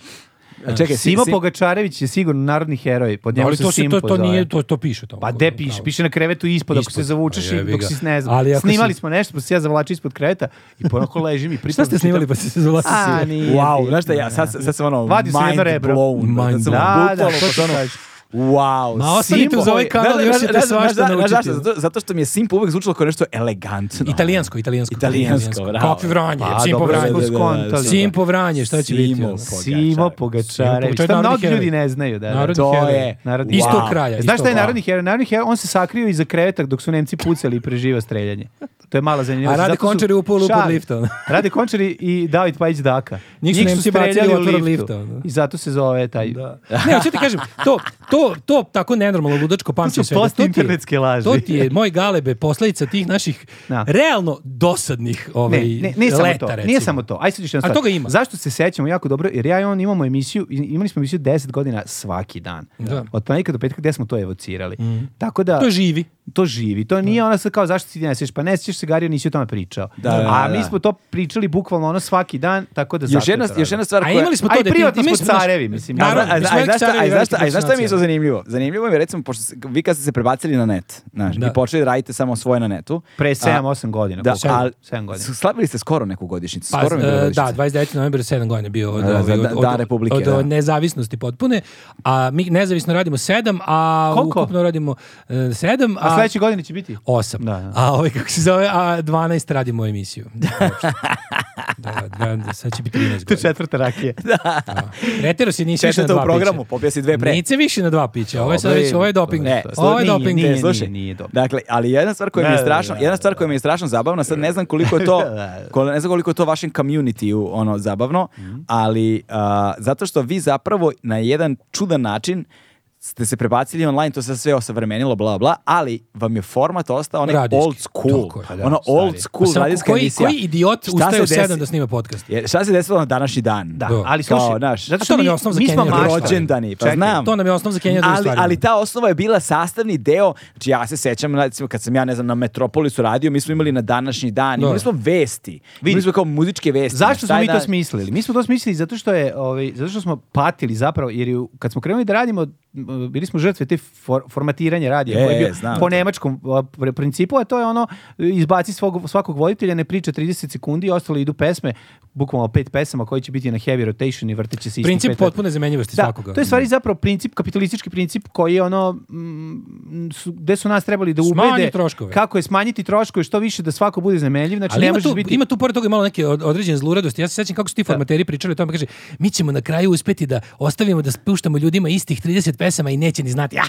Speaker 1: A Čekaj, si-
Speaker 3: Simo
Speaker 1: si-
Speaker 3: Pogačarević je sigurno narodni heroj. Pod njemu
Speaker 2: Ali
Speaker 3: se
Speaker 2: to, se,
Speaker 3: Simpo
Speaker 2: to, to,
Speaker 3: zove.
Speaker 2: nije, to, to piše tamo.
Speaker 3: Pa de piše, piše na krevetu ispod, ako se
Speaker 2: Ispod,
Speaker 3: zavučeš
Speaker 2: pa
Speaker 3: i
Speaker 2: jebi
Speaker 3: dok
Speaker 2: ga.
Speaker 3: si ne znam.
Speaker 2: Ali ako
Speaker 3: Snimali
Speaker 2: si-
Speaker 3: smo nešto, pa se ja zavlačio ispod kreveta i ponako ležim i pritom.
Speaker 2: Šta ste snimali pa ste se zvlači
Speaker 3: A,
Speaker 2: svi?
Speaker 3: nije.
Speaker 1: Wow,
Speaker 3: bitno,
Speaker 1: znaš šta, ja,
Speaker 3: da.
Speaker 1: sad, sad sam ono
Speaker 3: Vadi se jedno
Speaker 1: mind
Speaker 3: rebro.
Speaker 1: blown. Sad
Speaker 2: Mind
Speaker 1: sam
Speaker 3: blown. Da,
Speaker 1: ono, bukvalno,
Speaker 3: da, što
Speaker 1: pa ono,
Speaker 3: ti kažeš?
Speaker 1: Wow,
Speaker 2: Ma, ostanite
Speaker 1: Simpo
Speaker 2: uz ovaj
Speaker 1: je-
Speaker 2: kanal,
Speaker 1: Znaš-
Speaker 2: još ćete
Speaker 1: znaš-
Speaker 2: svašta
Speaker 1: znaš- znaš-
Speaker 2: naučiti.
Speaker 1: znaš- zato- Zato što mi je Simpo uvek zvučilo kao nešto elegantno.
Speaker 2: Italijansko, italijansko.
Speaker 1: Italijansko, bravo.
Speaker 2: Kakvi vranje,
Speaker 3: Pa,
Speaker 2: Simpo
Speaker 3: dobro,
Speaker 2: vranje.
Speaker 3: da, da, da, da.
Speaker 2: Simpo vranje, šta će biti,
Speaker 1: Simo
Speaker 2: ono?
Speaker 3: Simo Pogačarević.
Speaker 2: Pogačarević,
Speaker 3: Šta
Speaker 2: narodni
Speaker 3: mnogi
Speaker 2: heroj.
Speaker 3: ljudi ne znaju, da. da.
Speaker 2: Narodni
Speaker 1: To
Speaker 2: heroj.
Speaker 1: je-
Speaker 3: Narodni
Speaker 2: Iz
Speaker 1: Wow.
Speaker 2: tog kraja. iz
Speaker 3: Znaš
Speaker 2: tog
Speaker 3: šta je
Speaker 2: kraja.
Speaker 3: narodni heroj? Narodni heroj, on se sakrio iza kreveta dok su Nemci pucali i preživao streljanje. To je mala zanimljivost.
Speaker 2: A Rade
Speaker 3: Zato su-
Speaker 2: Končar je upao u lupu od
Speaker 3: Šalim.
Speaker 2: lifta, ono.
Speaker 3: Rade Končari i David Pajić Daka.
Speaker 2: Njih su Nemci bacili
Speaker 3: streljali
Speaker 2: u otvor lifta, ono.
Speaker 3: I zato se zove taj... Da.
Speaker 2: ne, hoću ti kažem, to, to, to tako nenormalno ludačko pamćenje
Speaker 3: su
Speaker 2: svega, ti je-
Speaker 3: postinternetske laži.
Speaker 2: To ti je, moj galebe, posledica tih naših
Speaker 3: Da.
Speaker 2: realno dosadnih ovaj,
Speaker 3: Ne, ne, ne samo
Speaker 2: leta,
Speaker 3: to.
Speaker 2: recimo.
Speaker 3: Nije samo to. Aj sad još jedna
Speaker 2: A
Speaker 3: stvar.
Speaker 2: toga ima.
Speaker 3: Zašto se sećamo jako dobro? Jer ja i on imamo emisiju, i- imali smo emisiju 10 godina svaki dan.
Speaker 2: Da. Mhm.
Speaker 3: Od ponedjeljka do petka gde smo to evocirali. Tako da
Speaker 2: To živi.
Speaker 3: to živi. To nije ono sad kao zašto si ti ne sviš, pa ne sviš se Gario, nisi o tome pričao.
Speaker 1: Da, da,
Speaker 3: A
Speaker 1: da.
Speaker 3: mi smo to pričali bukvalno ono svaki dan, tako da
Speaker 1: Još
Speaker 3: zato je
Speaker 1: jedna,
Speaker 3: to
Speaker 1: još
Speaker 3: radilo.
Speaker 1: jedna stvar
Speaker 2: A
Speaker 1: koja...
Speaker 2: imali smo to
Speaker 3: A i
Speaker 2: da ti-
Speaker 3: privatno
Speaker 2: imali
Speaker 3: smo
Speaker 2: naš-
Speaker 3: carevi, mislim.
Speaker 1: A,
Speaker 2: Naravno,
Speaker 1: a, a,
Speaker 2: mi smo
Speaker 1: a,
Speaker 2: uvek
Speaker 1: znaš šta-
Speaker 2: carevi
Speaker 1: a, znaš šta-
Speaker 2: velikih
Speaker 1: a znaš šta mi je isto
Speaker 2: fascinacija.
Speaker 1: zanimljivo? Zanimljivo mi je, recimo, pošto se- vi kad ste se prebacili na net, znaš,
Speaker 2: Da.
Speaker 1: i počeli da radite samo svoje na netu.
Speaker 3: Pre
Speaker 1: a-
Speaker 3: 7-8 godina.
Speaker 1: Da,
Speaker 3: koliko?
Speaker 1: ali
Speaker 3: 7 godina.
Speaker 1: slavili ste skoro neku godišnjicu.
Speaker 2: Pa,
Speaker 1: skoro mi je bila
Speaker 2: e,
Speaker 1: godišnjica.
Speaker 2: da, 29. novembra 7 godina je bio od,
Speaker 1: Da, da,
Speaker 2: ove,
Speaker 1: da,
Speaker 2: od,
Speaker 1: Dan
Speaker 2: od-
Speaker 1: Republike,
Speaker 2: od,
Speaker 1: da.
Speaker 2: od nezavisnosti potpune, a mi nezavisno radimo 7, a
Speaker 3: Koliko?
Speaker 2: ukupno radimo e, 7,
Speaker 3: A sledeće godine će biti?
Speaker 2: 8.
Speaker 3: Da, da.
Speaker 2: A ovaj kako se zove, a 12 radimo emisiju. Uopšte. da, da, da, sad će biti 13
Speaker 3: To je
Speaker 2: godina.
Speaker 3: četvrta rakija.
Speaker 2: Pretero si nisi više na
Speaker 1: Četvrta
Speaker 2: dva
Speaker 1: u programu,
Speaker 2: pića.
Speaker 1: popio si dve pre.
Speaker 2: Nisi više na dva pića, ovo je sad
Speaker 1: Dobro,
Speaker 2: već, ovo je doping.
Speaker 1: Ne,
Speaker 2: ovo je
Speaker 3: nije,
Speaker 2: doping.
Speaker 1: Nije,
Speaker 3: Nije,
Speaker 1: E, slušaj.
Speaker 3: nije, nije dobro.
Speaker 1: Dakle, ali jedna stvar koja mi je
Speaker 3: Da, da, da,
Speaker 1: strašno, jedna stvar koja mi je strašno zabavna, sad ne znam koliko je to, kol- ne znam koliko je to vašem community ono zabavno,
Speaker 2: Mhm.
Speaker 1: ali a, zato što vi zapravo na jedan čudan način ste se prebacili online, to se sve osavremenilo, bla, bla, ali vam je format ostao onaj
Speaker 2: Radijski,
Speaker 1: old school.
Speaker 2: tako je.
Speaker 1: Pa da, ono old
Speaker 2: Pa
Speaker 1: school
Speaker 2: samo
Speaker 1: radijska
Speaker 2: koji,
Speaker 1: emisija.
Speaker 2: koji idiot
Speaker 1: Šta
Speaker 2: ustaje
Speaker 1: se
Speaker 2: u 7
Speaker 1: desi-
Speaker 2: da snima podcast?
Speaker 1: je- Šta se desilo na današnji dan?
Speaker 3: Da,
Speaker 2: Da.
Speaker 3: ali
Speaker 1: Kao,
Speaker 3: slušaj,
Speaker 1: znaš,
Speaker 3: zato
Speaker 2: A to
Speaker 3: što
Speaker 2: nam
Speaker 3: mi,
Speaker 2: je osnov za
Speaker 3: mi smo
Speaker 2: Kenny Rogers.
Speaker 3: maštali.
Speaker 1: Rođendani, pa
Speaker 3: Čekaj,
Speaker 1: znam.
Speaker 2: To nam je osnov za Kenja drugim
Speaker 1: ali,
Speaker 2: stvarima.
Speaker 1: ali ta osnova je bila sastavni deo, znači ja se sećam, recimo kad sam ja, ne znam, na Metropolisu radio, mi smo imali na današnji dan,
Speaker 2: Da.
Speaker 1: imali smo vesti, imali smo kao muzičke vesti.
Speaker 3: Zašto smo
Speaker 1: Taj
Speaker 3: mi to
Speaker 1: dan-
Speaker 3: smislili? Mi smo to smislili zato što je, ovaj, zato što smo patili zapravo, jer je, u- kad smo krenuli da radimo, m, bili smo žrtve te for- formatiranja radija,
Speaker 1: E,
Speaker 3: koji je bio
Speaker 1: znam
Speaker 3: po
Speaker 1: to.
Speaker 3: nemačkom a, pr- principu, a to je ono, izbaci svog, svakog voditelja, ne priča 30 sekundi, ostalo idu pesme, bukvalno pet pesama koji će biti na heavy rotation i vrteće se isti
Speaker 2: Princip
Speaker 3: pet pesama.
Speaker 2: potpune zamenjivosti
Speaker 3: Da,
Speaker 2: svakoga.
Speaker 3: to je stvari zapravo princip, kapitalistički princip koji je ono, mm, su, gde su nas trebali da
Speaker 2: Smanji
Speaker 3: ubede
Speaker 2: troškove.
Speaker 3: kako je smanjiti troškove, što više da svako bude zameljiv, znači
Speaker 2: Ali
Speaker 3: ne
Speaker 2: ima
Speaker 3: možeš
Speaker 2: tu,
Speaker 3: biti...
Speaker 2: ima tu pored toga i malo neke od- određene zluradosti. Ja se sećam kako su ti formateri pričali o tome, kaže, mi ćemo na kraju uspeti da ostavimo da spuštamo ljudima istih 30 pesama i neće ni znati.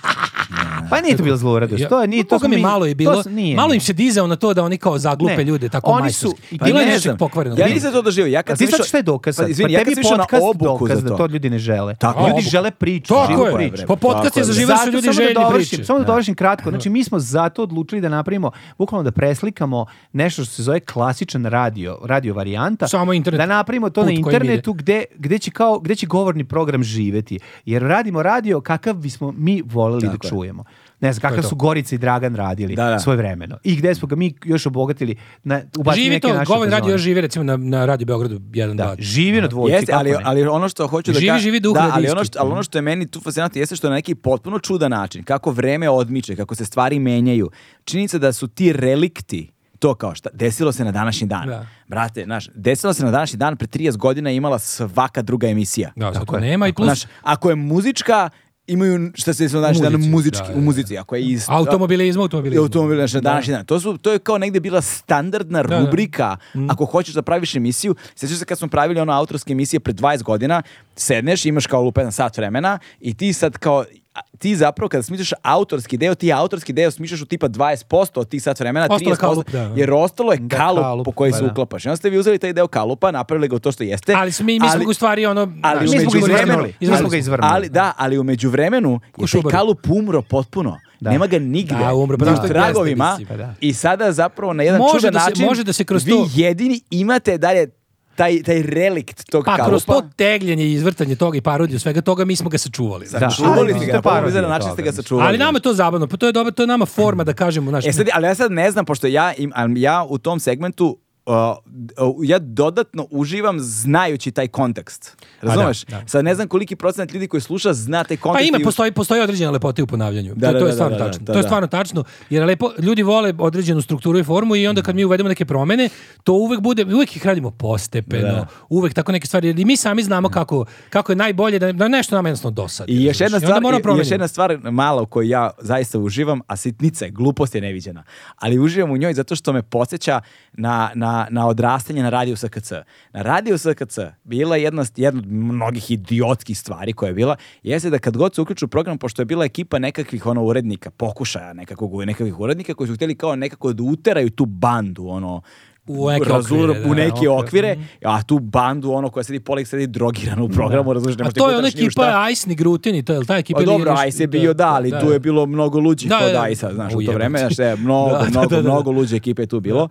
Speaker 3: Pa nije to bilo zluradost.
Speaker 2: Ja-
Speaker 3: To je nije
Speaker 2: Pa
Speaker 3: to
Speaker 2: Boga
Speaker 3: smo
Speaker 2: mi
Speaker 3: mi-
Speaker 2: malo je bilo.
Speaker 3: to s- nije,
Speaker 2: malo
Speaker 3: nije.
Speaker 2: im se dizao na to da oni kao zaglupe
Speaker 3: Ne.
Speaker 2: ljude tako
Speaker 3: Oni su-
Speaker 2: majstorski.
Speaker 3: i
Speaker 2: Bilo je
Speaker 1: Pa Ne
Speaker 2: nešto
Speaker 1: znam,
Speaker 2: pokvareno.
Speaker 1: Ja
Speaker 2: Bilo-
Speaker 1: nisam to doživio. Ja kad
Speaker 3: ti
Speaker 1: sam
Speaker 3: sad
Speaker 1: išao-
Speaker 3: šta je dokaz?
Speaker 1: Pa,
Speaker 3: sad?
Speaker 1: izvini,
Speaker 3: Pa
Speaker 1: ja kad
Speaker 3: tebi
Speaker 1: sam išao na
Speaker 3: podcast
Speaker 1: obuku
Speaker 3: dokaz
Speaker 1: za
Speaker 3: da
Speaker 1: to.
Speaker 3: to ljudi ne žele.
Speaker 1: Tako
Speaker 2: je.
Speaker 3: ljudi žele priču, živu
Speaker 2: Tako je.
Speaker 3: priču.
Speaker 2: Po podcast
Speaker 1: Tako
Speaker 2: je
Speaker 1: je,
Speaker 2: zaživeli su
Speaker 3: Zato-
Speaker 2: ljudi
Speaker 3: samo
Speaker 2: željni
Speaker 3: da dovršim,
Speaker 2: priče.
Speaker 3: Samo da dovršim kratko. Znači, mi smo zato odlučili da napravimo, bukvalno da preslikamo nešto što se zove klasičan radio, radio varijanta.
Speaker 2: Samo internet.
Speaker 3: Da napravimo to
Speaker 2: Put
Speaker 3: na
Speaker 2: kojim
Speaker 3: internetu gde, gde, će kao, gde će govorni program živeti. Jer radimo radio kakav bismo mi voleli da čujemo. Ne znam, kakav
Speaker 2: to.
Speaker 3: su Gorica i Dragan radili
Speaker 1: Da, da.
Speaker 3: svoje vremeno. I gde smo ga mi još obogatili. Na, ubacili
Speaker 2: Živi
Speaker 3: neke
Speaker 2: to,
Speaker 3: naše
Speaker 2: Govan radio
Speaker 3: fazone.
Speaker 2: još živi recimo na, na Radio Beogradu 1,
Speaker 3: Da,
Speaker 2: 2.
Speaker 3: živi na dvojci.
Speaker 1: Jeste,
Speaker 3: kako
Speaker 1: ali,
Speaker 3: ne.
Speaker 1: ali ono što hoću da
Speaker 2: Živi,
Speaker 1: kažem...
Speaker 2: živi duh
Speaker 1: da, ali
Speaker 2: radijski.
Speaker 1: ono, što, ali ono što je meni tu fascinantno jeste što na neki potpuno čudan način, kako vreme odmiče, kako se stvari menjaju, činjenica da su ti relikti to kao šta, desilo se na današnji dan.
Speaker 2: Da.
Speaker 1: Brate, znaš, desilo se na današnji dan, pre 30 godina je imala svaka druga emisija.
Speaker 2: Da, sad to nema i plus
Speaker 1: Znaš, ako je muzička, imaju šta se desilo na današnji dan
Speaker 2: Muzici,
Speaker 1: muzički,
Speaker 2: da,
Speaker 1: u
Speaker 2: da,
Speaker 1: muzici. Ako je iz,
Speaker 2: automobilizma, automobilizma.
Speaker 1: automobil znači, na današnji dan. To, su, to je kao negde bila standardna
Speaker 2: da. Mm.
Speaker 1: rubrika. Ako hoćeš da praviš emisiju, sjećaš se kad smo pravili ono autorske emisije pred 20 godina, sedneš, imaš kao lupa jedan sat vremena i ti sad kao a, ti zapravo kada smišljaš autorski deo, ti autorski deo smišljaš u tipa 20% od tih sat vremena,
Speaker 2: Ostalo je
Speaker 1: 30%,
Speaker 2: kalup, da.
Speaker 1: jer ostalo je kalup,
Speaker 3: kalup,
Speaker 1: po koji
Speaker 3: pa
Speaker 1: se
Speaker 3: da.
Speaker 1: uklapaš. I onda ste vi uzeli taj deo kalupa, napravili ga u to što jeste.
Speaker 2: Ali smo mi, mi smo
Speaker 1: ali-
Speaker 2: ga u stvari ono...
Speaker 1: ali u
Speaker 2: znaš,
Speaker 3: mi smo ga
Speaker 2: međuvremenu-
Speaker 3: izvrnuli. Mi smo ga izvrnuli.
Speaker 1: ali da, ali u međuvremenu je taj
Speaker 2: šubaru.
Speaker 1: kalup umro potpuno. Nema ga nigde.
Speaker 2: Da, umro, pa
Speaker 1: ni
Speaker 2: zato
Speaker 1: u
Speaker 2: je jezda
Speaker 1: tragovima.
Speaker 2: mislim. Pa
Speaker 3: da.
Speaker 1: I sada zapravo na jedan
Speaker 2: Može
Speaker 1: čudan
Speaker 2: da se-
Speaker 1: način
Speaker 2: može da se kroz
Speaker 1: vi
Speaker 2: to-
Speaker 1: jedini imate dalje taj, taj relikt tog
Speaker 2: Pa
Speaker 1: kalupa.
Speaker 2: kroz to tegljenje i izvrtanje toga i parodiju svega toga mi smo ga sačuvali.
Speaker 1: Da,
Speaker 3: ali
Speaker 1: čuvali
Speaker 3: to
Speaker 1: ste
Speaker 3: je
Speaker 1: ga, pa
Speaker 3: parodija
Speaker 1: na način
Speaker 3: toga,
Speaker 1: ste ga
Speaker 3: mislim.
Speaker 1: sačuvali.
Speaker 2: Ali nama je to zabavno, pa to je dobro, to je nama forma da kažemo, znaš.
Speaker 1: E sad, ali ja sad ne znam, pošto ja, im, ali ja u tom segmentu uh, d- uh, ja dodatno uživam znajući taj kontekst. Razumeš?
Speaker 2: da.
Speaker 1: Sad ne znam koliki procenat ljudi koji sluša zna taj
Speaker 2: pa
Speaker 1: kontekst.
Speaker 2: ima
Speaker 1: i u-
Speaker 2: postoji postoji određena lepota i u ponavljanju.
Speaker 1: Da,
Speaker 2: to,
Speaker 1: da,
Speaker 2: to je
Speaker 1: da,
Speaker 2: stvarno
Speaker 1: da, da,
Speaker 2: tačno.
Speaker 1: da,
Speaker 2: to je
Speaker 1: da.
Speaker 2: stvarno tačno jer lepo ljudi vole određenu strukturu i formu i onda kad mi uvedemo neke promene, to uvek bude uvek ih radimo postepeno.
Speaker 1: Da.
Speaker 2: Uvek tako neke stvari jer i mi sami znamo kako kako je najbolje da, da nešto nama jednostavno dosadi.
Speaker 1: I još
Speaker 2: razumeš?
Speaker 1: jedna
Speaker 2: Znači, onda
Speaker 1: stvar, i-
Speaker 2: moramo
Speaker 1: i još
Speaker 2: promenimo.
Speaker 1: jedna stvar mala u kojoj ja zaista uživam, a sitnica je, glupost je neviđena. Ali uživam u njoj zato što me podsjeća na, na, na odrastanje na radiju SKC. Na radiju SKC bila je jedna, st- jedna od mnogih idiotskih stvari koja je bila, jeste da kad god se uključu u program, pošto je bila ekipa nekakvih ono urednika, pokušaja nekakvog, nekakvih urednika koji su htjeli kao nekako da uteraju tu bandu, ono,
Speaker 2: U neke
Speaker 1: razur-
Speaker 2: okvire,
Speaker 1: u
Speaker 2: da,
Speaker 1: neke
Speaker 2: okvir,
Speaker 1: okvire, a tu bandu, ono koja sedi poleg, sedi drogirana u programu, razumiješ, ne
Speaker 2: A
Speaker 1: možeš da
Speaker 2: to je
Speaker 1: gutaš
Speaker 2: ona
Speaker 1: ni u šta.
Speaker 2: ekipa Ice ni Grutin i to je li ta ekipa
Speaker 1: Pa
Speaker 2: ili
Speaker 1: dobro,
Speaker 2: još-
Speaker 1: Ajs je bio da, ali tu je bilo mnogo luđih
Speaker 2: Da,
Speaker 1: od
Speaker 2: da.
Speaker 1: Ajsa, znaš, u to
Speaker 2: Ujebote.
Speaker 1: vreme, znaš, e, mnogo,
Speaker 2: Da, da,
Speaker 1: mnogo,
Speaker 2: da, da.
Speaker 1: mnogo luđe ekipe je tu bilo.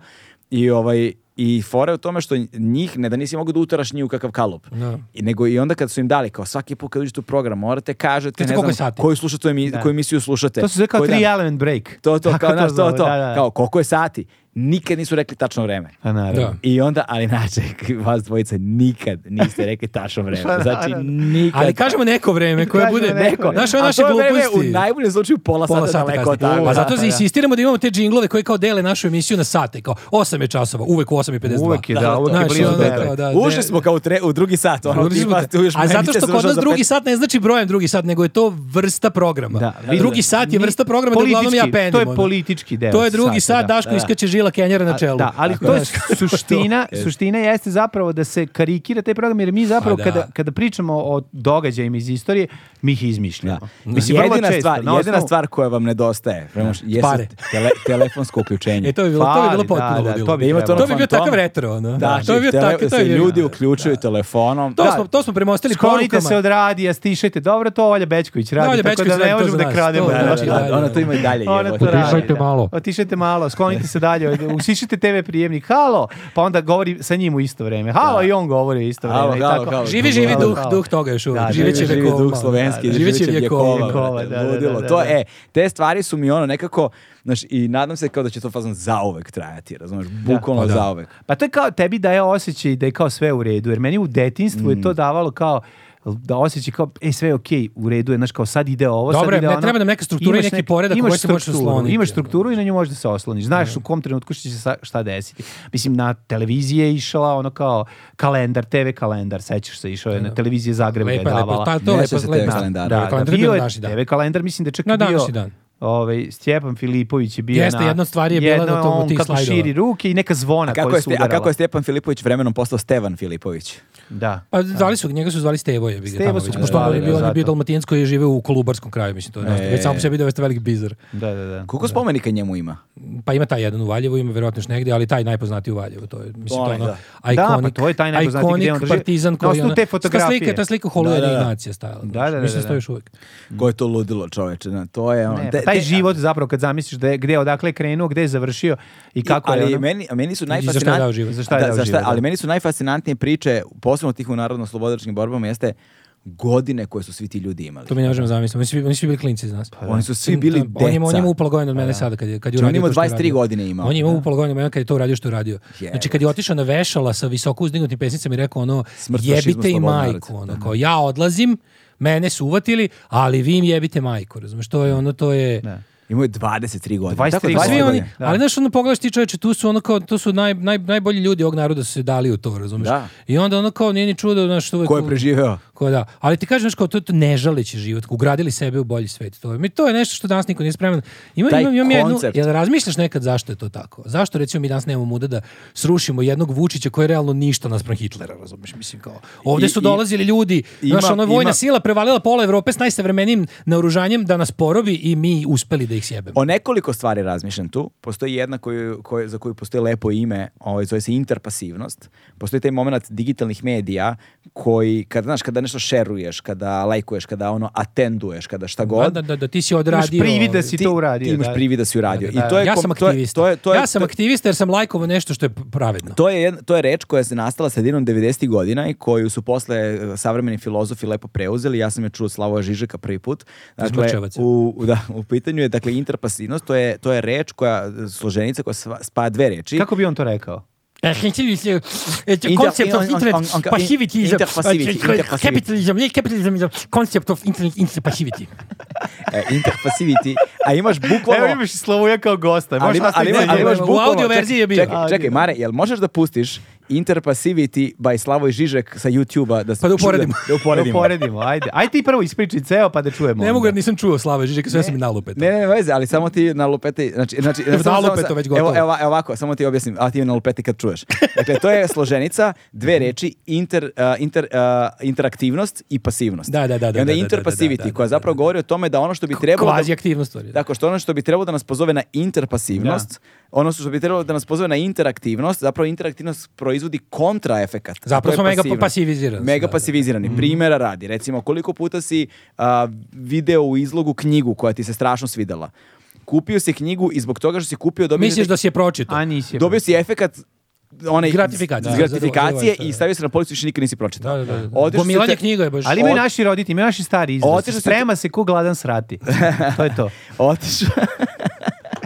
Speaker 1: I ovaj, I fora je u tome što njih, ne da nisi mogu da utaraš ni u kakav kalup.
Speaker 2: Da.
Speaker 1: I, nego i onda kad su im dali, kao svaki put kad uđete u program, morate kažete,
Speaker 2: Znate
Speaker 1: ne
Speaker 2: koliko je
Speaker 1: znam,
Speaker 2: sati?
Speaker 1: koju, slušate, emi- koju emisiju slušate.
Speaker 3: To se zove kao
Speaker 1: koji dan.
Speaker 3: three element break.
Speaker 1: To, to,
Speaker 3: Tako
Speaker 1: kao, znaš, to,
Speaker 3: zove,
Speaker 1: to.
Speaker 3: da, da.
Speaker 1: Kao, koliko je sati? Nikad nisu rekli tačno vreme.
Speaker 3: A naravno.
Speaker 2: Da.
Speaker 1: I onda, ali znači, vas dvojica nikad niste rekli tačno vreme. Znači, nikad.
Speaker 2: Pa Ali kažemo neko vreme koje
Speaker 3: Kažemo
Speaker 2: bude...
Speaker 3: neko.
Speaker 2: Znaš, ove
Speaker 1: A
Speaker 2: naše
Speaker 1: to je vreme
Speaker 2: gluposti.
Speaker 1: U najboljem slučaju pola,
Speaker 2: Pola
Speaker 1: sata
Speaker 2: sata
Speaker 1: daleko od
Speaker 2: kasnije.
Speaker 1: toga.
Speaker 2: Pa zato
Speaker 1: Da,
Speaker 2: se
Speaker 1: da.
Speaker 2: insistiramo da imamo te džinglove koji kao dele našu emisiju na sate, kao 8 je časova, uvek u 8 i 52.
Speaker 3: Uvek je, da,
Speaker 1: Da,
Speaker 3: uvek je
Speaker 2: znaš,
Speaker 3: blizu
Speaker 2: ono,
Speaker 3: devet.
Speaker 2: kao da,
Speaker 1: Ušli
Speaker 2: ne-
Speaker 1: smo kao u, tre, u drugi sat. Ono,
Speaker 2: Ušli smo
Speaker 1: tipa,
Speaker 2: ka-
Speaker 1: tu još
Speaker 2: A zato
Speaker 1: emisija se
Speaker 2: što kod
Speaker 1: završava
Speaker 2: nas
Speaker 1: za
Speaker 2: drugi
Speaker 1: pet-
Speaker 2: sat ne znači brojem drugi sat, nego je to vrsta programa.
Speaker 3: Da,
Speaker 1: da,
Speaker 2: drugi
Speaker 1: da.
Speaker 2: sat je
Speaker 3: Mi-
Speaker 2: vrsta programa da uglavnom ja
Speaker 3: politički,
Speaker 2: penim.
Speaker 3: To je
Speaker 2: ono.
Speaker 3: politički deo.
Speaker 2: To je drugi
Speaker 3: sata,
Speaker 2: sat,
Speaker 3: da.
Speaker 2: Daško
Speaker 1: da.
Speaker 2: iskače žila Kenjera na čelu.
Speaker 3: Da, ali
Speaker 2: Tako
Speaker 3: to
Speaker 2: da,
Speaker 3: je suština, suština jeste zapravo da se karikira taj program, jer mi zapravo
Speaker 2: Pa da.
Speaker 3: kada, kada pričamo o događajima iz istorije, mi ih izmišljamo. Mislim, vrlo
Speaker 1: jedina
Speaker 3: često,
Speaker 1: stvar,
Speaker 3: na
Speaker 1: jedina
Speaker 3: osnovu-
Speaker 1: stvar koja vam nedostaje, prema što- jesu
Speaker 2: Pare.
Speaker 1: tele- telefonsko uključenje.
Speaker 2: E, to bi bilo, to bi bilo
Speaker 3: Fali,
Speaker 2: potpuno
Speaker 3: da, da,
Speaker 2: ludilo.
Speaker 3: to bi
Speaker 1: Ima to
Speaker 3: trebalo.
Speaker 2: To bi bio
Speaker 1: fantom.
Speaker 2: takav retro, ono.
Speaker 1: Da,
Speaker 2: to bi bio
Speaker 1: tele-
Speaker 2: tak-
Speaker 1: da
Speaker 2: to
Speaker 1: se
Speaker 2: je bio-
Speaker 1: ljudi uključuju telefonom.
Speaker 2: To,
Speaker 1: Da,
Speaker 2: smo, to smo premostili
Speaker 3: Sklonite se
Speaker 2: porukama.
Speaker 3: od radija, stišajte. Dobro, to Olja Bećković radi,
Speaker 2: Da, Olja
Speaker 3: tako
Speaker 2: Bećković
Speaker 3: da
Speaker 2: radi
Speaker 3: ne
Speaker 2: to
Speaker 3: možemo
Speaker 2: za
Speaker 3: da
Speaker 2: nas,
Speaker 3: krademo.
Speaker 2: to
Speaker 1: Da, da, da,
Speaker 2: znači, da, da.
Speaker 1: ona to ima i dalje.
Speaker 3: Ona
Speaker 1: jebote.
Speaker 3: to radi.
Speaker 5: Otišajte
Speaker 3: da.
Speaker 5: malo.
Speaker 3: Otišajte malo, sklonite se dalje, usišite TV prijemnik. Halo! Pa onda govori sa njim u isto vreme. Halo i on govori u isto vreme.
Speaker 1: Halo,
Speaker 3: i
Speaker 1: halo,
Speaker 3: tako.
Speaker 1: halo.
Speaker 2: Živi, živi
Speaker 3: Halo,
Speaker 2: duh,
Speaker 3: halo.
Speaker 2: duh toga još uvijek.
Speaker 3: Da,
Speaker 2: Živeće
Speaker 1: živi
Speaker 2: vjekova.
Speaker 1: duh slovenski,
Speaker 2: Da, da.
Speaker 1: živeće
Speaker 2: Živeće
Speaker 1: vjekova,
Speaker 2: vjekova,
Speaker 1: brate,
Speaker 3: da, da, da,
Speaker 1: ludilo.
Speaker 3: da,
Speaker 1: To,
Speaker 3: da.
Speaker 1: e, te stvari su mi ono nekako, znaš, i nadam se kao da će to fazon zauvek trajati, razumeš, bukvalno
Speaker 2: Pa da.
Speaker 1: zauvek.
Speaker 3: Pa to je kao, tebi daje osjećaj da je kao sve u redu, jer meni u detinstvu je to davalo kao da osjećaj kao, e, sve je okej, u redu je, znaš, kao sad ide ovo,
Speaker 2: Dobro,
Speaker 3: sad ide
Speaker 2: ne,
Speaker 3: ono.
Speaker 2: treba nam neka struktura i
Speaker 3: Imaš
Speaker 2: neki
Speaker 3: nek-
Speaker 2: poredak u
Speaker 3: imaš
Speaker 2: koji se možeš
Speaker 3: strukturu,
Speaker 2: osloniti.
Speaker 3: Imaš strukturu i na nju možeš da se osloniš. Znaš u kom trenutku će se sa- šta desiti. Mislim, na televiziji je išla ono kao kalendar, TV kalendar, sećaš se, išao je na televiziji Zagreb
Speaker 2: Lepa,
Speaker 3: ga je
Speaker 2: lepa.
Speaker 3: davala.
Speaker 2: Ta, to
Speaker 1: Ne
Speaker 2: je
Speaker 1: sjećam se
Speaker 2: lepo,
Speaker 1: TV
Speaker 2: lepo.
Speaker 1: kalendara.
Speaker 2: Da, kalendar je bio na
Speaker 3: bio Ovaj, je
Speaker 2: naši dan.
Speaker 3: TV kalendar, mislim da je čak
Speaker 2: Na
Speaker 3: i bio...
Speaker 2: današnji dan.
Speaker 3: Ovaj, Stjepan Filipović je bio
Speaker 2: Jeste,
Speaker 3: na...
Speaker 2: jedna od stvari je bila
Speaker 3: jedno
Speaker 2: da to-
Speaker 3: on
Speaker 2: tih
Speaker 3: kako
Speaker 2: slajdova.
Speaker 3: širi ruke i neka zvona
Speaker 1: Kako
Speaker 3: koja
Speaker 1: je,
Speaker 3: su
Speaker 1: Ste- a
Speaker 3: udarala.
Speaker 1: kako je Stjepan Filipović vremenom postao Stevan Filipović?
Speaker 3: Da.
Speaker 2: Pa zvali su, njega su zvali Stevo je
Speaker 3: Stevo
Speaker 2: tamo,
Speaker 3: su
Speaker 2: već,
Speaker 3: ga
Speaker 2: pošto on
Speaker 3: zvali,
Speaker 2: je
Speaker 3: da,
Speaker 2: bio, on je
Speaker 3: zato. E.
Speaker 2: bio dalmatinsko i žive u kolubarskom kraju, mislim, to je nešto. Već samo po sebi da jeste velik bizar.
Speaker 3: Da, da, da.
Speaker 1: Koliko spomenika njemu ima?
Speaker 2: Pa ima taj jedan u Valjevu, ima verovatno još negde, ali taj najpoznatiji u Valjevu, to je, mislim, to
Speaker 1: Onaj,
Speaker 2: je ono,
Speaker 1: da.
Speaker 2: iconic,
Speaker 3: Da, pa to je taj najpoznatiji
Speaker 2: iconic
Speaker 3: gde on drži-
Speaker 2: partizan
Speaker 3: na
Speaker 2: koji je
Speaker 3: osnovu
Speaker 2: ono-
Speaker 3: te
Speaker 2: Ta slika,
Speaker 3: fotografije.
Speaker 2: ta slika u holu
Speaker 1: Da, da, da.
Speaker 2: Ignacija stajala. znači,
Speaker 3: Da, da, da,
Speaker 2: Mislim
Speaker 3: da,
Speaker 2: to
Speaker 3: da.
Speaker 2: još uvijek.
Speaker 1: Ko je to ludilo, čoveče? na, To je ono...
Speaker 3: Mm. Ne,
Speaker 1: te-
Speaker 3: pa taj
Speaker 1: te-
Speaker 3: život zapravo kad zamisliš da je, gde je odakle krenuo, gde je završio i kako
Speaker 1: ali
Speaker 3: je ono-
Speaker 1: meni, a meni su
Speaker 2: Znači, zašto je dao
Speaker 1: najfascinantnije
Speaker 2: život?
Speaker 3: Zašto je dao život, da.
Speaker 1: ali meni su najfascinantnije priče posebno tih u narodno-slobodilačkim borbama jeste godine koje su svi ti ljudi imali.
Speaker 2: To mi ne možemo zamisliti. Oni su, bili- oni su bili klinci iz nas.
Speaker 1: Pa Oni su svi bili
Speaker 2: On je- On je, on je
Speaker 1: deca.
Speaker 2: imao upola godina od mene sada kad je kad je
Speaker 1: Znači, on
Speaker 2: uradio
Speaker 1: imao
Speaker 2: to što je
Speaker 1: 23
Speaker 2: radio.
Speaker 1: godine imao.
Speaker 2: On je imao upola godina od mene kad je to uradio što je uradio. Znači kad je otišao na vešala sa visoko uzdignutim pesnicama i rekao ono
Speaker 1: Smrt fašizmu,
Speaker 2: jebite i
Speaker 1: slobodan narod.
Speaker 2: majku, ono kao ja odlazim, mene su uvatili, ali vi im jebite majku, razumeš? To je ono to je
Speaker 3: Da.
Speaker 1: Imao je 23 godine. Dakle,
Speaker 3: 23
Speaker 1: Tako,
Speaker 2: Pa
Speaker 3: godine.
Speaker 2: svi oni,
Speaker 1: godine.
Speaker 3: Da.
Speaker 2: ali znaš, ono pogledaš ti čoveče, tu su ono kao, tu su naj, naj, najbolji ljudi ovog naroda su se dali u to, razumeš?
Speaker 1: Da.
Speaker 2: I onda ono kao, nije ni čudo, znaš, uvek...
Speaker 1: Ko je preživeo?
Speaker 2: Ko da. Ali ti kažeš znaš, kao to, to ne žaleći život, ugradili sebe u bolji svet. To je, mi- to je nešto što danas niko nije spreman. Ima,
Speaker 1: Taj
Speaker 2: imam, imam jednu,
Speaker 1: koncept.
Speaker 2: jel razmišljaš nekad zašto je to tako? Zašto recimo mi danas nemamo muda da srušimo jednog Vučića koji je realno ništa naspram Hitlera, razumeš? Mislim kao, ovde
Speaker 1: I-
Speaker 2: su
Speaker 1: i-
Speaker 2: dolazili ljudi,
Speaker 1: ima-
Speaker 2: znaš, ono je vojna
Speaker 1: ima-
Speaker 2: sila prevalila pola Evrope s najsavremenijim naoružanjem da nas porobi i mi uspeli da ih sjebemo.
Speaker 1: O nekoliko stvari razmišljam tu. Postoji jedna koju, koju- za koju postoji lepo ime, ovaj, zove se interpasivnost. Postoji taj moment digitalnih medija koji, kada, znaš, kada nešto šeruješ, kada lajkuješ, kada ono atenduješ, kada šta god,
Speaker 2: da, da, da ti si
Speaker 3: Imaš
Speaker 2: odradio...
Speaker 3: privid da si
Speaker 1: ti-
Speaker 3: to uradio.
Speaker 1: ti imaš
Speaker 3: da.
Speaker 1: privid da si uradio. I
Speaker 3: da.
Speaker 1: to je,
Speaker 2: ja
Speaker 1: kom-
Speaker 2: sam
Speaker 1: to je-
Speaker 2: aktivista.
Speaker 1: to je- to je-
Speaker 2: ja sam aktivista jer sam lajkovo nešto što je pravedno.
Speaker 1: To je, jedna- to je reč koja se nastala sredinom 90. godina i koju su posle e, savremeni filozofi lepo preuzeli. Ja sam je čuo od Slavoja Žižeka prvi put. Dakle,
Speaker 2: Zmrčevaca.
Speaker 1: u, u- da, u pitanju je dakle, interpasivnost, to je, to je reč koja, složenica koja sva- spaja dve reči.
Speaker 3: Kako bi on to rekao?
Speaker 2: E, hintilist je- e,
Speaker 1: Inter-
Speaker 2: Concept
Speaker 1: on- on- on-
Speaker 2: of
Speaker 1: on-
Speaker 2: internet
Speaker 1: on-
Speaker 2: passivity. euh,
Speaker 1: interpassivity, interpassivity.
Speaker 2: Capitalism, ne capitalism, nego concept of internet interpassivity.
Speaker 1: E, interpasivity. A imaš bukvalno...
Speaker 3: Evo imaš Slovoja kao gosta.
Speaker 1: Ali,
Speaker 3: Možeš
Speaker 1: ima- ali,
Speaker 3: nastaviti
Speaker 1: ima- ali
Speaker 2: nastaviti dalje.
Speaker 1: imaš
Speaker 2: U
Speaker 1: bukvalno...
Speaker 2: audio
Speaker 1: čekaj,
Speaker 2: verziji je bio.
Speaker 1: Čekaj, čekaj, Mare, jel možeš da pustiš Interpasivity by Slavoj Žižek sa YouTube-a da se
Speaker 2: Pa da uporedimo.
Speaker 1: Da
Speaker 3: dalje.
Speaker 1: uporedimo.
Speaker 3: Poredimo, ajde. Ajde ti prvo ispričaj ceo pa da čujemo.
Speaker 2: Ne mogu
Speaker 3: onda.
Speaker 2: jer nisam čuo Slava Žižeka, sve sam mi nalupetao.
Speaker 1: Ne, ne, ne, veze, ali samo ti na lupeti, znači, znači, samo- samo-
Speaker 2: lupeto
Speaker 1: samo-
Speaker 2: već gotovo.
Speaker 1: Evo, evo, evo ovako, samo ti objasnim, a ti na lupeti kad čuješ. Dakle, to je složenica,
Speaker 2: Mhm.
Speaker 1: dve reči, inter, uh, inter, uh, interaktivnost i pasivnost.
Speaker 2: Da, da, da, da,
Speaker 1: I onda
Speaker 2: da, da, da,
Speaker 1: interpasivity,
Speaker 2: da, da, da,
Speaker 1: koja
Speaker 2: da.
Speaker 1: zapravo govori o tome da ono što bi trebalo...
Speaker 2: Kvazi
Speaker 1: da-
Speaker 2: aktivnost. stvari.
Speaker 1: Tako što ono što bi trebalo da nas pozove na interpasivnost, ono što bi trebalo da nas pozove na interaktivnost, zapravo interaktivnost proizvodi kontraefekat. a
Speaker 2: Zapravo
Speaker 1: to je
Speaker 2: smo mega
Speaker 1: pasivnost.
Speaker 2: pasivizirani.
Speaker 1: Mega
Speaker 2: Da, Mhm. da.
Speaker 1: pasivizirani. Primera radi, recimo koliko puta si a, video u izlogu knjigu koja ti se strašno svidela. Kupio si knjigu i zbog toga što si kupio dobio
Speaker 2: Misliš da si je pročitao?
Speaker 3: A nisi. je
Speaker 1: dobio si efekat onaj
Speaker 2: Gratifikacija.
Speaker 1: z-
Speaker 2: Da,
Speaker 1: gratifikacije
Speaker 2: zadovoljstvo,
Speaker 1: i
Speaker 2: da.
Speaker 1: stavio se na policu i više nikad nisi pročitao.
Speaker 2: Da, da, da.
Speaker 1: Otišao si
Speaker 2: Gomilanje
Speaker 1: te-
Speaker 2: knjiga je baš.
Speaker 3: Ali imaju naši roditelji, imaju naši stari izraz.
Speaker 1: Otišao si-
Speaker 3: Sprema se ko gladan srati. To je to.
Speaker 1: Otišao,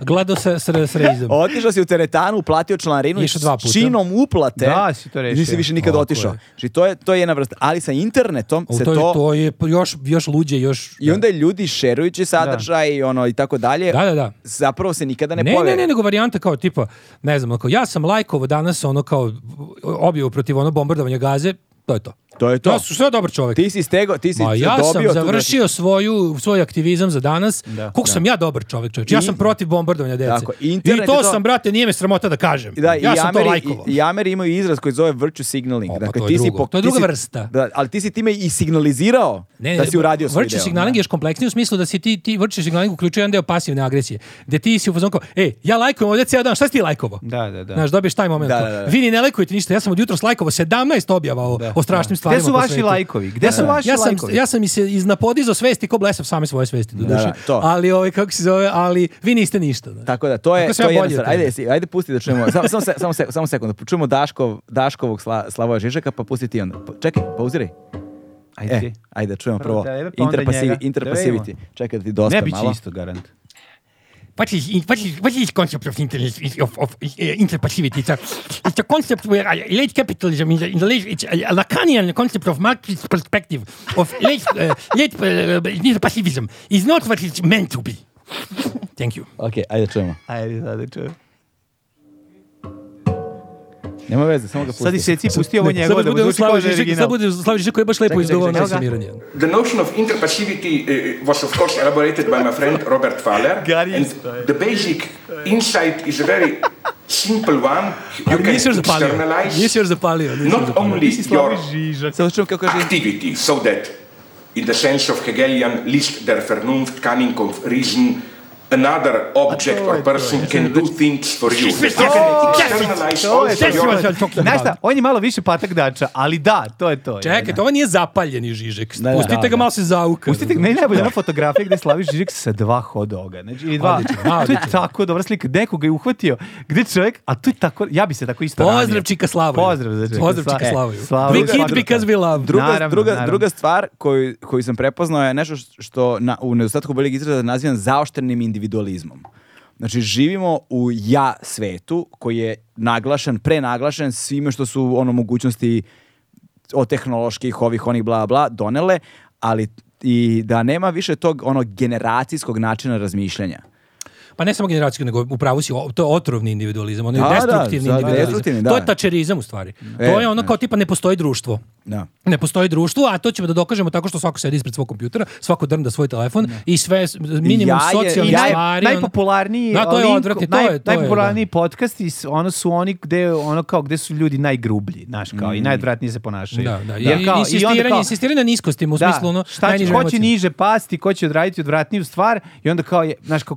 Speaker 2: Glado sa s, s rezom.
Speaker 1: otišao si u teretanu, uplatio članarinu i
Speaker 2: Išao dva
Speaker 1: s
Speaker 2: puta.
Speaker 1: činom uplate
Speaker 3: Da, si to rešio.
Speaker 1: nisi više nikad
Speaker 2: Tako
Speaker 1: otišao.
Speaker 2: je.
Speaker 1: Znači, to je, to je jedna vrsta. Ali sa internetom
Speaker 2: O,
Speaker 1: se
Speaker 2: to,
Speaker 1: to...
Speaker 2: je, to je još, još luđe, još...
Speaker 1: I onda ljudi šerujući sadržaj i ono i tako dalje,
Speaker 2: Da, da, da.
Speaker 1: zapravo se nikada ne,
Speaker 2: Ne,
Speaker 1: poveri.
Speaker 2: ne, ne, nego varijanta kao tipa, ne znam, kao, ja sam lajkovo danas ono kao objavu protiv ono bombardovanja gaze, to je to.
Speaker 1: To je to.
Speaker 2: Ja sam sve dobar čovek.
Speaker 1: Ti si stego, ti si
Speaker 2: Ma ja
Speaker 1: dobio
Speaker 2: sam
Speaker 1: tu
Speaker 2: završio svoju, svoj aktivizam za danas. Koliko sam ja dobar čovjek, čovječe. Ja
Speaker 1: I-
Speaker 2: sam protiv bombardovanja dece.
Speaker 1: Tako,
Speaker 2: I
Speaker 1: internet je
Speaker 2: to
Speaker 1: to-
Speaker 2: sam, brate, nije me sramota da kažem.
Speaker 1: I Da,
Speaker 2: ja
Speaker 1: i
Speaker 2: sam to
Speaker 1: Ameri,
Speaker 2: lajkovo.
Speaker 1: i, i Ameri imaju izraz koji zove virtue signaling.
Speaker 2: O, pa
Speaker 1: dakle,
Speaker 2: to je
Speaker 1: ti si
Speaker 2: drugo.
Speaker 1: po-
Speaker 2: To je
Speaker 1: ti si-
Speaker 2: druga vrsta.
Speaker 1: Da, ali ti si time i signalizirao da si uradio svoj
Speaker 2: virtue
Speaker 1: deo.
Speaker 2: signaling je još kompleksniji u smislu da si ti, ti virtue signaling uključuje jedan deo pasivne agresije. Gde ti si u fazonu kao, ej, ja lajkujem ovdje cijel dan, šta si ti lajkovo?
Speaker 3: Da, da, da.
Speaker 2: Znaš, dobiješ taj moment.
Speaker 1: Da,
Speaker 2: kao,
Speaker 1: da, da.
Speaker 2: Vi ni ne lajkujete ništa, ja sam od jutros lajkovo 17 objava o, o strašnim stvarima.
Speaker 3: Gde su
Speaker 2: po
Speaker 3: vaši
Speaker 2: svetu.
Speaker 3: lajkovi? Gde su vaši
Speaker 2: ja sam,
Speaker 3: lajkovi?
Speaker 2: ja sam mi se iznapodizao svesti ko blesav same svoje svesti do
Speaker 1: da, to.
Speaker 2: ali ovaj, kako se zove, ali vi niste ništa. Da.
Speaker 1: Tako da, to je,
Speaker 2: Kako sam
Speaker 1: to je jedna
Speaker 2: ja bolji
Speaker 1: stvar.
Speaker 2: od tebe?
Speaker 1: Ajde, si- ajde pusti da čujemo. Samo, samo, se- samo, se- samo sekundu. Čujemo Daškov, Daškovog sla, Slavoja Žižaka, pa pusti ti onda. Pa- Čekaj, pauziraj.
Speaker 3: Ajde.
Speaker 1: E, ajde, da čujemo prvo.
Speaker 3: Prvo tebe, pa onda
Speaker 1: Interpasivi,
Speaker 3: njega. Da
Speaker 1: interpasivity.
Speaker 3: vidimo.
Speaker 1: Čekaj da ti dosta
Speaker 3: ne bit će
Speaker 1: malo.
Speaker 3: isto garant.
Speaker 2: What is, what is, what is concept of, inter, of, of uh, interpassivity? It's a, it's a concept where uh, late capitalism, in the, in the late, it's a Lacanian concept of Marxist perspective of late, uh, late uh, interpassivism is not what it's meant to be. Thank you.
Speaker 1: Ok, ajde da čujemo.
Speaker 3: Ajde, sad da čujem.
Speaker 1: Nema veze, samo ga pusti.
Speaker 3: Sad i seci pusti ovo njegovo da mu zvuči kao da je original.
Speaker 2: koji je baš lepo
Speaker 1: izgovao
Speaker 3: čekaj, čekaj.
Speaker 2: sumiranje.
Speaker 6: The notion of interpassivity uh, was, of course, elaborated by my friend Robert Thaler.
Speaker 3: Gary
Speaker 6: and
Speaker 3: is right.
Speaker 6: the basic insight is a very simple one. You
Speaker 2: Ali
Speaker 6: can
Speaker 2: nisi još zapalio.
Speaker 6: externalize
Speaker 2: Nisi još zapalio. nisi još
Speaker 6: not
Speaker 2: zapalio.
Speaker 6: only your
Speaker 1: Sad čujem kako je...
Speaker 6: activity, so that, in the sense of Hegelian List der Vernunft, cunning of reason, another object or person can do things for you. You can externalize also
Speaker 2: Yes,
Speaker 6: your
Speaker 2: yes, yes, talking
Speaker 3: Znaš
Speaker 2: about
Speaker 3: šta,
Speaker 2: it.
Speaker 3: on je malo više patak dača, ali da, to je to.
Speaker 2: Čekajte, ovo nije zapaljeni Žižek.
Speaker 1: da,
Speaker 2: Pustite
Speaker 1: da,
Speaker 2: ga malo se zauka.
Speaker 3: Pustite, meni je najbolja ona fotografija gde Slavi Žižek sa dva hot doga. Znači, ili dva.
Speaker 2: Odlično,
Speaker 3: to je
Speaker 2: odlično.
Speaker 3: tako dobra slika. Neko ga je uhvatio. Gde čovjek, a tu je tako, ja bi se tako isto
Speaker 2: Pozdrav
Speaker 3: ranio.
Speaker 2: Čika Slavoju.
Speaker 3: Pozdrav za Čika
Speaker 2: Pozdrav
Speaker 3: Sla-
Speaker 2: Čika
Speaker 3: e,
Speaker 2: Slavoju.
Speaker 3: Slavoju.
Speaker 2: We kid because we love.
Speaker 1: Druga,
Speaker 3: Naravno,
Speaker 1: druga,
Speaker 3: naravno.
Speaker 1: druga stvar koju, koju sam prepoznao je nešto š- što na, u nedostatku boljeg izraza nazivam zaoštrenim individualizmom. Znači, živimo u ja svetu koji je naglašen, prenaglašen svime što su ono mogućnosti od tehnoloških, ovih, onih, bla, bla, donele, ali i da nema više tog onog generacijskog načina razmišljanja.
Speaker 2: Pa ne samo generacijski, nego u pravu si, o- to je otrovni individualizam, ono je
Speaker 1: Da, da,
Speaker 2: destruktivni
Speaker 1: da, destruktivni,
Speaker 2: individualizam.
Speaker 1: da.
Speaker 2: To je tačerizam u stvari.
Speaker 3: E,
Speaker 2: To je ono kao tipa ne postoji društvo.
Speaker 1: Da.
Speaker 2: Ne postoji društvo, a to ćemo da dokažemo tako što svako sedi ispred svog kompjutera, svako drnda svoj telefon i sve s- minimum
Speaker 1: Ja je-
Speaker 2: socijalnih
Speaker 1: i naj-
Speaker 2: stvari. ono-
Speaker 3: najpopularniji
Speaker 2: Da, to je
Speaker 3: link-
Speaker 2: odvratno, to
Speaker 3: naj-
Speaker 2: je- to je,
Speaker 3: najpopularniji podcasti s- ono su oni gde ono kao gde su ljudi najgrublji, znaš, kao i najodvratnije se ponašaju.
Speaker 2: Mm. Da, da. I,
Speaker 3: Jer kao- i onda
Speaker 2: insistiranje,
Speaker 3: kao-
Speaker 2: insistiranje na niskostima, u
Speaker 3: Da,
Speaker 2: smislu ono,
Speaker 3: šta će,
Speaker 2: najnižim
Speaker 3: ko će
Speaker 2: emocijama.
Speaker 3: niže pasti, ko će odraditi odvratniju stvar i onda kao je, znaš, kao,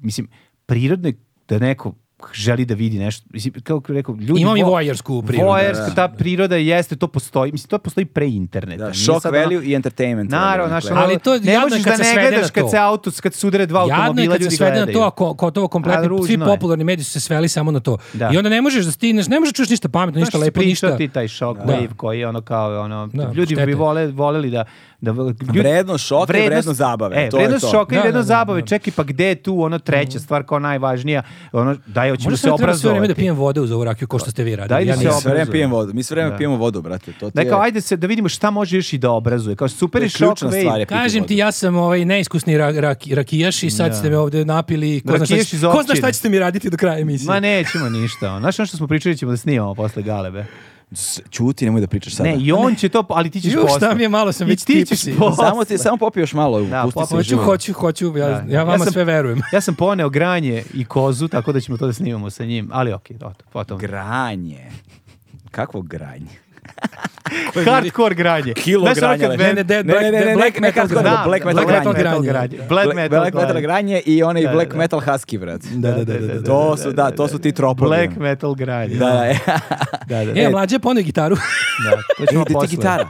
Speaker 3: mislim, prirodno je da neko želi da vidi nešto, mislim, kao kako rekao, ljudi...
Speaker 2: Imam i
Speaker 3: vo-
Speaker 2: voajersku prirodu,
Speaker 3: Voajerska,
Speaker 2: da.
Speaker 3: ta priroda jeste, to postoji, mislim, to postoji pre interneta.
Speaker 1: Da,
Speaker 3: Nije
Speaker 1: shock
Speaker 3: sad ono-
Speaker 1: value i entertainment.
Speaker 3: Naravno,
Speaker 1: value,
Speaker 3: znaš,
Speaker 1: dakle.
Speaker 3: ono,
Speaker 2: Ali to je
Speaker 3: ne
Speaker 2: jadno
Speaker 3: možeš
Speaker 2: kad
Speaker 3: da
Speaker 2: se
Speaker 3: ne
Speaker 2: svede na
Speaker 3: gledaš kad
Speaker 2: to.
Speaker 3: se auto, kad se udare dva
Speaker 2: Jadno je
Speaker 3: automobila,
Speaker 2: kad se
Speaker 3: ljudi
Speaker 2: svede na
Speaker 3: gledaju.
Speaker 2: to, a ko, ko to
Speaker 3: A,
Speaker 2: kompletni,
Speaker 3: ružno
Speaker 2: svi
Speaker 3: je.
Speaker 2: popularni mediji su se sveli samo na to.
Speaker 3: Da.
Speaker 2: I onda ne možeš da stigneš, ne možeš čuš ništa pametno, ništa
Speaker 3: Znaš,
Speaker 2: lepo,
Speaker 3: pričao
Speaker 2: ništa.
Speaker 3: ti taj shock
Speaker 2: Da.
Speaker 3: wave koji je ono kao ono
Speaker 2: Da,
Speaker 3: ljudi bi
Speaker 2: šteta.
Speaker 3: vole voleli da da ljudi,
Speaker 1: Vrednost šoka i vrednost zabave,
Speaker 3: E,
Speaker 1: to je
Speaker 3: vrednost
Speaker 1: to.
Speaker 3: šoka i
Speaker 2: Da,
Speaker 3: vrednost
Speaker 2: da, da,
Speaker 3: zabave.
Speaker 2: da.
Speaker 3: Čekaj, pa gde je tu ono treća stvar kao najvažnija? Ono daj hoćemo
Speaker 2: Možda
Speaker 3: se
Speaker 2: sam treba sve vreme da
Speaker 3: obrazovati.
Speaker 2: pijem vode uz ovu rakiju, ko što ste vi radili.
Speaker 3: Dajde se
Speaker 1: Mi
Speaker 2: nisam.
Speaker 1: sve vreme
Speaker 3: obrazujemo.
Speaker 1: pijemo vodu. Mi sve vreme
Speaker 3: Da.
Speaker 1: pijemo vodu, brate. To ti
Speaker 3: Da
Speaker 1: je-
Speaker 3: kao ajde se da vidimo šta može još i da obrazuje. Kao super
Speaker 1: To je
Speaker 3: je shock
Speaker 1: ključna stvar, je
Speaker 3: wave.
Speaker 1: piti
Speaker 2: Kažem
Speaker 1: vodu.
Speaker 2: ti, ja sam ovaj neiskusni ra- rak- rakijaš i sad ste me ovdje napili. Ko zna, šta,
Speaker 3: Rakijaš iz
Speaker 2: ćete- ko zna
Speaker 3: općine.
Speaker 2: šta ćete mi raditi do kraja emisije?
Speaker 3: Ma nećemo ništa. ono. Znaš ono što smo pričali ćemo da snimamo posle galebe.
Speaker 1: S- Ćuti, nemoj da pričaš sada.
Speaker 3: Ne, i on će to, ali ti ćeš
Speaker 2: Ju,
Speaker 3: posle.
Speaker 2: šta mi je, malo sam
Speaker 3: I
Speaker 2: već
Speaker 3: ti ćeš
Speaker 2: tipsi.
Speaker 3: posle.
Speaker 1: Samo, ti, samo popiješ malo,
Speaker 3: Da,
Speaker 1: pusti se
Speaker 3: popio-
Speaker 2: Hoću,
Speaker 1: život.
Speaker 2: hoću, hoću, ja,
Speaker 3: Da.
Speaker 2: ja vama
Speaker 3: sam-
Speaker 2: sve verujem.
Speaker 3: Ja sam poneo granje i kozu, tako da ćemo to da snimamo sa njim. Ali okej, okay, potom.
Speaker 1: Granje. Kakvo granje?
Speaker 3: Hardcore granje. Znaš ono kad
Speaker 2: Ne,
Speaker 3: band-
Speaker 2: ne, de- black-
Speaker 1: ne, ne, ne,
Speaker 2: black
Speaker 1: ne,
Speaker 2: metal
Speaker 1: kako-
Speaker 2: granje.
Speaker 1: da, black metal
Speaker 2: Black metal
Speaker 1: granje.
Speaker 2: granje.
Speaker 3: Black metal,
Speaker 1: black metal granje i onaj
Speaker 3: Da, da,
Speaker 1: black
Speaker 3: da.
Speaker 1: metal husky, brat.
Speaker 2: Da, da, da, da, da.
Speaker 1: To su, da, to su ti tropovi.
Speaker 3: Black metal granje.
Speaker 1: Da, da, e.
Speaker 3: da, da, da.
Speaker 2: E, mlađe, ponio gitaru.
Speaker 3: Da, to ćemo
Speaker 1: Ide ti
Speaker 3: posle.
Speaker 1: gitara.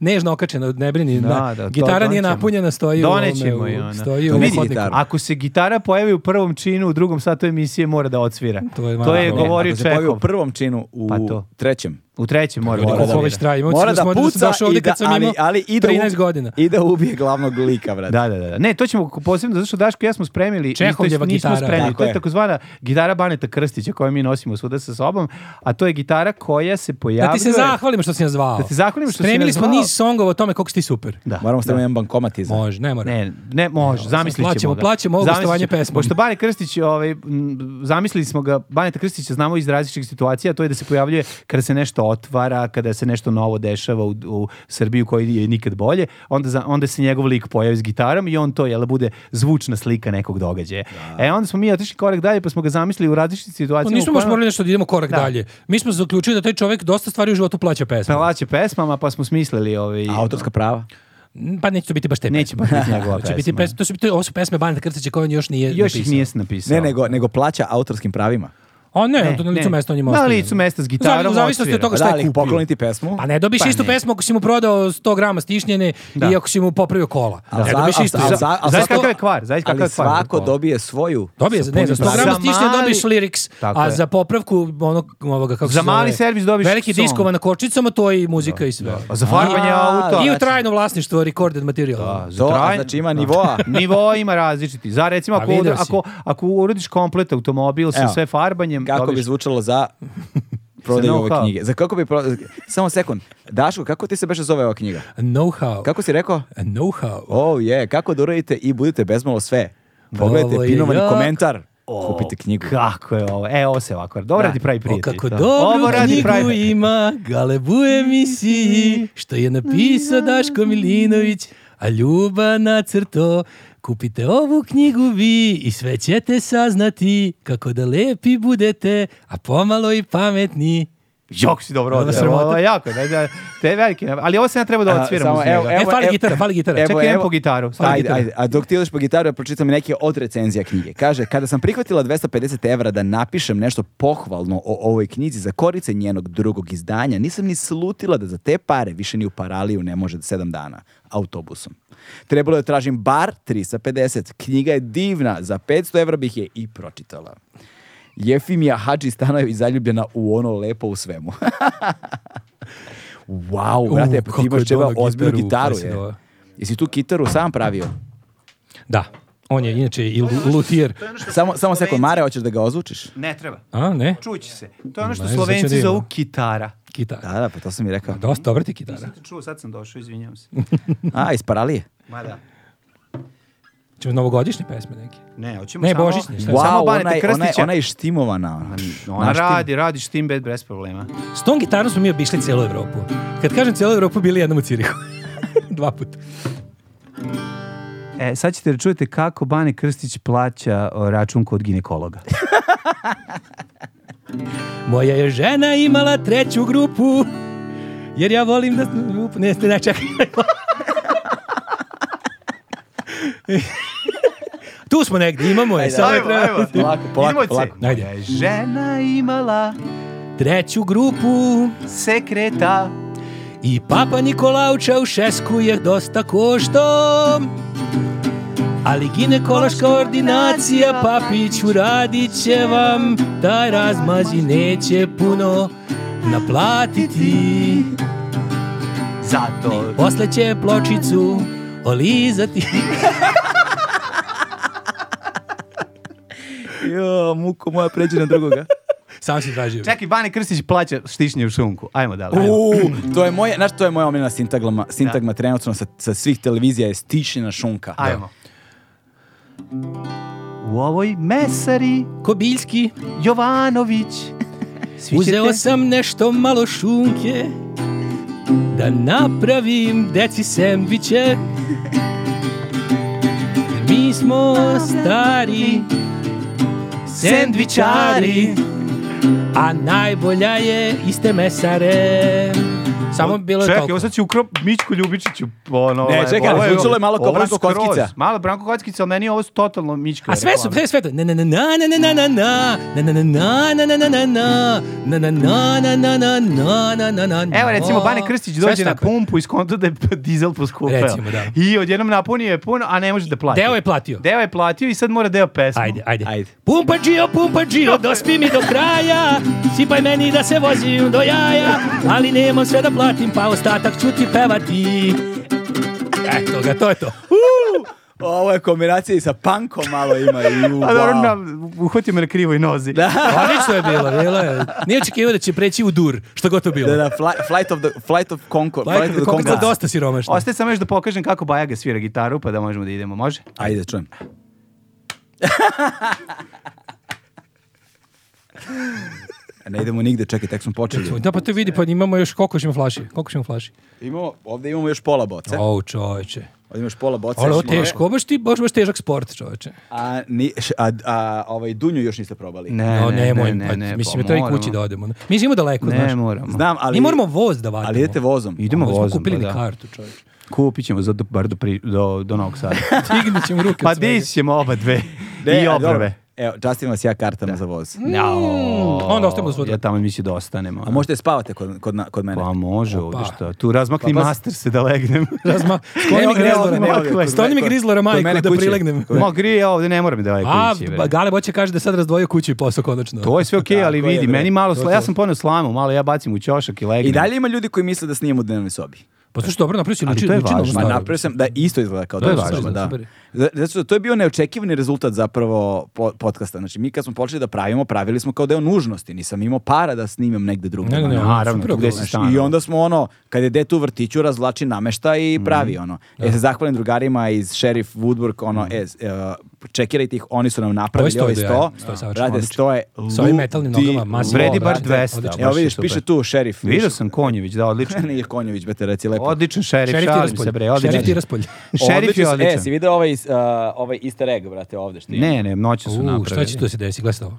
Speaker 2: nežno okačena, ne brini,
Speaker 3: Da,
Speaker 2: na-
Speaker 3: da, to
Speaker 2: gitara nije
Speaker 3: donećemo.
Speaker 2: napunjena, stoji u ovome,
Speaker 3: Donećemo ono. je
Speaker 2: u-
Speaker 3: ona.
Speaker 2: stoji
Speaker 1: To
Speaker 2: u
Speaker 1: vidi
Speaker 2: hodniku.
Speaker 1: gitara.
Speaker 3: Ako se gitara pojavi u prvom činu, u drugom satu emisije mora da odsvira.
Speaker 2: To
Speaker 3: To
Speaker 2: je
Speaker 3: je,
Speaker 2: malo problem.
Speaker 3: govorio
Speaker 1: Ako se pojavi
Speaker 3: Čekov.
Speaker 1: u prvom činu, u
Speaker 3: Pa to.
Speaker 1: trećem.
Speaker 3: U trećem mora da
Speaker 2: Koliko
Speaker 1: Mora
Speaker 2: ovo
Speaker 3: odsvira.
Speaker 2: već traje? Imao
Speaker 1: Mora
Speaker 2: sam
Speaker 1: da
Speaker 2: da
Speaker 1: puca
Speaker 2: došao
Speaker 1: i
Speaker 2: ovde
Speaker 1: da,
Speaker 2: kad sam
Speaker 1: ali,
Speaker 2: imao
Speaker 1: ali i da,
Speaker 2: 13
Speaker 1: ubije-
Speaker 2: godina.
Speaker 1: i da ubije glavnog lika, brate.
Speaker 3: Da, da, da. Ne, to ćemo posebno, zato što Daško i ja smo spremili,
Speaker 2: Čehovljeva
Speaker 3: isto nismo
Speaker 2: gitara.
Speaker 3: spremili.
Speaker 1: Tako
Speaker 3: to je
Speaker 1: je.
Speaker 3: takozvana gitara Baneta Krstića koju mi nosimo svuda sa sobom, a to je gitara koja se pojavljuje...
Speaker 2: Da ti se zahvalim što si nas zvao.
Speaker 3: Da ti zahvalim što si
Speaker 2: Spremili
Speaker 3: nas
Speaker 2: smo
Speaker 3: zvao.
Speaker 2: niz songova o tome koliko si ti super.
Speaker 3: Da.
Speaker 1: Moramo staviti jedan bankomat iza.
Speaker 2: Može, ne mora.
Speaker 3: Ne, ne može, zamislit
Speaker 2: plaćamo-
Speaker 3: ćemo ga.
Speaker 2: plaćamo ovo
Speaker 3: Zamislit
Speaker 2: gostovanje
Speaker 3: ćemo.
Speaker 2: pesmom.
Speaker 3: Pošto Bane Krstić, ovaj, m, zamislili smo ga, Baneta Krstića znamo iz različitih situacija, to je da se pojavljuje kada se nešto otvara, kada se nešto novo dešava u, u Srbiji u kojoj je nikad bolje, onda, za- onda se njegov lik pojavi s gitarom i on to, jel, bude zvučna slika nekog događaja. E, onda smo mi otišli korak dalje, pa smo ga zamislili u različitim
Speaker 2: Pa
Speaker 3: situacijama.
Speaker 2: nismo
Speaker 3: u
Speaker 2: baš
Speaker 3: kojima-
Speaker 2: morali nešto da idemo korak
Speaker 3: Da.
Speaker 2: dalje. Mi smo zaključili da taj čovjek dosta stvari u životu plaća pesmu.
Speaker 3: Pelaće pesmama, pa smo smislili ovi...
Speaker 1: A autorska prava?
Speaker 2: Pa neće to biti baš te pesme.
Speaker 3: Neće baš biti njegova
Speaker 2: To će biti
Speaker 3: pesma.
Speaker 2: pesme, to su biti, ovo su pesme Baneta Krstića koje on još nije
Speaker 3: Još ih
Speaker 2: napisao.
Speaker 3: nije napisao.
Speaker 1: Ne, nego, nego plaća autorskim pravima.
Speaker 2: A ne, to na licu mesta on njima
Speaker 3: Na
Speaker 2: ostavlja.
Speaker 3: licu mesta
Speaker 2: U
Speaker 3: s
Speaker 2: zavi-
Speaker 3: gitarom
Speaker 2: u zavisnosti od
Speaker 3: odsvira.
Speaker 2: toga šta
Speaker 1: da,
Speaker 2: je
Speaker 1: ali
Speaker 2: kupio.
Speaker 1: Pa pokloniti pesmu.
Speaker 2: Pa ne dobiš
Speaker 3: Pa
Speaker 2: istu
Speaker 3: ne.
Speaker 2: pesmu ako si mu prodao 100 grama stišnjene i ako si mu popravio kola.
Speaker 1: A
Speaker 2: Ne
Speaker 1: za-
Speaker 2: dobiš
Speaker 1: a-
Speaker 2: istu.
Speaker 1: a-
Speaker 2: Za-
Speaker 1: za- a-
Speaker 2: za-
Speaker 3: Znaš kakav je kvar? Znaš kakav
Speaker 1: ali
Speaker 3: je kvar?
Speaker 1: svako dobije svoju.
Speaker 2: Dobije,
Speaker 1: sa
Speaker 2: ne, za
Speaker 1: punim
Speaker 2: 100 grama
Speaker 1: pravima.
Speaker 3: Za
Speaker 2: stišnje
Speaker 3: mali-
Speaker 2: dobiješ liriks,
Speaker 3: Tako
Speaker 2: a
Speaker 3: je.
Speaker 2: za popravku onog, ovoga, kako
Speaker 3: Za
Speaker 2: se zove,
Speaker 3: mali servis dobiš
Speaker 2: Veliki
Speaker 3: song.
Speaker 2: diskova na kočicama, to je i muzika i sve.
Speaker 3: A Pa za znači- farbanje
Speaker 1: A,
Speaker 3: auto.
Speaker 2: I u trajno vlasništvo, recorded materijal.
Speaker 1: To, a znači ima nivoa.
Speaker 3: Nivo ima različiti. Za recimo
Speaker 2: Pa
Speaker 3: ako,
Speaker 2: video
Speaker 3: uda-
Speaker 2: si.
Speaker 3: ako, ako urodiš komplet automobil sa
Speaker 1: Evo,
Speaker 3: sve farbanjem,
Speaker 1: Kako bi
Speaker 3: dobiš-
Speaker 1: zvučalo za prodaju
Speaker 3: Za
Speaker 1: ove
Speaker 3: know-how.
Speaker 1: knjige? Za kako bi pro... Samo sekund. Daško, kako ti se beše zove ova knjiga?
Speaker 2: Know-how.
Speaker 1: Kako si rekao?
Speaker 2: Know-how.
Speaker 1: Oh, je, kako da uradite i budete bezmalo sve.
Speaker 2: Ovo
Speaker 1: Pogledajte
Speaker 2: je
Speaker 1: pinovani
Speaker 2: jak.
Speaker 1: komentar. Kupite knjigu.
Speaker 3: Kako je ovo? E, ovo se ovako. Dobro ti pravi
Speaker 2: O
Speaker 3: prijatelj.
Speaker 2: kako
Speaker 3: to.
Speaker 2: dobru
Speaker 3: Ovo radi
Speaker 2: knjigu
Speaker 3: pravi-
Speaker 2: ima Galebu u emisiji što je napisao Daško Milinović, a Ljuba nacrto. Kupite ovu knjigu vi i sve ćete saznati kako da lepi budete, a pomalo i pametni.
Speaker 3: Jok si dobro
Speaker 2: Ovo je
Speaker 3: odradio.
Speaker 2: sramota.
Speaker 3: Ovo je jako. Da, da, te je veliki. nap- Ali ovo se ja treba da
Speaker 1: A,
Speaker 3: odsviram
Speaker 1: samo,
Speaker 3: uz njega.
Speaker 1: evo,
Speaker 2: E, fali
Speaker 1: evo,
Speaker 2: gitara, fali gitara.
Speaker 1: evo,
Speaker 3: Čekaj, idem
Speaker 1: evo.
Speaker 3: po gitaru. Fali
Speaker 1: Ajde,
Speaker 3: gitaru.
Speaker 1: ajde, a dok ti ideš po gitaru, ja pročitam neke od recenzija knjige. Kaže, kada sam prihvatila 250 evra da napišem nešto pohvalno o ovoj knjizi za korice njenog drugog izdanja, nisam ni slutila da za te pare više ni u paraliju ne može sedam dana autobusom. Trebalo je da tražim bar 350. Knjiga je divna, za 500 evra bih je i pročitala. Jefimija Hadži Stanojević zaljubljena u ono lepo u svemu. wow, brate,
Speaker 2: kako
Speaker 1: ti
Speaker 2: je
Speaker 1: imaš čeba
Speaker 2: doneo
Speaker 1: ozbiljnu
Speaker 2: gitaru,
Speaker 1: gitaru.
Speaker 2: pa si
Speaker 1: je.
Speaker 2: doveo.
Speaker 1: Jesi tu gitaru sam pravio?
Speaker 2: Da, on je inače i lu- luthier.
Speaker 1: Samo, samo sekund, Mare, hoćeš da ga ozvučiš?
Speaker 3: Ne treba.
Speaker 2: A, ne?
Speaker 3: Čući se. To je ono što
Speaker 2: Ma, je
Speaker 3: Slovenci
Speaker 2: začudio.
Speaker 3: zovu kitara.
Speaker 2: Kitara.
Speaker 1: Da, da, pa to sam i rekao.
Speaker 2: Dosta dobra ti kitara.
Speaker 3: Čuo, sad sam došao, izvinjam se.
Speaker 1: A, iz paralije?
Speaker 3: Ma da.
Speaker 2: Čemo novogodišnje pesme neke.
Speaker 3: Ne, hoćemo
Speaker 2: Ne,
Speaker 3: samo...
Speaker 2: božićne, šta je?
Speaker 1: Wow,
Speaker 3: Samo Baneta
Speaker 1: ona je, ona, je,
Speaker 3: Krstića.
Speaker 1: ona je štimovana. ono. Pa Ona,
Speaker 3: Ona radi, radi štim bed bez problema.
Speaker 2: S tom gitarom smo mi obišli celu Evropu. Kad kažem celu Evropu, bili jednom u Cirihu. Dva puta.
Speaker 3: E, sad ćete da čujete kako Bane Krstić plaća o, račun kod ginekologa.
Speaker 2: Moja je žena imala treću grupu, jer ja volim da... Grupu, ne, ne, čekaj. tu smo negdje, imamo je. Samo je treba...
Speaker 1: Polako, polako, polako.
Speaker 2: Ajde.
Speaker 3: Moja Žena imala
Speaker 2: Treću grupu
Speaker 3: sekreta.
Speaker 2: i papa Nikolau Čaušesku je dosta košto. Ali ginekološka ordinacija papiću radit će vam, taj razmazi neće puno naplatiti.
Speaker 3: Zato...
Speaker 2: Posle će pločicu olizati.
Speaker 1: Jo, muko moja, pređi na drugoga.
Speaker 2: Sam si tražio.
Speaker 3: Čekaj, Bane Krstić plaća štišnje u šunku. Ajmo dalje. ajmo.
Speaker 1: Uuu, to je moje, znaš, to je moja omiljena sintagma, sintagma trenutno sa, sa svih televizija je stišena šunka.
Speaker 3: Ajmo. U ovoj mesari
Speaker 2: Kobiljski,
Speaker 3: Jovanović Svi
Speaker 2: uzeo
Speaker 3: ćete-
Speaker 2: sam nešto malo šunke da napravim deci sendviče. Jer Mi smo stari sendvičari, a najbolja je iste mesare. Samo bilo je
Speaker 3: Čekaj,
Speaker 2: toliko.
Speaker 3: ovo sad ću ukro Mićku Ljubičiću. Ono,
Speaker 1: Ne, čekaj,
Speaker 3: ovo
Speaker 1: zvučalo je malo kao
Speaker 3: ovo je
Speaker 1: Branko
Speaker 3: skroz.
Speaker 1: Kockica.
Speaker 3: Malo Branko Kockica, ali meni je ovo totalno Mićka.
Speaker 2: A sve su,
Speaker 3: reklama.
Speaker 2: sve, sve to. Na na na na na na na na na na na na na na na na na na na na na na na na na
Speaker 3: Evo recimo Bane Krstić
Speaker 2: Sve
Speaker 3: dođe
Speaker 2: su
Speaker 3: na
Speaker 2: takve.
Speaker 3: pumpu i skonta da je dizel poskupeo.
Speaker 2: Recimo, da.
Speaker 3: I odjednom napunio je puno, a ne može da plati.
Speaker 2: Deo je platio.
Speaker 3: Deo je platio i sad mora deo pesmu.
Speaker 2: Ajde, ajde.
Speaker 1: Ajde.
Speaker 2: Pumpa džio, pumpa džio, dospi mi do kraja, sipaj meni da se vozim do jaja, ali nemam sve da platim, pa ostatak ću ti pevati. Eto ga, to je to.
Speaker 1: Ovo je kombinacija i sa punkom malo ima. I, u,
Speaker 3: A dobro,
Speaker 1: wow.
Speaker 3: nam, uhvatio me na krivoj nozi. Da.
Speaker 2: Odlično je bilo, bilo je. Nije očekivao da će preći u dur, što god to bilo.
Speaker 1: Da, da, fly- flight of the, flight of Concord.
Speaker 2: Lajko, da koliko je dosta siromašno.
Speaker 3: Ostaje samo još da pokažem kako Bajaga svira gitaru, pa da možemo da idemo, može?
Speaker 1: Ajde, čujem. ne idemo nigde, čekaj, tek smo počeli.
Speaker 2: Da, pa to vidi, pa imamo još koliko ćemo flaši, koliko ćemo flaši.
Speaker 1: Imamo, ovde imamo još pola boce.
Speaker 2: O, čoveče.
Speaker 1: Ovde imaš pola boce.
Speaker 2: Ovo je
Speaker 1: Još
Speaker 2: teško, baš ti, baš, baš težak sport, čoveče.
Speaker 1: A, ni, š- a, a ovaj Dunju još niste probali.
Speaker 3: Ne,
Speaker 2: No, nemoj,
Speaker 3: ne, ne, ne,
Speaker 2: mislim,
Speaker 3: pa
Speaker 2: to i
Speaker 3: moramo.
Speaker 2: kući da odemo. Mi živimo daleko, znaš.
Speaker 3: Ne, moramo.
Speaker 1: Znam, ali...
Speaker 2: Mi moramo voz da vatimo.
Speaker 1: Ali idete vozom.
Speaker 3: Idemo
Speaker 2: Ovo smo
Speaker 3: vozom,
Speaker 2: kupili
Speaker 3: pa
Speaker 2: na
Speaker 3: da.
Speaker 2: kartu, čoveče.
Speaker 3: Kupit ćemo za do, bar do, pri, do, do Novog Sada.
Speaker 2: Stignut ćemo ruke
Speaker 3: pa
Speaker 2: od svega.
Speaker 3: dis ćemo oba dve.
Speaker 1: Ne, ali
Speaker 3: I
Speaker 1: dobro. Mm,
Speaker 3: obrve.
Speaker 1: Evo, častim vas ja kartama za voz.
Speaker 3: No.
Speaker 2: onda ostajemo do sutra.
Speaker 3: Ja tamo mislio da ostanemo.
Speaker 1: A možete spavate kod, kod, na- kod mene.
Speaker 3: Pa može ovdje
Speaker 2: Opa.
Speaker 3: šta. Tu razmakni
Speaker 1: Pa, pa-
Speaker 3: master se da legnem.
Speaker 2: Razma,
Speaker 1: Ne,
Speaker 2: skloni mi
Speaker 1: ne,
Speaker 2: grizlora,
Speaker 1: ovdje, ne, ovdje,
Speaker 2: majku,
Speaker 1: kod
Speaker 2: skloni mi
Speaker 1: mene-
Speaker 2: grizlora
Speaker 1: kod
Speaker 2: majku
Speaker 1: mene
Speaker 2: da
Speaker 1: kuće.
Speaker 2: prilegnem.
Speaker 3: Ma grije ja ovdje, ne moram da legnem
Speaker 2: A,
Speaker 3: kući. bre.
Speaker 2: ba- Gale Boće kaže da sad razdvojio kuću i posao konačno.
Speaker 3: To je sve okej, ali
Speaker 1: Tako je,
Speaker 3: vidi,
Speaker 1: bre.
Speaker 3: meni malo,
Speaker 1: To
Speaker 3: sla...
Speaker 1: je
Speaker 3: ja
Speaker 1: to.
Speaker 3: sam poneo slamu, malo ja bacim u ćošak i legnem.
Speaker 1: I dalje ima ljudi koji misle da snijemo u dnevnoj sobi.
Speaker 2: Pa slušaj, dobro, napravio si
Speaker 3: Ali
Speaker 2: luči,
Speaker 3: to je
Speaker 2: luči na
Speaker 3: važno.
Speaker 1: Ma
Speaker 2: staro.
Speaker 1: napravio sam da isto izgleda kao
Speaker 2: To je
Speaker 1: dnevna
Speaker 2: važno,
Speaker 1: soba, da.
Speaker 2: super.
Speaker 1: Za- Zato što to je bio neočekivani rezultat zapravo po, podcasta. Znači mi kad smo počeli da pravimo, pravili smo kao deo nužnosti. Nisam imao para da snimam negde drugde.
Speaker 2: Ne, ne, ne,
Speaker 3: Naravno,
Speaker 2: super,
Speaker 3: tu gde si
Speaker 2: znaš,
Speaker 3: stanu.
Speaker 1: I onda smo ono, kad je dete u vrtiću, razvlači namešta i pravi ono. Ja se zahvalim drugarima iz Sheriff Woodburg, ono, e, s- e, čekirajte ih, oni su nam napravili
Speaker 2: sto
Speaker 1: ovaj
Speaker 2: ideja,
Speaker 1: sto.
Speaker 2: sto je savršeno,
Speaker 1: Rade
Speaker 2: odlično.
Speaker 1: sto je
Speaker 2: Sa ovim metalnim
Speaker 1: ludi
Speaker 2: nogama, masivno.
Speaker 3: Vredi bar
Speaker 2: brate,
Speaker 3: 200.
Speaker 2: odlično.
Speaker 1: Evo
Speaker 3: Baš je
Speaker 1: vidiš,
Speaker 3: super.
Speaker 1: piše tu Sheriff.
Speaker 3: Vidio sam Konjević, da, odlično.
Speaker 1: Nije Konjević, bete, reci lepo.
Speaker 3: Odličan šerif,
Speaker 2: Šerif
Speaker 3: šalim se
Speaker 2: Tiraspolj.
Speaker 3: bre, odličan.
Speaker 2: Šerif Tiraspolj.
Speaker 3: Šerif je
Speaker 1: E, si
Speaker 3: odličan.
Speaker 1: vidio ovaj, uh, ovaj easter egg, brate, ovde što ima?
Speaker 3: Ne, ne, noće su
Speaker 2: U,
Speaker 3: napravili.
Speaker 2: šta će tu se desiti, gledaj sad ovo.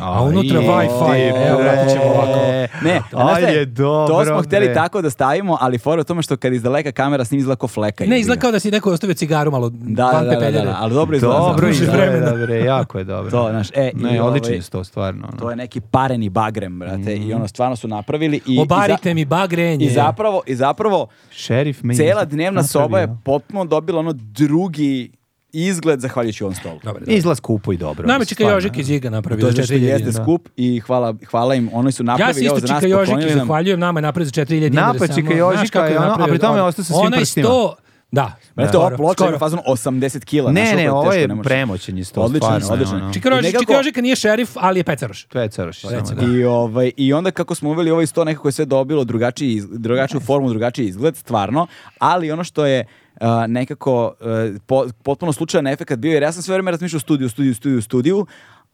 Speaker 3: A,
Speaker 2: unutra
Speaker 3: je, e,
Speaker 2: Wi-Fi,
Speaker 3: bre.
Speaker 2: evo, vratit ćemo ovako.
Speaker 1: Ne,
Speaker 3: Aj,
Speaker 1: znaš šta je,
Speaker 3: je E, dobro,
Speaker 1: to
Speaker 3: e.
Speaker 1: smo hteli
Speaker 3: bre.
Speaker 1: tako da stavimo, ali fora je u tome što kad izdaleka kamera s njim izgleda kao fleka.
Speaker 2: Ne,
Speaker 1: jebi
Speaker 2: izgleda
Speaker 1: ga.
Speaker 2: kao da si neko ostavio cigaru malo
Speaker 1: da,
Speaker 2: van
Speaker 1: da, da, da,
Speaker 2: pepeljare.
Speaker 1: da, ali dobro izgleda.
Speaker 3: Dobro,
Speaker 1: znaš.
Speaker 2: Više vremena.
Speaker 3: izgleda, bre, jako je dobro.
Speaker 1: To, znaš, e, i
Speaker 3: ne, odličan
Speaker 1: ovaj-
Speaker 3: je to, stvarno. ono.
Speaker 1: To je neki pareni bagrem, brate, i ono stvarno su napravili i
Speaker 2: Obarite
Speaker 1: i
Speaker 2: mi bagrenje.
Speaker 1: I zapravo, i zapravo
Speaker 3: Šerif me je
Speaker 1: cela dnevna soba je
Speaker 3: napravio.
Speaker 1: potpuno dobila ono drugi izgled zahvaljujući ovom stolu.
Speaker 2: Dobar, dobar.
Speaker 3: Izlaz kupo i dobro.
Speaker 2: Nama je
Speaker 3: mislim,
Speaker 2: Čika
Speaker 3: stvarno.
Speaker 2: Jožik iz Iga napravio.
Speaker 1: To
Speaker 2: za
Speaker 1: je što
Speaker 2: 4000
Speaker 1: jeste
Speaker 2: dinara.
Speaker 1: skup i hvala, hvala im, oni su
Speaker 2: Ja
Speaker 1: napravili
Speaker 2: se isto
Speaker 1: ovo za nas,
Speaker 2: Čika Jožiki
Speaker 1: poklonili nam.
Speaker 2: zahvaljujem, nama je napravio za 4000 dinara.
Speaker 3: Napad
Speaker 2: samo,
Speaker 3: Čika
Speaker 2: znaš
Speaker 3: Jožika
Speaker 2: kako je
Speaker 3: i ono, a
Speaker 2: napravio?
Speaker 3: pri tome je ostao sa svim
Speaker 2: Onaj
Speaker 3: prstima.
Speaker 2: sto- Da.
Speaker 1: Brate,
Speaker 2: skoro,
Speaker 1: ova ploča
Speaker 2: skoro.
Speaker 1: je fazon 80 kila.
Speaker 3: Ne,
Speaker 1: znaš,
Speaker 3: ne,
Speaker 1: je
Speaker 3: ovo
Speaker 1: teško,
Speaker 3: je
Speaker 1: ne možeš.
Speaker 3: premoćen isto,
Speaker 1: Odličan,
Speaker 3: stvarno,
Speaker 1: odličan.
Speaker 3: ono.
Speaker 2: Čika
Speaker 1: I
Speaker 2: Jožik-
Speaker 1: nekako-
Speaker 2: Čika Jožika nije šerif, ali je pecaroš.
Speaker 3: To je caroš, samo
Speaker 2: Recimo,
Speaker 3: da.
Speaker 1: Pa I, ovaj, I onda kako smo uveli ovaj sto, nekako je sve dobilo drugačiji, iz- drugačiju formu, drugačiji izgled, stvarno, ali ono što je uh, nekako uh, po- potpuno slučajan efekt bio, jer ja sam sve vreme razmišljao studiju, studiju, studiju, studiju,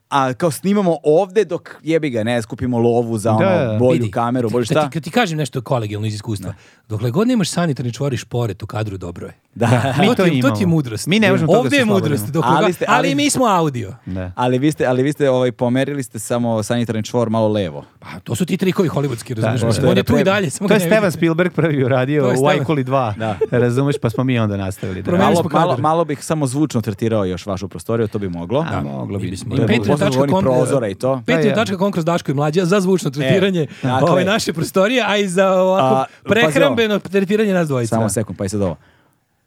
Speaker 1: a kao snimamo ovde dok jebi ga, ne, skupimo lovu za ono
Speaker 3: Da, da.
Speaker 1: bolju
Speaker 2: Vidi,
Speaker 1: kameru, bolju
Speaker 2: kad ti-
Speaker 1: šta.
Speaker 2: Kad ti kažem nešto kolegijalno iz iskustva, dokle god nemaš sanitarni čvoriš pored u kadru, dobro je.
Speaker 1: Da.
Speaker 3: Mi
Speaker 2: to,
Speaker 3: to
Speaker 2: ti, to
Speaker 3: imamo.
Speaker 2: ti je mudrost.
Speaker 3: Mi ne možemo toga
Speaker 2: Ovde
Speaker 3: se
Speaker 2: je mudrost.
Speaker 3: oslobodimo.
Speaker 2: Dok
Speaker 1: Ali
Speaker 2: ali,
Speaker 1: ste-
Speaker 2: ali,
Speaker 1: ali-
Speaker 2: mi smo audio.
Speaker 3: Da.
Speaker 1: Ali vi ste, ali vi ste ovaj, pomerili ste samo sanitarni čvor malo levo.
Speaker 2: Pa, to su ti trikovi hollywoodski, razumiješ?
Speaker 3: da,
Speaker 2: Mislim,
Speaker 1: da.
Speaker 2: on je tu i dalje. Samo ga
Speaker 3: To je
Speaker 2: ne
Speaker 3: Steven
Speaker 2: vidite.
Speaker 3: Spielberg prvi
Speaker 2: To
Speaker 3: uradio
Speaker 2: je
Speaker 3: u
Speaker 2: Steven.
Speaker 3: Ajkoli 2.
Speaker 1: Da.
Speaker 3: Razumeš, pa smo mi onda nastavili. Da.
Speaker 2: Promenili
Speaker 3: radimo.
Speaker 1: Malo,
Speaker 2: smo
Speaker 1: malo,
Speaker 2: kadar.
Speaker 1: malo bih samo zvučno tretirao još vašu prostoriju, to bi moglo.
Speaker 3: A, moglo bi.
Speaker 2: Mislim,
Speaker 3: To je
Speaker 1: Pet-
Speaker 3: moglo.
Speaker 1: posle
Speaker 2: patreon.com
Speaker 1: govorim prozora i to.
Speaker 2: Patreon.com kroz Daško i Mlađa za zvučno tretiranje
Speaker 1: dakle-
Speaker 2: ove naše prostorije, a i za
Speaker 1: A,
Speaker 2: ovako
Speaker 1: pazi
Speaker 2: prehrambeno tretiranje nas dvojica.
Speaker 1: Samo sekund, pa i sad ovo.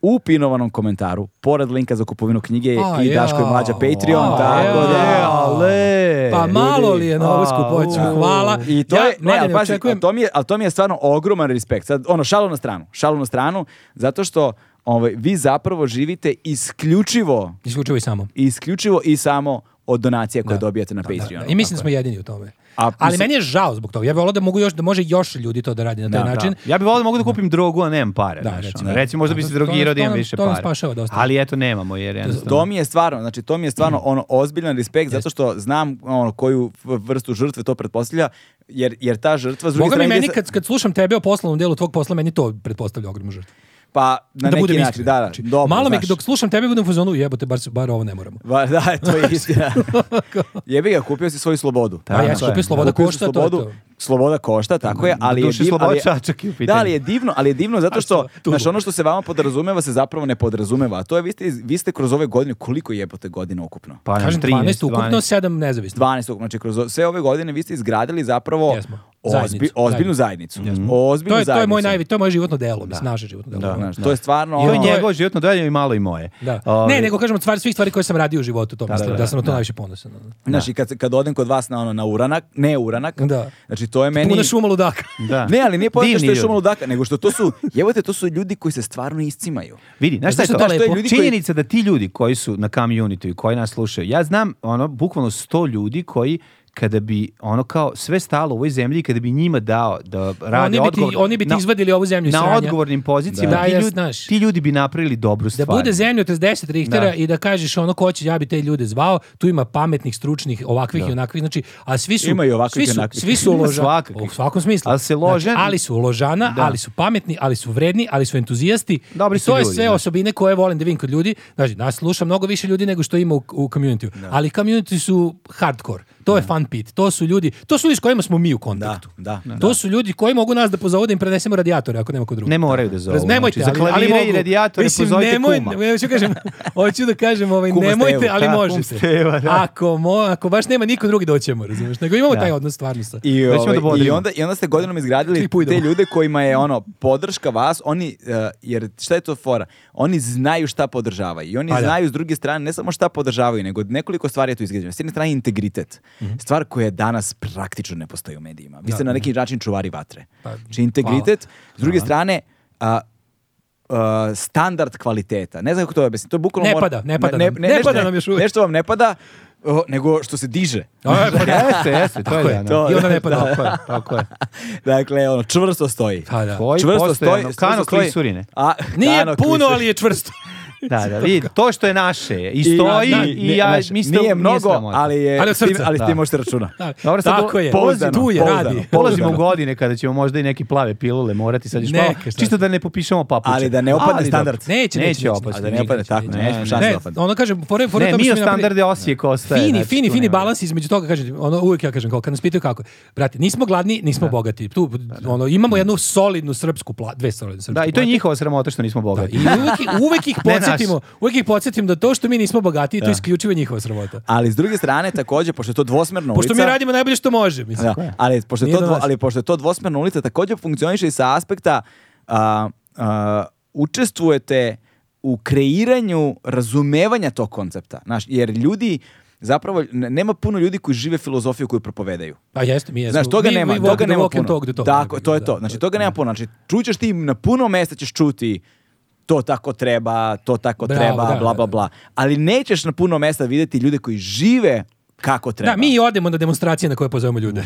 Speaker 1: U pinovanom komentaru, pored linka za kupovinu knjige
Speaker 2: A,
Speaker 1: i Daško i
Speaker 2: jao.
Speaker 1: Mlađa Patreon,
Speaker 2: A,
Speaker 1: tako
Speaker 2: jao.
Speaker 1: da...
Speaker 3: E, ale,
Speaker 2: Pa malo
Speaker 3: ljudi.
Speaker 2: li je na ovu
Speaker 3: A,
Speaker 2: skupoću,
Speaker 3: u.
Speaker 2: hvala.
Speaker 1: I to
Speaker 2: ja,
Speaker 1: je, ne,
Speaker 2: Mlađe,
Speaker 1: ali pazi,
Speaker 2: očekujem-
Speaker 1: ali to mi je, ali to mi je stvarno ogroman respekt. Sad, ono, šalu na stranu, šalu na stranu, zato što ovaj, vi zapravo živite isključivo,
Speaker 2: Isključivo i samo.
Speaker 1: isključivo i samo od donacija koje
Speaker 2: Da.
Speaker 1: dobijate na
Speaker 2: Da, da,
Speaker 1: Patreonu.
Speaker 2: da. I mislim da smo jedini u tome.
Speaker 1: A,
Speaker 2: Ali
Speaker 1: mislim-
Speaker 2: meni je žao zbog toga. Ja bih volao da mogu još da može još ljudi to da radi na taj
Speaker 1: Da,
Speaker 2: način.
Speaker 3: Ja bih volio da mogu da kupim drogu, a nemam pare.
Speaker 2: Da,
Speaker 3: znaš,
Speaker 2: recimo,
Speaker 3: ono.
Speaker 2: da.
Speaker 3: Recimo, možda bi
Speaker 2: To-
Speaker 3: se
Speaker 2: to nas-
Speaker 3: drogirao da
Speaker 2: to
Speaker 3: imam
Speaker 2: nam- to
Speaker 3: više para.
Speaker 2: nas spašava dosta.
Speaker 3: Ali eto, nemamo jer jednostavno...
Speaker 1: To mi je stvarno, znači to mi je stvarno ono ozbiljan respekt zato što znam ono koju v- vrstu žrtve to pretpostavlja jer jer ta žrtva s druge
Speaker 2: Boga mi
Speaker 1: strane
Speaker 2: meni
Speaker 1: gdje sa-
Speaker 2: kad, kad služam tebe o poslovnom delu tvog posla, meni to pretpostavlja ogromnu žrtvu.
Speaker 1: pa na
Speaker 2: da
Speaker 1: neki
Speaker 2: budem
Speaker 1: način
Speaker 2: iskren.
Speaker 1: da, da,
Speaker 2: Znači,
Speaker 1: dobro,
Speaker 2: malo me
Speaker 1: znaš. Mm,
Speaker 2: dok slušam tebe budem u fazonu, jebote, bar, se- bar ovo ne moramo.
Speaker 1: Va, da, to je istina. Jebi ga, kupio si svoju slobodu.
Speaker 2: A ja
Speaker 3: to je.
Speaker 2: skupio sloboda
Speaker 1: Kupio si
Speaker 2: košta, to je
Speaker 1: slobodu,
Speaker 2: to.
Speaker 1: Sloboda košta, tako je, ali je
Speaker 3: Doduše,
Speaker 1: divno,
Speaker 3: sloboda
Speaker 1: ali, je-
Speaker 3: čačak je u
Speaker 1: da,
Speaker 3: pitanju.
Speaker 1: ali je divno, ali je divno zato što,
Speaker 2: tu?
Speaker 1: znaš, ono što se vama podrazumeva se zapravo ne podrazumeva, a to je, vi ste, vi ste kroz ove godine, koliko jebote godina ukupno?
Speaker 3: Pa,
Speaker 2: Kažem
Speaker 3: 13,
Speaker 2: 12, ukupno 7 nezavisno.
Speaker 1: 12 ukupno, znači kroz o- sve ove godine vi ste izgradili zapravo
Speaker 2: Jesmo.
Speaker 1: ozbi-
Speaker 2: Zajednicu.
Speaker 1: ozbiljnu zajednicu. Ozbiljnu
Speaker 2: To je, to je
Speaker 1: zajednicu.
Speaker 2: moj najvi, to je moje životno delo, mislim, naše životno delo.
Speaker 1: Znaš, to je stvarno...
Speaker 3: To je
Speaker 1: ono-
Speaker 3: njegovo životno dalje i malo i moje.
Speaker 2: Da.
Speaker 3: Ovaj,
Speaker 2: Ne, nego kažem od stvari, svih stvari koje sam radio u životu, to mislim, da,
Speaker 3: da,
Speaker 2: sam na to najviše ponosan. ono.
Speaker 1: Znaš, i kad, kad odem kod vas na ono, na uranak, ne uranak,
Speaker 2: Da.
Speaker 1: znači to je meni...
Speaker 2: Puno šuma ludaka.
Speaker 3: Da.
Speaker 1: Ne, ali nije pojenta
Speaker 3: Divni
Speaker 1: što je
Speaker 3: ljudi.
Speaker 1: šuma ludaka, nego što to su, jebote, to su ljudi koji se stvarno iscimaju.
Speaker 3: Vidi, znaš šta je
Speaker 2: Znaš
Speaker 3: to?
Speaker 2: šta je to
Speaker 1: lepo? ljudi koji-
Speaker 3: Činjenica da ti ljudi koji su na community i koji nas slušaju, ja znam ono, bukvalno sto ljudi koji kada bi ono kao sve stalo u ovoj zemlji i kada bi njima dao da rade
Speaker 2: Oni bi ti-
Speaker 3: odgovor
Speaker 2: oni bi ti izvadili ovu zemlju iz
Speaker 3: na
Speaker 2: sranja.
Speaker 3: odgovornim pozicijama
Speaker 2: Da,
Speaker 3: ti,
Speaker 2: ja,
Speaker 3: ljudi,
Speaker 2: znaš.
Speaker 3: ti ljudi bi napravili dobru
Speaker 2: Da
Speaker 3: stvar
Speaker 2: bude zemlja od 30 Richtera
Speaker 3: Da.
Speaker 2: i da kažeš ono ko će, ja bi te ljude zvao, tu ima pametnih, stručnih, ovakvih i onakvih, znači, a svi su...
Speaker 1: Ima i ovakvih
Speaker 2: svi su,
Speaker 1: i onakvih.
Speaker 2: Svi su
Speaker 3: Ima
Speaker 2: uloža-
Speaker 3: svakakvih.
Speaker 2: u svakom smislu.
Speaker 3: Ali se lože-
Speaker 2: Znači, ali su uložana,
Speaker 3: Da.
Speaker 2: ali su pametni, ali su vredni, ali su entuzijasti.
Speaker 3: Dobri
Speaker 2: I
Speaker 3: su
Speaker 2: to je
Speaker 3: ljudi,
Speaker 2: sve
Speaker 3: da.
Speaker 2: osobine koje volim da vidim kod ljudi. Znači, nas sluša mnogo više ljudi nego što ima u, u community Ali community su hardcore. To je fan pit. To su ljudi, to su ljudi s kojima smo mi u kontaktu.
Speaker 1: Da, da.
Speaker 2: To su ljudi koji mogu nas da pozovu da im prenesemo radijatore ako nema ko drugi.
Speaker 3: ne moraju da zovu
Speaker 2: Raz, nemojte,
Speaker 3: znači, za
Speaker 2: ali, ali
Speaker 3: klavire
Speaker 2: mogu.
Speaker 3: i radijatore
Speaker 2: Mislim,
Speaker 3: pozovite
Speaker 2: nemoj-
Speaker 3: kuma
Speaker 2: ne- hoću, kažem, hoću da kažem, ovaj,
Speaker 1: Kuma
Speaker 2: nemojte,
Speaker 1: Stevu,
Speaker 2: ali
Speaker 3: da, kum
Speaker 2: možete.
Speaker 3: Steva, da.
Speaker 2: ako, mo, ako baš nema niko drugi doćemo, razumiješ? Nego imamo taj odnos stvarno sa...
Speaker 1: I,
Speaker 3: Već ćemo
Speaker 1: ovaj,
Speaker 3: da bodrimo.
Speaker 1: i, onda, I onda ste godinom izgradili
Speaker 2: Tri puta
Speaker 1: te
Speaker 2: idemo.
Speaker 1: ljude kojima je ono podrška vas, oni, eh, jer šta je to fora? Oni znaju šta podržavaju i oni
Speaker 2: Pa da.
Speaker 1: znaju s druge strane ne samo šta podržavaju, nego nekoliko stvari je tu izgrađeno. S jedne strane integritet,
Speaker 2: Mhm.
Speaker 1: stvar koja danas praktično ne postoji u medijima. Vi ste na neki način čuvari vatre.
Speaker 2: Mhm. Pa,
Speaker 1: Znači integritet, s druge strane, a, a, standard kvaliteta. Ne znam kako to objasniti. To bukvalno
Speaker 2: Ne
Speaker 1: mora-
Speaker 2: pada, ne pada nam. Ne
Speaker 1: nešto-
Speaker 2: pada nam još uvijek.
Speaker 1: Nešto vam ne pada, o, nego što se diže.
Speaker 2: Aj, pa da.
Speaker 3: jeste, jeste, to
Speaker 2: Tako
Speaker 3: je
Speaker 2: je,
Speaker 3: da, da.
Speaker 1: to-
Speaker 2: I onda ne pada.
Speaker 3: tako je, tako je.
Speaker 1: Dakle, ono, čvrsto stoji.
Speaker 2: Pa da.
Speaker 3: Koji
Speaker 1: čvrsto
Speaker 3: postojano,
Speaker 1: stoji.
Speaker 3: kano
Speaker 1: čvrsto stoji.
Speaker 3: klisurine.
Speaker 1: A,
Speaker 2: Nije
Speaker 1: kano
Speaker 2: puno,
Speaker 1: klisur-
Speaker 2: ali je čvrsto.
Speaker 3: Da, da, vidi, to što je naše je. i
Speaker 1: I-
Speaker 3: stoji
Speaker 1: da,
Speaker 3: i,
Speaker 1: ne,
Speaker 3: ja
Speaker 1: znaš,
Speaker 3: mislim
Speaker 1: nije mnogo,
Speaker 3: sramota.
Speaker 1: ali je
Speaker 2: Ali od
Speaker 1: s tim-
Speaker 2: srca.
Speaker 1: ali s tim
Speaker 3: Da.
Speaker 1: možeš računa.
Speaker 3: Dobro, sad
Speaker 2: Tako je,
Speaker 1: pouzdano,
Speaker 2: tu je,
Speaker 1: pouzdano.
Speaker 2: radi.
Speaker 3: Polazimo u
Speaker 1: Pouzdano.
Speaker 3: godine kada ćemo možda i neke plave pilule morati sad još
Speaker 2: Neka,
Speaker 3: malo,
Speaker 2: šta
Speaker 3: čisto da ne popišemo papuče.
Speaker 1: Ali da ne opadne
Speaker 3: Ali dobro.
Speaker 1: standard.
Speaker 2: Neće, neće, neće.
Speaker 3: Neće
Speaker 1: A
Speaker 3: opasti.
Speaker 1: da ne opadne tako,
Speaker 2: neće,
Speaker 1: ne,
Speaker 3: znači, ne,
Speaker 1: šanse
Speaker 2: Ne,
Speaker 1: da opadne.
Speaker 2: ono kažem, fore, fore
Speaker 3: Ne,
Speaker 2: tome
Speaker 3: mi
Speaker 2: što
Speaker 3: o
Speaker 2: smo napravili-
Speaker 3: standarde Osijek ostaje.
Speaker 2: Fini,
Speaker 3: znači,
Speaker 2: fini,
Speaker 3: tu
Speaker 2: fini
Speaker 3: nema.
Speaker 2: balans između toga, kažem, ono, uvijek ja kažem, kao kad nas pitaju kako, je, brate, nismo gladni, nismo bogati, tu, ono, imamo jednu solidnu srpsku platu, dve solidne srpske
Speaker 3: Da, i to je
Speaker 2: plate.
Speaker 3: njihova sramota što nismo
Speaker 2: Da,
Speaker 3: bogati.
Speaker 2: I uvijek, uvijek ih
Speaker 3: Ne naš.
Speaker 2: podsjetimo, uvijek ih podsjetimo da to što mi nismo bogatiji, to je isključivo njihova sramota.
Speaker 1: Ali s druge strane, također, pošto je to dvosmerna ulica...
Speaker 2: Pošto mi radimo najbolje što može, mislim.
Speaker 1: Da, ali, pošto je
Speaker 2: Nije
Speaker 1: to
Speaker 2: do
Speaker 1: dvo-
Speaker 2: nas.
Speaker 1: ali pošto je to dvosmerna ulica, također funkcioniše i sa aspekta a, a, učestvujete u kreiranju razumevanja tog koncepta. Znaš, jer ljudi, zapravo, ne- nema puno ljudi koji žive filozofiju koju propovedaju.
Speaker 2: Pa jeste, mi jesmo.
Speaker 1: Znaš, toga
Speaker 2: mi,
Speaker 1: nema,
Speaker 2: mi walk
Speaker 1: toga
Speaker 2: the
Speaker 1: nema
Speaker 2: walk
Speaker 1: puno.
Speaker 2: and talk the talk,
Speaker 1: Tako,
Speaker 2: jebi
Speaker 1: to je
Speaker 2: ga,
Speaker 1: to.
Speaker 2: da.
Speaker 1: Znači, toga nema puno. Znači, čućeš ti na puno mesta ćeš čuti to tako treba, to tako
Speaker 2: Bravo,
Speaker 1: treba, bla,
Speaker 2: da, da,
Speaker 1: bla,
Speaker 2: da.
Speaker 1: bla. Ali nećeš na puno mesta vidjeti ljude koji žive kako treba.
Speaker 2: Da, mi i odemo na demonstracije na koje pozovemo ljude.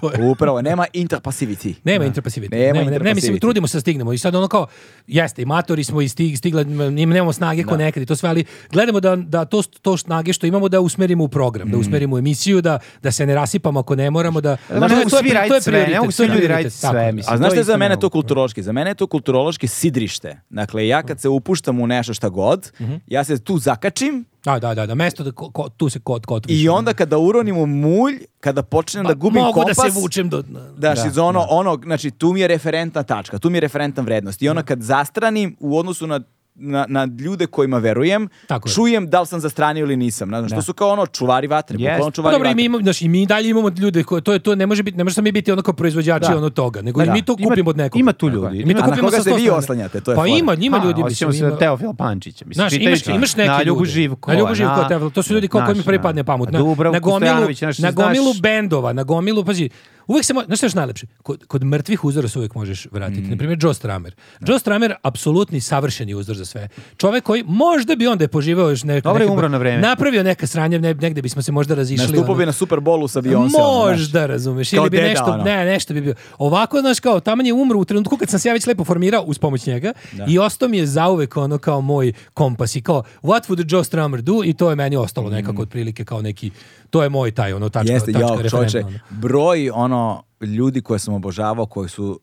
Speaker 2: to je.
Speaker 1: Upravo, nema interpasivity.
Speaker 2: Nema interpasiviteta.
Speaker 1: Nema
Speaker 2: Nema, nema, Ne, mislim,
Speaker 1: interpasiviteta.
Speaker 2: trudimo se da stignemo. I sad ono kao, jeste, i matori smo i stig, stigla, n- nemamo snage ko nekad i to sve, ali gledamo da, da to, to snage što imamo da usmerimo u program, da usmerimo u emisiju, da, da se ne rasipamo ako ne moramo, da...
Speaker 3: Mm. Ma ne mogu
Speaker 2: to je
Speaker 3: svi
Speaker 2: pri- to je
Speaker 3: raditi sve, ne
Speaker 2: prioritet,
Speaker 3: mogu svi
Speaker 2: to je
Speaker 3: ljudi
Speaker 2: prioritet,
Speaker 3: raditi
Speaker 2: tako
Speaker 3: sve,
Speaker 2: je.
Speaker 3: mislim.
Speaker 1: A znaš
Speaker 3: to
Speaker 1: šta je za
Speaker 3: isto
Speaker 1: mene
Speaker 3: ne
Speaker 1: to
Speaker 3: mogu.
Speaker 1: kulturološki? Za mene je to kulturološki sidrište. Dakle, ja kad se upuštam u nešto šta god,
Speaker 2: Mhm.
Speaker 1: ja se tu zakačim
Speaker 2: Da, da, da, da, mesto da ko- ko- tu se kod, kod
Speaker 1: i onda kada uronim u mulj, kada počnem da gubim
Speaker 2: mogu
Speaker 1: kompas...
Speaker 2: da se vučem do... dna.
Speaker 1: Da, iz ono, ono, znači tu mi je referentna tačka, tu mi je referentna vrednost. I ono kad zastranim u odnosu na Na, na ljude kojima verujem,
Speaker 2: Tako je.
Speaker 1: čujem da li sam zastranio ili nisam. Znači, što su kao ono čuvari vatre,
Speaker 3: Jest.
Speaker 1: bukvalno
Speaker 2: Pa
Speaker 1: čuvari
Speaker 2: dobro, i mi
Speaker 1: vatre.
Speaker 2: imamo, znači, i mi dalje imamo ljude koje, to je to, ne može biti, ne može samo mi biti ono kao proizvođači
Speaker 3: Da.
Speaker 2: ono toga, nego i
Speaker 3: Da.
Speaker 2: mi to
Speaker 3: Ima-
Speaker 2: kupimo od nekog.
Speaker 3: ima tu
Speaker 2: Tako
Speaker 3: ljudi.
Speaker 2: je. I Mi to
Speaker 1: A na
Speaker 2: kupimo
Speaker 1: koga
Speaker 2: sa
Speaker 1: se
Speaker 2: sto
Speaker 1: vi
Speaker 2: strane.
Speaker 1: oslanjate, to je
Speaker 2: Pa
Speaker 1: fora.
Speaker 2: ima, ima
Speaker 3: A,
Speaker 2: ljudi,
Speaker 3: osjećamo
Speaker 2: mislim,
Speaker 3: se
Speaker 2: ima.
Speaker 3: na Teofil Pančića. Mislim,
Speaker 2: Znaš,
Speaker 3: čitajući
Speaker 2: imaš, imaš neke
Speaker 3: Na Ljubu
Speaker 2: ljude.
Speaker 3: Živkova.
Speaker 2: Na Ljubu Živkova, Teofil, to su ljudi kao
Speaker 3: znaš,
Speaker 2: koji mi prvi
Speaker 3: na-
Speaker 2: pad ne pamut.
Speaker 3: na
Speaker 2: Na,
Speaker 3: Dubravku
Speaker 2: na gomilu,
Speaker 3: Stojanović, znaš,
Speaker 2: na
Speaker 3: znaš-
Speaker 2: gomilu bendova, na gomilu, pazi, uvek se može, znaš šta je još najlepše? Kod, kod mrtvih uzora se uvek možeš vratiti.
Speaker 3: Mm.
Speaker 2: Na primjer, Joe Stramer. Joe Stramer, apsolutni savršeni uzor za sve. Čovek koji možda bi onda je poživeo još neko...
Speaker 3: Dobro je
Speaker 2: neke-
Speaker 3: umro na vreme.
Speaker 2: Napravio neka sranja, ne, negde bismo se možda razišli.
Speaker 1: Nastupao
Speaker 2: ono.
Speaker 1: bi na Super Bowlu sa Beyoncé. ono, znaš.
Speaker 2: Možda, razumeš,
Speaker 1: Kao
Speaker 2: ili bi
Speaker 1: deda,
Speaker 2: nešto,
Speaker 1: ono.
Speaker 2: ne, nešto bi bio. Ovako, znaš, kao, taman je umro u trenutku kad sam se ja već lepo formirao uz pomoć njega i ostao mi je zauvek ono kao moj kompas i kao, what would Joe Strummer do? I to je meni ostalo nekako otprilike kao neki, to je moj taj, ono, tačka,
Speaker 1: Mm. Jeste,
Speaker 2: tačka
Speaker 1: jao,
Speaker 2: referentna,
Speaker 1: čovječe,
Speaker 2: ono.
Speaker 1: broj ono ljudi koje sam obožavao, koji su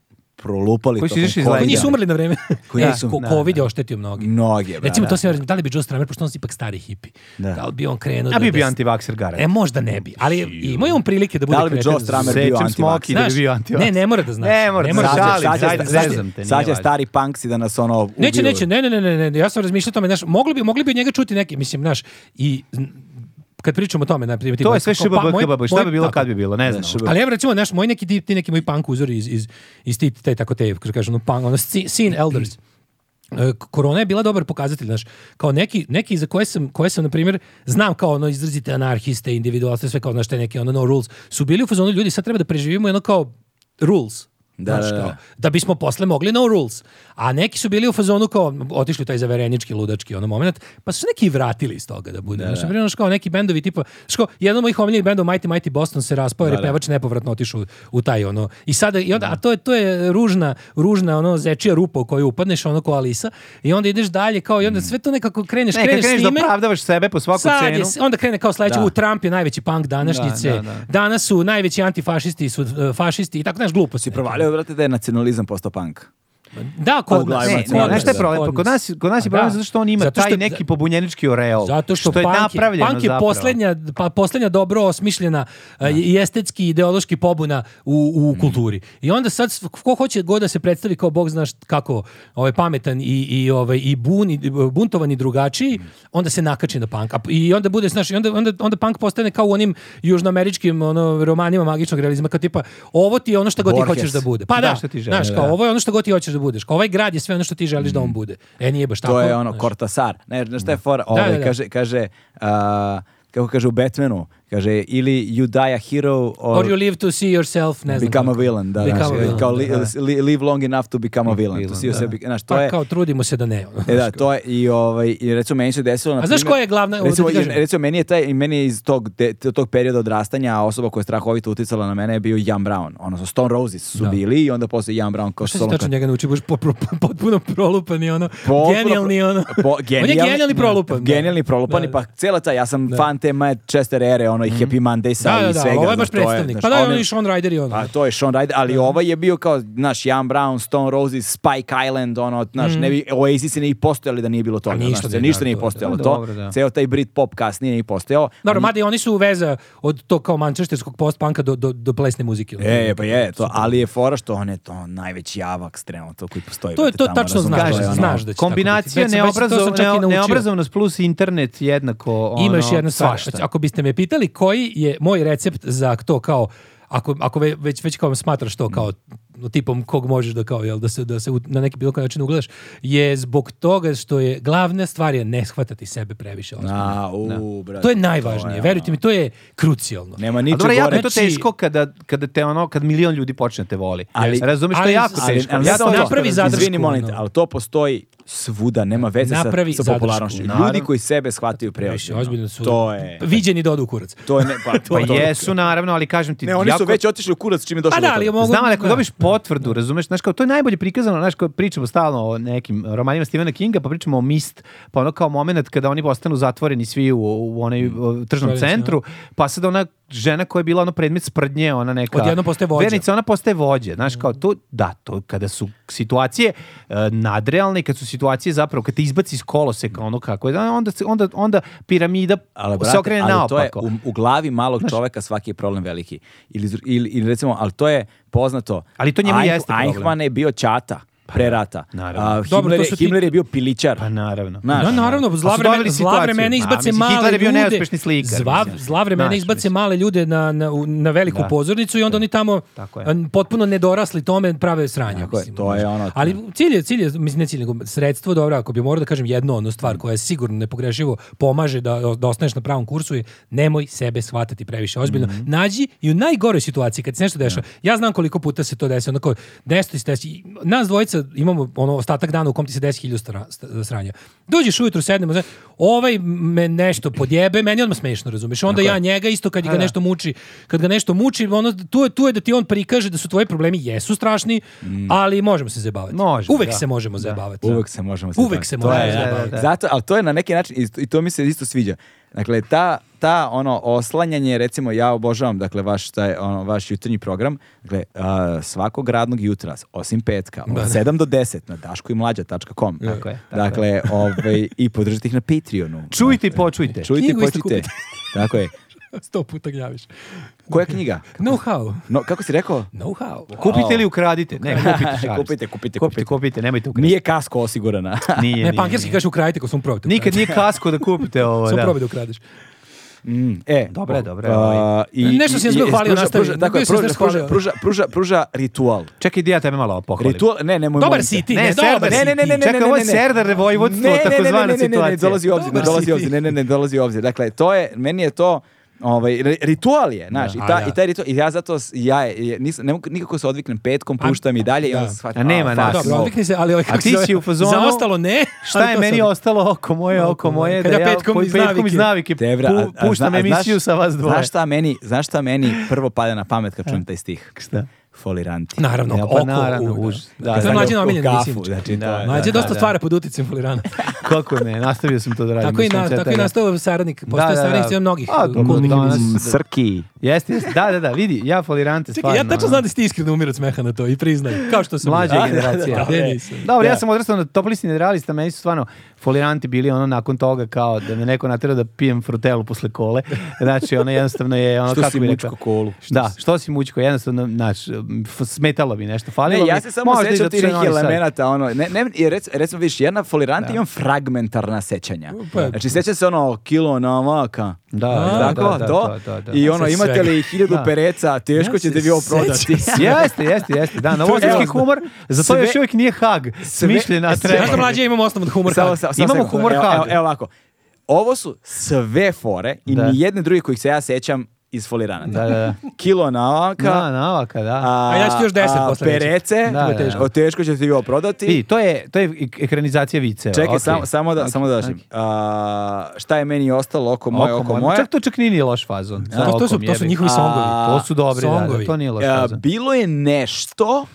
Speaker 1: prolupali
Speaker 3: Koji su izašli iz
Speaker 1: covida.
Speaker 3: lege.
Speaker 2: Koji nisu umrli na vreme.
Speaker 1: Koji
Speaker 2: E,
Speaker 1: nisu,
Speaker 2: ko-
Speaker 1: da,
Speaker 2: Covid
Speaker 1: da.
Speaker 2: je oštetio mnogi.
Speaker 1: Mnoge, brate.
Speaker 2: Recimo, to
Speaker 1: Da.
Speaker 2: se da li bi Joe Strummer, pošto on si ipak stari hipi.
Speaker 1: Da.
Speaker 2: Da. li bi on krenuo... da-
Speaker 3: A bi bio
Speaker 2: da-
Speaker 3: antivakser garant.
Speaker 2: E, možda ne bi. Ali imao je on prilike da bude
Speaker 1: Da li bi
Speaker 2: kreten
Speaker 1: Joe
Speaker 2: za-
Speaker 1: Strummer bio
Speaker 3: Sečem
Speaker 1: antivakser?
Speaker 3: smoki da bi
Speaker 2: Znaš,
Speaker 3: bio antivakser.
Speaker 2: ne, ne mora da znaš.
Speaker 3: Ne mora da
Speaker 2: Ne mora
Speaker 3: znaš.
Speaker 2: da
Speaker 1: Sad će-
Speaker 2: znaš.
Speaker 3: Šalim,
Speaker 1: sad će-
Speaker 3: zajedno,
Speaker 1: sad će-
Speaker 3: zezam te, nije
Speaker 1: Sad će
Speaker 3: važno.
Speaker 1: stari punksi da nas ono ubiju.
Speaker 2: Neće, neće, ne, ne, ne, ne, ne, ja sam razmišljao o tome, znaš, moglo bi, mogli bi od njega čuti neke, mislim, znaš, i n- kad pričamo o tome, na primjer,
Speaker 3: To
Speaker 2: tipa,
Speaker 3: je sve
Speaker 2: kao, pa, moj-
Speaker 3: šbbkbb, šta
Speaker 2: moj-
Speaker 3: bi bilo
Speaker 2: tako.
Speaker 3: kad bi bilo, ne znam.
Speaker 1: Znaš,
Speaker 2: Ali evo recimo, znaš, moj neki ti, ti neki moji punk uzori iz, iz, iz ti, te, tako te, kako kažem, ono, punk, ono, sci- scene elders. E, k- Korona je bila dobar pokazatelj, znaš, kao neki, neki za koje sam, koje sam, na primjer, znam kao ono izrazite anarhiste, individualiste, sve kao, znaš, te neke ono no rules, su bili u fazonu ljudi, sad treba da preživimo jedno kao rules.
Speaker 1: Da,
Speaker 2: Znaš,
Speaker 1: da, da.
Speaker 2: kao, da bismo posle mogli no rules. A neki su bili u fazonu kao otišli u taj zaverenički, ludački ono moment, pa su se neki i vratili iz toga da bude. Da, Znaš, na primjer, ono kao neki bendovi tipa, znaš kao, jedan od mojih omiljenih bendova Mighty Mighty Boston se raspao jer je pevač nepovratno otišao u, u taj ono. I sada, i onda, a to je, to je ružna, ružna ono zečija rupa u koju upadneš ono ko Alisa i onda ideš dalje kao i onda sve to nekako kreneš,
Speaker 3: Ne, kad
Speaker 2: kreneš,
Speaker 3: Mm. kreneš
Speaker 2: s
Speaker 3: da
Speaker 2: time,
Speaker 3: opravdavaš sebe po svaku
Speaker 2: Sad je,
Speaker 3: cenu.
Speaker 2: s- onda krene kao sledeće,
Speaker 1: Da.
Speaker 2: u Trump je najveći punk današnjice,
Speaker 3: Da, da, da.
Speaker 2: danas su najveći antifašisti, su e, fašisti i tako, znaš, glupo si
Speaker 1: Provalio, brate, da je nacionalizam postao punk.
Speaker 2: Da, kod
Speaker 1: Pa,
Speaker 2: nas.
Speaker 1: ne,
Speaker 2: kod
Speaker 1: ne,
Speaker 2: nas,
Speaker 3: Znaš šta je problem? Pa Kod nas, kod nas je problem
Speaker 2: Da.
Speaker 3: zato što on ima
Speaker 2: Zato što-
Speaker 3: taj neki pobunjenički oreol.
Speaker 2: Zato što,
Speaker 3: je
Speaker 2: punk, je,
Speaker 3: napravljeno
Speaker 2: punk je
Speaker 3: zapravo.
Speaker 2: poslednja, pa, poslednja dobro osmišljena a, i estetski i ideološki pobuna u, u kulturi. I onda sad s- ko hoće god da se predstavi kao bog znaš kako ovaj, pametan i, i, ovaj, i, bun, i buntovan i drugačiji, onda se nakači na punk. A p- I onda bude, znaš, i onda, onda, onda punk postane kao u onim južnoameričkim ono, romanima magičnog realizma, kao tipa ovo ti je ono što god ti
Speaker 1: Borges.
Speaker 2: hoćeš da bude. Pa
Speaker 3: Da,
Speaker 2: da,
Speaker 3: što ti želiš,
Speaker 2: znaš, kao ovo je ono što god ti hoćeš da budeš. Kao ovaj grad je sve ono što ti želiš da on bude. E, nije baš tako.
Speaker 1: To je ono,
Speaker 2: znaš.
Speaker 1: Kortasar. Ne, znaš šta je fora? Ovaj,
Speaker 2: da, da.
Speaker 1: Kaže, kaže a, kako kaže u Batmanu, kaže ili you die a hero or,
Speaker 2: Or you live to see yourself, ne znam.
Speaker 1: become a
Speaker 2: kako.
Speaker 1: villain. Da,
Speaker 2: Become
Speaker 1: znaš,
Speaker 2: a villain,
Speaker 1: kao
Speaker 2: da,
Speaker 1: li-
Speaker 2: da.
Speaker 1: li- live long enough to become a villain. To si
Speaker 3: da.
Speaker 1: sebi, znaš, to
Speaker 2: Pa
Speaker 1: je...
Speaker 2: kao trudimo se da ne. ono,
Speaker 1: E da,
Speaker 2: znaš, kao.
Speaker 1: to je i ovaj i recimo meni se desilo na
Speaker 2: A znaš
Speaker 1: primjer-
Speaker 2: koja je glavna- ovdje
Speaker 1: recimo,
Speaker 2: ti kažem.
Speaker 1: recimo meni je taj i meni je iz tog de- tog perioda odrastanja osoba koja je strahovito uticala na mene je bio Jan Brown. Ono Stone Roses su
Speaker 2: Da.
Speaker 1: bili i onda posle Jan Brown kao
Speaker 2: Šta se
Speaker 1: solo-
Speaker 2: tačno njega nauči, budeš po- pro- potpuno prolupan i ono,
Speaker 1: Potpuno
Speaker 2: genijalni
Speaker 1: pro-
Speaker 2: ono.
Speaker 1: po-
Speaker 2: On je genijalni prolupan. da.
Speaker 1: Genijalni prolupan i
Speaker 2: Da, Mhm.
Speaker 1: pa cela ta, ja sam fan te Mad Chester ere, ono i Happy Mondaysa
Speaker 2: Da, da,
Speaker 1: i
Speaker 2: da,
Speaker 1: svega.
Speaker 2: ovo je
Speaker 1: znaš,
Speaker 2: baš
Speaker 1: to je,
Speaker 2: predstavnik.
Speaker 1: znaš,
Speaker 2: Pa da,
Speaker 1: on
Speaker 2: on
Speaker 1: je- Pa-
Speaker 2: i Sean Ryder i ono.
Speaker 1: A to je Sean Ryder, ali ovaj je bio kao, znaš, Jan Brown, Stone Roses, Spike Island, ono, znaš, ne bi, Oasis i ne bi postojali da nije bilo toga,
Speaker 2: Mhm. A ništa
Speaker 1: znaš,
Speaker 2: da je,
Speaker 1: ništa
Speaker 2: da,
Speaker 1: nije
Speaker 2: to-
Speaker 1: postojalo
Speaker 3: da,
Speaker 1: to,
Speaker 3: dobro, da.
Speaker 1: ceo taj Britpop kasnije nije postojao.
Speaker 2: Dobro, mada i oni su veza od to kao mančesterskog post-punka do, do, do plesne muzike. ono.
Speaker 1: E, pa je, to, ali je fora što on je to najveći javak trenutno koji postoji.
Speaker 2: To je-
Speaker 1: brate,
Speaker 2: to
Speaker 1: tamo,
Speaker 2: tačno
Speaker 1: razumeš,
Speaker 2: znaš,
Speaker 1: to je ono-
Speaker 2: znaš. da će
Speaker 3: Kombinacija
Speaker 2: tako biti. Već sam- već sam- to sam
Speaker 3: neobrazov,
Speaker 2: čak i
Speaker 3: neo-
Speaker 2: naučio.
Speaker 3: neobrazovnost plus internet jednako ono,
Speaker 2: Ima još jedna stvar. znači,
Speaker 3: svašta.
Speaker 2: Ako biste me pitali koji je moj recept za to kao Ako, ako ve- već već kao smatraš to kao tipom kog možeš da kao jel da se da se u- na neki bilo koji način ugledaš je zbog toga što je glavna stvar je ne shvatati sebe previše ozbiljno.
Speaker 1: A, u, ono, brate,
Speaker 2: To je najvažnije, verujte mi, to je krucijalno.
Speaker 1: Nema
Speaker 3: A
Speaker 1: ničeg
Speaker 3: dobro, jako
Speaker 1: gore.
Speaker 3: je to
Speaker 2: Znači-
Speaker 3: teško kada, kada te ono, kad milion ljudi počne te voli.
Speaker 1: Ali-
Speaker 3: Razumeš, to
Speaker 2: ali-
Speaker 3: je jako
Speaker 2: ali-
Speaker 3: teško.
Speaker 2: ali
Speaker 3: Ja
Speaker 2: sad
Speaker 3: to-
Speaker 2: napravi zadršku,
Speaker 1: Izvini, molim te,
Speaker 2: ono.
Speaker 1: ali to postoji svuda, nema veze sa,
Speaker 2: Napravi
Speaker 1: sa
Speaker 2: zadršku,
Speaker 1: popularnošću. Ljudi
Speaker 3: naravno.
Speaker 1: koji sebe shvataju preozbiljno.
Speaker 2: ozbiljno su.
Speaker 1: To je...
Speaker 2: Viđeni dodu kurac.
Speaker 1: To je ne, pa,
Speaker 3: Pa
Speaker 1: pa to-
Speaker 3: jesu, naravno, ali kažem ti,
Speaker 1: Ne, oni
Speaker 3: jako-
Speaker 1: su već otišli u kurac čim je došlo
Speaker 2: Pa da,
Speaker 1: do
Speaker 2: ali
Speaker 1: toga.
Speaker 2: mogu...
Speaker 3: Znam, ali ako
Speaker 2: da.
Speaker 3: dobiš potvrdu, razumeš, znaš, kao to je najbolje prikazano, znaš, kao pričamo stalno o nekim romanima Stephena Kinga, pa pričamo o Mist, pa ono kao moment kada oni ostanu zatvoreni svi u, u onaj
Speaker 2: Mm.
Speaker 3: o, tržnom
Speaker 2: Stolici,
Speaker 3: centru, pa sad ona žena koja je bila ono predmet sprdnje, ona neka...
Speaker 2: Odjednom postaje vođa. Mm.
Speaker 3: Vernica, ona postaje vođa, znaš, kao to, da, to kada su situacije e, nadrealne, i kad su situacije zapravo, kad te izbaci iz koloseka, ono kako je, onda, se- onda, onda piramida
Speaker 1: Ali,
Speaker 3: se
Speaker 1: brate,
Speaker 3: okrene
Speaker 1: ali to je um-
Speaker 3: naopako.
Speaker 1: u, u glavi malog čoveka svaki je problem veliki. Ili, zr- ili, ili recimo, ali to je poznato.
Speaker 3: Ali to njemu jeste problem.
Speaker 1: Eichmann je bio čata pre rata.
Speaker 3: naravno.
Speaker 1: A,
Speaker 2: Dobro,
Speaker 1: Himmler,
Speaker 2: to
Speaker 1: je,
Speaker 2: su ti-
Speaker 1: Himmler je bio pilićar.
Speaker 3: Pa naravno.
Speaker 1: Znaš,
Speaker 2: Da, naravno,
Speaker 3: A
Speaker 2: zla
Speaker 3: su
Speaker 2: vremena,
Speaker 3: doveli
Speaker 2: zla
Speaker 3: situaciju.
Speaker 2: vremena
Speaker 3: A,
Speaker 2: izbace
Speaker 3: mislim,
Speaker 2: male
Speaker 3: Hitler je bio
Speaker 2: ljude.
Speaker 3: neuspešni slikar,
Speaker 2: Zva-
Speaker 3: mislim.
Speaker 2: zla vremena
Speaker 3: Znaš,
Speaker 2: izbace
Speaker 3: mislim.
Speaker 2: male ljude na, na, u- na veliku
Speaker 3: Da.
Speaker 2: pozornicu i onda oni tamo
Speaker 3: Tako je.
Speaker 2: an, potpuno nedorasli tome prave sranje.
Speaker 1: Tako je,
Speaker 2: mislim,
Speaker 1: to je
Speaker 2: znaš.
Speaker 1: ono-
Speaker 2: Ali cilj je, cilj je, mislim, ne cilj, nego sredstvo, dobro, ako bi morao da kažem jedno ono stvar koja je sigurno nepogrešivo pomaže da, da ostaneš na pravom kursu je nemoj sebe shvatati previše ozbiljno. Nađi i u najgoroj situaciji kad se nešto dešava. Ja znam koliko puta se to desi, onako desto se desi. Nas dvojica imamo ono ostatak dana u kom ti se desi hiljadu stra- st- sranja. Dođeš ujutru, sednemo, znaš, ovaj me nešto podjebe, meni je odmah smešno, razumeš? Onda ja njega isto kad ga nešto muči, kad ga nešto muči, ono tu je tu je da ti on prikaže da su tvoji problemi jesu strašni, ali možemo se zabavati.
Speaker 3: Možemo,
Speaker 2: Uvek
Speaker 3: da.
Speaker 2: se možemo zabavati.
Speaker 1: Uvek se možemo
Speaker 2: Uvek se
Speaker 1: zabaviti. To
Speaker 2: možemo
Speaker 1: je-
Speaker 2: zabaviti.
Speaker 1: Zato, ali to je na neki način, i to- i to mi se isto sviđa. Dakle, ta, ta ono oslanjanje, recimo ja obožavam dakle vaš taj ono vaš jutarnji program, dakle a, svakog radnog jutra osim petka od 7 do 10 na daškoimlađa.com.
Speaker 3: Tako je, tako
Speaker 1: Dakle, ovaj i podržite ih na Patreonu. Dakle,
Speaker 3: Čujte i počujte.
Speaker 1: Čujte i
Speaker 2: Knjigu isto
Speaker 1: počujte.
Speaker 2: kupite.
Speaker 1: Tako je.
Speaker 2: Sto puta gnjaviš.
Speaker 1: Koja knjiga?
Speaker 2: Know-how.
Speaker 1: No, kako si rekao?
Speaker 2: Know-how.
Speaker 3: Kupite ili ukradite? Ne, kupite, šalim se.
Speaker 1: Kupite, kupite,
Speaker 3: kupite.
Speaker 1: kupite.
Speaker 3: Kupite, nemojte ukrasti.
Speaker 1: Nije kasko osigurana.
Speaker 3: Nije, nije,
Speaker 2: Ne,
Speaker 3: nije.
Speaker 2: pankerski kaže ukradite ko sam probite.
Speaker 3: Nikad nije kasko da kupite ovo,
Speaker 2: Sam
Speaker 3: da.
Speaker 2: probaj da ukradeš.
Speaker 1: E,
Speaker 3: Dobro je, dobro je,
Speaker 1: a,
Speaker 3: ovaj.
Speaker 1: i-
Speaker 2: Nešto
Speaker 1: i-
Speaker 2: si nas bio
Speaker 1: i-
Speaker 2: hvalio,
Speaker 1: pruža-
Speaker 2: nastavi.
Speaker 1: pruža- Tako je,
Speaker 2: Bio si nas
Speaker 1: pruža- pruža-
Speaker 2: hvalio.
Speaker 1: pruža- pruža- pruža ritual.
Speaker 3: Čekaj, da ja tebe malo pohvalim.
Speaker 1: Ritual, ne, nemoj.
Speaker 2: Dobar
Speaker 1: molim te.
Speaker 2: si ti,
Speaker 3: Ne,
Speaker 2: ne,
Speaker 3: Serdar,
Speaker 2: dobar
Speaker 3: ne,
Speaker 2: si
Speaker 3: ne,
Speaker 2: ti.
Speaker 3: ne, ne, Čekaj, ovo je serdar vojvodstvo, takozvana
Speaker 1: Ne, ne,
Speaker 3: situacija.
Speaker 1: dolazi u obzir, ne
Speaker 2: Dobar si
Speaker 1: dolazi u obzir,
Speaker 2: ti.
Speaker 1: ne, ne, ne dolazi u obzir. Dakle, to je, meni je to, ovaj, ri- ritual je, znaš, i,
Speaker 2: Da.
Speaker 1: ta,
Speaker 2: A, da.
Speaker 1: i taj ritual, i ja zato, s- ja je- nisam, ne mogu nikako se odviknem petkom, puštam i dalje i
Speaker 2: da.
Speaker 1: onda se shvatim.
Speaker 3: A nema
Speaker 1: fuck,
Speaker 3: nas.
Speaker 1: no.
Speaker 2: Dobro, odvikni se, ali ovaj kako
Speaker 3: ti si u fazonu-
Speaker 2: Za ostalo ne.
Speaker 3: Šta
Speaker 2: ali
Speaker 3: je
Speaker 2: to
Speaker 3: meni
Speaker 2: sad-
Speaker 3: ostalo oko moje, oko moje,
Speaker 2: Kad
Speaker 3: da
Speaker 2: ja
Speaker 3: ja
Speaker 2: petkom
Speaker 3: po-
Speaker 2: iz
Speaker 3: petkom iz
Speaker 2: navike.
Speaker 3: navike
Speaker 1: Devra,
Speaker 3: pu-
Speaker 1: a- a
Speaker 3: puštam
Speaker 1: zna- a znaš-
Speaker 3: emisiju sa vas dvoje.
Speaker 1: Znaš šta meni, znaš šta meni prvo pada na pamet kad čujem taj stih?
Speaker 3: Šta?
Speaker 1: Foliranti.
Speaker 2: Naravno,
Speaker 3: Ja, pa
Speaker 2: oko.
Speaker 3: naravno,
Speaker 2: u, da.
Speaker 3: užas. Da,
Speaker 2: To
Speaker 3: da,
Speaker 2: je mlađe
Speaker 1: u
Speaker 2: omiljena
Speaker 1: kafu,
Speaker 2: mislim.
Speaker 1: znači, to
Speaker 3: Da,
Speaker 1: je-
Speaker 2: Mlađe
Speaker 3: da,
Speaker 2: dosta
Speaker 3: da.
Speaker 2: stvara pod uticajem folirana.
Speaker 3: Kako ne, nastavio sam to da radim.
Speaker 2: Tako i,
Speaker 3: mislim,
Speaker 2: na,
Speaker 3: sve
Speaker 2: tako i
Speaker 3: taj-
Speaker 2: nastao saradnik. Postoje
Speaker 3: da,
Speaker 2: saradnik
Speaker 3: da.
Speaker 2: svima mnogih
Speaker 3: A,
Speaker 2: uh,
Speaker 3: dobro,
Speaker 2: kulnih
Speaker 3: danas-
Speaker 2: ljudi.
Speaker 1: Srki.
Speaker 3: Jeste, jeste, da, da, da, vidi, ja folirante
Speaker 2: Čekaj,
Speaker 3: stvarno.
Speaker 2: ja tačno
Speaker 3: ono.
Speaker 2: znam da si ti iskreno umir od smeha na to i priznaj. Kao što sam.
Speaker 3: Mlađa
Speaker 2: ja.
Speaker 3: generacija.
Speaker 2: Da, ne, nisam.
Speaker 3: E. Dobro, ja sam odrastao na toplisti generalista, meni su stvarno foliranti bili ono nakon toga kao da me neko natera da pijem frutelu posle kole. Znači, ono jednostavno je ono
Speaker 1: Što
Speaker 3: kako
Speaker 1: si
Speaker 3: bi
Speaker 1: mučko
Speaker 3: rekao-
Speaker 1: kolu?
Speaker 3: Da, što si mučko, jednostavno, znaš, f- smetalo bi nešto, falilo
Speaker 1: Ne, ja
Speaker 3: mi.
Speaker 1: se samo
Speaker 3: Možda i
Speaker 1: sećam
Speaker 3: zato
Speaker 1: tih
Speaker 3: što je
Speaker 1: nekih
Speaker 3: Novi Sad.
Speaker 1: elemenata, ono, ne, ne, i rec, recimo, vidiš, ja na foliranti imam fragmentarna sećanja.
Speaker 2: Pa-
Speaker 1: Znači, sećam se ono, kilo namaka,
Speaker 3: Da,
Speaker 2: A,
Speaker 3: da,
Speaker 1: tako,
Speaker 3: da, da,
Speaker 1: to,
Speaker 3: da, da, da.
Speaker 1: i ono,
Speaker 2: Sećam se
Speaker 1: imate
Speaker 2: svega.
Speaker 1: li hiljadu
Speaker 3: Da.
Speaker 1: pereca, teško
Speaker 2: Ja
Speaker 1: ćete
Speaker 2: se
Speaker 1: vi ovo prodati.
Speaker 2: sećam.
Speaker 3: jeste, jeste, jeste. Da, novosadski
Speaker 1: Evo,
Speaker 3: humor, za to
Speaker 1: sve-
Speaker 3: još uvijek nije hag. Smišljena treba.
Speaker 2: Znaš da mlađe imamo osnovu od humor.
Speaker 1: Samo-
Speaker 2: hak.
Speaker 1: samo- samo
Speaker 3: Imamo
Speaker 1: sekund.
Speaker 3: humor
Speaker 1: evo,
Speaker 3: hag.
Speaker 1: evo, evo ovako, ovo su sve fore i
Speaker 3: Da.
Speaker 1: nijedne druge kojih se ja sećam iz foliranata.
Speaker 3: Da, da, da.
Speaker 1: Kilo namaka,
Speaker 3: Na, navaka, da.
Speaker 1: a,
Speaker 2: A ja ću ti još deset
Speaker 1: a,
Speaker 2: posle reći.
Speaker 1: Perece,
Speaker 3: Da, da, da.
Speaker 1: o, teško ćete vi ovo prodati.
Speaker 3: Vidi, to je, to je ek- ekranizacija viceva.
Speaker 1: Čekaj,
Speaker 3: okej.
Speaker 1: samo, samo da, samo da dašim. A, šta je meni ostalo oko moje, oko,
Speaker 3: moje.
Speaker 1: moje?
Speaker 3: Čak to čak nije ni loš fazon.
Speaker 2: To- to su- to su njihovi songovi.
Speaker 3: To su dobri, da, da,
Speaker 2: Songovi.
Speaker 3: to nije loš
Speaker 1: A,
Speaker 3: fazon.
Speaker 1: bilo je nešto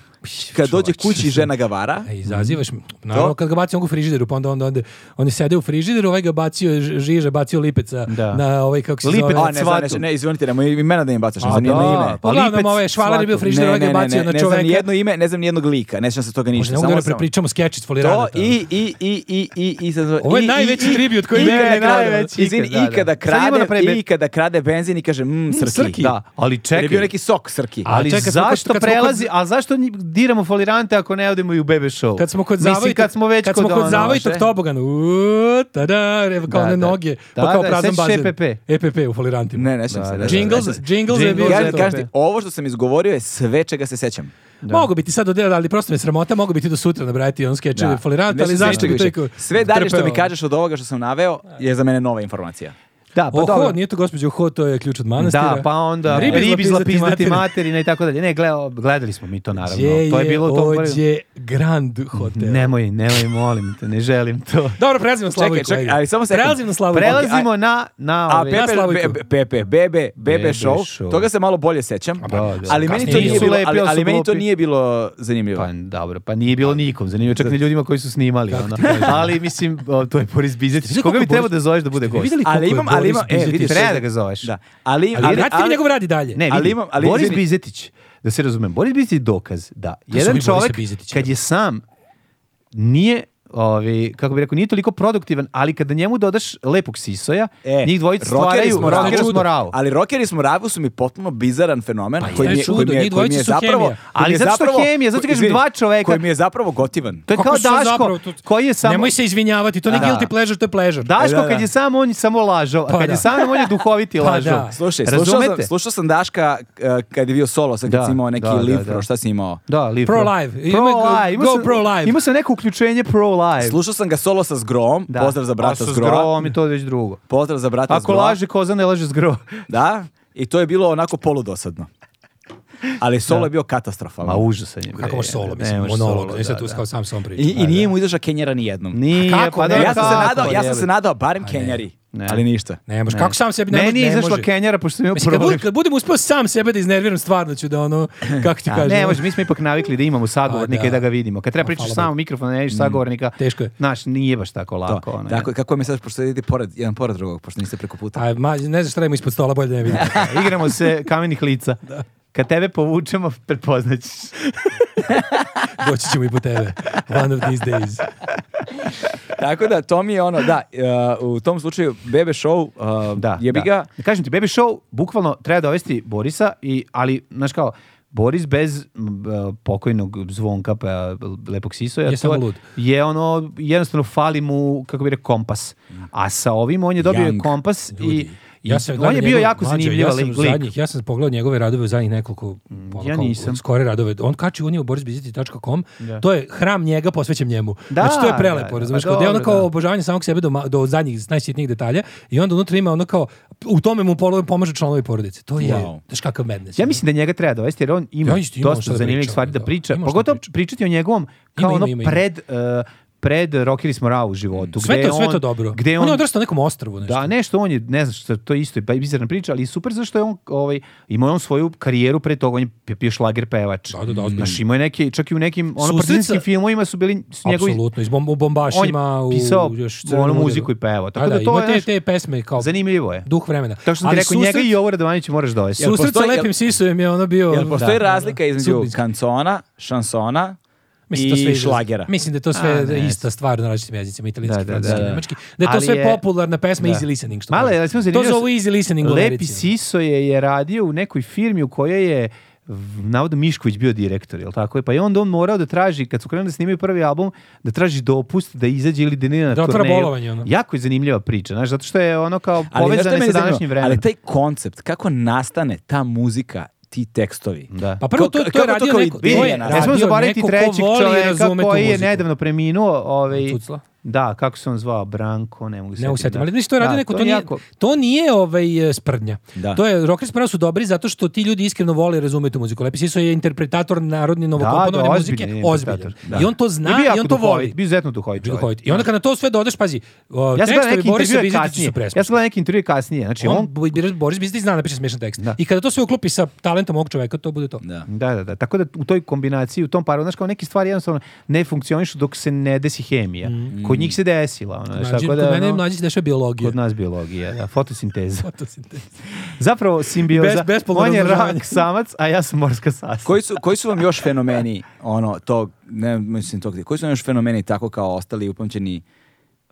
Speaker 1: kad dođe kući žena ga vara.
Speaker 2: E, izazivaš,
Speaker 1: Mhm.
Speaker 2: naravno
Speaker 1: To?
Speaker 2: kad ga baci on u frižideru, pa onda onda onda oni sede u frižideru, ovaj ga bacio ž- žiža, bacio lipeca
Speaker 3: Da.
Speaker 2: na ovaj kako se
Speaker 3: Lipec,
Speaker 2: zove.
Speaker 1: A, ne, znam, ne,
Speaker 3: cvatu.
Speaker 1: ne, izvinite, nemoj imena da im bacaš, ne
Speaker 3: A,
Speaker 1: znam nijedno
Speaker 3: da,
Speaker 1: ime.
Speaker 3: pa
Speaker 2: Uglavnom,
Speaker 3: Lipec,
Speaker 2: ovaj švaler je bio
Speaker 3: svatko.
Speaker 2: frižider, ovaj ga je bacio
Speaker 1: ne,
Speaker 2: na
Speaker 1: ne znam
Speaker 2: čoveka.
Speaker 1: nijedno ime, ne znam nijednog lika, ne sjećam se toga
Speaker 2: Možda
Speaker 1: ništa.
Speaker 2: ne mogu da ne
Speaker 1: sam-
Speaker 2: prepričamo skeč iz
Speaker 1: To
Speaker 2: foliranata.
Speaker 1: i, i, i, i, i, i, sad-
Speaker 2: Ovo je
Speaker 1: i- i-
Speaker 2: najveći
Speaker 1: i-
Speaker 2: tribut koji
Speaker 1: i-
Speaker 2: nikad
Speaker 1: i-
Speaker 2: ne krademo.
Speaker 1: najveći, izvini,
Speaker 3: Ikad, da, da.
Speaker 1: i kada
Speaker 3: Sad idemo
Speaker 1: krade,
Speaker 3: na pregled.
Speaker 1: i kada krade benzin i kaže, mm, srki.
Speaker 2: srki.
Speaker 1: Da.
Speaker 3: Da, ali
Speaker 1: Jer je bio
Speaker 3: čekaj.
Speaker 1: neki sok srki.
Speaker 3: Ali
Speaker 2: čekaj, kad smo kod-
Speaker 3: zašto
Speaker 2: kad smo kod-
Speaker 3: prelazi, a zašto nji- diramo folirante ako ne odemo i u bebe show?
Speaker 2: Kad smo kod
Speaker 3: Mislim,
Speaker 2: zavojitog,
Speaker 3: kad smo već
Speaker 2: kad smo
Speaker 3: kod,
Speaker 2: kod
Speaker 3: ono,
Speaker 2: zavojitog
Speaker 3: še-
Speaker 2: tobogana, uuu, tada, evo kao
Speaker 3: Da,
Speaker 2: one
Speaker 3: da.
Speaker 2: noge, pa
Speaker 3: Da,
Speaker 2: kao
Speaker 3: da,
Speaker 2: prazan
Speaker 3: sećaš
Speaker 2: bazen.
Speaker 3: EPP?
Speaker 2: EPP u folirantima.
Speaker 1: Ne, ne sjećam
Speaker 3: Da,
Speaker 1: se.
Speaker 3: da,
Speaker 1: ne sjećam
Speaker 2: Jingles,
Speaker 1: se.
Speaker 2: jingles je bio
Speaker 3: Jingles,
Speaker 2: za
Speaker 1: Kaži,
Speaker 2: to.
Speaker 1: kaži ti, ovo što sam izgovorio je sve čega se sećam.
Speaker 2: Mogu biti sad odjela, ali prosto me sramota, mogu biti do sutra nabrajati on skeče da.
Speaker 1: Ne
Speaker 2: ali
Speaker 1: sjećam
Speaker 2: zašto
Speaker 1: se
Speaker 2: bi to
Speaker 1: više.
Speaker 2: iko
Speaker 1: Sve dalje što mi
Speaker 2: trpeo?
Speaker 1: kažeš od ovoga što sam naveo je za mene nova informacija.
Speaker 3: Da, pa
Speaker 2: Oho,
Speaker 3: dobro.
Speaker 2: nije to gospođo Ho, to je ključ od manastira.
Speaker 3: Da, pa onda ribi, ribi
Speaker 2: zlapizdati
Speaker 3: zlapizdati
Speaker 2: materina.
Speaker 3: materina i tako dalje. Ne, gle, gledali smo mi to naravno.
Speaker 2: Gdje
Speaker 3: to je bilo u tom prvi-
Speaker 2: ođe Grand Hotel.
Speaker 3: Nemoj, nemoj, molim te, ne želim to.
Speaker 2: Dobro, prelazimo na slavu
Speaker 1: Čekaj,
Speaker 2: i
Speaker 1: čekaj,
Speaker 2: kolega.
Speaker 1: ali samo sekund.
Speaker 2: Prelazimo na slavu i kolega.
Speaker 3: Prelazimo na, na
Speaker 1: A
Speaker 3: ove-
Speaker 2: ja
Speaker 1: Pepe,
Speaker 2: Slaviku.
Speaker 1: Be- Be- Pepe, Bebe, Bebe
Speaker 3: Bebe
Speaker 1: Show,
Speaker 3: Show.
Speaker 1: toga se malo bolje sećam,
Speaker 3: da, da.
Speaker 1: ali meni to
Speaker 2: Kasnije
Speaker 1: nije
Speaker 2: su
Speaker 1: bilo,
Speaker 3: lepi,
Speaker 1: ali,
Speaker 3: ali su
Speaker 1: ali meni to
Speaker 3: glupi.
Speaker 1: nije bilo zanimljivo.
Speaker 3: Pa dobro, pa nije bilo nikom, zanimljivo čak ni ljudima koji su snimali. Ono. Ali mislim, o, to je Boris Bizetić.
Speaker 2: Znaš
Speaker 3: Koga bi
Speaker 2: koliko
Speaker 3: trebao
Speaker 2: Boris-
Speaker 3: da zoveš da bude
Speaker 2: Ste vi
Speaker 3: gost?
Speaker 2: videli
Speaker 1: Ali
Speaker 2: koliko je
Speaker 1: imam, ali
Speaker 2: Boris
Speaker 1: imam, e,
Speaker 2: Bizetić-
Speaker 1: vidiš,
Speaker 3: Treba da ga zoveš.
Speaker 1: Da. Ali,
Speaker 2: Ali vratite mi njegov rad i dalje.
Speaker 3: Ne,
Speaker 1: Ali
Speaker 3: vidi,
Speaker 1: imam- ali
Speaker 3: Boris
Speaker 1: izvini.
Speaker 3: Bizetić, da se razumem, Boris Bizetić je dokaz da
Speaker 2: ovi
Speaker 3: jedan
Speaker 2: Borisa
Speaker 3: čovjek
Speaker 2: Bizetića.
Speaker 3: kad je sam nije ovi, kako bi rekao, nije toliko produktivan, ali kada njemu dodaš lepog sisoja,
Speaker 1: E,
Speaker 3: njih dvojica
Speaker 1: rockeri
Speaker 3: stvaraju
Speaker 1: smo ravu.
Speaker 3: rockera smo ravu.
Speaker 1: Ali rockeri smo ravu su mi potpuno bizaran
Speaker 3: Pa
Speaker 1: fenomen koji mi je,
Speaker 2: čudo,
Speaker 1: koji mi je,
Speaker 2: njih
Speaker 1: koji mi je
Speaker 2: dvojica su
Speaker 1: zapravo...
Speaker 2: hemija.
Speaker 1: koji mi je
Speaker 3: Ali zato što
Speaker 1: zapravo-
Speaker 3: hemija, zato kažem,
Speaker 1: izvini,
Speaker 3: dva čoveka-
Speaker 1: Koji mi je zapravo gotivan.
Speaker 3: To je kao
Speaker 2: Kako su
Speaker 3: Daško,
Speaker 2: zapravo tu-
Speaker 3: koji je samo...
Speaker 2: Nemoj se izvinjavati, to nije
Speaker 3: Da.
Speaker 2: guilty pleasure, to je pleasure.
Speaker 3: Daško
Speaker 1: Da, da.
Speaker 3: kad je sam, on je samo lažao, a
Speaker 2: Pa
Speaker 3: kad
Speaker 2: da.
Speaker 3: je sam, on je duhoviti
Speaker 2: Pa
Speaker 3: lažao.
Speaker 2: da.
Speaker 1: Slušaj, slušao
Speaker 3: Razumete?
Speaker 1: sam, slušao sam Daška eh, kad je bio solo, sad kad
Speaker 3: Da,
Speaker 1: si imao neki
Speaker 3: da, da,
Speaker 1: live,
Speaker 3: da.
Speaker 1: šta si imao?
Speaker 3: Da, live.
Speaker 2: Pro live. Ima
Speaker 3: Pro
Speaker 2: go-
Speaker 3: live. Imao
Speaker 2: go
Speaker 3: sam-
Speaker 2: pro live.
Speaker 3: Imao sam neko uključenje pro live.
Speaker 1: Slušao sam ga solo sa Zgrom,
Speaker 3: E, Da.
Speaker 1: pozdrav za
Speaker 3: A
Speaker 1: brata
Speaker 3: sa
Speaker 1: Zgroa.
Speaker 3: Zgroom i to je već drugo.
Speaker 1: Pozdrav za brata
Speaker 3: Ako
Speaker 1: Zgroa.
Speaker 3: laže koza, ne laže zgro.
Speaker 1: Da, i to je bilo onako poludosadno. Ali solo je bio
Speaker 3: Ma
Speaker 1: katastrofalan.
Speaker 3: Pa užasan je. bre.
Speaker 2: Kako može solo,
Speaker 3: Ne
Speaker 2: mislim,
Speaker 3: može
Speaker 2: monolog,
Speaker 3: solo,
Speaker 2: ne sad
Speaker 3: da,
Speaker 2: tu
Speaker 3: da.
Speaker 2: kao sam sam pričam.
Speaker 1: I, I nije mu izašla Kenjera ni jednom.
Speaker 3: Nije,
Speaker 2: Kako
Speaker 3: pa
Speaker 2: ne?
Speaker 3: da,
Speaker 1: ja sam se
Speaker 3: kako,
Speaker 1: nadao, ja sam
Speaker 3: jebe.
Speaker 1: se nadao barem Kenjari.
Speaker 3: Ne.
Speaker 1: ali ništa.
Speaker 2: Ne možeš, kako sam sebi ne, može,
Speaker 3: Meni je
Speaker 2: ne
Speaker 3: izašla
Speaker 2: može.
Speaker 3: Kenjara, pošto sam imao
Speaker 2: Mislim, kad,
Speaker 3: problem.
Speaker 2: budem, kad budem uspeo sam sebe da iznerviram, stvarno ću da ono, kako ti
Speaker 3: A,
Speaker 2: kažem.
Speaker 3: ne, može, mi smo ipak navikli da imamo sagovornika
Speaker 2: A, da.
Speaker 3: i da ga vidimo. Kad
Speaker 2: A,
Speaker 3: treba pričaš
Speaker 2: hvala Mm.
Speaker 3: samo u mikrofon, a ne vidiš sagovornika,
Speaker 2: Teško je.
Speaker 3: Znaš, nije baš tako
Speaker 1: To.
Speaker 3: lako. ono,
Speaker 1: Tako, kako mi sad, pošto idete pored, jedan pored drugog, pošto niste preko puta.
Speaker 2: A, ma, ne znam šta radimo ispod stola, bolje da ne vidim.
Speaker 3: je. Igramo se kamenih lica. Kad tebe povučemo, prepoznaćeš.
Speaker 2: Doći ćemo i po tebe. One of these days.
Speaker 1: Tako da, to mi je ono, da, uh, u tom slučaju, bebe show, uh,
Speaker 3: Da,
Speaker 1: jebi
Speaker 3: da.
Speaker 1: ga,
Speaker 3: Kažem ti, Baby Show bukvalno treba dovesti Borisa, i, ali, znaš kao, Boris bez m, b, pokojnog zvonka pa lepog sisoja
Speaker 2: Je
Speaker 3: to
Speaker 2: samo lud.
Speaker 3: je ono jednostavno fali mu kako bi rekao kompas. A sa ovim on je dobio
Speaker 1: Young
Speaker 3: kompas i,
Speaker 2: Ljudi,
Speaker 3: i
Speaker 2: ja sam
Speaker 3: on
Speaker 2: gledao
Speaker 3: je bio
Speaker 2: njegove-
Speaker 3: jako
Speaker 2: mlađe,
Speaker 3: zanimljiv
Speaker 2: ja sam
Speaker 3: lik. Mm,
Speaker 2: zadnjih, ja sam pogledao njegove radove u zadnjih nekoliko ono,
Speaker 3: Ja
Speaker 2: kao,
Speaker 3: nisam.
Speaker 2: skore radove. On kači on je u borisbiziti.com. To je hram njega posvećen njemu.
Speaker 3: Da,
Speaker 2: znači to je
Speaker 3: da, da.
Speaker 2: prelepo, razumeš?
Speaker 3: Pa
Speaker 2: Kao da je ono
Speaker 3: dobro,
Speaker 2: kao
Speaker 3: da.
Speaker 2: obožavanje samog sebe do, ma- do zadnjih najsitnijih detalja i onda unutra ima ono kao u tome mu polo- pomaže članovi porodice. To je
Speaker 1: Wow.
Speaker 2: znaš kakav madness.
Speaker 3: Ja mislim da njega treba dovesti jer on ima
Speaker 2: Ja isto imam šta
Speaker 3: dosta
Speaker 2: da
Speaker 3: zanimljivih
Speaker 2: pričam,
Speaker 3: stvari da
Speaker 2: da.
Speaker 3: priča.
Speaker 2: Ima šta
Speaker 3: Pogotovo
Speaker 2: da pričam.
Speaker 3: pričati o njegovom kao
Speaker 2: Ima,
Speaker 3: ono
Speaker 2: ima, ima, ima.
Speaker 3: pred eh, pred rokili smo rau u životu.
Speaker 2: sve
Speaker 3: gde
Speaker 2: to, sve
Speaker 3: on-
Speaker 2: to dobro.
Speaker 3: Gde
Speaker 2: on,
Speaker 3: on,
Speaker 2: je odrastao na nekom ostrvu nešto.
Speaker 3: Da, nešto on je, ne znam što to je isto je ba- bizarna priča, ali super zašto je on ovaj imao je on svoju karijeru pre toga, on je pe- bio šlager pevač.
Speaker 2: Da, da, da, ozbiljno.
Speaker 3: Znaš, imao je neke, čak i u nekim ono
Speaker 2: Susreca-
Speaker 3: partizanskim filmovima su bili s njegovi
Speaker 2: Apsolutno, iz bom, u
Speaker 3: on
Speaker 2: bombašima,
Speaker 3: je pisao
Speaker 2: u, još
Speaker 3: ono
Speaker 2: Crvenom
Speaker 3: muziku
Speaker 2: udaru.
Speaker 3: i pevao. Tako
Speaker 2: A
Speaker 3: da, to
Speaker 2: ima
Speaker 3: je,
Speaker 2: te,
Speaker 3: znaš,
Speaker 2: te pesme kao
Speaker 3: zanimljivo je.
Speaker 2: duh vremena.
Speaker 3: Tako što sam ti
Speaker 2: Ali
Speaker 3: rekao, njega
Speaker 2: susret-
Speaker 3: i Jovo Radovanića moraš ovaj- dovesti.
Speaker 1: Jel
Speaker 2: Susret
Speaker 1: postoji-
Speaker 2: sa
Speaker 1: jel-
Speaker 2: lepim sisojem je ono bio...
Speaker 1: Jel postoji razlika između
Speaker 2: Sudbinski.
Speaker 1: kancona, šansona
Speaker 2: Mislim, to sve
Speaker 1: i
Speaker 2: izraz-
Speaker 1: šlagera?
Speaker 2: Mislim da je to sve
Speaker 3: A, ne.
Speaker 2: ista stvar na različitim jezicima, italijanski,
Speaker 3: Da, da,
Speaker 2: francuski,
Speaker 3: da, da.
Speaker 2: nemački. Da je to
Speaker 3: Ali
Speaker 2: sve
Speaker 3: je-
Speaker 2: popularna pesma
Speaker 3: da.
Speaker 2: easy listening. Što
Speaker 3: Malo je,
Speaker 2: kažu.
Speaker 3: recimo,
Speaker 2: to
Speaker 3: zanimljivo
Speaker 2: zovu
Speaker 3: se-
Speaker 2: easy listening ono, u
Speaker 3: Lepi
Speaker 2: Americi.
Speaker 3: Siso je, je radio u nekoj firmi u kojoj je v- navodno Mišković bio direktor, jel tako? Pa je onda on morao da traži, kad su krenuli da snimaju prvi album, da traži dopust da izađe ili da nije na
Speaker 2: Da otvara
Speaker 3: turneju.
Speaker 2: bolovanje, ono.
Speaker 3: Jako je zanimljiva priča, znaš, zato što je ono kao
Speaker 1: znaš šta
Speaker 3: povezana
Speaker 1: meni
Speaker 3: sa
Speaker 1: zanimljivo?
Speaker 3: današnjim vremenom.
Speaker 1: Ali taj koncept, kako nastane ta muzika, ti tekstovi?
Speaker 3: Da.
Speaker 2: Pa prvo,
Speaker 1: Ko-
Speaker 2: to,
Speaker 1: ka-
Speaker 2: to je
Speaker 1: kako to
Speaker 2: radio
Speaker 1: kao
Speaker 2: neko...
Speaker 1: vidi?
Speaker 2: To je
Speaker 1: Ne smemo
Speaker 3: Ne smemo
Speaker 2: radio
Speaker 3: zaboraviti
Speaker 2: neko ko
Speaker 3: trećeg
Speaker 2: voli i
Speaker 3: čoveka
Speaker 2: razume tu
Speaker 3: koji je
Speaker 2: muziku.
Speaker 3: nedavno preminuo. Ovaj,
Speaker 2: Cucla?
Speaker 3: da, kako se on zvao? Branko, ne mogu se
Speaker 2: Ne mogu
Speaker 3: sjetiti,
Speaker 2: setim,
Speaker 3: da.
Speaker 2: ali znači to je radio
Speaker 3: Da,
Speaker 2: neko, to,
Speaker 3: je
Speaker 2: nije,
Speaker 3: jako-
Speaker 2: to nije ovaj, e, sprdnja.
Speaker 1: Da.
Speaker 2: To je, Rockers Prava su dobri zato što ti ljudi iskreno vole i razume tu muziku. Lepi Siso je interpretator narodne novokomponovane
Speaker 3: da, ozbiljan
Speaker 2: muzike,
Speaker 3: je
Speaker 2: ozbiljan.
Speaker 3: interpretator, da.
Speaker 2: I on to
Speaker 3: I
Speaker 2: zna
Speaker 3: bio
Speaker 2: i,
Speaker 3: jako
Speaker 2: on to voli.
Speaker 3: duhovit, Bio izuzetno duhovit čovjek.
Speaker 2: Duhovit. I onda kada to sve dodaš, pazi, o,
Speaker 3: Ja sam gledao
Speaker 2: tekstovi
Speaker 3: neke
Speaker 2: Borisa
Speaker 3: intervjue
Speaker 2: Bizetića
Speaker 3: kasnije.
Speaker 2: su preskupi.
Speaker 3: Ja sam gledao neke intervjue kasnije. Znači, on,
Speaker 2: on, Boris- Boris Bizetić zna da piše smiješan tekst.
Speaker 3: Da.
Speaker 2: I kada to sve uklopi sa talentom ovog čoveka, to bude to.
Speaker 1: Da.
Speaker 3: Da, da, da. Tako da u toj kombinaciji, u tom paru, znaš, kao neke stvari jednostavno ne funkcionišu dok se ne desi hemija. Kod njih se desila, ono, znaš,
Speaker 2: Mm. Mlađi,
Speaker 3: tako da,
Speaker 2: kod mene je
Speaker 3: ono,
Speaker 2: mlađi se dešava biologija.
Speaker 3: kod nas biologija, da, fotosinteza.
Speaker 2: Fotosinteza.
Speaker 3: Zapravo simbioza,
Speaker 2: Bez- bespolno
Speaker 3: on je
Speaker 2: razmnožavanje.
Speaker 3: rak samac, a ja sam morska sasa.
Speaker 1: Koji su, koji su vam još fenomeni, ono, tog, ne mislim tog, koji su vam još fenomeni tako kao ostali upamćeni?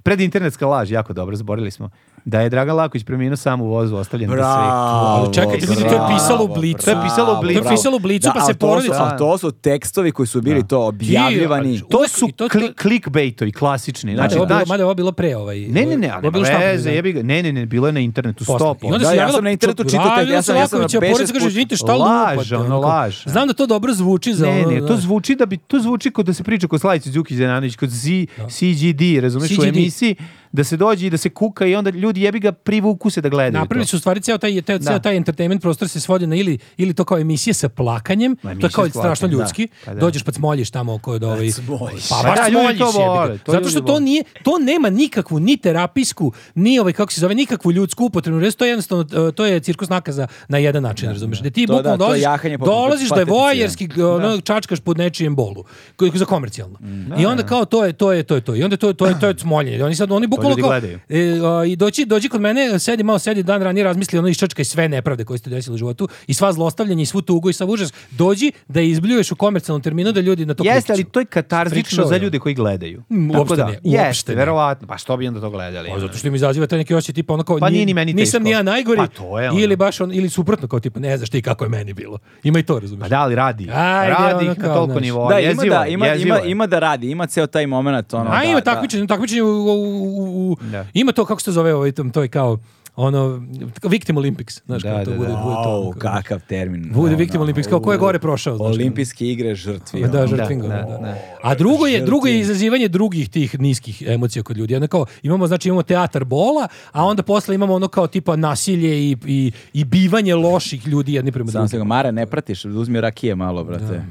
Speaker 3: Predinternetska laž, jako dobro, zaborili smo. Da je Dragan Laković preminuo sam u vozu, ostavljen bez svih.
Speaker 1: Bravo,
Speaker 2: Ali čekajte, ljudi, to je pisalo u
Speaker 1: bravo,
Speaker 2: Blicu.
Speaker 3: To je pisalo u Blicu.
Speaker 1: bravo.
Speaker 2: pisalo u Blicu, pa
Speaker 1: ali
Speaker 2: se
Speaker 1: to su-
Speaker 2: porodica-
Speaker 1: ali to su tekstovi koji su bili to objavljivani.
Speaker 2: Ti, Znači,
Speaker 3: To
Speaker 2: Uvek-
Speaker 3: su
Speaker 2: i to-
Speaker 3: kli- clickbaitovi klasični.
Speaker 2: Mada
Speaker 3: Znači,
Speaker 2: je ovo bilo,
Speaker 3: znaš-
Speaker 2: mada je ovo bilo pre ovaj.
Speaker 3: Ne,
Speaker 2: ovo
Speaker 3: ne, ne,
Speaker 2: je
Speaker 3: ali nema
Speaker 2: bilo štampano,
Speaker 3: veze,
Speaker 2: ne.
Speaker 3: jebi ga. Ne, ne, ne, bilo je na internetu,
Speaker 2: Posle.
Speaker 3: sto
Speaker 2: I onda
Speaker 1: Da,
Speaker 2: se
Speaker 1: ja
Speaker 2: javila-
Speaker 1: sam na internetu čitao, ja
Speaker 2: Javila se
Speaker 1: sam- ja sam
Speaker 2: Lakovića
Speaker 1: na
Speaker 2: porodica,
Speaker 1: 50
Speaker 2: kaže,
Speaker 1: puta-
Speaker 2: "Izvinite, šta
Speaker 3: Laž,
Speaker 2: lupate?"
Speaker 3: ono,
Speaker 2: Onako,
Speaker 3: laž.
Speaker 2: pa- Znam da to dobro zvuči za
Speaker 3: Ne,
Speaker 2: ono,
Speaker 3: ne, to
Speaker 2: znaš.
Speaker 3: zvuči da bi to zvuči kao da se priča kod Slavice Đukić Zenanović, kod Z, CGD, razumeš, u
Speaker 2: CGD.
Speaker 3: emisiji da se dođe i da se kuka i onda ljudi jebi ga privuku se da gledaju.
Speaker 2: Napravili
Speaker 3: to.
Speaker 2: su u stvari ceo taj, ceo,
Speaker 3: Da.
Speaker 2: taj entertainment prostor se svodi na ili, ili to kao emisije sa plakanjem,
Speaker 3: Ma,
Speaker 2: to je
Speaker 3: emisije
Speaker 2: kao
Speaker 3: s
Speaker 2: strašno
Speaker 3: plakanjem, da.
Speaker 2: ljudski,
Speaker 3: Pa da.
Speaker 2: dođeš pa smoljiš tamo kod ovaj...
Speaker 1: smoljiš.
Speaker 2: Pa
Speaker 3: Pa
Speaker 2: baš
Speaker 3: da, ljudi
Speaker 2: smoljiš,
Speaker 3: to
Speaker 2: jebi ga.
Speaker 3: vole, to
Speaker 2: Zato
Speaker 3: ljudi
Speaker 2: što to
Speaker 3: vole.
Speaker 2: nije, to nema nikakvu ni terapijsku, ni ovaj, kako se zove, nikakvu ljudsku upotrebnu res, to je jednostavno, e, to je cirkus nakaza na jedan način, razumiješ, da ti
Speaker 1: To da,
Speaker 2: bukvalno
Speaker 1: to je
Speaker 2: dolaziš,
Speaker 1: jahanje poput
Speaker 2: dolaziš da je
Speaker 1: patetice,
Speaker 2: vojerski, ono, čačkaš pod nečijem bolu, koji- za komercijalno.
Speaker 3: Mm,
Speaker 2: I onda kao to je, to je, to je, to je. I onda to je, to je, to je smoljenje. Oni sad, oni bukvalno
Speaker 3: ljudi
Speaker 2: kao-
Speaker 3: gledaju.
Speaker 2: E, a, I doći, dođi kod mene, sedi malo, sedi dan ranije, razmisli ono iščačkaj sve nepravde koje ste desile u životu i sva zlostavljanja i svu tugu i sav užas. Dođi da je izbljuješ u komercijalnom terminu da ljudi na to
Speaker 3: Jeste, ali
Speaker 2: pritiču.
Speaker 3: to je katarzično
Speaker 2: Freak show,
Speaker 3: za
Speaker 2: ja.
Speaker 3: ljude koji gledaju.
Speaker 2: Mm, uopšte ne,
Speaker 3: jeste,
Speaker 2: uopšte ne.
Speaker 3: verovatno. Pa što bi onda to gledali? ono?
Speaker 2: Pa, zato što im izaziva taj neki osjećaj tipa ono kao
Speaker 3: Pa
Speaker 2: ni-
Speaker 3: nije ni meni
Speaker 2: nisam
Speaker 3: teško.
Speaker 2: ni ja najgori
Speaker 3: Pa to je ono.
Speaker 2: ili baš on, ili suprotno kao tipa ne znaš ti kako je meni bilo. Ima i to razumiješ.
Speaker 3: Pa da, ali radi.
Speaker 2: Ajde,
Speaker 3: radi
Speaker 2: ono
Speaker 3: ih na
Speaker 2: kao,
Speaker 3: toliko
Speaker 2: znaš.
Speaker 3: nivoa.
Speaker 1: Da, ima,
Speaker 3: jezivo
Speaker 1: da,
Speaker 3: je,
Speaker 1: ima,
Speaker 3: jezivo
Speaker 1: ima,
Speaker 3: je.
Speaker 1: ima da radi, ima ceo taj moment. Ono,
Speaker 2: A
Speaker 1: da,
Speaker 2: ima
Speaker 1: da.
Speaker 2: takmičenje, takmičenje u, u- u- u-
Speaker 3: Da.
Speaker 2: ima to kako se zove ovaj tom, to je kao ono Victim Olympics, znaš
Speaker 3: Da,
Speaker 2: kako to
Speaker 3: da,
Speaker 2: bude,
Speaker 3: da.
Speaker 2: bude to.
Speaker 1: Au, kakav termin.
Speaker 2: Bude
Speaker 1: Ono,
Speaker 2: Victim Olympics, kao ko je gore prošao, znaš.
Speaker 1: Olimpijske igre žrtvi. ono.
Speaker 2: Da, žrtvinga,
Speaker 3: da,
Speaker 2: da, da.
Speaker 3: da.
Speaker 2: A drugo je, drugo je izazivanje drugih tih niskih emocija kod ljudi. Onda kao, imamo, znači, imamo teatar bola, a onda posle imamo ono kao tipa nasilje i, i, i bivanje loših ljudi jedni prema
Speaker 1: Samo se ga,
Speaker 2: drugim.
Speaker 1: Mare, ne pratiš, uzmi rakije malo, brate.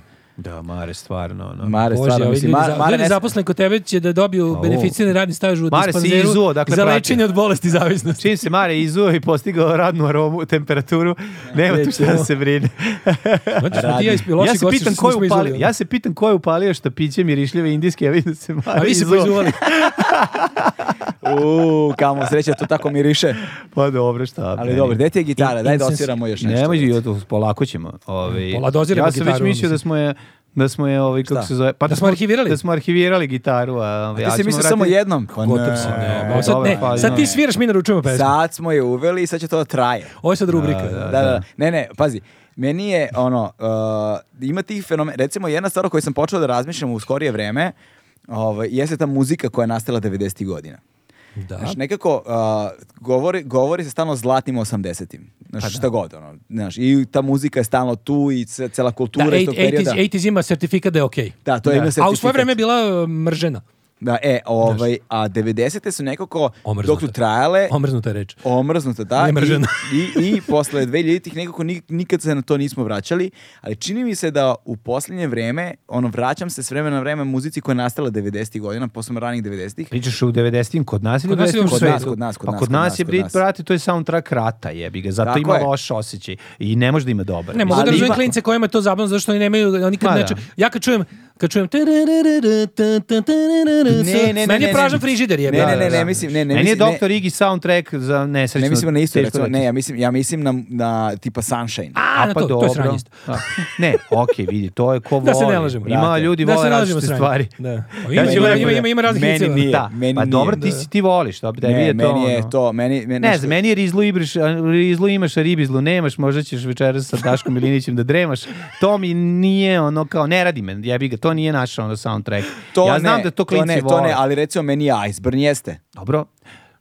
Speaker 3: Da, Mare, stvarno. Ono.
Speaker 1: Mare,
Speaker 2: Bože,
Speaker 1: stvarno,
Speaker 2: ovi
Speaker 1: mislim,
Speaker 2: ljudi,
Speaker 1: Mar-
Speaker 2: za-
Speaker 1: Mare
Speaker 2: ljudi
Speaker 1: ne-
Speaker 2: zaposleni kod tebe će da dobiju beneficirani radni staž u
Speaker 3: Mare, si
Speaker 2: dispanzeru
Speaker 3: izuo, dakle,
Speaker 2: za
Speaker 3: prati.
Speaker 2: lečenje od bolesti zavisnosti.
Speaker 3: Čim se Mare izuo i postigao radnu aromu, temperaturu, nema tu šta da se brine.
Speaker 2: Znači, smo ti i ja ispili
Speaker 3: ja
Speaker 2: loši
Speaker 3: se
Speaker 2: gosti
Speaker 3: pitam
Speaker 2: što
Speaker 3: ko je
Speaker 2: nismo
Speaker 3: upalio,
Speaker 2: izveli, ono.
Speaker 3: ja se pitam ko je upalio šta piće mirišljive indijske, ja vidim da se Mare
Speaker 2: A vi se
Speaker 3: izuo.
Speaker 2: poizuvali.
Speaker 1: Uuu, kamo sreća, to tako miriše.
Speaker 3: Pa dobro, šta.
Speaker 1: Ali
Speaker 3: meni.
Speaker 1: dobro, gde ti je gitara? Daj da
Speaker 2: Incense.
Speaker 1: osviramo još nešto.
Speaker 3: Nemoj i oto polako ćemo. Ovaj
Speaker 2: Pola doziramo
Speaker 3: ja sam već
Speaker 2: gitaru,
Speaker 3: mislio da smo je da smo je ovaj kako
Speaker 1: Šta?
Speaker 3: se zove, pa
Speaker 2: Da smo arhivirali?
Speaker 3: Da smo arhivirali gitaru, a ovaj,
Speaker 1: Ti
Speaker 3: ali
Speaker 1: si
Speaker 3: ćemo
Speaker 1: mislio samo
Speaker 3: vratiti-
Speaker 1: jednom? Pa
Speaker 2: Gotov si, ne. Ovo sad,
Speaker 3: Dobar,
Speaker 2: ne,
Speaker 3: hvala,
Speaker 2: sad ti
Speaker 3: ne.
Speaker 2: sviraš, mi naručujemo pesmu.
Speaker 1: Sad smo je uveli i sad će to da traje.
Speaker 2: Ovo je sad rubrika.
Speaker 1: da, da, da. Ne, ne, pazi. Meni je, ono, uh, ima tih fenomena. Recimo, jedna stvar o kojoj sam počeo da razmišljam u skorije vreme, ovaj, jeste ta muzika koja je nastala 90. godina.
Speaker 2: Da.
Speaker 1: Znaš, nekako uh, govori, govori se stalno o zlatnim 80-im. Znaš,
Speaker 2: Pa
Speaker 1: šta god, ono. Znaš, i ta muzika je stalno tu i ce- cela
Speaker 2: Da,
Speaker 1: kultura iz tog
Speaker 2: 80s,
Speaker 1: perioda.
Speaker 2: 80s ima sertifikat da je okej.
Speaker 1: Da, to je ima
Speaker 2: A u svoje
Speaker 1: sertifikat.
Speaker 2: vreme je bila uh, mržena.
Speaker 1: Da, e, ovaj, a 90. su nekako, dok
Speaker 2: Omrznuta.
Speaker 1: su trajale,
Speaker 2: Omrznuta je reč.
Speaker 1: omrznuta, da.
Speaker 2: Ne mržena.
Speaker 1: I, i, i posle 2000-ih nekako ni- nikad se na to nismo vraćali, ali čini mi se da u posljednje vreme, ono, vraćam se s vremena na vreme muzici koja je nastala 90-ih godina, posebno ranih 90-ih.
Speaker 3: Pričaš u 90-im kod nas ili
Speaker 2: Kod nas
Speaker 3: u
Speaker 2: ili u
Speaker 1: Kod nas,
Speaker 3: 90-im?
Speaker 1: kod nas, kod
Speaker 3: Pa
Speaker 1: nas,
Speaker 3: kod nas je,
Speaker 1: kod
Speaker 3: brit,
Speaker 1: nas.
Speaker 3: brate, to je soundtrack rata, jebi ga. Zato
Speaker 1: Tako
Speaker 3: ima
Speaker 1: je.
Speaker 3: loš osjećaj i ne može da ima dobar.
Speaker 2: Ne, mogu
Speaker 1: Ali
Speaker 2: da razumem
Speaker 1: ima-
Speaker 2: klince kojima je to zabavno, zašto oni nemaju, oni kad
Speaker 3: Ma
Speaker 2: ne
Speaker 3: da.
Speaker 2: čuju- ja kad čujem, kad čujem tararara, ta, ta, tararara,
Speaker 1: Ne, ne, ne,
Speaker 2: meni je
Speaker 1: ne,
Speaker 2: pražan
Speaker 1: ne.
Speaker 2: frižider je.
Speaker 1: Ne, ne, ne, ne, mislim, ne, ne,
Speaker 3: Meni je
Speaker 1: mislim, ne.
Speaker 3: Dr. Iggy soundtrack za nesrećno.
Speaker 1: Ne mislim na isto,
Speaker 3: teško
Speaker 1: recimo, ne,
Speaker 3: dete.
Speaker 1: ja mislim, ja mislim na, na tipa Sunshine.
Speaker 2: A, na to,
Speaker 3: pa
Speaker 2: to je
Speaker 3: dobro.
Speaker 2: sranje isto.
Speaker 3: Da. Ne, okej, vidi, to je ko
Speaker 2: Da se ne
Speaker 3: voli.
Speaker 2: lažemo,
Speaker 3: Ima
Speaker 1: brate.
Speaker 3: ljudi
Speaker 2: Da se
Speaker 3: vole
Speaker 2: ne lažemo,
Speaker 3: različite
Speaker 2: sranje.
Speaker 3: stvari.
Speaker 2: Da.
Speaker 3: Ja
Speaker 2: Ima-
Speaker 3: ću
Speaker 1: ima-
Speaker 3: lepo
Speaker 1: ima-
Speaker 3: da-
Speaker 2: ima- ima različitih
Speaker 1: Meni
Speaker 2: ciljeva.
Speaker 1: nije,
Speaker 3: Da,
Speaker 1: meni
Speaker 3: pa
Speaker 1: nije.
Speaker 3: dobro, ti, si- ti voliš, to, da
Speaker 1: Ne,
Speaker 3: bi je to.
Speaker 1: meni je
Speaker 3: ono.
Speaker 1: to, meni, meni
Speaker 3: Ne
Speaker 1: nešto-
Speaker 3: znam, meni je rizlu, ibriš, a, rizlu imaš, a ribizlu nemaš, možda ćeš večeras sa Daškom Milinićem da dremaš. To mi nije ono kao, ne radi me, jebi ga, to nije naš ono soundtrack.
Speaker 1: To
Speaker 3: ja
Speaker 1: ne,
Speaker 3: znam da to klinci
Speaker 1: ne, to
Speaker 3: vole.
Speaker 1: ne, ali recimo meni je Iceburn jeste.
Speaker 3: Dobro.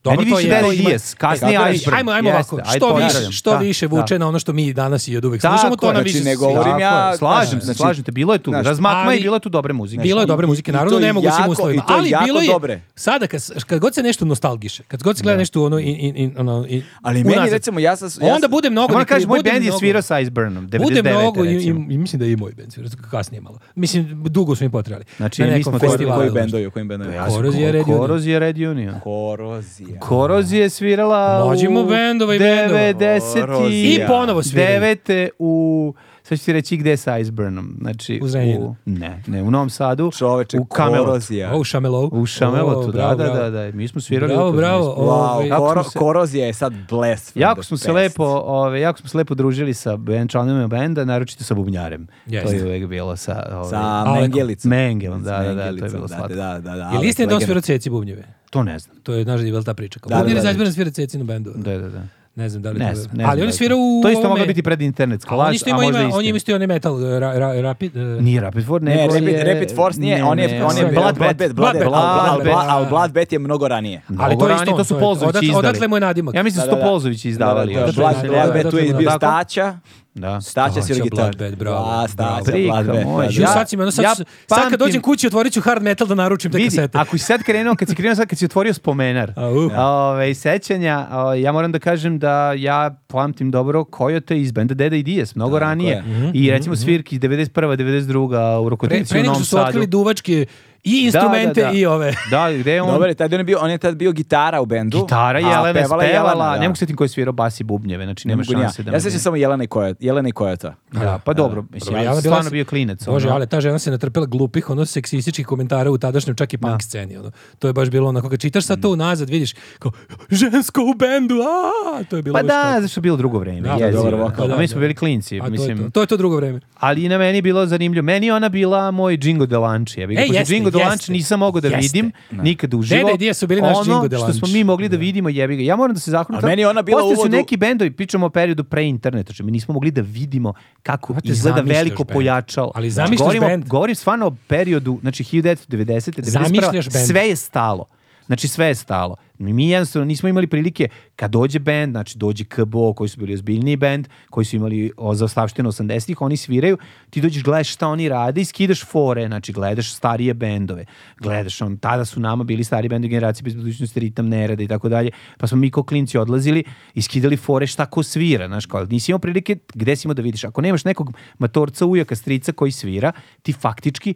Speaker 2: Dobro,
Speaker 3: meni
Speaker 2: to
Speaker 3: više
Speaker 2: je-
Speaker 3: Daddy
Speaker 2: to ima-
Speaker 3: Diaz, kasnije
Speaker 1: Kako da-
Speaker 3: Iceberg.
Speaker 2: Ajmo, ajmo
Speaker 3: Jeste,
Speaker 2: ovako,
Speaker 3: ajde,
Speaker 2: što više,
Speaker 3: pozdravljam.
Speaker 2: što
Speaker 3: Da,
Speaker 2: više
Speaker 3: da.
Speaker 2: vuče na ono što mi danas i od uvek
Speaker 3: Tako
Speaker 2: slušamo, to
Speaker 3: je, ovaj,
Speaker 2: nam
Speaker 1: znači,
Speaker 2: više
Speaker 1: ne
Speaker 2: se-
Speaker 1: govorim
Speaker 3: Tako
Speaker 1: ja,
Speaker 3: je, Slažem se,
Speaker 1: znači-
Speaker 3: slažem te, bilo je tu.
Speaker 1: Znaš,
Speaker 3: Razmakma
Speaker 2: ali-
Speaker 3: je bilo tu dobre muzike.
Speaker 2: Bilo je
Speaker 1: Znaš,
Speaker 2: dobre
Speaker 1: i-
Speaker 2: muzike,
Speaker 1: i to
Speaker 2: naravno
Speaker 1: je
Speaker 2: ne mogu u svim
Speaker 1: jako- i
Speaker 2: uslovima.
Speaker 1: to je
Speaker 2: Ali
Speaker 1: jako
Speaker 2: bilo je,
Speaker 1: dobre.
Speaker 2: sada kad, s- kad god se nešto nostalgiše, kad god se gleda nešto ono, in, in, in, ono in,
Speaker 1: Ali meni,
Speaker 2: unazad,
Speaker 1: recimo, ja sam- ja
Speaker 2: onda
Speaker 1: sam-
Speaker 2: bude mnogo...
Speaker 3: Moram
Speaker 2: neki-
Speaker 3: kažeš, moj
Speaker 2: bude
Speaker 3: bend je
Speaker 2: mnogo-
Speaker 3: svirao sa Iceburnom, 99.
Speaker 2: Bude mnogo, i,
Speaker 3: recimo.
Speaker 2: i- i mislim da je i moj bend, svirao, kasnije malo. Mislim, dugo smo im potrebali.
Speaker 3: Znači,
Speaker 2: Na
Speaker 3: mi
Speaker 2: nekom
Speaker 3: smo koji-
Speaker 2: festivalu,
Speaker 1: Koji
Speaker 2: znaš.
Speaker 1: bendovi, u kojim bendovi?
Speaker 2: sam- Korozija Red Union.
Speaker 3: Korozija Red Union.
Speaker 1: Korozija.
Speaker 3: Korozija je svirala
Speaker 2: Mlađimo
Speaker 3: u
Speaker 2: bendova i bendova.
Speaker 3: 90
Speaker 1: Korozija.
Speaker 2: I ponovo sviraju.
Speaker 3: Devete u sad ću ti reći gde sa Iceburnom. Znači,
Speaker 2: U Zrenjaninu.
Speaker 3: u- ne, ne, u Novom Sadu.
Speaker 1: Čoveče,
Speaker 3: u Kamelotu.
Speaker 1: Korozija.
Speaker 2: O, u Šamelovu.
Speaker 3: U Šamelotu,
Speaker 2: O,
Speaker 3: da,
Speaker 2: bravo,
Speaker 3: da,
Speaker 2: bravo.
Speaker 3: da, da. Mi smo svirali.
Speaker 2: Bravo,
Speaker 3: u tom
Speaker 2: bravo.
Speaker 3: mjestu.
Speaker 2: Ovaj,
Speaker 1: Wow,
Speaker 3: kako
Speaker 1: koro,
Speaker 3: smo se-
Speaker 1: korozija je sad bless. from
Speaker 3: Jako
Speaker 1: the
Speaker 3: smo se
Speaker 1: past.
Speaker 3: lepo, ove, jako smo se lepo družili sa band članovima benda, naročito sa bubnjarem. To
Speaker 2: Jeste.
Speaker 3: je uvek bilo sa, ove,
Speaker 1: Sa
Speaker 2: Alekom.
Speaker 1: Mengelicom.
Speaker 3: Mengelom, da,
Speaker 1: S
Speaker 3: da, da, to je
Speaker 1: Mengelicom,
Speaker 3: bilo slatko.
Speaker 1: Da, da, da.
Speaker 2: Je li
Speaker 1: Alek,
Speaker 2: istina da on
Speaker 1: legenda.
Speaker 2: svirao ceci bubnjeve?
Speaker 3: To ne znam.
Speaker 2: To je, znaš da je bila ta priča. Kao,
Speaker 1: Da,
Speaker 2: da,
Speaker 1: da,
Speaker 2: bubnjeve
Speaker 1: da.
Speaker 2: zajedno svira cecinu bendu.
Speaker 3: Da, da, da.
Speaker 2: Ne znam da li
Speaker 3: Ne
Speaker 2: to
Speaker 3: znam,
Speaker 2: je.
Speaker 3: ne
Speaker 2: Ali
Speaker 3: znam
Speaker 2: on
Speaker 3: da
Speaker 2: je
Speaker 3: li
Speaker 2: svirao u
Speaker 3: To isto
Speaker 2: ovome-
Speaker 3: moglo biti pred internet
Speaker 2: A on
Speaker 3: kolaž,
Speaker 2: isto
Speaker 3: a
Speaker 2: ima,
Speaker 3: možda
Speaker 2: ima,
Speaker 3: isti.
Speaker 2: on je isto i onaj metal, ra, ra, rapid... e,
Speaker 3: Nije Rapid Force,
Speaker 1: Ne,
Speaker 3: nego
Speaker 1: Rapid,
Speaker 3: je-
Speaker 1: Rapid Force nije,
Speaker 3: ne,
Speaker 1: on je,
Speaker 3: ne,
Speaker 1: on je
Speaker 2: Sve.
Speaker 1: bio Bloodbath,
Speaker 3: Bloodbath.
Speaker 1: Bloodbath,
Speaker 2: Bloodbath,
Speaker 1: al- al-
Speaker 2: Bloodbath,
Speaker 1: al-
Speaker 2: da.
Speaker 1: Bloodbath je mnogo ranije.
Speaker 2: Ali to je
Speaker 3: ranije,
Speaker 2: isto
Speaker 3: to
Speaker 2: on,
Speaker 3: su
Speaker 2: to je-
Speaker 3: Polzović
Speaker 2: odatle-
Speaker 3: izdali.
Speaker 2: odatle mu je nadimak.
Speaker 3: Ja mislim da
Speaker 1: Da, da,
Speaker 3: su to
Speaker 1: da.
Speaker 3: Polzović izdavali.
Speaker 1: Da, da,
Speaker 3: još.
Speaker 1: Blood-
Speaker 2: Da, da,
Speaker 1: Bloodbath
Speaker 2: da,
Speaker 1: tu
Speaker 2: da,
Speaker 1: je
Speaker 2: da,
Speaker 1: bio
Speaker 3: da.
Speaker 1: Staća.
Speaker 3: Da.
Speaker 1: Staća svira
Speaker 2: Staća,
Speaker 1: gitaru.
Speaker 2: Bloodbath, bravo.
Speaker 1: A, Staća,
Speaker 3: Bravo.
Speaker 1: Bloodbath.
Speaker 3: Brika moja.
Speaker 1: da,
Speaker 2: Ju,
Speaker 1: da.
Speaker 3: Ja-
Speaker 2: sad, si me, ono, sad,
Speaker 3: ja
Speaker 2: sad kad dođem
Speaker 3: pamtim-
Speaker 2: kući, otvorit ću hard metal da naručim te
Speaker 3: Vidi,
Speaker 2: kasete.
Speaker 3: ako si sad krenuo, kad si krenuo sad, kad si otvorio spomenar,
Speaker 2: A, u.
Speaker 3: ove, sećanja, o, ja moram da kažem da ja pamtim dobro Coyote iz benda Deda i Dijes, mnogo ranije.
Speaker 1: je.
Speaker 3: I recimo svirki 91. 92. u
Speaker 2: Pre,
Speaker 3: Rokotnici
Speaker 2: pre
Speaker 3: u
Speaker 2: nego
Speaker 3: Novom
Speaker 2: što su
Speaker 3: Sadu.
Speaker 2: otkrili duvačke i
Speaker 3: Da, da,
Speaker 2: instrumente
Speaker 3: da.
Speaker 2: i ove.
Speaker 3: Da, gde je on?
Speaker 1: Dobar je, tad on, je bio, on je tad bio gitara u bendu.
Speaker 3: Gitara
Speaker 1: a
Speaker 3: Jelena
Speaker 1: pevala je
Speaker 3: spevala,
Speaker 1: da.
Speaker 3: ne mogu se tim koji je svirao bas i bubnjeve, znači
Speaker 1: Ne
Speaker 3: nema
Speaker 1: mogu ni ja.
Speaker 3: šanse da...
Speaker 1: Ja
Speaker 3: me-
Speaker 1: sećam samo Jelena i Kojota. Jelena i Kojota.
Speaker 3: Da, pa dobro, mislim,
Speaker 2: Prvo,
Speaker 3: ja
Speaker 2: Jelena
Speaker 3: sam
Speaker 2: bila
Speaker 3: stvarno
Speaker 2: se-
Speaker 3: bio klinec.
Speaker 2: Bože,
Speaker 3: ono.
Speaker 2: ali ta žena se natrpela glupih, ono seksističkih komentara u tadašnjem čak i punk sceni. Ono. To je baš bilo onako, kad čitaš
Speaker 3: Mm.
Speaker 2: sad to unazad, vidiš kao, žensko u bendu, a to je bilo
Speaker 3: Pa
Speaker 2: baš
Speaker 3: da,
Speaker 2: tako.
Speaker 3: zašto je bilo drugo vreme.
Speaker 2: Da, da,
Speaker 3: jezivo.
Speaker 1: dobar vokal.
Speaker 3: A
Speaker 2: Da,
Speaker 3: mi smo
Speaker 2: da.
Speaker 3: bili
Speaker 2: A
Speaker 3: klinci,
Speaker 2: to, je to.
Speaker 3: mislim.
Speaker 2: to je to drugo vreme.
Speaker 3: Ali i na meni je bilo zanimljivo. Meni je ona bila moj Džingo Delanči. Ja bih
Speaker 2: E,
Speaker 3: ga- pošto
Speaker 2: jeste,
Speaker 3: Džingo Delanči
Speaker 2: jeste.
Speaker 3: nisam mogao da
Speaker 2: Jeste.
Speaker 3: vidim nikad uživo.
Speaker 2: Dede i Dija su bili naš Džingo
Speaker 3: Ono što
Speaker 2: Delanči.
Speaker 3: smo mi mogli da vidimo, jebi ga. Ja moram da se zahvalim.
Speaker 1: A meni je ona bila
Speaker 3: Postoje su
Speaker 1: uvod u-
Speaker 3: neki bendovi, pričamo o periodu pre interneta, znači mi nismo mogli da vidimo kako
Speaker 2: Brate,
Speaker 3: izgleda
Speaker 2: zamišljaš
Speaker 3: veliko
Speaker 2: bend.
Speaker 3: pojačalo.
Speaker 2: Ali
Speaker 3: Znači,
Speaker 2: zamišljaš
Speaker 3: govorimo-
Speaker 2: bend.
Speaker 3: Govorim stvarno o periodu, znači 1990.
Speaker 2: Zamišljaš
Speaker 3: 91.
Speaker 2: bend.
Speaker 3: Sve je stalo. Znači sve je stalo. Mi, mi jednostavno nismo imali prilike kad dođe bend, znači dođe KBO koji su bili ozbiljni bend, koji su imali o, za slavštinu 80-ih, oni sviraju, ti dođeš gledaš šta oni rade i skidaš fore, znači gledaš starije bendove, gledaš on, tada su nama bili stari bendovi generacije bez budućnosti, ritam nerada i tako dalje, pa smo mi kao klinci odlazili i skidali fore šta ko svira, znaš, kao, nisi imao prilike gde si imao da vidiš, ako nemaš nekog matorca, ujaka, strica koji svira, ti faktički,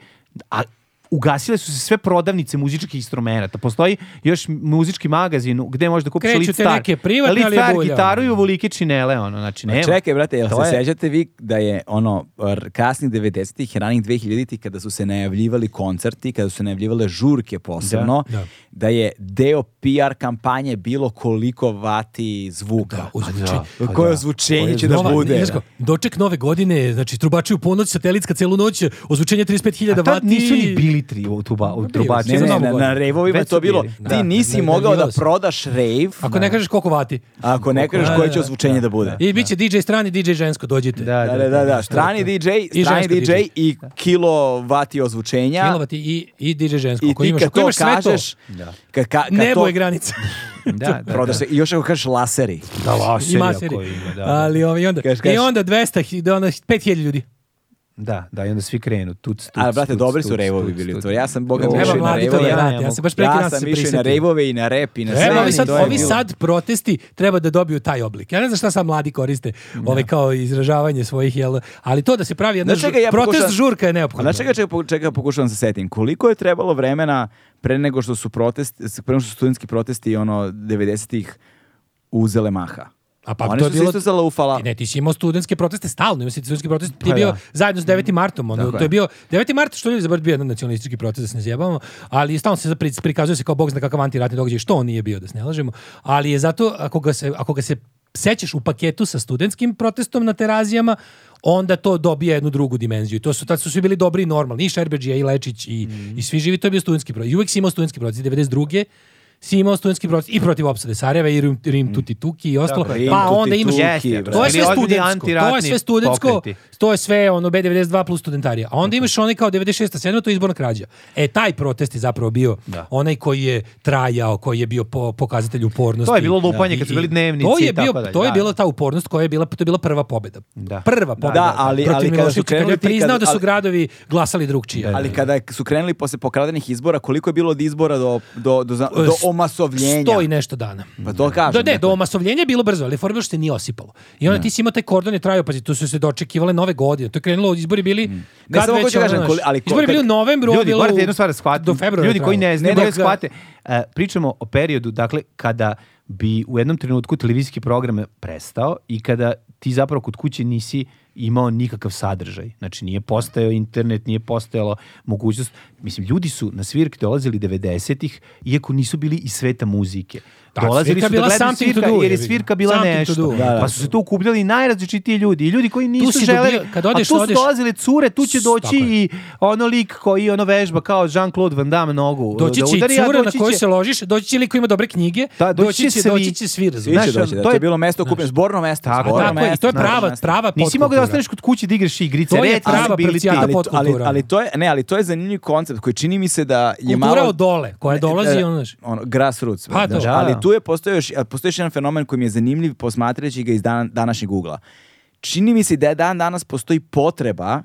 Speaker 3: a ugasile su se sve prodavnice muzičkih instrumenta. Postoji još muzički magazin u- gde možeš da kupiš
Speaker 2: Kreću
Speaker 3: lead
Speaker 2: te
Speaker 3: star.
Speaker 2: neke privatne,
Speaker 3: Lead
Speaker 2: ali je
Speaker 3: star,
Speaker 2: bulja,
Speaker 3: gitaru i
Speaker 2: ono.
Speaker 3: ovolike činele, ono, znači nema.
Speaker 1: Čekaj, brate, jel
Speaker 3: To
Speaker 1: se
Speaker 3: je-
Speaker 1: sećate vi da je ono r- kasnih 90-ih, ranih 2000-ih kada su se najavljivali koncerti, kada su se najavljivale žurke posebno, da,
Speaker 2: Da.
Speaker 1: je deo PR kampanje bilo koliko vati zvuka.
Speaker 2: Da, uz- znači,
Speaker 1: koje ozvučenje će Znači da
Speaker 2: Nova-
Speaker 1: bude.
Speaker 2: znaš ko, doček nove godine, znači trubači u ponoć, satelitska celu noć, ozvučenje 35.000
Speaker 3: A
Speaker 2: vati.
Speaker 3: tad nisu ni bili tri u, tuba, u
Speaker 2: Bili
Speaker 3: trubači.
Speaker 2: su,
Speaker 1: Ne, ne,
Speaker 2: Za
Speaker 1: ne,
Speaker 2: novu
Speaker 1: na,
Speaker 2: godinu.
Speaker 1: na rejvovima je
Speaker 3: Znači, Već
Speaker 1: to
Speaker 3: su
Speaker 1: bilo.
Speaker 3: bili.
Speaker 1: Ti
Speaker 2: Da,
Speaker 1: nisi
Speaker 2: ne,
Speaker 1: mogao da
Speaker 2: najavljivalo se.
Speaker 1: prodaš rejv
Speaker 2: Ako ne kažeš koliko vati.
Speaker 1: ako ne kažeš
Speaker 2: Da,
Speaker 1: koje
Speaker 2: da,
Speaker 1: će
Speaker 2: da.
Speaker 1: ozvučenje da bude.
Speaker 2: I bit će DJ strani, DJ žensko, dođite.
Speaker 3: Da,
Speaker 1: Da, da, da, da. Strani DJ, strani
Speaker 2: žensko
Speaker 1: DJ
Speaker 2: DJ.
Speaker 1: i kilovati ozvučenja.
Speaker 2: Kilovati i, i DJ žensko.
Speaker 1: I
Speaker 2: Ako
Speaker 1: ti
Speaker 2: imaš,
Speaker 1: kad
Speaker 2: ako
Speaker 1: to
Speaker 2: imaš sve to,
Speaker 1: kažeš, kad, ka, kad
Speaker 2: nebo
Speaker 1: to
Speaker 2: je granica.
Speaker 3: da, da,
Speaker 1: prodaš se. I još ako kažeš laseri.
Speaker 3: da, laser
Speaker 2: Ima
Speaker 3: je
Speaker 2: serije.
Speaker 3: koji ima, da, da,
Speaker 2: Ali ovaj, i onda,
Speaker 1: Kaš, kaš.
Speaker 2: i onda 200, hi- da, ono, 5000 ljudi.
Speaker 3: da, da, i onda svi krenu, tuc, tuc,
Speaker 1: Ali, brate,
Speaker 3: tuc,
Speaker 1: dobri
Speaker 3: tuc,
Speaker 1: su rejvovi
Speaker 3: tuc,
Speaker 1: bili.
Speaker 3: tuc.
Speaker 1: To ja sam, boga,
Speaker 3: Jo,
Speaker 1: mi
Speaker 2: Treba
Speaker 1: išao i na
Speaker 2: mladi to
Speaker 1: rejvove.
Speaker 2: da
Speaker 3: ja ne
Speaker 2: rade. Ja
Speaker 3: mogu.
Speaker 2: sam baš preki
Speaker 1: Ja
Speaker 2: dan se
Speaker 1: sam išao i
Speaker 2: prisetio.
Speaker 1: na rejvove i na rep i na sve.
Speaker 2: Evo,
Speaker 1: i
Speaker 2: ovi sad,
Speaker 1: E, to je
Speaker 2: ovi
Speaker 1: bilo.
Speaker 2: sad protesti treba da dobiju taj oblik. Ja ne znam šta sad mladi koriste, ovaj kao izražavanje svojih, jel, ali to da se pravi jedna
Speaker 1: Znaš čega
Speaker 2: žu-
Speaker 1: ja
Speaker 2: protest
Speaker 1: pokušavam-
Speaker 2: žurka je
Speaker 1: A
Speaker 2: neophodno.
Speaker 1: znaš čega, čega, po- čega pokušavam se setim? Koliko je trebalo vremena pre nego što su protest, pre nego što su studentski protesti ono 90-ih uzele maha?
Speaker 2: A pa
Speaker 1: Oni
Speaker 2: to je
Speaker 1: su se
Speaker 2: bilo-
Speaker 1: isto zalaufala.
Speaker 2: Ti Ne, ti si imao studentske proteste stalno, imao si studentski protest, ti je
Speaker 3: Pa
Speaker 2: bio
Speaker 3: da.
Speaker 2: zajedno s 9. martom, ono,
Speaker 1: Tako
Speaker 2: to
Speaker 1: je.
Speaker 2: je bio 9. mart što ljudi zaboravili bio jedan nacionalistički protest, da se ne zjebavamo, ali stalno se zapri- prikazuje se kao bog zna kakav antiratni događaj, što on nije bio, da se ne lažemo, ali je zato, ako ga se, ako ga se sećaš u paketu sa studentskim protestom na terazijama, onda to dobija jednu drugu dimenziju. I to su, tad su svi bili dobri i normalni, i Šerbeđija, i Lečić, i,
Speaker 1: Mhm.
Speaker 2: i svi živi, to je bio studentski protest. I uvek si imao studentski protest, I 92 si imao studentski protest i protiv opsade Sarajeva i Rim, Rim Tuti Tuki i ostalo.
Speaker 3: Tako
Speaker 1: Mhm. je.
Speaker 2: pa
Speaker 1: Rim
Speaker 2: onda
Speaker 1: Tuti
Speaker 2: imaš
Speaker 1: Tuki.
Speaker 3: Jeste,
Speaker 1: brate.
Speaker 2: to je sve
Speaker 3: Ili ozbiljni
Speaker 2: studentsko, to je
Speaker 3: antiratni
Speaker 2: sve studentsko,
Speaker 3: pokreti.
Speaker 2: to je sve ono B92 plus studentarija. A onda imaš onaj kao 96. 7. to je izborna krađa. E, taj protest je zapravo bio onaj koji je trajao, koji je bio po, pokazatelj upornosti.
Speaker 3: To je bilo lupanje
Speaker 2: I-
Speaker 3: kad su
Speaker 2: i-
Speaker 3: bili dnevnici
Speaker 2: To je,
Speaker 3: i tako
Speaker 2: bio,
Speaker 3: dalje,
Speaker 2: to je
Speaker 3: da.
Speaker 2: bila ta upornost koja je bila, to je bila prva pobeda.
Speaker 3: Da.
Speaker 2: Prva pobeda.
Speaker 1: da, ali-
Speaker 2: protiv
Speaker 1: ali kada su
Speaker 2: Miloševića, kad
Speaker 1: krenuli
Speaker 2: je
Speaker 1: ti-
Speaker 2: priznao
Speaker 1: kad-
Speaker 2: da su
Speaker 1: ali-
Speaker 2: gradovi glasali drugčije.
Speaker 1: Ali kada su krenuli posle pokradenih izbora, koliko je bilo od izbora do, do, do, za- do omasovljenja?
Speaker 2: Sto i nešto dana.
Speaker 1: Pa to kažem.
Speaker 2: Da, ne,
Speaker 1: dakle.
Speaker 2: do omasovljenja je bilo brzo, ali fora je bilo što se nije osipalo. I onda ti si imao taj kordon je trajao, pazi, tu su se dočekivale nove godine. To je krenulo, izbori bili...
Speaker 1: Ne,
Speaker 2: Kad
Speaker 1: samo
Speaker 2: već,
Speaker 1: hoću
Speaker 2: ono,
Speaker 1: kažem,
Speaker 2: znaš,
Speaker 1: koli- ali ko-
Speaker 2: izbori bili u
Speaker 1: kad-
Speaker 2: novembru,
Speaker 3: ljudi,
Speaker 2: bilo...
Speaker 3: morate
Speaker 2: u-
Speaker 3: jednu stvar da shvatite.
Speaker 2: Do februara.
Speaker 3: Ljudi koji ne
Speaker 2: trajalo.
Speaker 3: znaju,
Speaker 1: Ne,
Speaker 3: moraju da
Speaker 1: dok ga-
Speaker 3: shvate. E, pričamo o periodu, dakle, kada bi u jednom trenutku televizijski program prestao i kada ti zapravo kod kuće nisi imao nikakav sadržaj. Znači, nije postojao internet, nije postojalo mogućnost. Mislim, ljudi su na svirke dolazili 90-ih, iako nisu bili iz sveta muzike.
Speaker 2: Da,
Speaker 3: dolazili
Speaker 2: svirka
Speaker 3: su da
Speaker 2: bila
Speaker 3: gledaju
Speaker 2: something to
Speaker 3: svirka,
Speaker 2: do,
Speaker 3: jer je
Speaker 2: jebi ga.
Speaker 3: svirka bila
Speaker 2: Something to
Speaker 3: nešto.
Speaker 2: do. Da,
Speaker 1: da.
Speaker 3: Pa su se tu ukupljali najrazličitiji ljudi. I ljudi koji nisu
Speaker 2: si
Speaker 3: želeli,
Speaker 2: dobio- kad odeš,
Speaker 3: a tu su
Speaker 2: odeš-
Speaker 3: dolazili cure, tu će
Speaker 2: S-
Speaker 3: doći
Speaker 2: tako je.
Speaker 3: i ono lik koji ono vežba kao Jean-Claude Van Damme nogu
Speaker 2: Doći
Speaker 3: da
Speaker 2: će
Speaker 3: udari,
Speaker 2: i
Speaker 3: a
Speaker 2: cura na
Speaker 3: doći
Speaker 2: koju
Speaker 3: će-
Speaker 2: se ložiš, doći će ili koji ima dobre knjige,
Speaker 3: Da, doći
Speaker 2: doći
Speaker 3: će
Speaker 2: će,
Speaker 3: svi.
Speaker 2: doći će svi,
Speaker 1: Svi
Speaker 2: razumiješ?
Speaker 1: će
Speaker 3: Znaš,
Speaker 1: doći, da.
Speaker 3: to
Speaker 1: To je
Speaker 3: je-
Speaker 1: bilo mesto okupljeno, zborno mesto.
Speaker 3: Tako,
Speaker 1: zborno
Speaker 2: Tako je, i
Speaker 1: mesto,
Speaker 2: to je
Speaker 1: znaš,
Speaker 2: prava,
Speaker 1: znaš.
Speaker 2: prava
Speaker 3: Nisi mogao da
Speaker 2: potkultura.
Speaker 3: ostaneš kod kuće da igraš igrice.
Speaker 2: To je
Speaker 3: retro
Speaker 2: prava
Speaker 3: su bili ti.
Speaker 2: parcijata
Speaker 1: ali, to- ali,
Speaker 2: potkultura.
Speaker 1: ali to je, ne, ali to je zanimljiv koncept koji čini mi se da je
Speaker 2: Kultura
Speaker 1: malo...
Speaker 2: od dole, koja dolazi,
Speaker 1: E,
Speaker 2: ono, znaš.
Speaker 1: ono, grassroots.
Speaker 2: Pa,
Speaker 1: znaš,
Speaker 2: to.
Speaker 1: ali
Speaker 3: Da.
Speaker 1: tu je postoji još, a, postoji još jedan fenomen koji mi je zanimljiv posmatrajući ga iz dan, današnjeg ugla. Čini mi se da je dan danas postoji potreba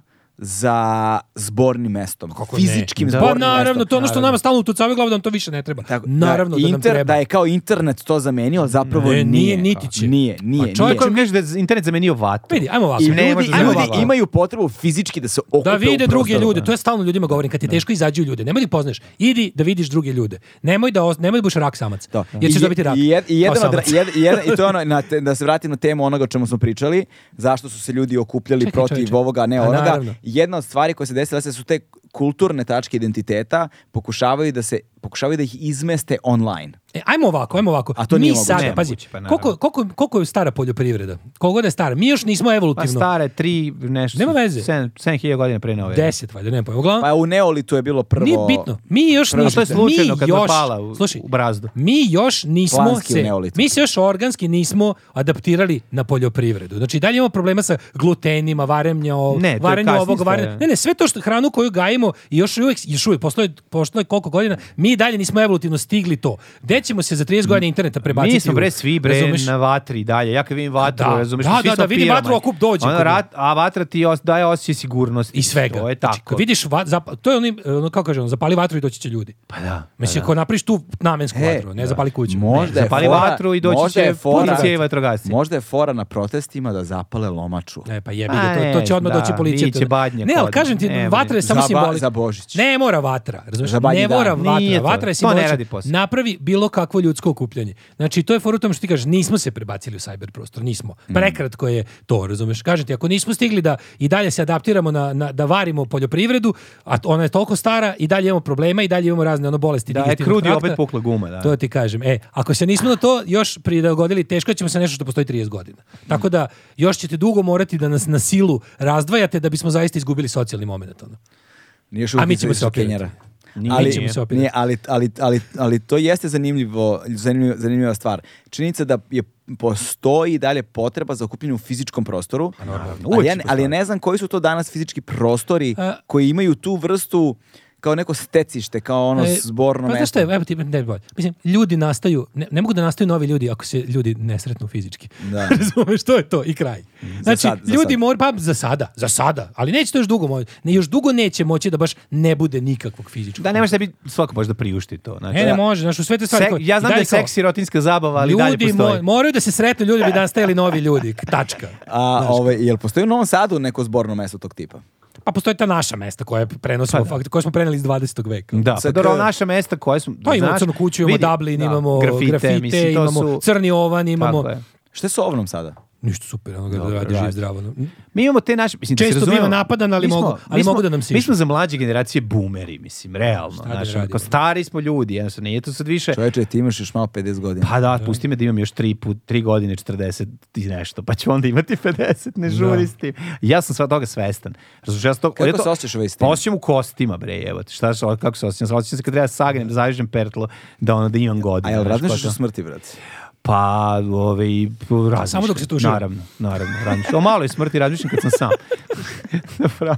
Speaker 1: za zbornim mestom,
Speaker 2: Kako ne?
Speaker 1: fizičkim
Speaker 2: Pa
Speaker 1: zbornim
Speaker 2: naravno,
Speaker 1: mestom.
Speaker 2: to je ono što nama stalno utucavaju glavu da nam to više ne treba.
Speaker 1: Tako,
Speaker 2: naravno da, nam
Speaker 1: inter-
Speaker 2: treba.
Speaker 1: Da je kao internet to zamenio, ali zapravo
Speaker 2: Ne, nije,
Speaker 1: nije.
Speaker 2: niti će.
Speaker 1: Nije, nije,
Speaker 2: Pa
Speaker 1: nije.
Speaker 2: čovjek
Speaker 3: Ako mi kažeš da je internet zamenio vatu.
Speaker 2: Vidi, ajmo ovako.
Speaker 1: I
Speaker 3: ne
Speaker 1: ljudi,
Speaker 3: može da
Speaker 1: ljudi
Speaker 3: zadovoljava.
Speaker 1: imaju potrebu fizički da se okupe
Speaker 2: Da
Speaker 1: u
Speaker 2: vide druge
Speaker 1: prostoru.
Speaker 2: ljude, to ja stalno ljudima govorim, kad ti je teško izađu ljude, nemoj da ih poznaš, idi da vidiš druge ljude. Nemoj da, os- nemoj da budeš rak samac,
Speaker 1: Da.
Speaker 2: jer ćeš
Speaker 1: I-
Speaker 2: dobiti Pa rak.
Speaker 1: I, jed- i
Speaker 2: kao
Speaker 1: jedan od,
Speaker 2: samac.
Speaker 1: ra- jed- jedan- i to je ono, na te- da se vratim na temu onoga o čemu smo pričali, zašto su se ljudi okupljali
Speaker 2: Čekaj,
Speaker 1: protiv
Speaker 2: čovječe.
Speaker 1: ovoga, ne
Speaker 2: Pa,
Speaker 1: onoga.
Speaker 2: naravno.
Speaker 1: Jedna od stvari koja se desila se su te kulturne tačke identiteta pokušavaju da se pokušavaju da ih izmeste online.
Speaker 2: E, ajmo ovako, ajmo ovako.
Speaker 1: A to
Speaker 2: mi
Speaker 1: nije moguće.
Speaker 2: sada,
Speaker 1: Nemoguće,
Speaker 2: pazi,
Speaker 3: pa naravno.
Speaker 2: koliko, koliko, koliko je stara poljoprivreda? Koliko god je stara? Mi još nismo
Speaker 3: Pa
Speaker 2: evolutivno.
Speaker 3: stare, tri, nešto.
Speaker 2: Nema veze.
Speaker 3: 7000 godina pre nove.
Speaker 2: 10 valjda, nema pojma. Uglavnom,
Speaker 1: Pa u Neolitu je bilo prvo...
Speaker 2: Nije bitno. Mi još
Speaker 1: Prvo,
Speaker 2: nismo.
Speaker 1: to je
Speaker 3: slučajno
Speaker 2: mi
Speaker 3: kad
Speaker 2: još,
Speaker 3: napala u-
Speaker 2: slušaj,
Speaker 3: u brazdu.
Speaker 2: Mi još nismo
Speaker 1: Planski u
Speaker 2: se,
Speaker 1: neolitu.
Speaker 2: mi se još organski nismo adaptirali na poljoprivredu. Znači dalje imamo problema sa glutenima, varenja, o,
Speaker 3: Ne, to je
Speaker 2: varenja
Speaker 3: kasnije
Speaker 2: ovog, varenja.
Speaker 3: stvar,
Speaker 2: Ne,
Speaker 3: ja.
Speaker 2: ne, sve to što hranu koju gajimo živimo i još uvijek, još uvijek, postoje, postoje koliko godina, mi i dalje nismo evolutivno stigli to. Gde ćemo se za 30 godina interneta prebaciti?
Speaker 3: Mi smo
Speaker 2: u-
Speaker 3: bre svi bre
Speaker 2: razumeš?
Speaker 3: na vatri dalje. Ja kad vidim vatru,
Speaker 2: Da.
Speaker 3: razumeš,
Speaker 2: Da,
Speaker 3: svi
Speaker 2: da,
Speaker 3: smo
Speaker 2: da, vidim
Speaker 3: piromani.
Speaker 2: vatru, a kup dođe
Speaker 3: Ono,
Speaker 2: kod mene.
Speaker 3: rat- a vatra ti os, daje osjećaj sigurnosti.
Speaker 2: i svega.
Speaker 3: To je
Speaker 2: Znači,
Speaker 3: tako.
Speaker 2: kad vidiš, va, zap- to je oni, ono, kako kažem, zapali vatru i doći će ljudi. Pa da. Mislim, ako napriš tu namensku
Speaker 1: E,
Speaker 2: vatru, ne zapali kuću.
Speaker 1: Možda je
Speaker 3: Zapali
Speaker 1: fora,
Speaker 3: vatru i doći
Speaker 1: možda
Speaker 3: će
Speaker 1: je fora-
Speaker 3: policija i vatrogasci.
Speaker 1: Možda je fora na protestima da zapale lomaču.
Speaker 2: Ne, pa jebi
Speaker 3: Pa
Speaker 2: ga, to, to će
Speaker 3: ne,
Speaker 2: odmah doći
Speaker 3: da,
Speaker 2: policija.
Speaker 3: biće badnja
Speaker 2: ne, ali
Speaker 3: kod nas.
Speaker 2: kažem ti,
Speaker 3: Ne, ne.
Speaker 2: vatra je samo
Speaker 1: Za ba-
Speaker 2: simbolika.
Speaker 1: za Božić.
Speaker 2: Ne mora vatra, razumiješ?
Speaker 1: Za badnji
Speaker 2: Ne mora
Speaker 1: dan.
Speaker 2: vatra,
Speaker 3: Nije to.
Speaker 2: vatra je
Speaker 3: To ne
Speaker 2: simbolična.
Speaker 3: radi posao.
Speaker 2: Napravi bilo kakvo ljudsko okupljanje. Znači, to je for u tom što ti kažeš, nismo se prebacili u cyber prostor, nismo.
Speaker 3: Mm.
Speaker 2: Prekratko je to, razumiješ? Kažem ti, ako nismo stigli da i dalje se adaptiramo na, na- da varimo poljoprivredu, a t- ona je toliko stara i dalje imamo problema i dalje imamo razne ono bolesti
Speaker 3: Da, je
Speaker 2: digestivnog
Speaker 3: krudi
Speaker 2: trakta.
Speaker 3: opet pukla guma, da.
Speaker 2: To ti kažem. E, ako se nismo na to još prilagodili, teško ćemo se nešto što postoji 30 godina. Tako da još ćete dugo morati da nas na silu razdvajate da bismo zaista izgubili socijalni moment. Ono.
Speaker 1: Nije još
Speaker 2: A
Speaker 1: uvijek
Speaker 2: mi ćemo
Speaker 1: iz- iz
Speaker 2: se opirati.
Speaker 1: Kenjera.
Speaker 3: Nije.
Speaker 1: ali,
Speaker 2: Mi ćemo se opirati.
Speaker 1: nije, ali, ali, ali, ali to jeste zanimljivo, zanimljiva, zanimljiva stvar. Činjenica da je postoji i dalje potreba za okupljanje u fizičkom prostoru,
Speaker 2: Pa
Speaker 1: ali, ja, ne- ali ne znam koji su to danas fizički prostori
Speaker 2: A-
Speaker 1: koji imaju tu vrstu kao neko stecište, kao ono
Speaker 2: E,
Speaker 1: zborno
Speaker 2: pa, znaš
Speaker 1: mesto.
Speaker 2: šta je, evo ti, ne, bolje. Mislim, ljudi nastaju, ne, ne mogu da nastaju novi ljudi ako se ljudi ne sretnu fizički.
Speaker 1: Da.
Speaker 2: Razumeš, to je to i kraj. Znači,
Speaker 1: sad, za
Speaker 2: ljudi
Speaker 1: sad.
Speaker 2: moraju, pa za sada, za sada, ali neće to još dugo moći. Ne, još dugo neće moći da baš ne bude nikakvog fizičkog.
Speaker 3: Da, ne može sebi svako može da priušti to. Znači,
Speaker 2: E, ne
Speaker 3: da.
Speaker 2: može, znaš, u sve te stvari.
Speaker 3: Se-
Speaker 2: koje-
Speaker 3: ja znam
Speaker 2: i
Speaker 3: da je
Speaker 2: dalje kao-
Speaker 3: seksi rotinska zabava, ali dalje
Speaker 2: ljudi
Speaker 3: postoji.
Speaker 2: mo- moraju da se sretnu ljudi bi danas stajali novi ljudi. k- Tačka.
Speaker 1: A, ovaj, jel postoji u Novom Sadu neko zborno mesto tog tipa?
Speaker 2: Pa postoje ta naša mesta koje prenosimo, fakt, koje smo preneli iz 20. veka.
Speaker 3: Pa Da, pa
Speaker 1: Sad,
Speaker 3: dobro,
Speaker 1: e,
Speaker 3: naša mesta koja su...
Speaker 2: Pa imamo
Speaker 3: znaš,
Speaker 2: crnu kuću, imamo
Speaker 3: vidi,
Speaker 2: Dublin,
Speaker 3: da,
Speaker 2: imamo grafite,
Speaker 3: mislim, to
Speaker 2: imamo
Speaker 3: su-
Speaker 2: crni ovan, imamo...
Speaker 3: Tako je.
Speaker 1: Šta je sa ovnom sada?
Speaker 2: Ništa super, ono ga
Speaker 3: Dobro,
Speaker 2: radi živ
Speaker 3: radi. Pa
Speaker 2: zdravo. no.
Speaker 3: Mi imamo te naše, mislim, da se
Speaker 2: Često
Speaker 3: razumemo,
Speaker 2: biva napadan, ali
Speaker 3: mi smo-
Speaker 2: mogu- ali
Speaker 3: mi smo-
Speaker 2: mogu da nam sišu.
Speaker 3: Mi smo za mlađe generacije boomeri, mislim, realno.
Speaker 2: da
Speaker 3: Znaš,
Speaker 2: radimo?
Speaker 3: onako, stari smo ljudi, jednostavno, nije to sad više...
Speaker 1: Čoveče, ti imaš još malo 50 godina.
Speaker 3: Pa da, pusti me da imam još tri, put, tri godine 40 i nešto, pa ću onda imati 50, ne žuri s tim. Ja sam sva toga svestan. Razumiješ, ja sam to,
Speaker 1: Kako
Speaker 3: ja to-
Speaker 1: se osjećaš ovaj s tim?
Speaker 3: Pa osjećam u kostima, bre, evo. ti, Šta, šta, kako se osjećam? Osjećam se kad treba da sagnem, da zavižem pertlo, da ono, da imam
Speaker 1: A
Speaker 3: godine.
Speaker 1: jel
Speaker 3: znaš,
Speaker 1: razmišljaš
Speaker 3: ko
Speaker 1: o
Speaker 3: to-
Speaker 1: smrti, brat?
Speaker 3: Pa, ovaj, razmišljam.
Speaker 2: Samo dok se tužira.
Speaker 3: Naravno, naravno. Razmišljam. O maloj smrti razmišljam kad sam sam. Napravo.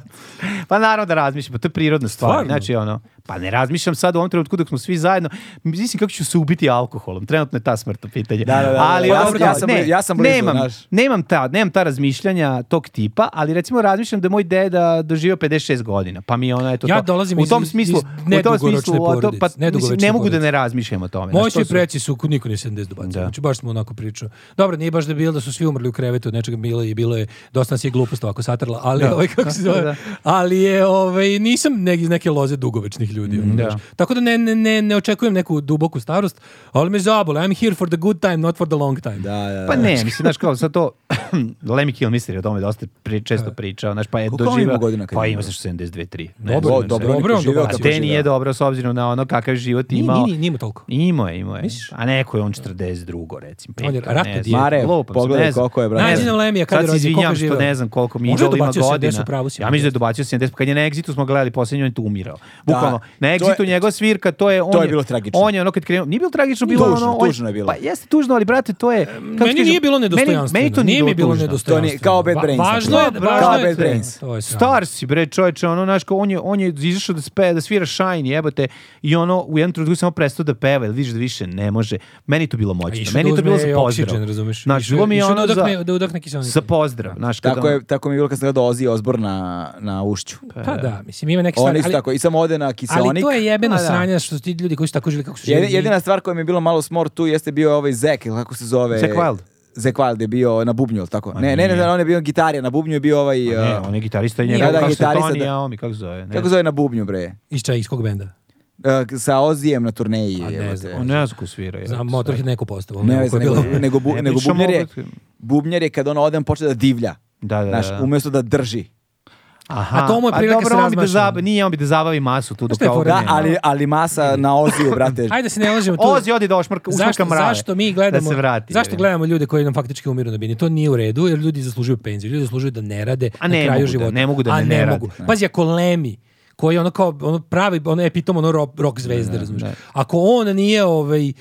Speaker 3: pa naravno da razmišljam, pa to je prirodna stvar.
Speaker 2: Stvarno?
Speaker 3: Znači, ono, pa ne razmišljam sad u ovom trenutku dok smo svi zajedno. Mislim kako ću se ubiti alkoholom. Trenutno je ta smrt u pitanju.
Speaker 1: Da, da, da, da.
Speaker 3: Ali,
Speaker 1: Ja
Speaker 3: ono
Speaker 1: sam-
Speaker 3: kao,
Speaker 1: ja sam bli- ja sam blizu,
Speaker 3: nemam,
Speaker 1: znaš.
Speaker 3: nemam, ta, nemam ta razmišljanja tog tipa, ali recimo razmišljam da je moj deda doživio 56 godina. Pa mi je ona, eto,
Speaker 2: Ja
Speaker 3: to-
Speaker 2: dolazim
Speaker 3: u
Speaker 2: iz-
Speaker 3: tom
Speaker 2: iz-
Speaker 3: smislu,
Speaker 2: iz
Speaker 3: u tom smislu,
Speaker 2: nedugoročne
Speaker 3: o, to, pa,
Speaker 2: porodice,
Speaker 3: mislim,
Speaker 2: nedugoročne
Speaker 3: ne mogu da
Speaker 2: porodice.
Speaker 3: ne razmišljam o tome. Znaš,
Speaker 2: Moći
Speaker 3: to su-
Speaker 2: preci su, niko nije 70 dobacio.
Speaker 3: Da.
Speaker 2: Znači, baš smo onako pričali. Dobro, nije baš da je bilo da su svi umrli u krevetu od nečega bilo je, bilo je, dosta nas je glupost ovako satrla, ali, ovaj, kako se zove,
Speaker 3: Da.
Speaker 2: ali je, ovaj, nisam neg, iz neke loze dugovečnih ljudi. ono, znaš. Tako da ne, ne, ne, ne očekujem neku duboku starost, ali me zabole, I'm here for the good time, not for the long time.
Speaker 1: Da, da, da.
Speaker 3: Pa ne, mislim, znaš, kao sad to, Lemmy Kilmister je o tome dosta pri, često pričao, znaš, pa je
Speaker 1: Koliko on
Speaker 3: doživio,
Speaker 1: ima godina kad
Speaker 3: pa
Speaker 1: je
Speaker 3: ima
Speaker 1: umro?
Speaker 3: se 72-3.
Speaker 2: Dobro,
Speaker 1: Dobro, dobro, on
Speaker 2: dobro,
Speaker 1: je
Speaker 2: dobro,
Speaker 1: preživeo
Speaker 2: dobro.
Speaker 1: kako
Speaker 2: A
Speaker 3: Te
Speaker 1: je
Speaker 3: nije
Speaker 1: živeo.
Speaker 3: dobro, s obzirom na ono kakav život
Speaker 2: Nije,
Speaker 3: imao.
Speaker 2: nije, nije mu toliko.
Speaker 3: Imao je, imao je. A neko je on 42, recimo.
Speaker 2: On je
Speaker 3: peta,
Speaker 2: ratno
Speaker 3: ne znam.
Speaker 2: dijete.
Speaker 1: Mare,
Speaker 3: Lupam se,
Speaker 1: pogledaj
Speaker 3: ne znam.
Speaker 1: koliko je, brate.
Speaker 3: Ne
Speaker 2: Nađi
Speaker 3: znam.
Speaker 2: nam Lemija, kad je
Speaker 3: Sad se
Speaker 2: rođen, koliko
Speaker 3: izvinjavam
Speaker 2: je
Speaker 3: što
Speaker 2: živeo?
Speaker 3: ne znam koliko mi
Speaker 2: Možda je
Speaker 3: idol ima
Speaker 2: dobacio 70,
Speaker 3: godina.
Speaker 2: u pravu si,
Speaker 3: Ja mislim da je
Speaker 2: Andrej.
Speaker 3: dobacio 70, pa kad je na Exitu smo gledali poslednji, on je tu umirao. Bukvalno,
Speaker 1: to
Speaker 3: na
Speaker 1: je-
Speaker 3: Exitu njegova svirka, to je... On
Speaker 1: to je bilo tragično.
Speaker 3: On je ono kad krenuo, nije bilo tragično, bilo
Speaker 1: Tužno,
Speaker 3: ono... on-
Speaker 1: tužno je bilo.
Speaker 3: Pa jeste tužno, ali brate, to je... kako ti
Speaker 2: Meni
Speaker 3: kažem,
Speaker 2: nije bilo
Speaker 3: meni-
Speaker 2: nedostojanstveno.
Speaker 3: Meni to
Speaker 2: nije mi bilo
Speaker 3: tužno.
Speaker 2: nedostojanstveno.
Speaker 1: To nije- kao Bad
Speaker 2: Va-
Speaker 1: Brains,
Speaker 2: Važno
Speaker 1: na
Speaker 2: Pa je,
Speaker 1: primjer.
Speaker 2: važno
Speaker 1: Kao
Speaker 2: je,
Speaker 1: Bad Brains.
Speaker 2: To je sramno.
Speaker 3: Star si bre, čoveče, ono, znaš, kao, on je, on je izašao da, spe, da svira Shine, jebote, i ono, u jednom trenutku je samo prestao da peva, jer vidiš da više ne može. Meni je to bilo
Speaker 2: A
Speaker 3: moćno,
Speaker 2: išao
Speaker 3: meni
Speaker 2: da
Speaker 3: je to bilo za
Speaker 2: uzme
Speaker 3: pozdrav.
Speaker 2: oksigen, razumeš?
Speaker 3: Znaš,
Speaker 2: Išao-
Speaker 3: bilo mi je
Speaker 2: išao
Speaker 3: ono
Speaker 2: da udahne-
Speaker 3: za,
Speaker 2: da udahne kiseonik.
Speaker 3: za pozdrav, znaš, kad
Speaker 1: Tako,
Speaker 3: ono-
Speaker 1: je, tako mi je bilo kad sam gledao Ozi Ozbor na, na ušću.
Speaker 2: Pa da, mislim, ima neke
Speaker 1: Oni
Speaker 2: stvari.
Speaker 1: su
Speaker 2: ali-
Speaker 1: tako, i samo ode na kiseonik.
Speaker 2: Ali to je jebeno
Speaker 3: Pa da.
Speaker 2: sranje što su ti ljudi koji su tako žili kako su žili.
Speaker 1: Jedi- jedina stvar koja mi je bila malo smor tu jeste bio ovaj Zek, ili kako se zove?
Speaker 3: Zack Wilde.
Speaker 1: Zack Wilde je bio na bubnju, ili tako? Ne, ne,
Speaker 3: nije.
Speaker 1: ne, ne, on je bio na gitari, a na bubnju je bio ovaj...
Speaker 3: Ne,
Speaker 1: uh,
Speaker 3: on je gitarista i
Speaker 1: Nije,
Speaker 3: njegov,
Speaker 1: da,
Speaker 3: kako se
Speaker 1: gitarista,
Speaker 3: Tony
Speaker 1: da.
Speaker 3: Iommi, kako se zove? Ne,
Speaker 1: Kako se zove na bubnju, bre?
Speaker 2: Iz čega, iz kog benda?
Speaker 1: Uh, sa Ozijem na turneji.
Speaker 2: A ne
Speaker 1: jebote.
Speaker 2: znam.
Speaker 3: on ne znam ko svira.
Speaker 2: Znam, Motorhead neko postavio.
Speaker 1: Ne,
Speaker 2: neko
Speaker 1: veze,
Speaker 2: je
Speaker 1: nego,
Speaker 2: bilo-
Speaker 1: nego, bu-
Speaker 3: Ne
Speaker 1: nego
Speaker 3: pričamo
Speaker 1: bubnjar je,
Speaker 3: o-
Speaker 1: bubnjar je kad on ode, on počne da divlja.
Speaker 3: Da, da, da.
Speaker 1: Znaš, umjesto da drži.
Speaker 3: Aha,
Speaker 2: A to mu je prilika
Speaker 3: dobro,
Speaker 2: se
Speaker 3: on bi da
Speaker 2: razmaša.
Speaker 3: zaba- Nije, on bi da zabavi masu tu. dok
Speaker 2: šta je
Speaker 3: ga
Speaker 2: fora?
Speaker 3: ovdje
Speaker 1: Da,
Speaker 3: nema.
Speaker 1: ali, ali masa na Oziju, brate.
Speaker 2: Ajde da se ne lažemo tu.
Speaker 3: Ozi odi da ošmrka,
Speaker 2: Zašto,
Speaker 3: usmrka mrave.
Speaker 2: zašto mi gledamo,
Speaker 3: Da se vrati.
Speaker 2: zašto
Speaker 3: jebi.
Speaker 2: gledamo ljude koji nam faktički umiru na bini? To nije u redu, jer ljudi zaslužuju penziju, ljudi zaslužuju da ne rade
Speaker 3: A
Speaker 2: na
Speaker 3: ne
Speaker 2: kraju
Speaker 3: mogu da-
Speaker 2: života.
Speaker 3: ne mogu da
Speaker 2: A
Speaker 3: ne-
Speaker 2: ne,
Speaker 3: ne
Speaker 2: mogu.
Speaker 3: rade.
Speaker 2: Pazi, ako Lemi koji je ono kao ono pravi ono epitom ono rock, rock zvezde, razumiješ. Ako on nije ovaj e,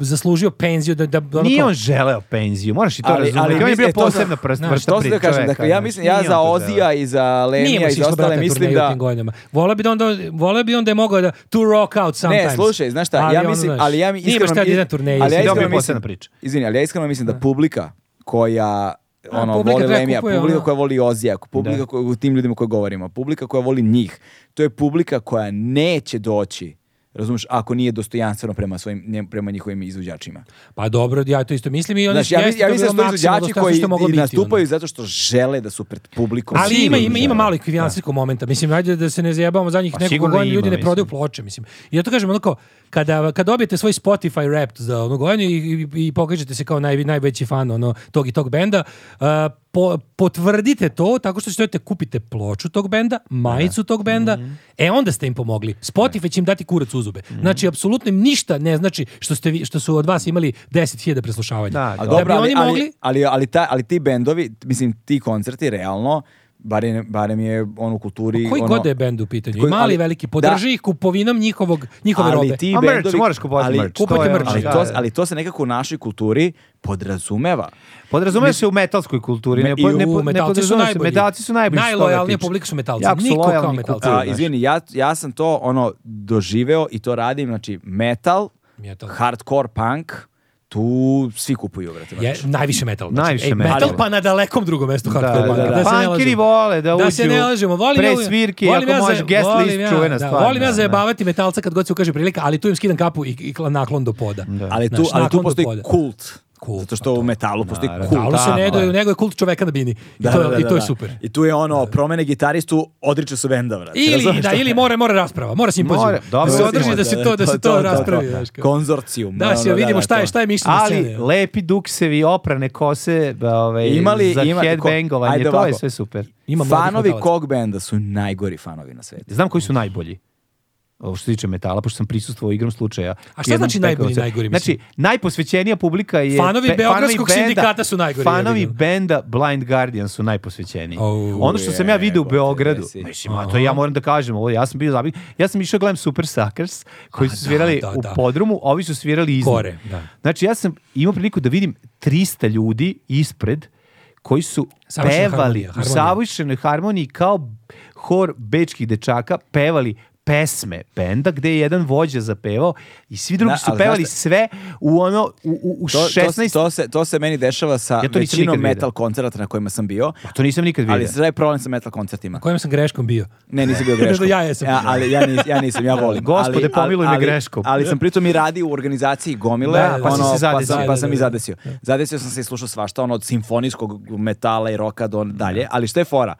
Speaker 2: zaslužio penziju da da ono
Speaker 3: Nije
Speaker 2: kao-
Speaker 3: on želeo penziju, moraš i to
Speaker 1: Ali-
Speaker 3: razumjeti.
Speaker 1: ali
Speaker 3: on je
Speaker 1: mislim-
Speaker 3: bio
Speaker 1: e, to sam-
Speaker 3: posebna prst,
Speaker 2: Znaš,
Speaker 1: Što se da kažem, dakle, ja mislim, ja za Ozija i za
Speaker 2: Nije mu
Speaker 1: Lenija i
Speaker 2: se
Speaker 1: za
Speaker 2: išlo,
Speaker 1: ostale
Speaker 2: brate,
Speaker 1: mislim
Speaker 2: turneje u
Speaker 1: da...
Speaker 2: tim godinama. Voleo bi da onda, voleo bi onda je mogao da to rock out sometimes.
Speaker 1: Ne, slušaj, znaš šta, ja
Speaker 2: ono,
Speaker 1: mislim,
Speaker 2: znaš,
Speaker 1: ali ja mi
Speaker 2: nije baš
Speaker 1: iskreno...
Speaker 2: šta da ide na turneje,
Speaker 1: ali ja
Speaker 2: mislim.
Speaker 3: dobio
Speaker 1: iskreno
Speaker 3: posebna
Speaker 1: mislim,
Speaker 3: priča.
Speaker 1: izvini, ali ja iskreno mislim da publika koja ono,
Speaker 2: publika
Speaker 1: voli
Speaker 2: koja
Speaker 1: Lemija,
Speaker 2: kupuje,
Speaker 1: publika
Speaker 2: ono.
Speaker 1: koja voli Ozija, publika koja, u tim ljudima koje govorimo, publika koja voli njih, to je publika koja neće doći Razumeš, ako nije dostojanstveno prema, svojim, nje- prema njihovim izvođačima.
Speaker 2: Pa dobro, ja to isto mislim i oni
Speaker 1: Znaš, ja, mi- ja mislim da su to izvođači koji i nastupaju zato što žele da su pred publikom.
Speaker 2: ono. Ali ima,
Speaker 1: sigurni,
Speaker 2: ima,
Speaker 1: žele.
Speaker 2: ima malo i financijskog momenta. Mislim, ajde da se ne zajebamo za njih
Speaker 3: Pa
Speaker 2: nekoliko
Speaker 3: sigurno
Speaker 2: godina
Speaker 3: ima,
Speaker 2: ljudi ne
Speaker 3: mislim.
Speaker 2: prodaju ploče, mislim. I ja to kažem, onako, kada, kad dobijete svoj Spotify rap za onu godinu i, i, i pokažete se kao naj, najveći fan ono, tog i tog benda, uh, po- potvrdite to tako što ćete kupite ploču tog benda, majicu tog benda,
Speaker 3: Mhm.
Speaker 2: e onda ste im pomogli. Spotify će im dati kurac u zube. Znači, apsolutno im ništa ne znači što, ste vi, što su od vas imali 10.000 preslušavanja.
Speaker 3: Da,
Speaker 2: Da,
Speaker 3: da.
Speaker 1: A
Speaker 2: bi
Speaker 1: dobro, ali,
Speaker 2: oni
Speaker 1: ali,
Speaker 2: mogli...
Speaker 1: ali, ali, ta, ali ti bendovi, mislim, ti koncerti, realno, barem, barem je on u kulturi...
Speaker 2: Pa Koji
Speaker 1: ono,
Speaker 2: god da je bend u pitanju,
Speaker 1: koji-
Speaker 2: i mali
Speaker 1: ali-
Speaker 2: i veliki, podrži
Speaker 1: da.
Speaker 2: ih kupovinom njihovog, njihove robe.
Speaker 1: ali ti
Speaker 3: A merch,
Speaker 1: bendovi,
Speaker 3: moraš kupovati
Speaker 1: ali,
Speaker 3: merch, to
Speaker 2: Kupujte
Speaker 1: je ono,
Speaker 2: merch,
Speaker 1: ali,
Speaker 2: da,
Speaker 1: to,
Speaker 3: da.
Speaker 1: ali to se nekako u našoj kulturi podrazumeva.
Speaker 3: Podrazumeva se u metalskoj kulturi. Ne,
Speaker 1: Me- i
Speaker 3: po-
Speaker 1: u
Speaker 3: ne, po- ne
Speaker 2: metalci su
Speaker 3: podrazumeva se.
Speaker 2: najbolji.
Speaker 3: Metalci su najbolji. što se toga
Speaker 2: Najlojalnija
Speaker 3: tiče.
Speaker 2: publika su metalci.
Speaker 3: Jako su
Speaker 2: Niko kao
Speaker 3: lojalni
Speaker 2: metalci.
Speaker 3: kupci,
Speaker 1: A,
Speaker 3: znaš.
Speaker 1: izvini, ja, ja sam to ono doživeo i to radim, znači metal,
Speaker 2: Metal.
Speaker 1: hardcore punk, tu svi kupuju, vrati,
Speaker 2: Je, najviše metal. Znači,
Speaker 3: Najviše
Speaker 2: Ej,
Speaker 3: metal.
Speaker 2: pa na dalekom drugom mestu
Speaker 3: Da,
Speaker 2: hardcore
Speaker 3: da,
Speaker 2: punka,
Speaker 3: da,
Speaker 2: da se ne
Speaker 3: Punkiri
Speaker 2: lažemo.
Speaker 3: vole da,
Speaker 2: Da
Speaker 3: uđu
Speaker 2: se ne lažemo, volim
Speaker 3: pre
Speaker 2: ja-
Speaker 3: svirke,
Speaker 2: volim
Speaker 3: ako
Speaker 2: ja za-
Speaker 3: možeš guest
Speaker 2: volim
Speaker 3: list,
Speaker 2: ja,
Speaker 3: čuvena
Speaker 2: da,
Speaker 3: stvar.
Speaker 2: Volim ja
Speaker 3: da,
Speaker 2: zajebavati metalca kad god se ukaže prilika, ali tu im skidam kapu i, i kla- naklon do poda.
Speaker 1: Ali tu,
Speaker 2: Znaš,
Speaker 1: ali tu
Speaker 2: naklon do
Speaker 1: postoji
Speaker 2: poda.
Speaker 1: kult.
Speaker 2: Kult, pa
Speaker 1: Zato što u metalu postoji kult.
Speaker 2: Dalo se
Speaker 3: Kultama,
Speaker 2: ne daju,
Speaker 3: da.
Speaker 2: nego je kult čoveka na bini. I,
Speaker 1: Da,
Speaker 2: to,
Speaker 1: da, da,
Speaker 2: i to je
Speaker 1: da.
Speaker 2: super.
Speaker 1: I tu je ono, promene gitaristu, odriče se benda, vrati.
Speaker 2: Ili,
Speaker 1: razumeš
Speaker 2: da,
Speaker 1: šta?
Speaker 2: ili mora, mora rasprava, mora simpozijum.
Speaker 3: Mora,
Speaker 2: da
Speaker 3: dobro,
Speaker 2: se održi
Speaker 3: recimo,
Speaker 2: da se to, da se to raspravi. znaš kao.
Speaker 1: Konzorcijum.
Speaker 2: Da,
Speaker 1: ono,
Speaker 2: se vidimo šta je,
Speaker 1: to.
Speaker 2: šta je mišljenje
Speaker 3: Ali
Speaker 2: scene.
Speaker 3: lepi duksevi, oprane kose, ba, ovaj,
Speaker 1: Imali-
Speaker 3: za
Speaker 1: ima- ko-
Speaker 3: headbangovanje,
Speaker 1: ajde
Speaker 3: to je
Speaker 1: ovako.
Speaker 3: sve super.
Speaker 2: Ima mladih
Speaker 1: Fanovi
Speaker 2: metalaca.
Speaker 1: kog benda su najgori fanovi na svetu.
Speaker 3: Znam koji su najbolji. Ovo što se tiče metala, pošto sam prisustvovao igrom slučaja.
Speaker 2: A šta
Speaker 3: Jednom
Speaker 2: znači najbolji,
Speaker 3: pekavcu.
Speaker 2: najgori, mislim?
Speaker 3: Znači, najposvećenija publika je...
Speaker 2: Fanovi
Speaker 3: be-
Speaker 2: Beogradskog
Speaker 3: fanovi
Speaker 2: sindikata su najgori, ja
Speaker 3: Fanovi
Speaker 2: vidim.
Speaker 3: benda Blind Guardian su najposvećeniji.
Speaker 2: Au,
Speaker 3: ono što sam ja vidio u
Speaker 1: jebote,
Speaker 3: Beogradu,
Speaker 1: jesi.
Speaker 3: mislim, a to ja moram da kažem, ovo, ja sam bio zabit, ja sam išao gledam Super Suckers, koji su
Speaker 2: da,
Speaker 3: svirali
Speaker 2: da,
Speaker 3: u
Speaker 2: da.
Speaker 3: podrumu, a ovi su svirali iznad.
Speaker 2: Gore, da.
Speaker 3: Znači, ja sam imao priliku da vidim 300 ljudi ispred, koji su
Speaker 2: Savršena
Speaker 3: pevali
Speaker 2: harmonija,
Speaker 3: u
Speaker 2: harmonija.
Speaker 3: savršenoj harmoniji kao hor bečkih dečaka pevali pesme benda gde je jedan vođa zapevao i svi drugi
Speaker 1: Da,
Speaker 3: su
Speaker 1: ali
Speaker 3: pevali
Speaker 1: znaš šta-
Speaker 3: sve u ono u, u, u
Speaker 1: To, to-
Speaker 3: 16
Speaker 1: to, se, to se meni dešava sa
Speaker 3: Ja to nisam
Speaker 1: većinom
Speaker 3: nikad vidio. Pa
Speaker 1: metal koncerata na kojima sam bio,
Speaker 3: to nisam nikad vidio.
Speaker 1: ali sve je problem sa metal koncertima.
Speaker 2: Kojom sam greškom bio?
Speaker 1: Ne, nisam bio greško.
Speaker 2: Ja jesam.
Speaker 1: ali ja, nis, ja nisam, ja volim.
Speaker 3: Gospode,
Speaker 1: Ali-
Speaker 3: pomiluj me
Speaker 1: ali-
Speaker 3: greškom.
Speaker 1: Ali sam pritom i radio u organizaciji Gomile,
Speaker 2: Da, da,
Speaker 1: pa,
Speaker 2: da.
Speaker 1: ono,
Speaker 3: Pa si se
Speaker 1: pa,
Speaker 3: zadesio.
Speaker 1: sam, pa sam i
Speaker 2: Da, da, da.
Speaker 1: zadesio. Zadesio sam se i slušao svašta, ono od simfonijskog metala i roka do dalje, ali što je fora?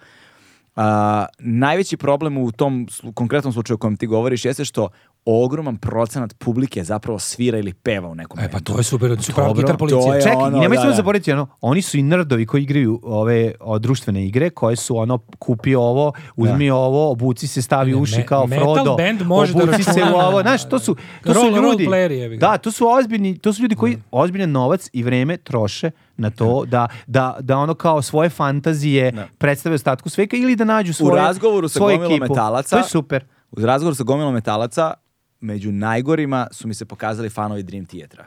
Speaker 1: A, najveći problem u tom slu- konkretnom slučaju o kojem ti govoriš jeste što ogroman procenat publike zapravo svira ili peva u nekom
Speaker 2: E, pa
Speaker 1: bendu.
Speaker 2: to je super, super gitar
Speaker 1: to
Speaker 2: policija.
Speaker 1: je
Speaker 3: Čekaj,
Speaker 1: ono,
Speaker 3: nemoj
Speaker 1: da,
Speaker 3: samo
Speaker 1: da.
Speaker 3: zaboraviti ono, oni su i nerdovi koji igraju ove o, društvene igre koje su ono kupi ovo, uzmi ovo, obuci se, stavi
Speaker 2: Ne,
Speaker 3: uši
Speaker 2: me-
Speaker 3: kao
Speaker 2: metal
Speaker 3: Frodo.
Speaker 2: band može da
Speaker 3: obuci se u
Speaker 2: računa.
Speaker 3: ovo, znaš, to su to su
Speaker 2: Role- role
Speaker 3: ljudi.
Speaker 2: playeri, jebi ga.
Speaker 3: da, to su ozbiljni, to su ljudi koji ozbiljan novac i vreme troše na to da, da, da ono kao svoje fantazije predstave ostatku sveka ili da nađu svoje
Speaker 1: u razgovoru sa
Speaker 3: svoju
Speaker 1: gomilom
Speaker 3: ekipu.
Speaker 1: metalaca.
Speaker 3: To je super.
Speaker 1: U razgovoru sa gomilom metalaca među najgorima su mi se pokazali fanovi Dream Theatra.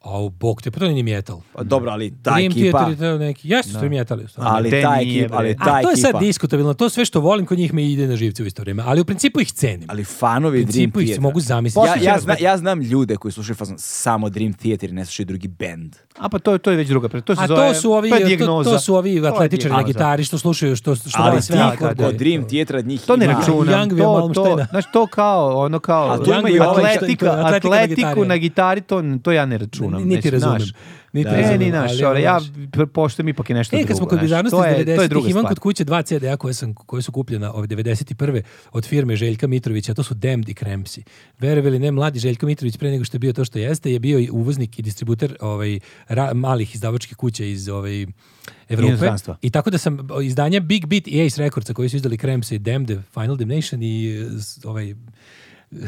Speaker 2: Au, bog te, pa to nije ni metal.
Speaker 1: Pa dobro, ali ta
Speaker 2: Dream
Speaker 1: ekipa...
Speaker 2: Theater i to neki. Jesu su i metali. u stvari.
Speaker 1: Ali
Speaker 3: Te
Speaker 1: ta
Speaker 3: nije,
Speaker 1: ekipa,
Speaker 3: bre.
Speaker 1: ali ta
Speaker 2: A to je sad
Speaker 1: ekipa.
Speaker 2: diskutabilno, to sve što volim kod njih me ide na živce u isto vrijeme, ali u principu ih cenim.
Speaker 1: Ali fanovi
Speaker 2: U
Speaker 1: Dream
Speaker 2: principu ih se
Speaker 1: Theater.
Speaker 2: mogu zamisliti.
Speaker 1: Ja,
Speaker 2: Posle
Speaker 1: ja,
Speaker 2: ćemo
Speaker 1: zna-
Speaker 2: se-
Speaker 1: ja znam ljude koji slušaju fazon samo Dream Theater i ne slušaju drugi band.
Speaker 3: A pa to, je- to je već druga. pre- To se
Speaker 2: A
Speaker 3: zove,
Speaker 2: to su ovi,
Speaker 3: to, je
Speaker 2: to,
Speaker 3: dijagnoza.
Speaker 2: to su
Speaker 3: To
Speaker 2: ovi
Speaker 3: je
Speaker 2: atletičari na
Speaker 3: dijagnoza.
Speaker 2: gitari što slušaju, što, što
Speaker 1: ali
Speaker 2: daju
Speaker 1: ti
Speaker 2: sve
Speaker 1: kod
Speaker 2: akorde.
Speaker 1: kod Dream Theatera njih
Speaker 3: To ne
Speaker 1: ima.
Speaker 3: računam.
Speaker 2: Young Will
Speaker 3: To, to,
Speaker 2: Malmsteina.
Speaker 3: znaš, to kao, ono kao,
Speaker 1: A to ima i ovaj što-
Speaker 3: atletika,
Speaker 2: atletika na
Speaker 3: atletiku
Speaker 2: gitari.
Speaker 3: na gitari, to, to ja ne računam.
Speaker 2: Niti
Speaker 3: ono, Mislim,
Speaker 2: razumem.
Speaker 3: naš.
Speaker 2: Niti
Speaker 3: Da.
Speaker 2: razumem,
Speaker 3: E, ni naš,
Speaker 2: ali,
Speaker 3: ali, ja
Speaker 2: znaš.
Speaker 3: pr- poštujem ipak je nešto
Speaker 2: E,
Speaker 3: drugo.
Speaker 2: kad smo kod
Speaker 3: znaš.
Speaker 2: bizarnosti
Speaker 3: To je-
Speaker 2: iz
Speaker 3: to je druga
Speaker 2: 90-ih, imam
Speaker 3: stvar.
Speaker 2: kod kuće dva CD-a koje, sam, koje su kupljena ove 91. od firme Željka Mitrovića, to su Damned i Kremsi. Verovali ili ne, mladi Željko Mitrović pre nego što je bio to što jeste, je bio i uvoznik i distributer ovaj, ra- malih izdavačkih kuća iz ovaj, Evrope.
Speaker 3: Inostranstva.
Speaker 2: I tako da sam o, izdanja Big Beat i Ace Recordsa koji su izdali Kremsi, Damned, Final Damnation i e, s- ovaj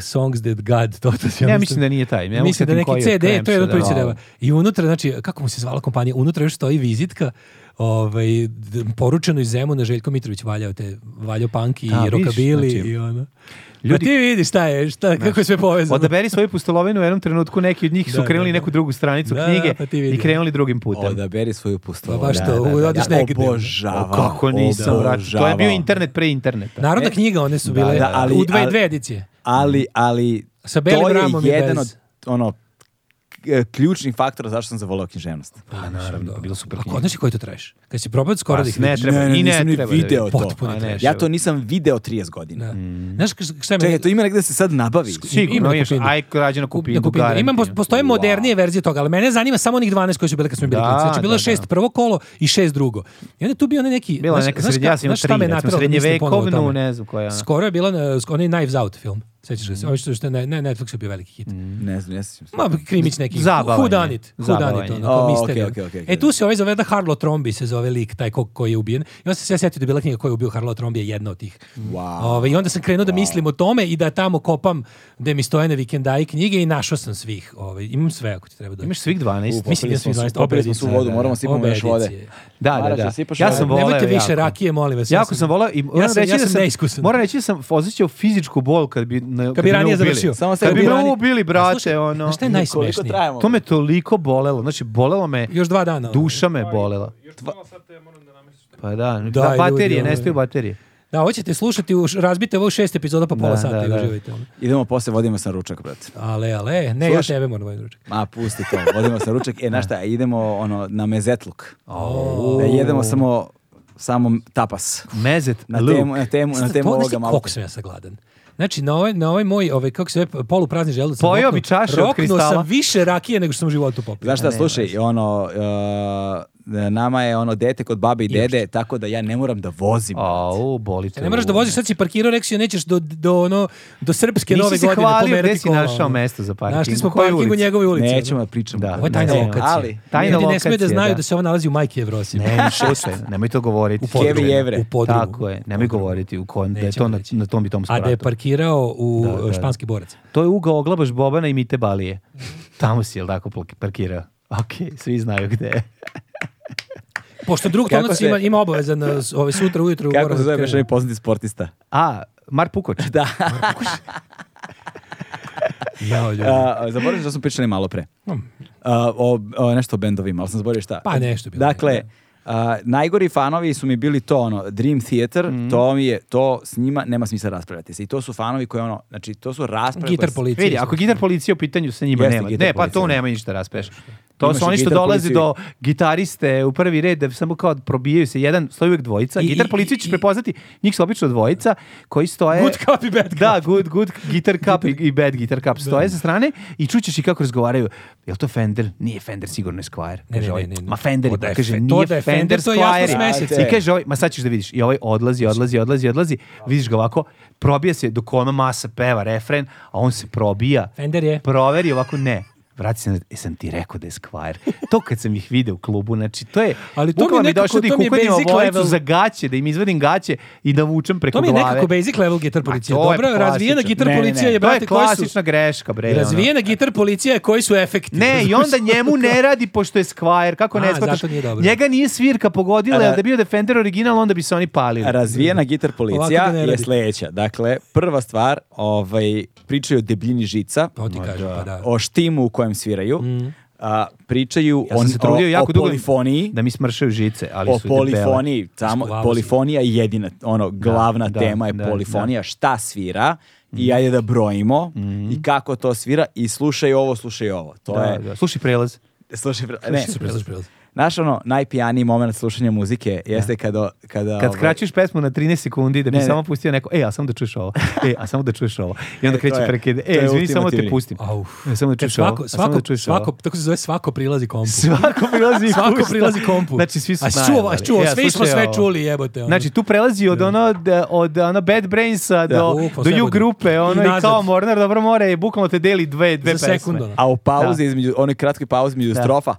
Speaker 2: Songs That God, to, to se
Speaker 3: Ne, mislim da nije taj. Ne mogu
Speaker 2: mislim da
Speaker 3: setim koji
Speaker 2: neki
Speaker 3: je
Speaker 2: CD, to je jedno
Speaker 3: Cramps,
Speaker 2: to
Speaker 3: da.
Speaker 2: CD. I unutra, znači, kako mu se zvala kompanija, unutra još stoji vizitka, ovaj, d- poručeno iz Zemuna, Željko Mitrović valjao te, valjao punk i
Speaker 3: Da, vidiš,
Speaker 2: rockabilly
Speaker 3: znači,
Speaker 2: i ono.
Speaker 3: ljudi-
Speaker 2: Ljudi, ti vidiš šta je, šta, kako je sve povezano.
Speaker 3: Odaberi svoju pustolovinu u jednom trenutku, neki od njih su
Speaker 2: Da,
Speaker 3: krenuli
Speaker 2: da, da.
Speaker 3: neku drugu stranicu
Speaker 2: Da,
Speaker 3: knjige
Speaker 2: da, pa ti vidi.
Speaker 3: i krenuli drugim putem.
Speaker 1: Odaberi svoju pustolovinu.
Speaker 2: Pa baš to, odiš
Speaker 1: ja
Speaker 2: negativno.
Speaker 1: obožavam.
Speaker 3: O, kako nisam, brate. To je bio
Speaker 1: obožavam.
Speaker 3: internet pre interneta.
Speaker 2: Narodna
Speaker 1: E,
Speaker 2: knjiga, one su
Speaker 1: da,
Speaker 2: bile
Speaker 1: da, ali-
Speaker 2: u dve,
Speaker 1: ali-
Speaker 2: dve edicije.
Speaker 1: Ali, ali,
Speaker 2: Sa
Speaker 1: to
Speaker 2: belim ramom i
Speaker 1: je jedan
Speaker 2: bez.
Speaker 1: od, ono, k- ključnih faktora zašto sam zavolao književnost.
Speaker 2: Pa naravno, bilo super knjiga. A znaš i koji to traš? Kad si probao skoro da ih
Speaker 3: ne
Speaker 2: vidiš.
Speaker 3: treba, i ne
Speaker 1: nisam ni
Speaker 3: treba. da
Speaker 1: video
Speaker 3: vidim.
Speaker 1: to.
Speaker 2: Potpuno
Speaker 3: A ne,
Speaker 2: trash.
Speaker 1: Ja to nisam video 30 godina.
Speaker 2: Da. Znaš šta me...
Speaker 1: Čekaj, to ima negde da se sad nabavi.
Speaker 2: Ima
Speaker 3: Sigurno,
Speaker 2: na
Speaker 3: imaš,
Speaker 2: Kupinu.
Speaker 3: aj rađeno kupinu,
Speaker 2: na Kupinu. Imam, pos- postoje modernije verzije toga, ali mene zanima samo onih 12 koji su bili kad smo bili
Speaker 3: Da,
Speaker 2: klinci. Znači, bilo je
Speaker 3: da,
Speaker 2: šest
Speaker 3: da.
Speaker 2: prvo kolo i šest drugo. I onda je tu bio onaj neki...
Speaker 3: Bila je
Speaker 2: znaš-
Speaker 3: neka
Speaker 2: znaš
Speaker 3: srednja,
Speaker 2: ka-
Speaker 3: ja sam imao
Speaker 2: znaš šta
Speaker 3: tri,
Speaker 2: me
Speaker 3: recimo,
Speaker 2: nateralo da mislim
Speaker 3: srednjevekovnu,
Speaker 2: ponovo o tome?
Speaker 3: ne znam koja je ona.
Speaker 2: Skoro je bila e, sk- onaj Knives Out film. Sećaš ga se? Ovo što, što je ne, ne, Netflix je bio veliki hit.
Speaker 1: Ne znam, ne sjećam se.
Speaker 2: Ma, krimić neki.
Speaker 3: Mm. Zabavanje.
Speaker 2: Who done it? Who done it?
Speaker 3: Zabavanje.
Speaker 2: Ono, kao
Speaker 1: O,
Speaker 2: misterija.
Speaker 1: okej, okej, okej,
Speaker 2: E, tu se ovaj zove da Harlo Trombi se zove lik, taj ko, koji je ubijen. I onda sam se ja setio da je bila knjiga koji je ubio Harlo Trombi je jedna od tih.
Speaker 3: Mm.
Speaker 1: Wow.
Speaker 2: Ove, I onda sam krenuo da mislim o tome i da tamo kopam gde mi stoje na vikendaji knjige i našao sam svih. Ove, imam sve ako ti treba doći.
Speaker 3: Imaš svih 12.
Speaker 2: Mislim da smo
Speaker 1: Popili smo-
Speaker 2: 12
Speaker 1: popili smo svu
Speaker 2: obe
Speaker 1: vodu,
Speaker 2: edicije.
Speaker 1: moramo sipamo
Speaker 2: Obe
Speaker 1: još vode.
Speaker 2: edicije.
Speaker 3: Da, da,
Speaker 1: Maraš,
Speaker 3: da.
Speaker 1: jesipaš
Speaker 3: Ja
Speaker 1: ovo?
Speaker 3: sam voleo
Speaker 2: Nemojte više
Speaker 3: jako.
Speaker 2: rakije, molim vas.
Speaker 3: Jako sam volao i moram
Speaker 2: ja sam,
Speaker 3: reći
Speaker 2: ja
Speaker 3: da
Speaker 2: sam
Speaker 3: sam,
Speaker 2: neiskusan.
Speaker 3: moram reći da sam osjećao fizičku bol kad bi, na, kad,
Speaker 2: Kad
Speaker 3: bi
Speaker 2: bi
Speaker 3: me
Speaker 2: ranije
Speaker 3: ubili.
Speaker 2: završio.
Speaker 1: Samo
Speaker 3: Kad
Speaker 1: Kad
Speaker 3: bi
Speaker 1: bi
Speaker 3: me
Speaker 1: ranije-
Speaker 3: ubili,
Speaker 2: A,
Speaker 3: brate,
Speaker 2: slušaj,
Speaker 3: ono.
Speaker 2: znaš šta je
Speaker 1: Koliko
Speaker 2: najsmešnije?
Speaker 1: trajamo?
Speaker 3: To me toliko bolelo, znači bolelo me,
Speaker 2: Još dva dana. ono.
Speaker 3: duša me bolela. Pa da, da,
Speaker 2: ljudi,
Speaker 3: baterije,
Speaker 2: ono-
Speaker 3: nestaju baterije.
Speaker 2: Da, hoćete slušati, u, razbite ovo u šest epizoda pa pola
Speaker 3: Da,
Speaker 2: sata
Speaker 3: da,
Speaker 2: i
Speaker 3: da.
Speaker 2: uživajte. ono.
Speaker 1: Idemo posle, vodimo sam ručak, brate.
Speaker 2: Ale, ale, ne,
Speaker 1: Slušaj.
Speaker 2: ja tebe moram ovaj ručak.
Speaker 1: Ma, pusti to, vodimo sam ručak. E, znaš šta, idemo ono, na mezetluk.
Speaker 2: Oh.
Speaker 1: Da jedemo samo, samo tapas.
Speaker 3: Mezet,
Speaker 1: Na
Speaker 3: luk.
Speaker 1: temu, na temu, na
Speaker 2: Sad,
Speaker 1: temu
Speaker 2: to, znaš
Speaker 1: ovoga
Speaker 2: ti
Speaker 1: malo.
Speaker 2: Koliko sam ja sagladan. Znači, na ovaj, na ovaj moj, ovaj, kako se zove, poluprazni želudac. sam
Speaker 3: Pojeo bi
Speaker 2: roknuo-
Speaker 3: čaše od
Speaker 2: roknuo
Speaker 3: kristala.
Speaker 2: sam više rakije nego što sam u životu popio.
Speaker 1: Znaš šta, slušaj, ono, e, nama je ono dete kod babe i dede, tako da ja ne moram da vozim.
Speaker 3: Au, boli te.
Speaker 2: Ne moraš da
Speaker 3: uvo.
Speaker 2: voziš, sad si parkirao, rekao si, nećeš do, do, ono, do srpske
Speaker 3: Nisi
Speaker 2: nove
Speaker 3: se
Speaker 2: godine
Speaker 3: hvalio
Speaker 2: pomerati
Speaker 3: gde si
Speaker 2: kola,
Speaker 3: našao
Speaker 2: ono.
Speaker 3: mesto za parking,
Speaker 2: Našli smo
Speaker 3: u kojoj
Speaker 2: parking u
Speaker 3: ulici?
Speaker 2: njegove ulice.
Speaker 1: Nećemo
Speaker 2: ono.
Speaker 1: da pričamo. E,
Speaker 3: Da.
Speaker 2: Ovo je tajna
Speaker 3: Ne,
Speaker 2: lokacija.
Speaker 1: ali-
Speaker 3: Tajna
Speaker 2: Ljudi ne smije da
Speaker 3: lokacija,
Speaker 2: znaju
Speaker 3: da.
Speaker 2: da. se ovo nalazi u Majke Evrosima.
Speaker 3: Ne, šutaj, nemoj to govoriti.
Speaker 2: U podrumu.
Speaker 1: Kevi Jevre.
Speaker 2: U podrumu.
Speaker 3: Tako je, nemoj govoriti u kon, da je to
Speaker 2: Nećemo
Speaker 3: na,
Speaker 2: reći.
Speaker 3: na tom i tom
Speaker 2: A
Speaker 3: spratu.
Speaker 2: da je parkirao u
Speaker 3: Da, da.
Speaker 2: Španski borac.
Speaker 3: To je ugao oglabaš Bobana i Mite Balije. Tamo si, jel tako, plak- parkirao? Ok, svi znaju gde je.
Speaker 2: Pošto drug
Speaker 1: Kako
Speaker 2: tonac
Speaker 1: se-
Speaker 2: ima, ima obavezan e, s- ovaj, sutra ujutru. u
Speaker 1: Kako
Speaker 2: Goran
Speaker 1: se zove
Speaker 2: Krenu.
Speaker 1: još onaj poznati sportista?
Speaker 3: A, Mar Pukoč.
Speaker 1: Da,
Speaker 2: Jao, ljudi.
Speaker 1: a, zaboravim što smo pričali malo pre. A, o, o, nešto o bendovima, ali sam zaboravio šta.
Speaker 2: Pa, nešto je bilo.
Speaker 1: Dakle, a, najgori fanovi su mi bili to ono, Dream Theater, to mi je, to s njima nema smisla raspravljati se. I to su fanovi koji ono, znači to su rasprave
Speaker 2: Gitar
Speaker 1: koje s-
Speaker 2: policija.
Speaker 3: Vidi, ako gitar policija u pitanju sa njima
Speaker 1: Jeste
Speaker 3: nema.
Speaker 1: gitar
Speaker 3: Ne, pa
Speaker 1: policija, da.
Speaker 3: to nema ništa raspeš. To
Speaker 1: Imaš
Speaker 3: su
Speaker 1: i
Speaker 3: oni što
Speaker 1: gitar
Speaker 3: dolaze
Speaker 1: policiju.
Speaker 3: do gitariste u prvi red da samo kao probijaju se jedan, stoji uvijek dvojica.
Speaker 2: I-
Speaker 3: gitar
Speaker 2: i-
Speaker 3: policiju
Speaker 2: i-
Speaker 3: ćeš prepoznati, njih su obično dvojica koji stoje...
Speaker 2: Good cup i bad cup.
Speaker 3: Da, good, good guitar cup i, i bad guitar cup stoje sa strane i čućeš i kako razgovaraju. Jel to Fender? Nije Fender, sigurno je Squire.
Speaker 2: Ne,
Speaker 3: Kaže
Speaker 2: ne,
Speaker 3: ovaj,
Speaker 2: ne, ne, ne.
Speaker 3: Ma Fender,
Speaker 2: To
Speaker 3: je,
Speaker 2: da
Speaker 3: pa
Speaker 2: je
Speaker 3: kaže,
Speaker 2: fe- to
Speaker 3: nije
Speaker 2: da je
Speaker 3: Fender,
Speaker 2: Fender, to je jasno s
Speaker 3: Squire.
Speaker 2: mesece.
Speaker 3: I kaže ovaj, ma sad ćeš da vidiš. I ovaj odlazi, odlazi, odlazi, odlazi. Vidiš ga ovako, probija se dok ona masa peva refren, a on se probija.
Speaker 2: Fender je.
Speaker 3: Proveri ovako, ne. Vrati se, na- jesam ti rekao da je Squire. To kad sam ih video u klubu, znači to je...
Speaker 2: Ali to mi
Speaker 3: bukvalno
Speaker 2: nekako-
Speaker 3: došlo da ih
Speaker 2: to mi je
Speaker 3: uhvatim
Speaker 2: basic
Speaker 3: obojicu
Speaker 2: level.
Speaker 3: za gaće, da im izvadim gaće i da vučem preko
Speaker 2: To mi
Speaker 3: glave.
Speaker 2: je nekako basic level gitar
Speaker 3: Ma,
Speaker 2: policija.
Speaker 3: to je
Speaker 2: Dobro,
Speaker 3: klasično.
Speaker 2: razvijena gitar
Speaker 1: Ne, ne,
Speaker 2: policija
Speaker 1: ne.
Speaker 2: je,
Speaker 3: To je
Speaker 2: brate, koji su...
Speaker 3: klasična greška, bre. ono.
Speaker 2: Razvijena gitar policija je koji su efekti.
Speaker 3: Ne, i onda njemu ne radi pošto je Squire, kako ne
Speaker 2: A,
Speaker 3: shvataš?
Speaker 2: zato nije dobro.
Speaker 3: Njega nije svirka pogodila,
Speaker 1: A,
Speaker 3: jer da je bio Defender original, onda bi se oni palili.
Speaker 1: Razvijena gitar policija
Speaker 2: Ovako da ne
Speaker 1: je
Speaker 2: radi.
Speaker 1: sledeća. Dakle, prva stvar, ovaj, pričaju o debljini žica,
Speaker 2: To ti kažem, pa da. Mhm.
Speaker 1: o štimu u kojem sviraju, a, pričaju
Speaker 3: Ja
Speaker 1: on,
Speaker 3: sam se trudio
Speaker 1: o,
Speaker 3: jako
Speaker 1: o
Speaker 3: dugo
Speaker 1: polifoniji,
Speaker 3: da mi smršaju žice, ali
Speaker 1: o
Speaker 3: su debele.
Speaker 1: polifoniji, samo
Speaker 2: Sklavao si.
Speaker 1: polifonija je jedina, ono, glavna
Speaker 3: da,
Speaker 1: tema je
Speaker 3: da,
Speaker 1: polifonija, šta svira i ajde da brojimo i kako to svira i slušaj ovo, slušaj ovo. To
Speaker 3: Da,
Speaker 1: je,
Speaker 3: da. Slušaj prelaz.
Speaker 1: slušaj, pre- ne,
Speaker 2: Super, super, super.
Speaker 1: naš ono, najpijaniji moment slušanja muzike jeste kada, kada,
Speaker 3: Kad
Speaker 1: ovaj,
Speaker 3: skraćuješ pesmu na 13 sekundi da bi
Speaker 1: Ne, ne.
Speaker 3: samo pustio neko, e, a samo da čuješ ovo, e, a samo da čuješ ovo. I onda
Speaker 1: E, to
Speaker 3: kreće
Speaker 1: je-
Speaker 3: prekide,
Speaker 1: to
Speaker 3: e,
Speaker 1: je
Speaker 3: izvini, samo da te
Speaker 1: ultimativni.
Speaker 3: pustim.
Speaker 2: Au.
Speaker 3: E, samo da
Speaker 2: Kad
Speaker 3: čuješ ovo,
Speaker 2: svako,
Speaker 3: a samo
Speaker 2: svako,
Speaker 3: da čuješ
Speaker 2: svako,
Speaker 3: ovo.
Speaker 2: tako se zove svako prilazi kompu.
Speaker 3: Svako prilazi i
Speaker 2: Svako
Speaker 3: pušta.
Speaker 2: prilazi kompu.
Speaker 3: Znači, svi su
Speaker 2: A čuo,
Speaker 3: najavali.
Speaker 2: a čuo,
Speaker 3: E,
Speaker 2: svi smo
Speaker 3: slušaj
Speaker 2: sve
Speaker 3: ovo.
Speaker 2: čuli, jebote. ono.
Speaker 3: Znači tu prelazi od ono da- od ono Bad Brainsa do
Speaker 2: Bukvalno,
Speaker 3: do
Speaker 2: sve
Speaker 3: U
Speaker 2: bude.
Speaker 3: grupe,
Speaker 2: I
Speaker 3: ono i,
Speaker 2: nazad.
Speaker 3: kao Mornar dobro more i bukvalno te deli dve dve
Speaker 2: Za
Speaker 3: pesme.
Speaker 2: sekundu, ono.
Speaker 1: A u pauzi između, onoj kratkoj pauzi između
Speaker 3: Da.
Speaker 1: strofa,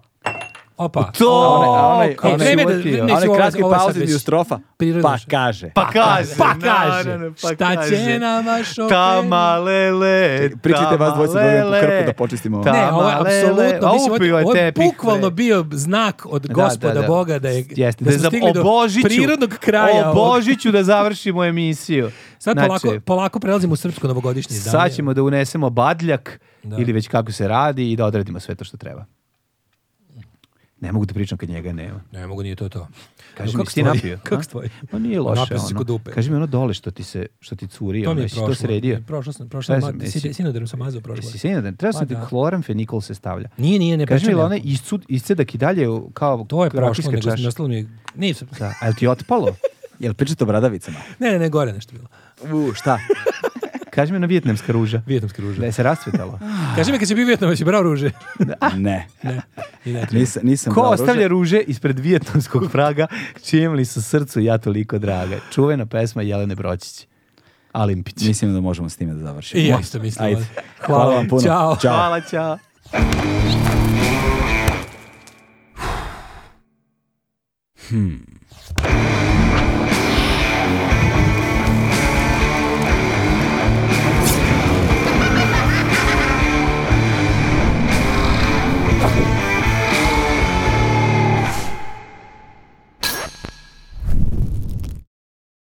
Speaker 2: Opa. Ono,
Speaker 1: A onaj- a onaj-
Speaker 3: To, ono.
Speaker 1: a
Speaker 3: kako
Speaker 1: onaj-
Speaker 3: si
Speaker 2: vreme da-
Speaker 1: A
Speaker 3: uvatio.
Speaker 2: Mislim,
Speaker 1: onaj
Speaker 2: ovo je-
Speaker 1: kratki
Speaker 2: ovo je sad
Speaker 1: pauze
Speaker 2: već
Speaker 1: između strofa,
Speaker 2: prirodno
Speaker 1: pa
Speaker 2: što-
Speaker 1: kaže.
Speaker 2: Pa
Speaker 3: kaže,
Speaker 2: Pa kaže.
Speaker 3: naravno, pa
Speaker 2: Šta
Speaker 3: kaže.
Speaker 2: će nama šofer?
Speaker 3: Tama lele,
Speaker 1: Pričajte vas dvojica da odem po krpu da počistimo ovo.
Speaker 2: Ne, ovo je
Speaker 3: Tama lele,
Speaker 2: apsolutno,
Speaker 3: a
Speaker 2: mislim, ovo,
Speaker 3: upio
Speaker 2: je-
Speaker 3: je
Speaker 2: ovo je
Speaker 3: tepih,
Speaker 2: bukvalno
Speaker 3: bre.
Speaker 2: bio znak od
Speaker 3: Da,
Speaker 2: gospoda
Speaker 3: da, da.
Speaker 2: Boga da je
Speaker 3: Jeste,
Speaker 2: da,
Speaker 3: da,
Speaker 2: smo
Speaker 3: za-
Speaker 2: stigli do
Speaker 3: o Božiću,
Speaker 2: prirodnog kraja.
Speaker 3: O
Speaker 2: ovog-
Speaker 3: Božiću da završimo emisiju.
Speaker 2: Sad
Speaker 3: Znači,
Speaker 2: polako, polako prelazimo u srpsko novogodišnje izdanje.
Speaker 3: Sad ćemo da unesemo badljak
Speaker 2: Da.
Speaker 3: ili već kako se radi i da odradimo sve to što treba. Ne mogu da pričam kad njega nema.
Speaker 2: Ne mogu, nije to to.
Speaker 3: Kaži
Speaker 2: Kako
Speaker 3: mi, si ti
Speaker 2: stvari?
Speaker 3: napio?
Speaker 2: Kako
Speaker 3: a?
Speaker 2: stvari?
Speaker 3: Pa nije loše
Speaker 2: Napio sam se
Speaker 3: ono.
Speaker 2: kod dupe.
Speaker 3: Kaži mi ono dole što ti se što ti curi,
Speaker 2: To mi
Speaker 3: ono,
Speaker 2: je
Speaker 3: jesi
Speaker 2: prošlo.
Speaker 3: to sredio?
Speaker 2: Prošlo sam, prošlo
Speaker 3: Šta
Speaker 2: sam.
Speaker 3: jesi-
Speaker 2: Sin- Sinodarom sam mazao prošlo.
Speaker 3: Jesi sinodan? Treba sam
Speaker 2: Pa
Speaker 3: ti
Speaker 2: da.
Speaker 3: kloramfenikol se stavlja.
Speaker 2: Nije, nije, ne
Speaker 3: Kaži mi,
Speaker 2: pečem ja.
Speaker 3: onaj iscud, iscedak i dalje u- kao
Speaker 2: To je prošlo,
Speaker 3: rakijska
Speaker 2: nego sam
Speaker 3: čaša?
Speaker 2: nastalo mi je... Nije sam...
Speaker 3: Da. A jel ti otpalo?
Speaker 1: Jel pričate o bradavicama?
Speaker 2: Ne, ne, ne, gore nešto bilo.
Speaker 1: U, šta?
Speaker 3: Kaži mi na vijetnamska ruža.
Speaker 2: Vijetnamske ruže.
Speaker 3: Da je se rasvetala.
Speaker 2: Kaži mi kad će bio Vijetnam, će brao ruže.
Speaker 1: Ne.
Speaker 2: ne, i ne treba.
Speaker 1: Nisam, nisam
Speaker 3: Ko
Speaker 1: brao ruže.
Speaker 3: ostavlja ruže ispred vijetnamskog praga, čijem li su srcu ja toliko draga? Čuvena pesma Jelene Bročić. Alimpić.
Speaker 1: Mislim da možemo s time da završimo.
Speaker 2: I ja isto mislim.
Speaker 1: Ajde.
Speaker 2: Hvala.
Speaker 1: Hvala vam puno.
Speaker 2: Ćao.
Speaker 1: Ćao.
Speaker 3: Hvala, čao.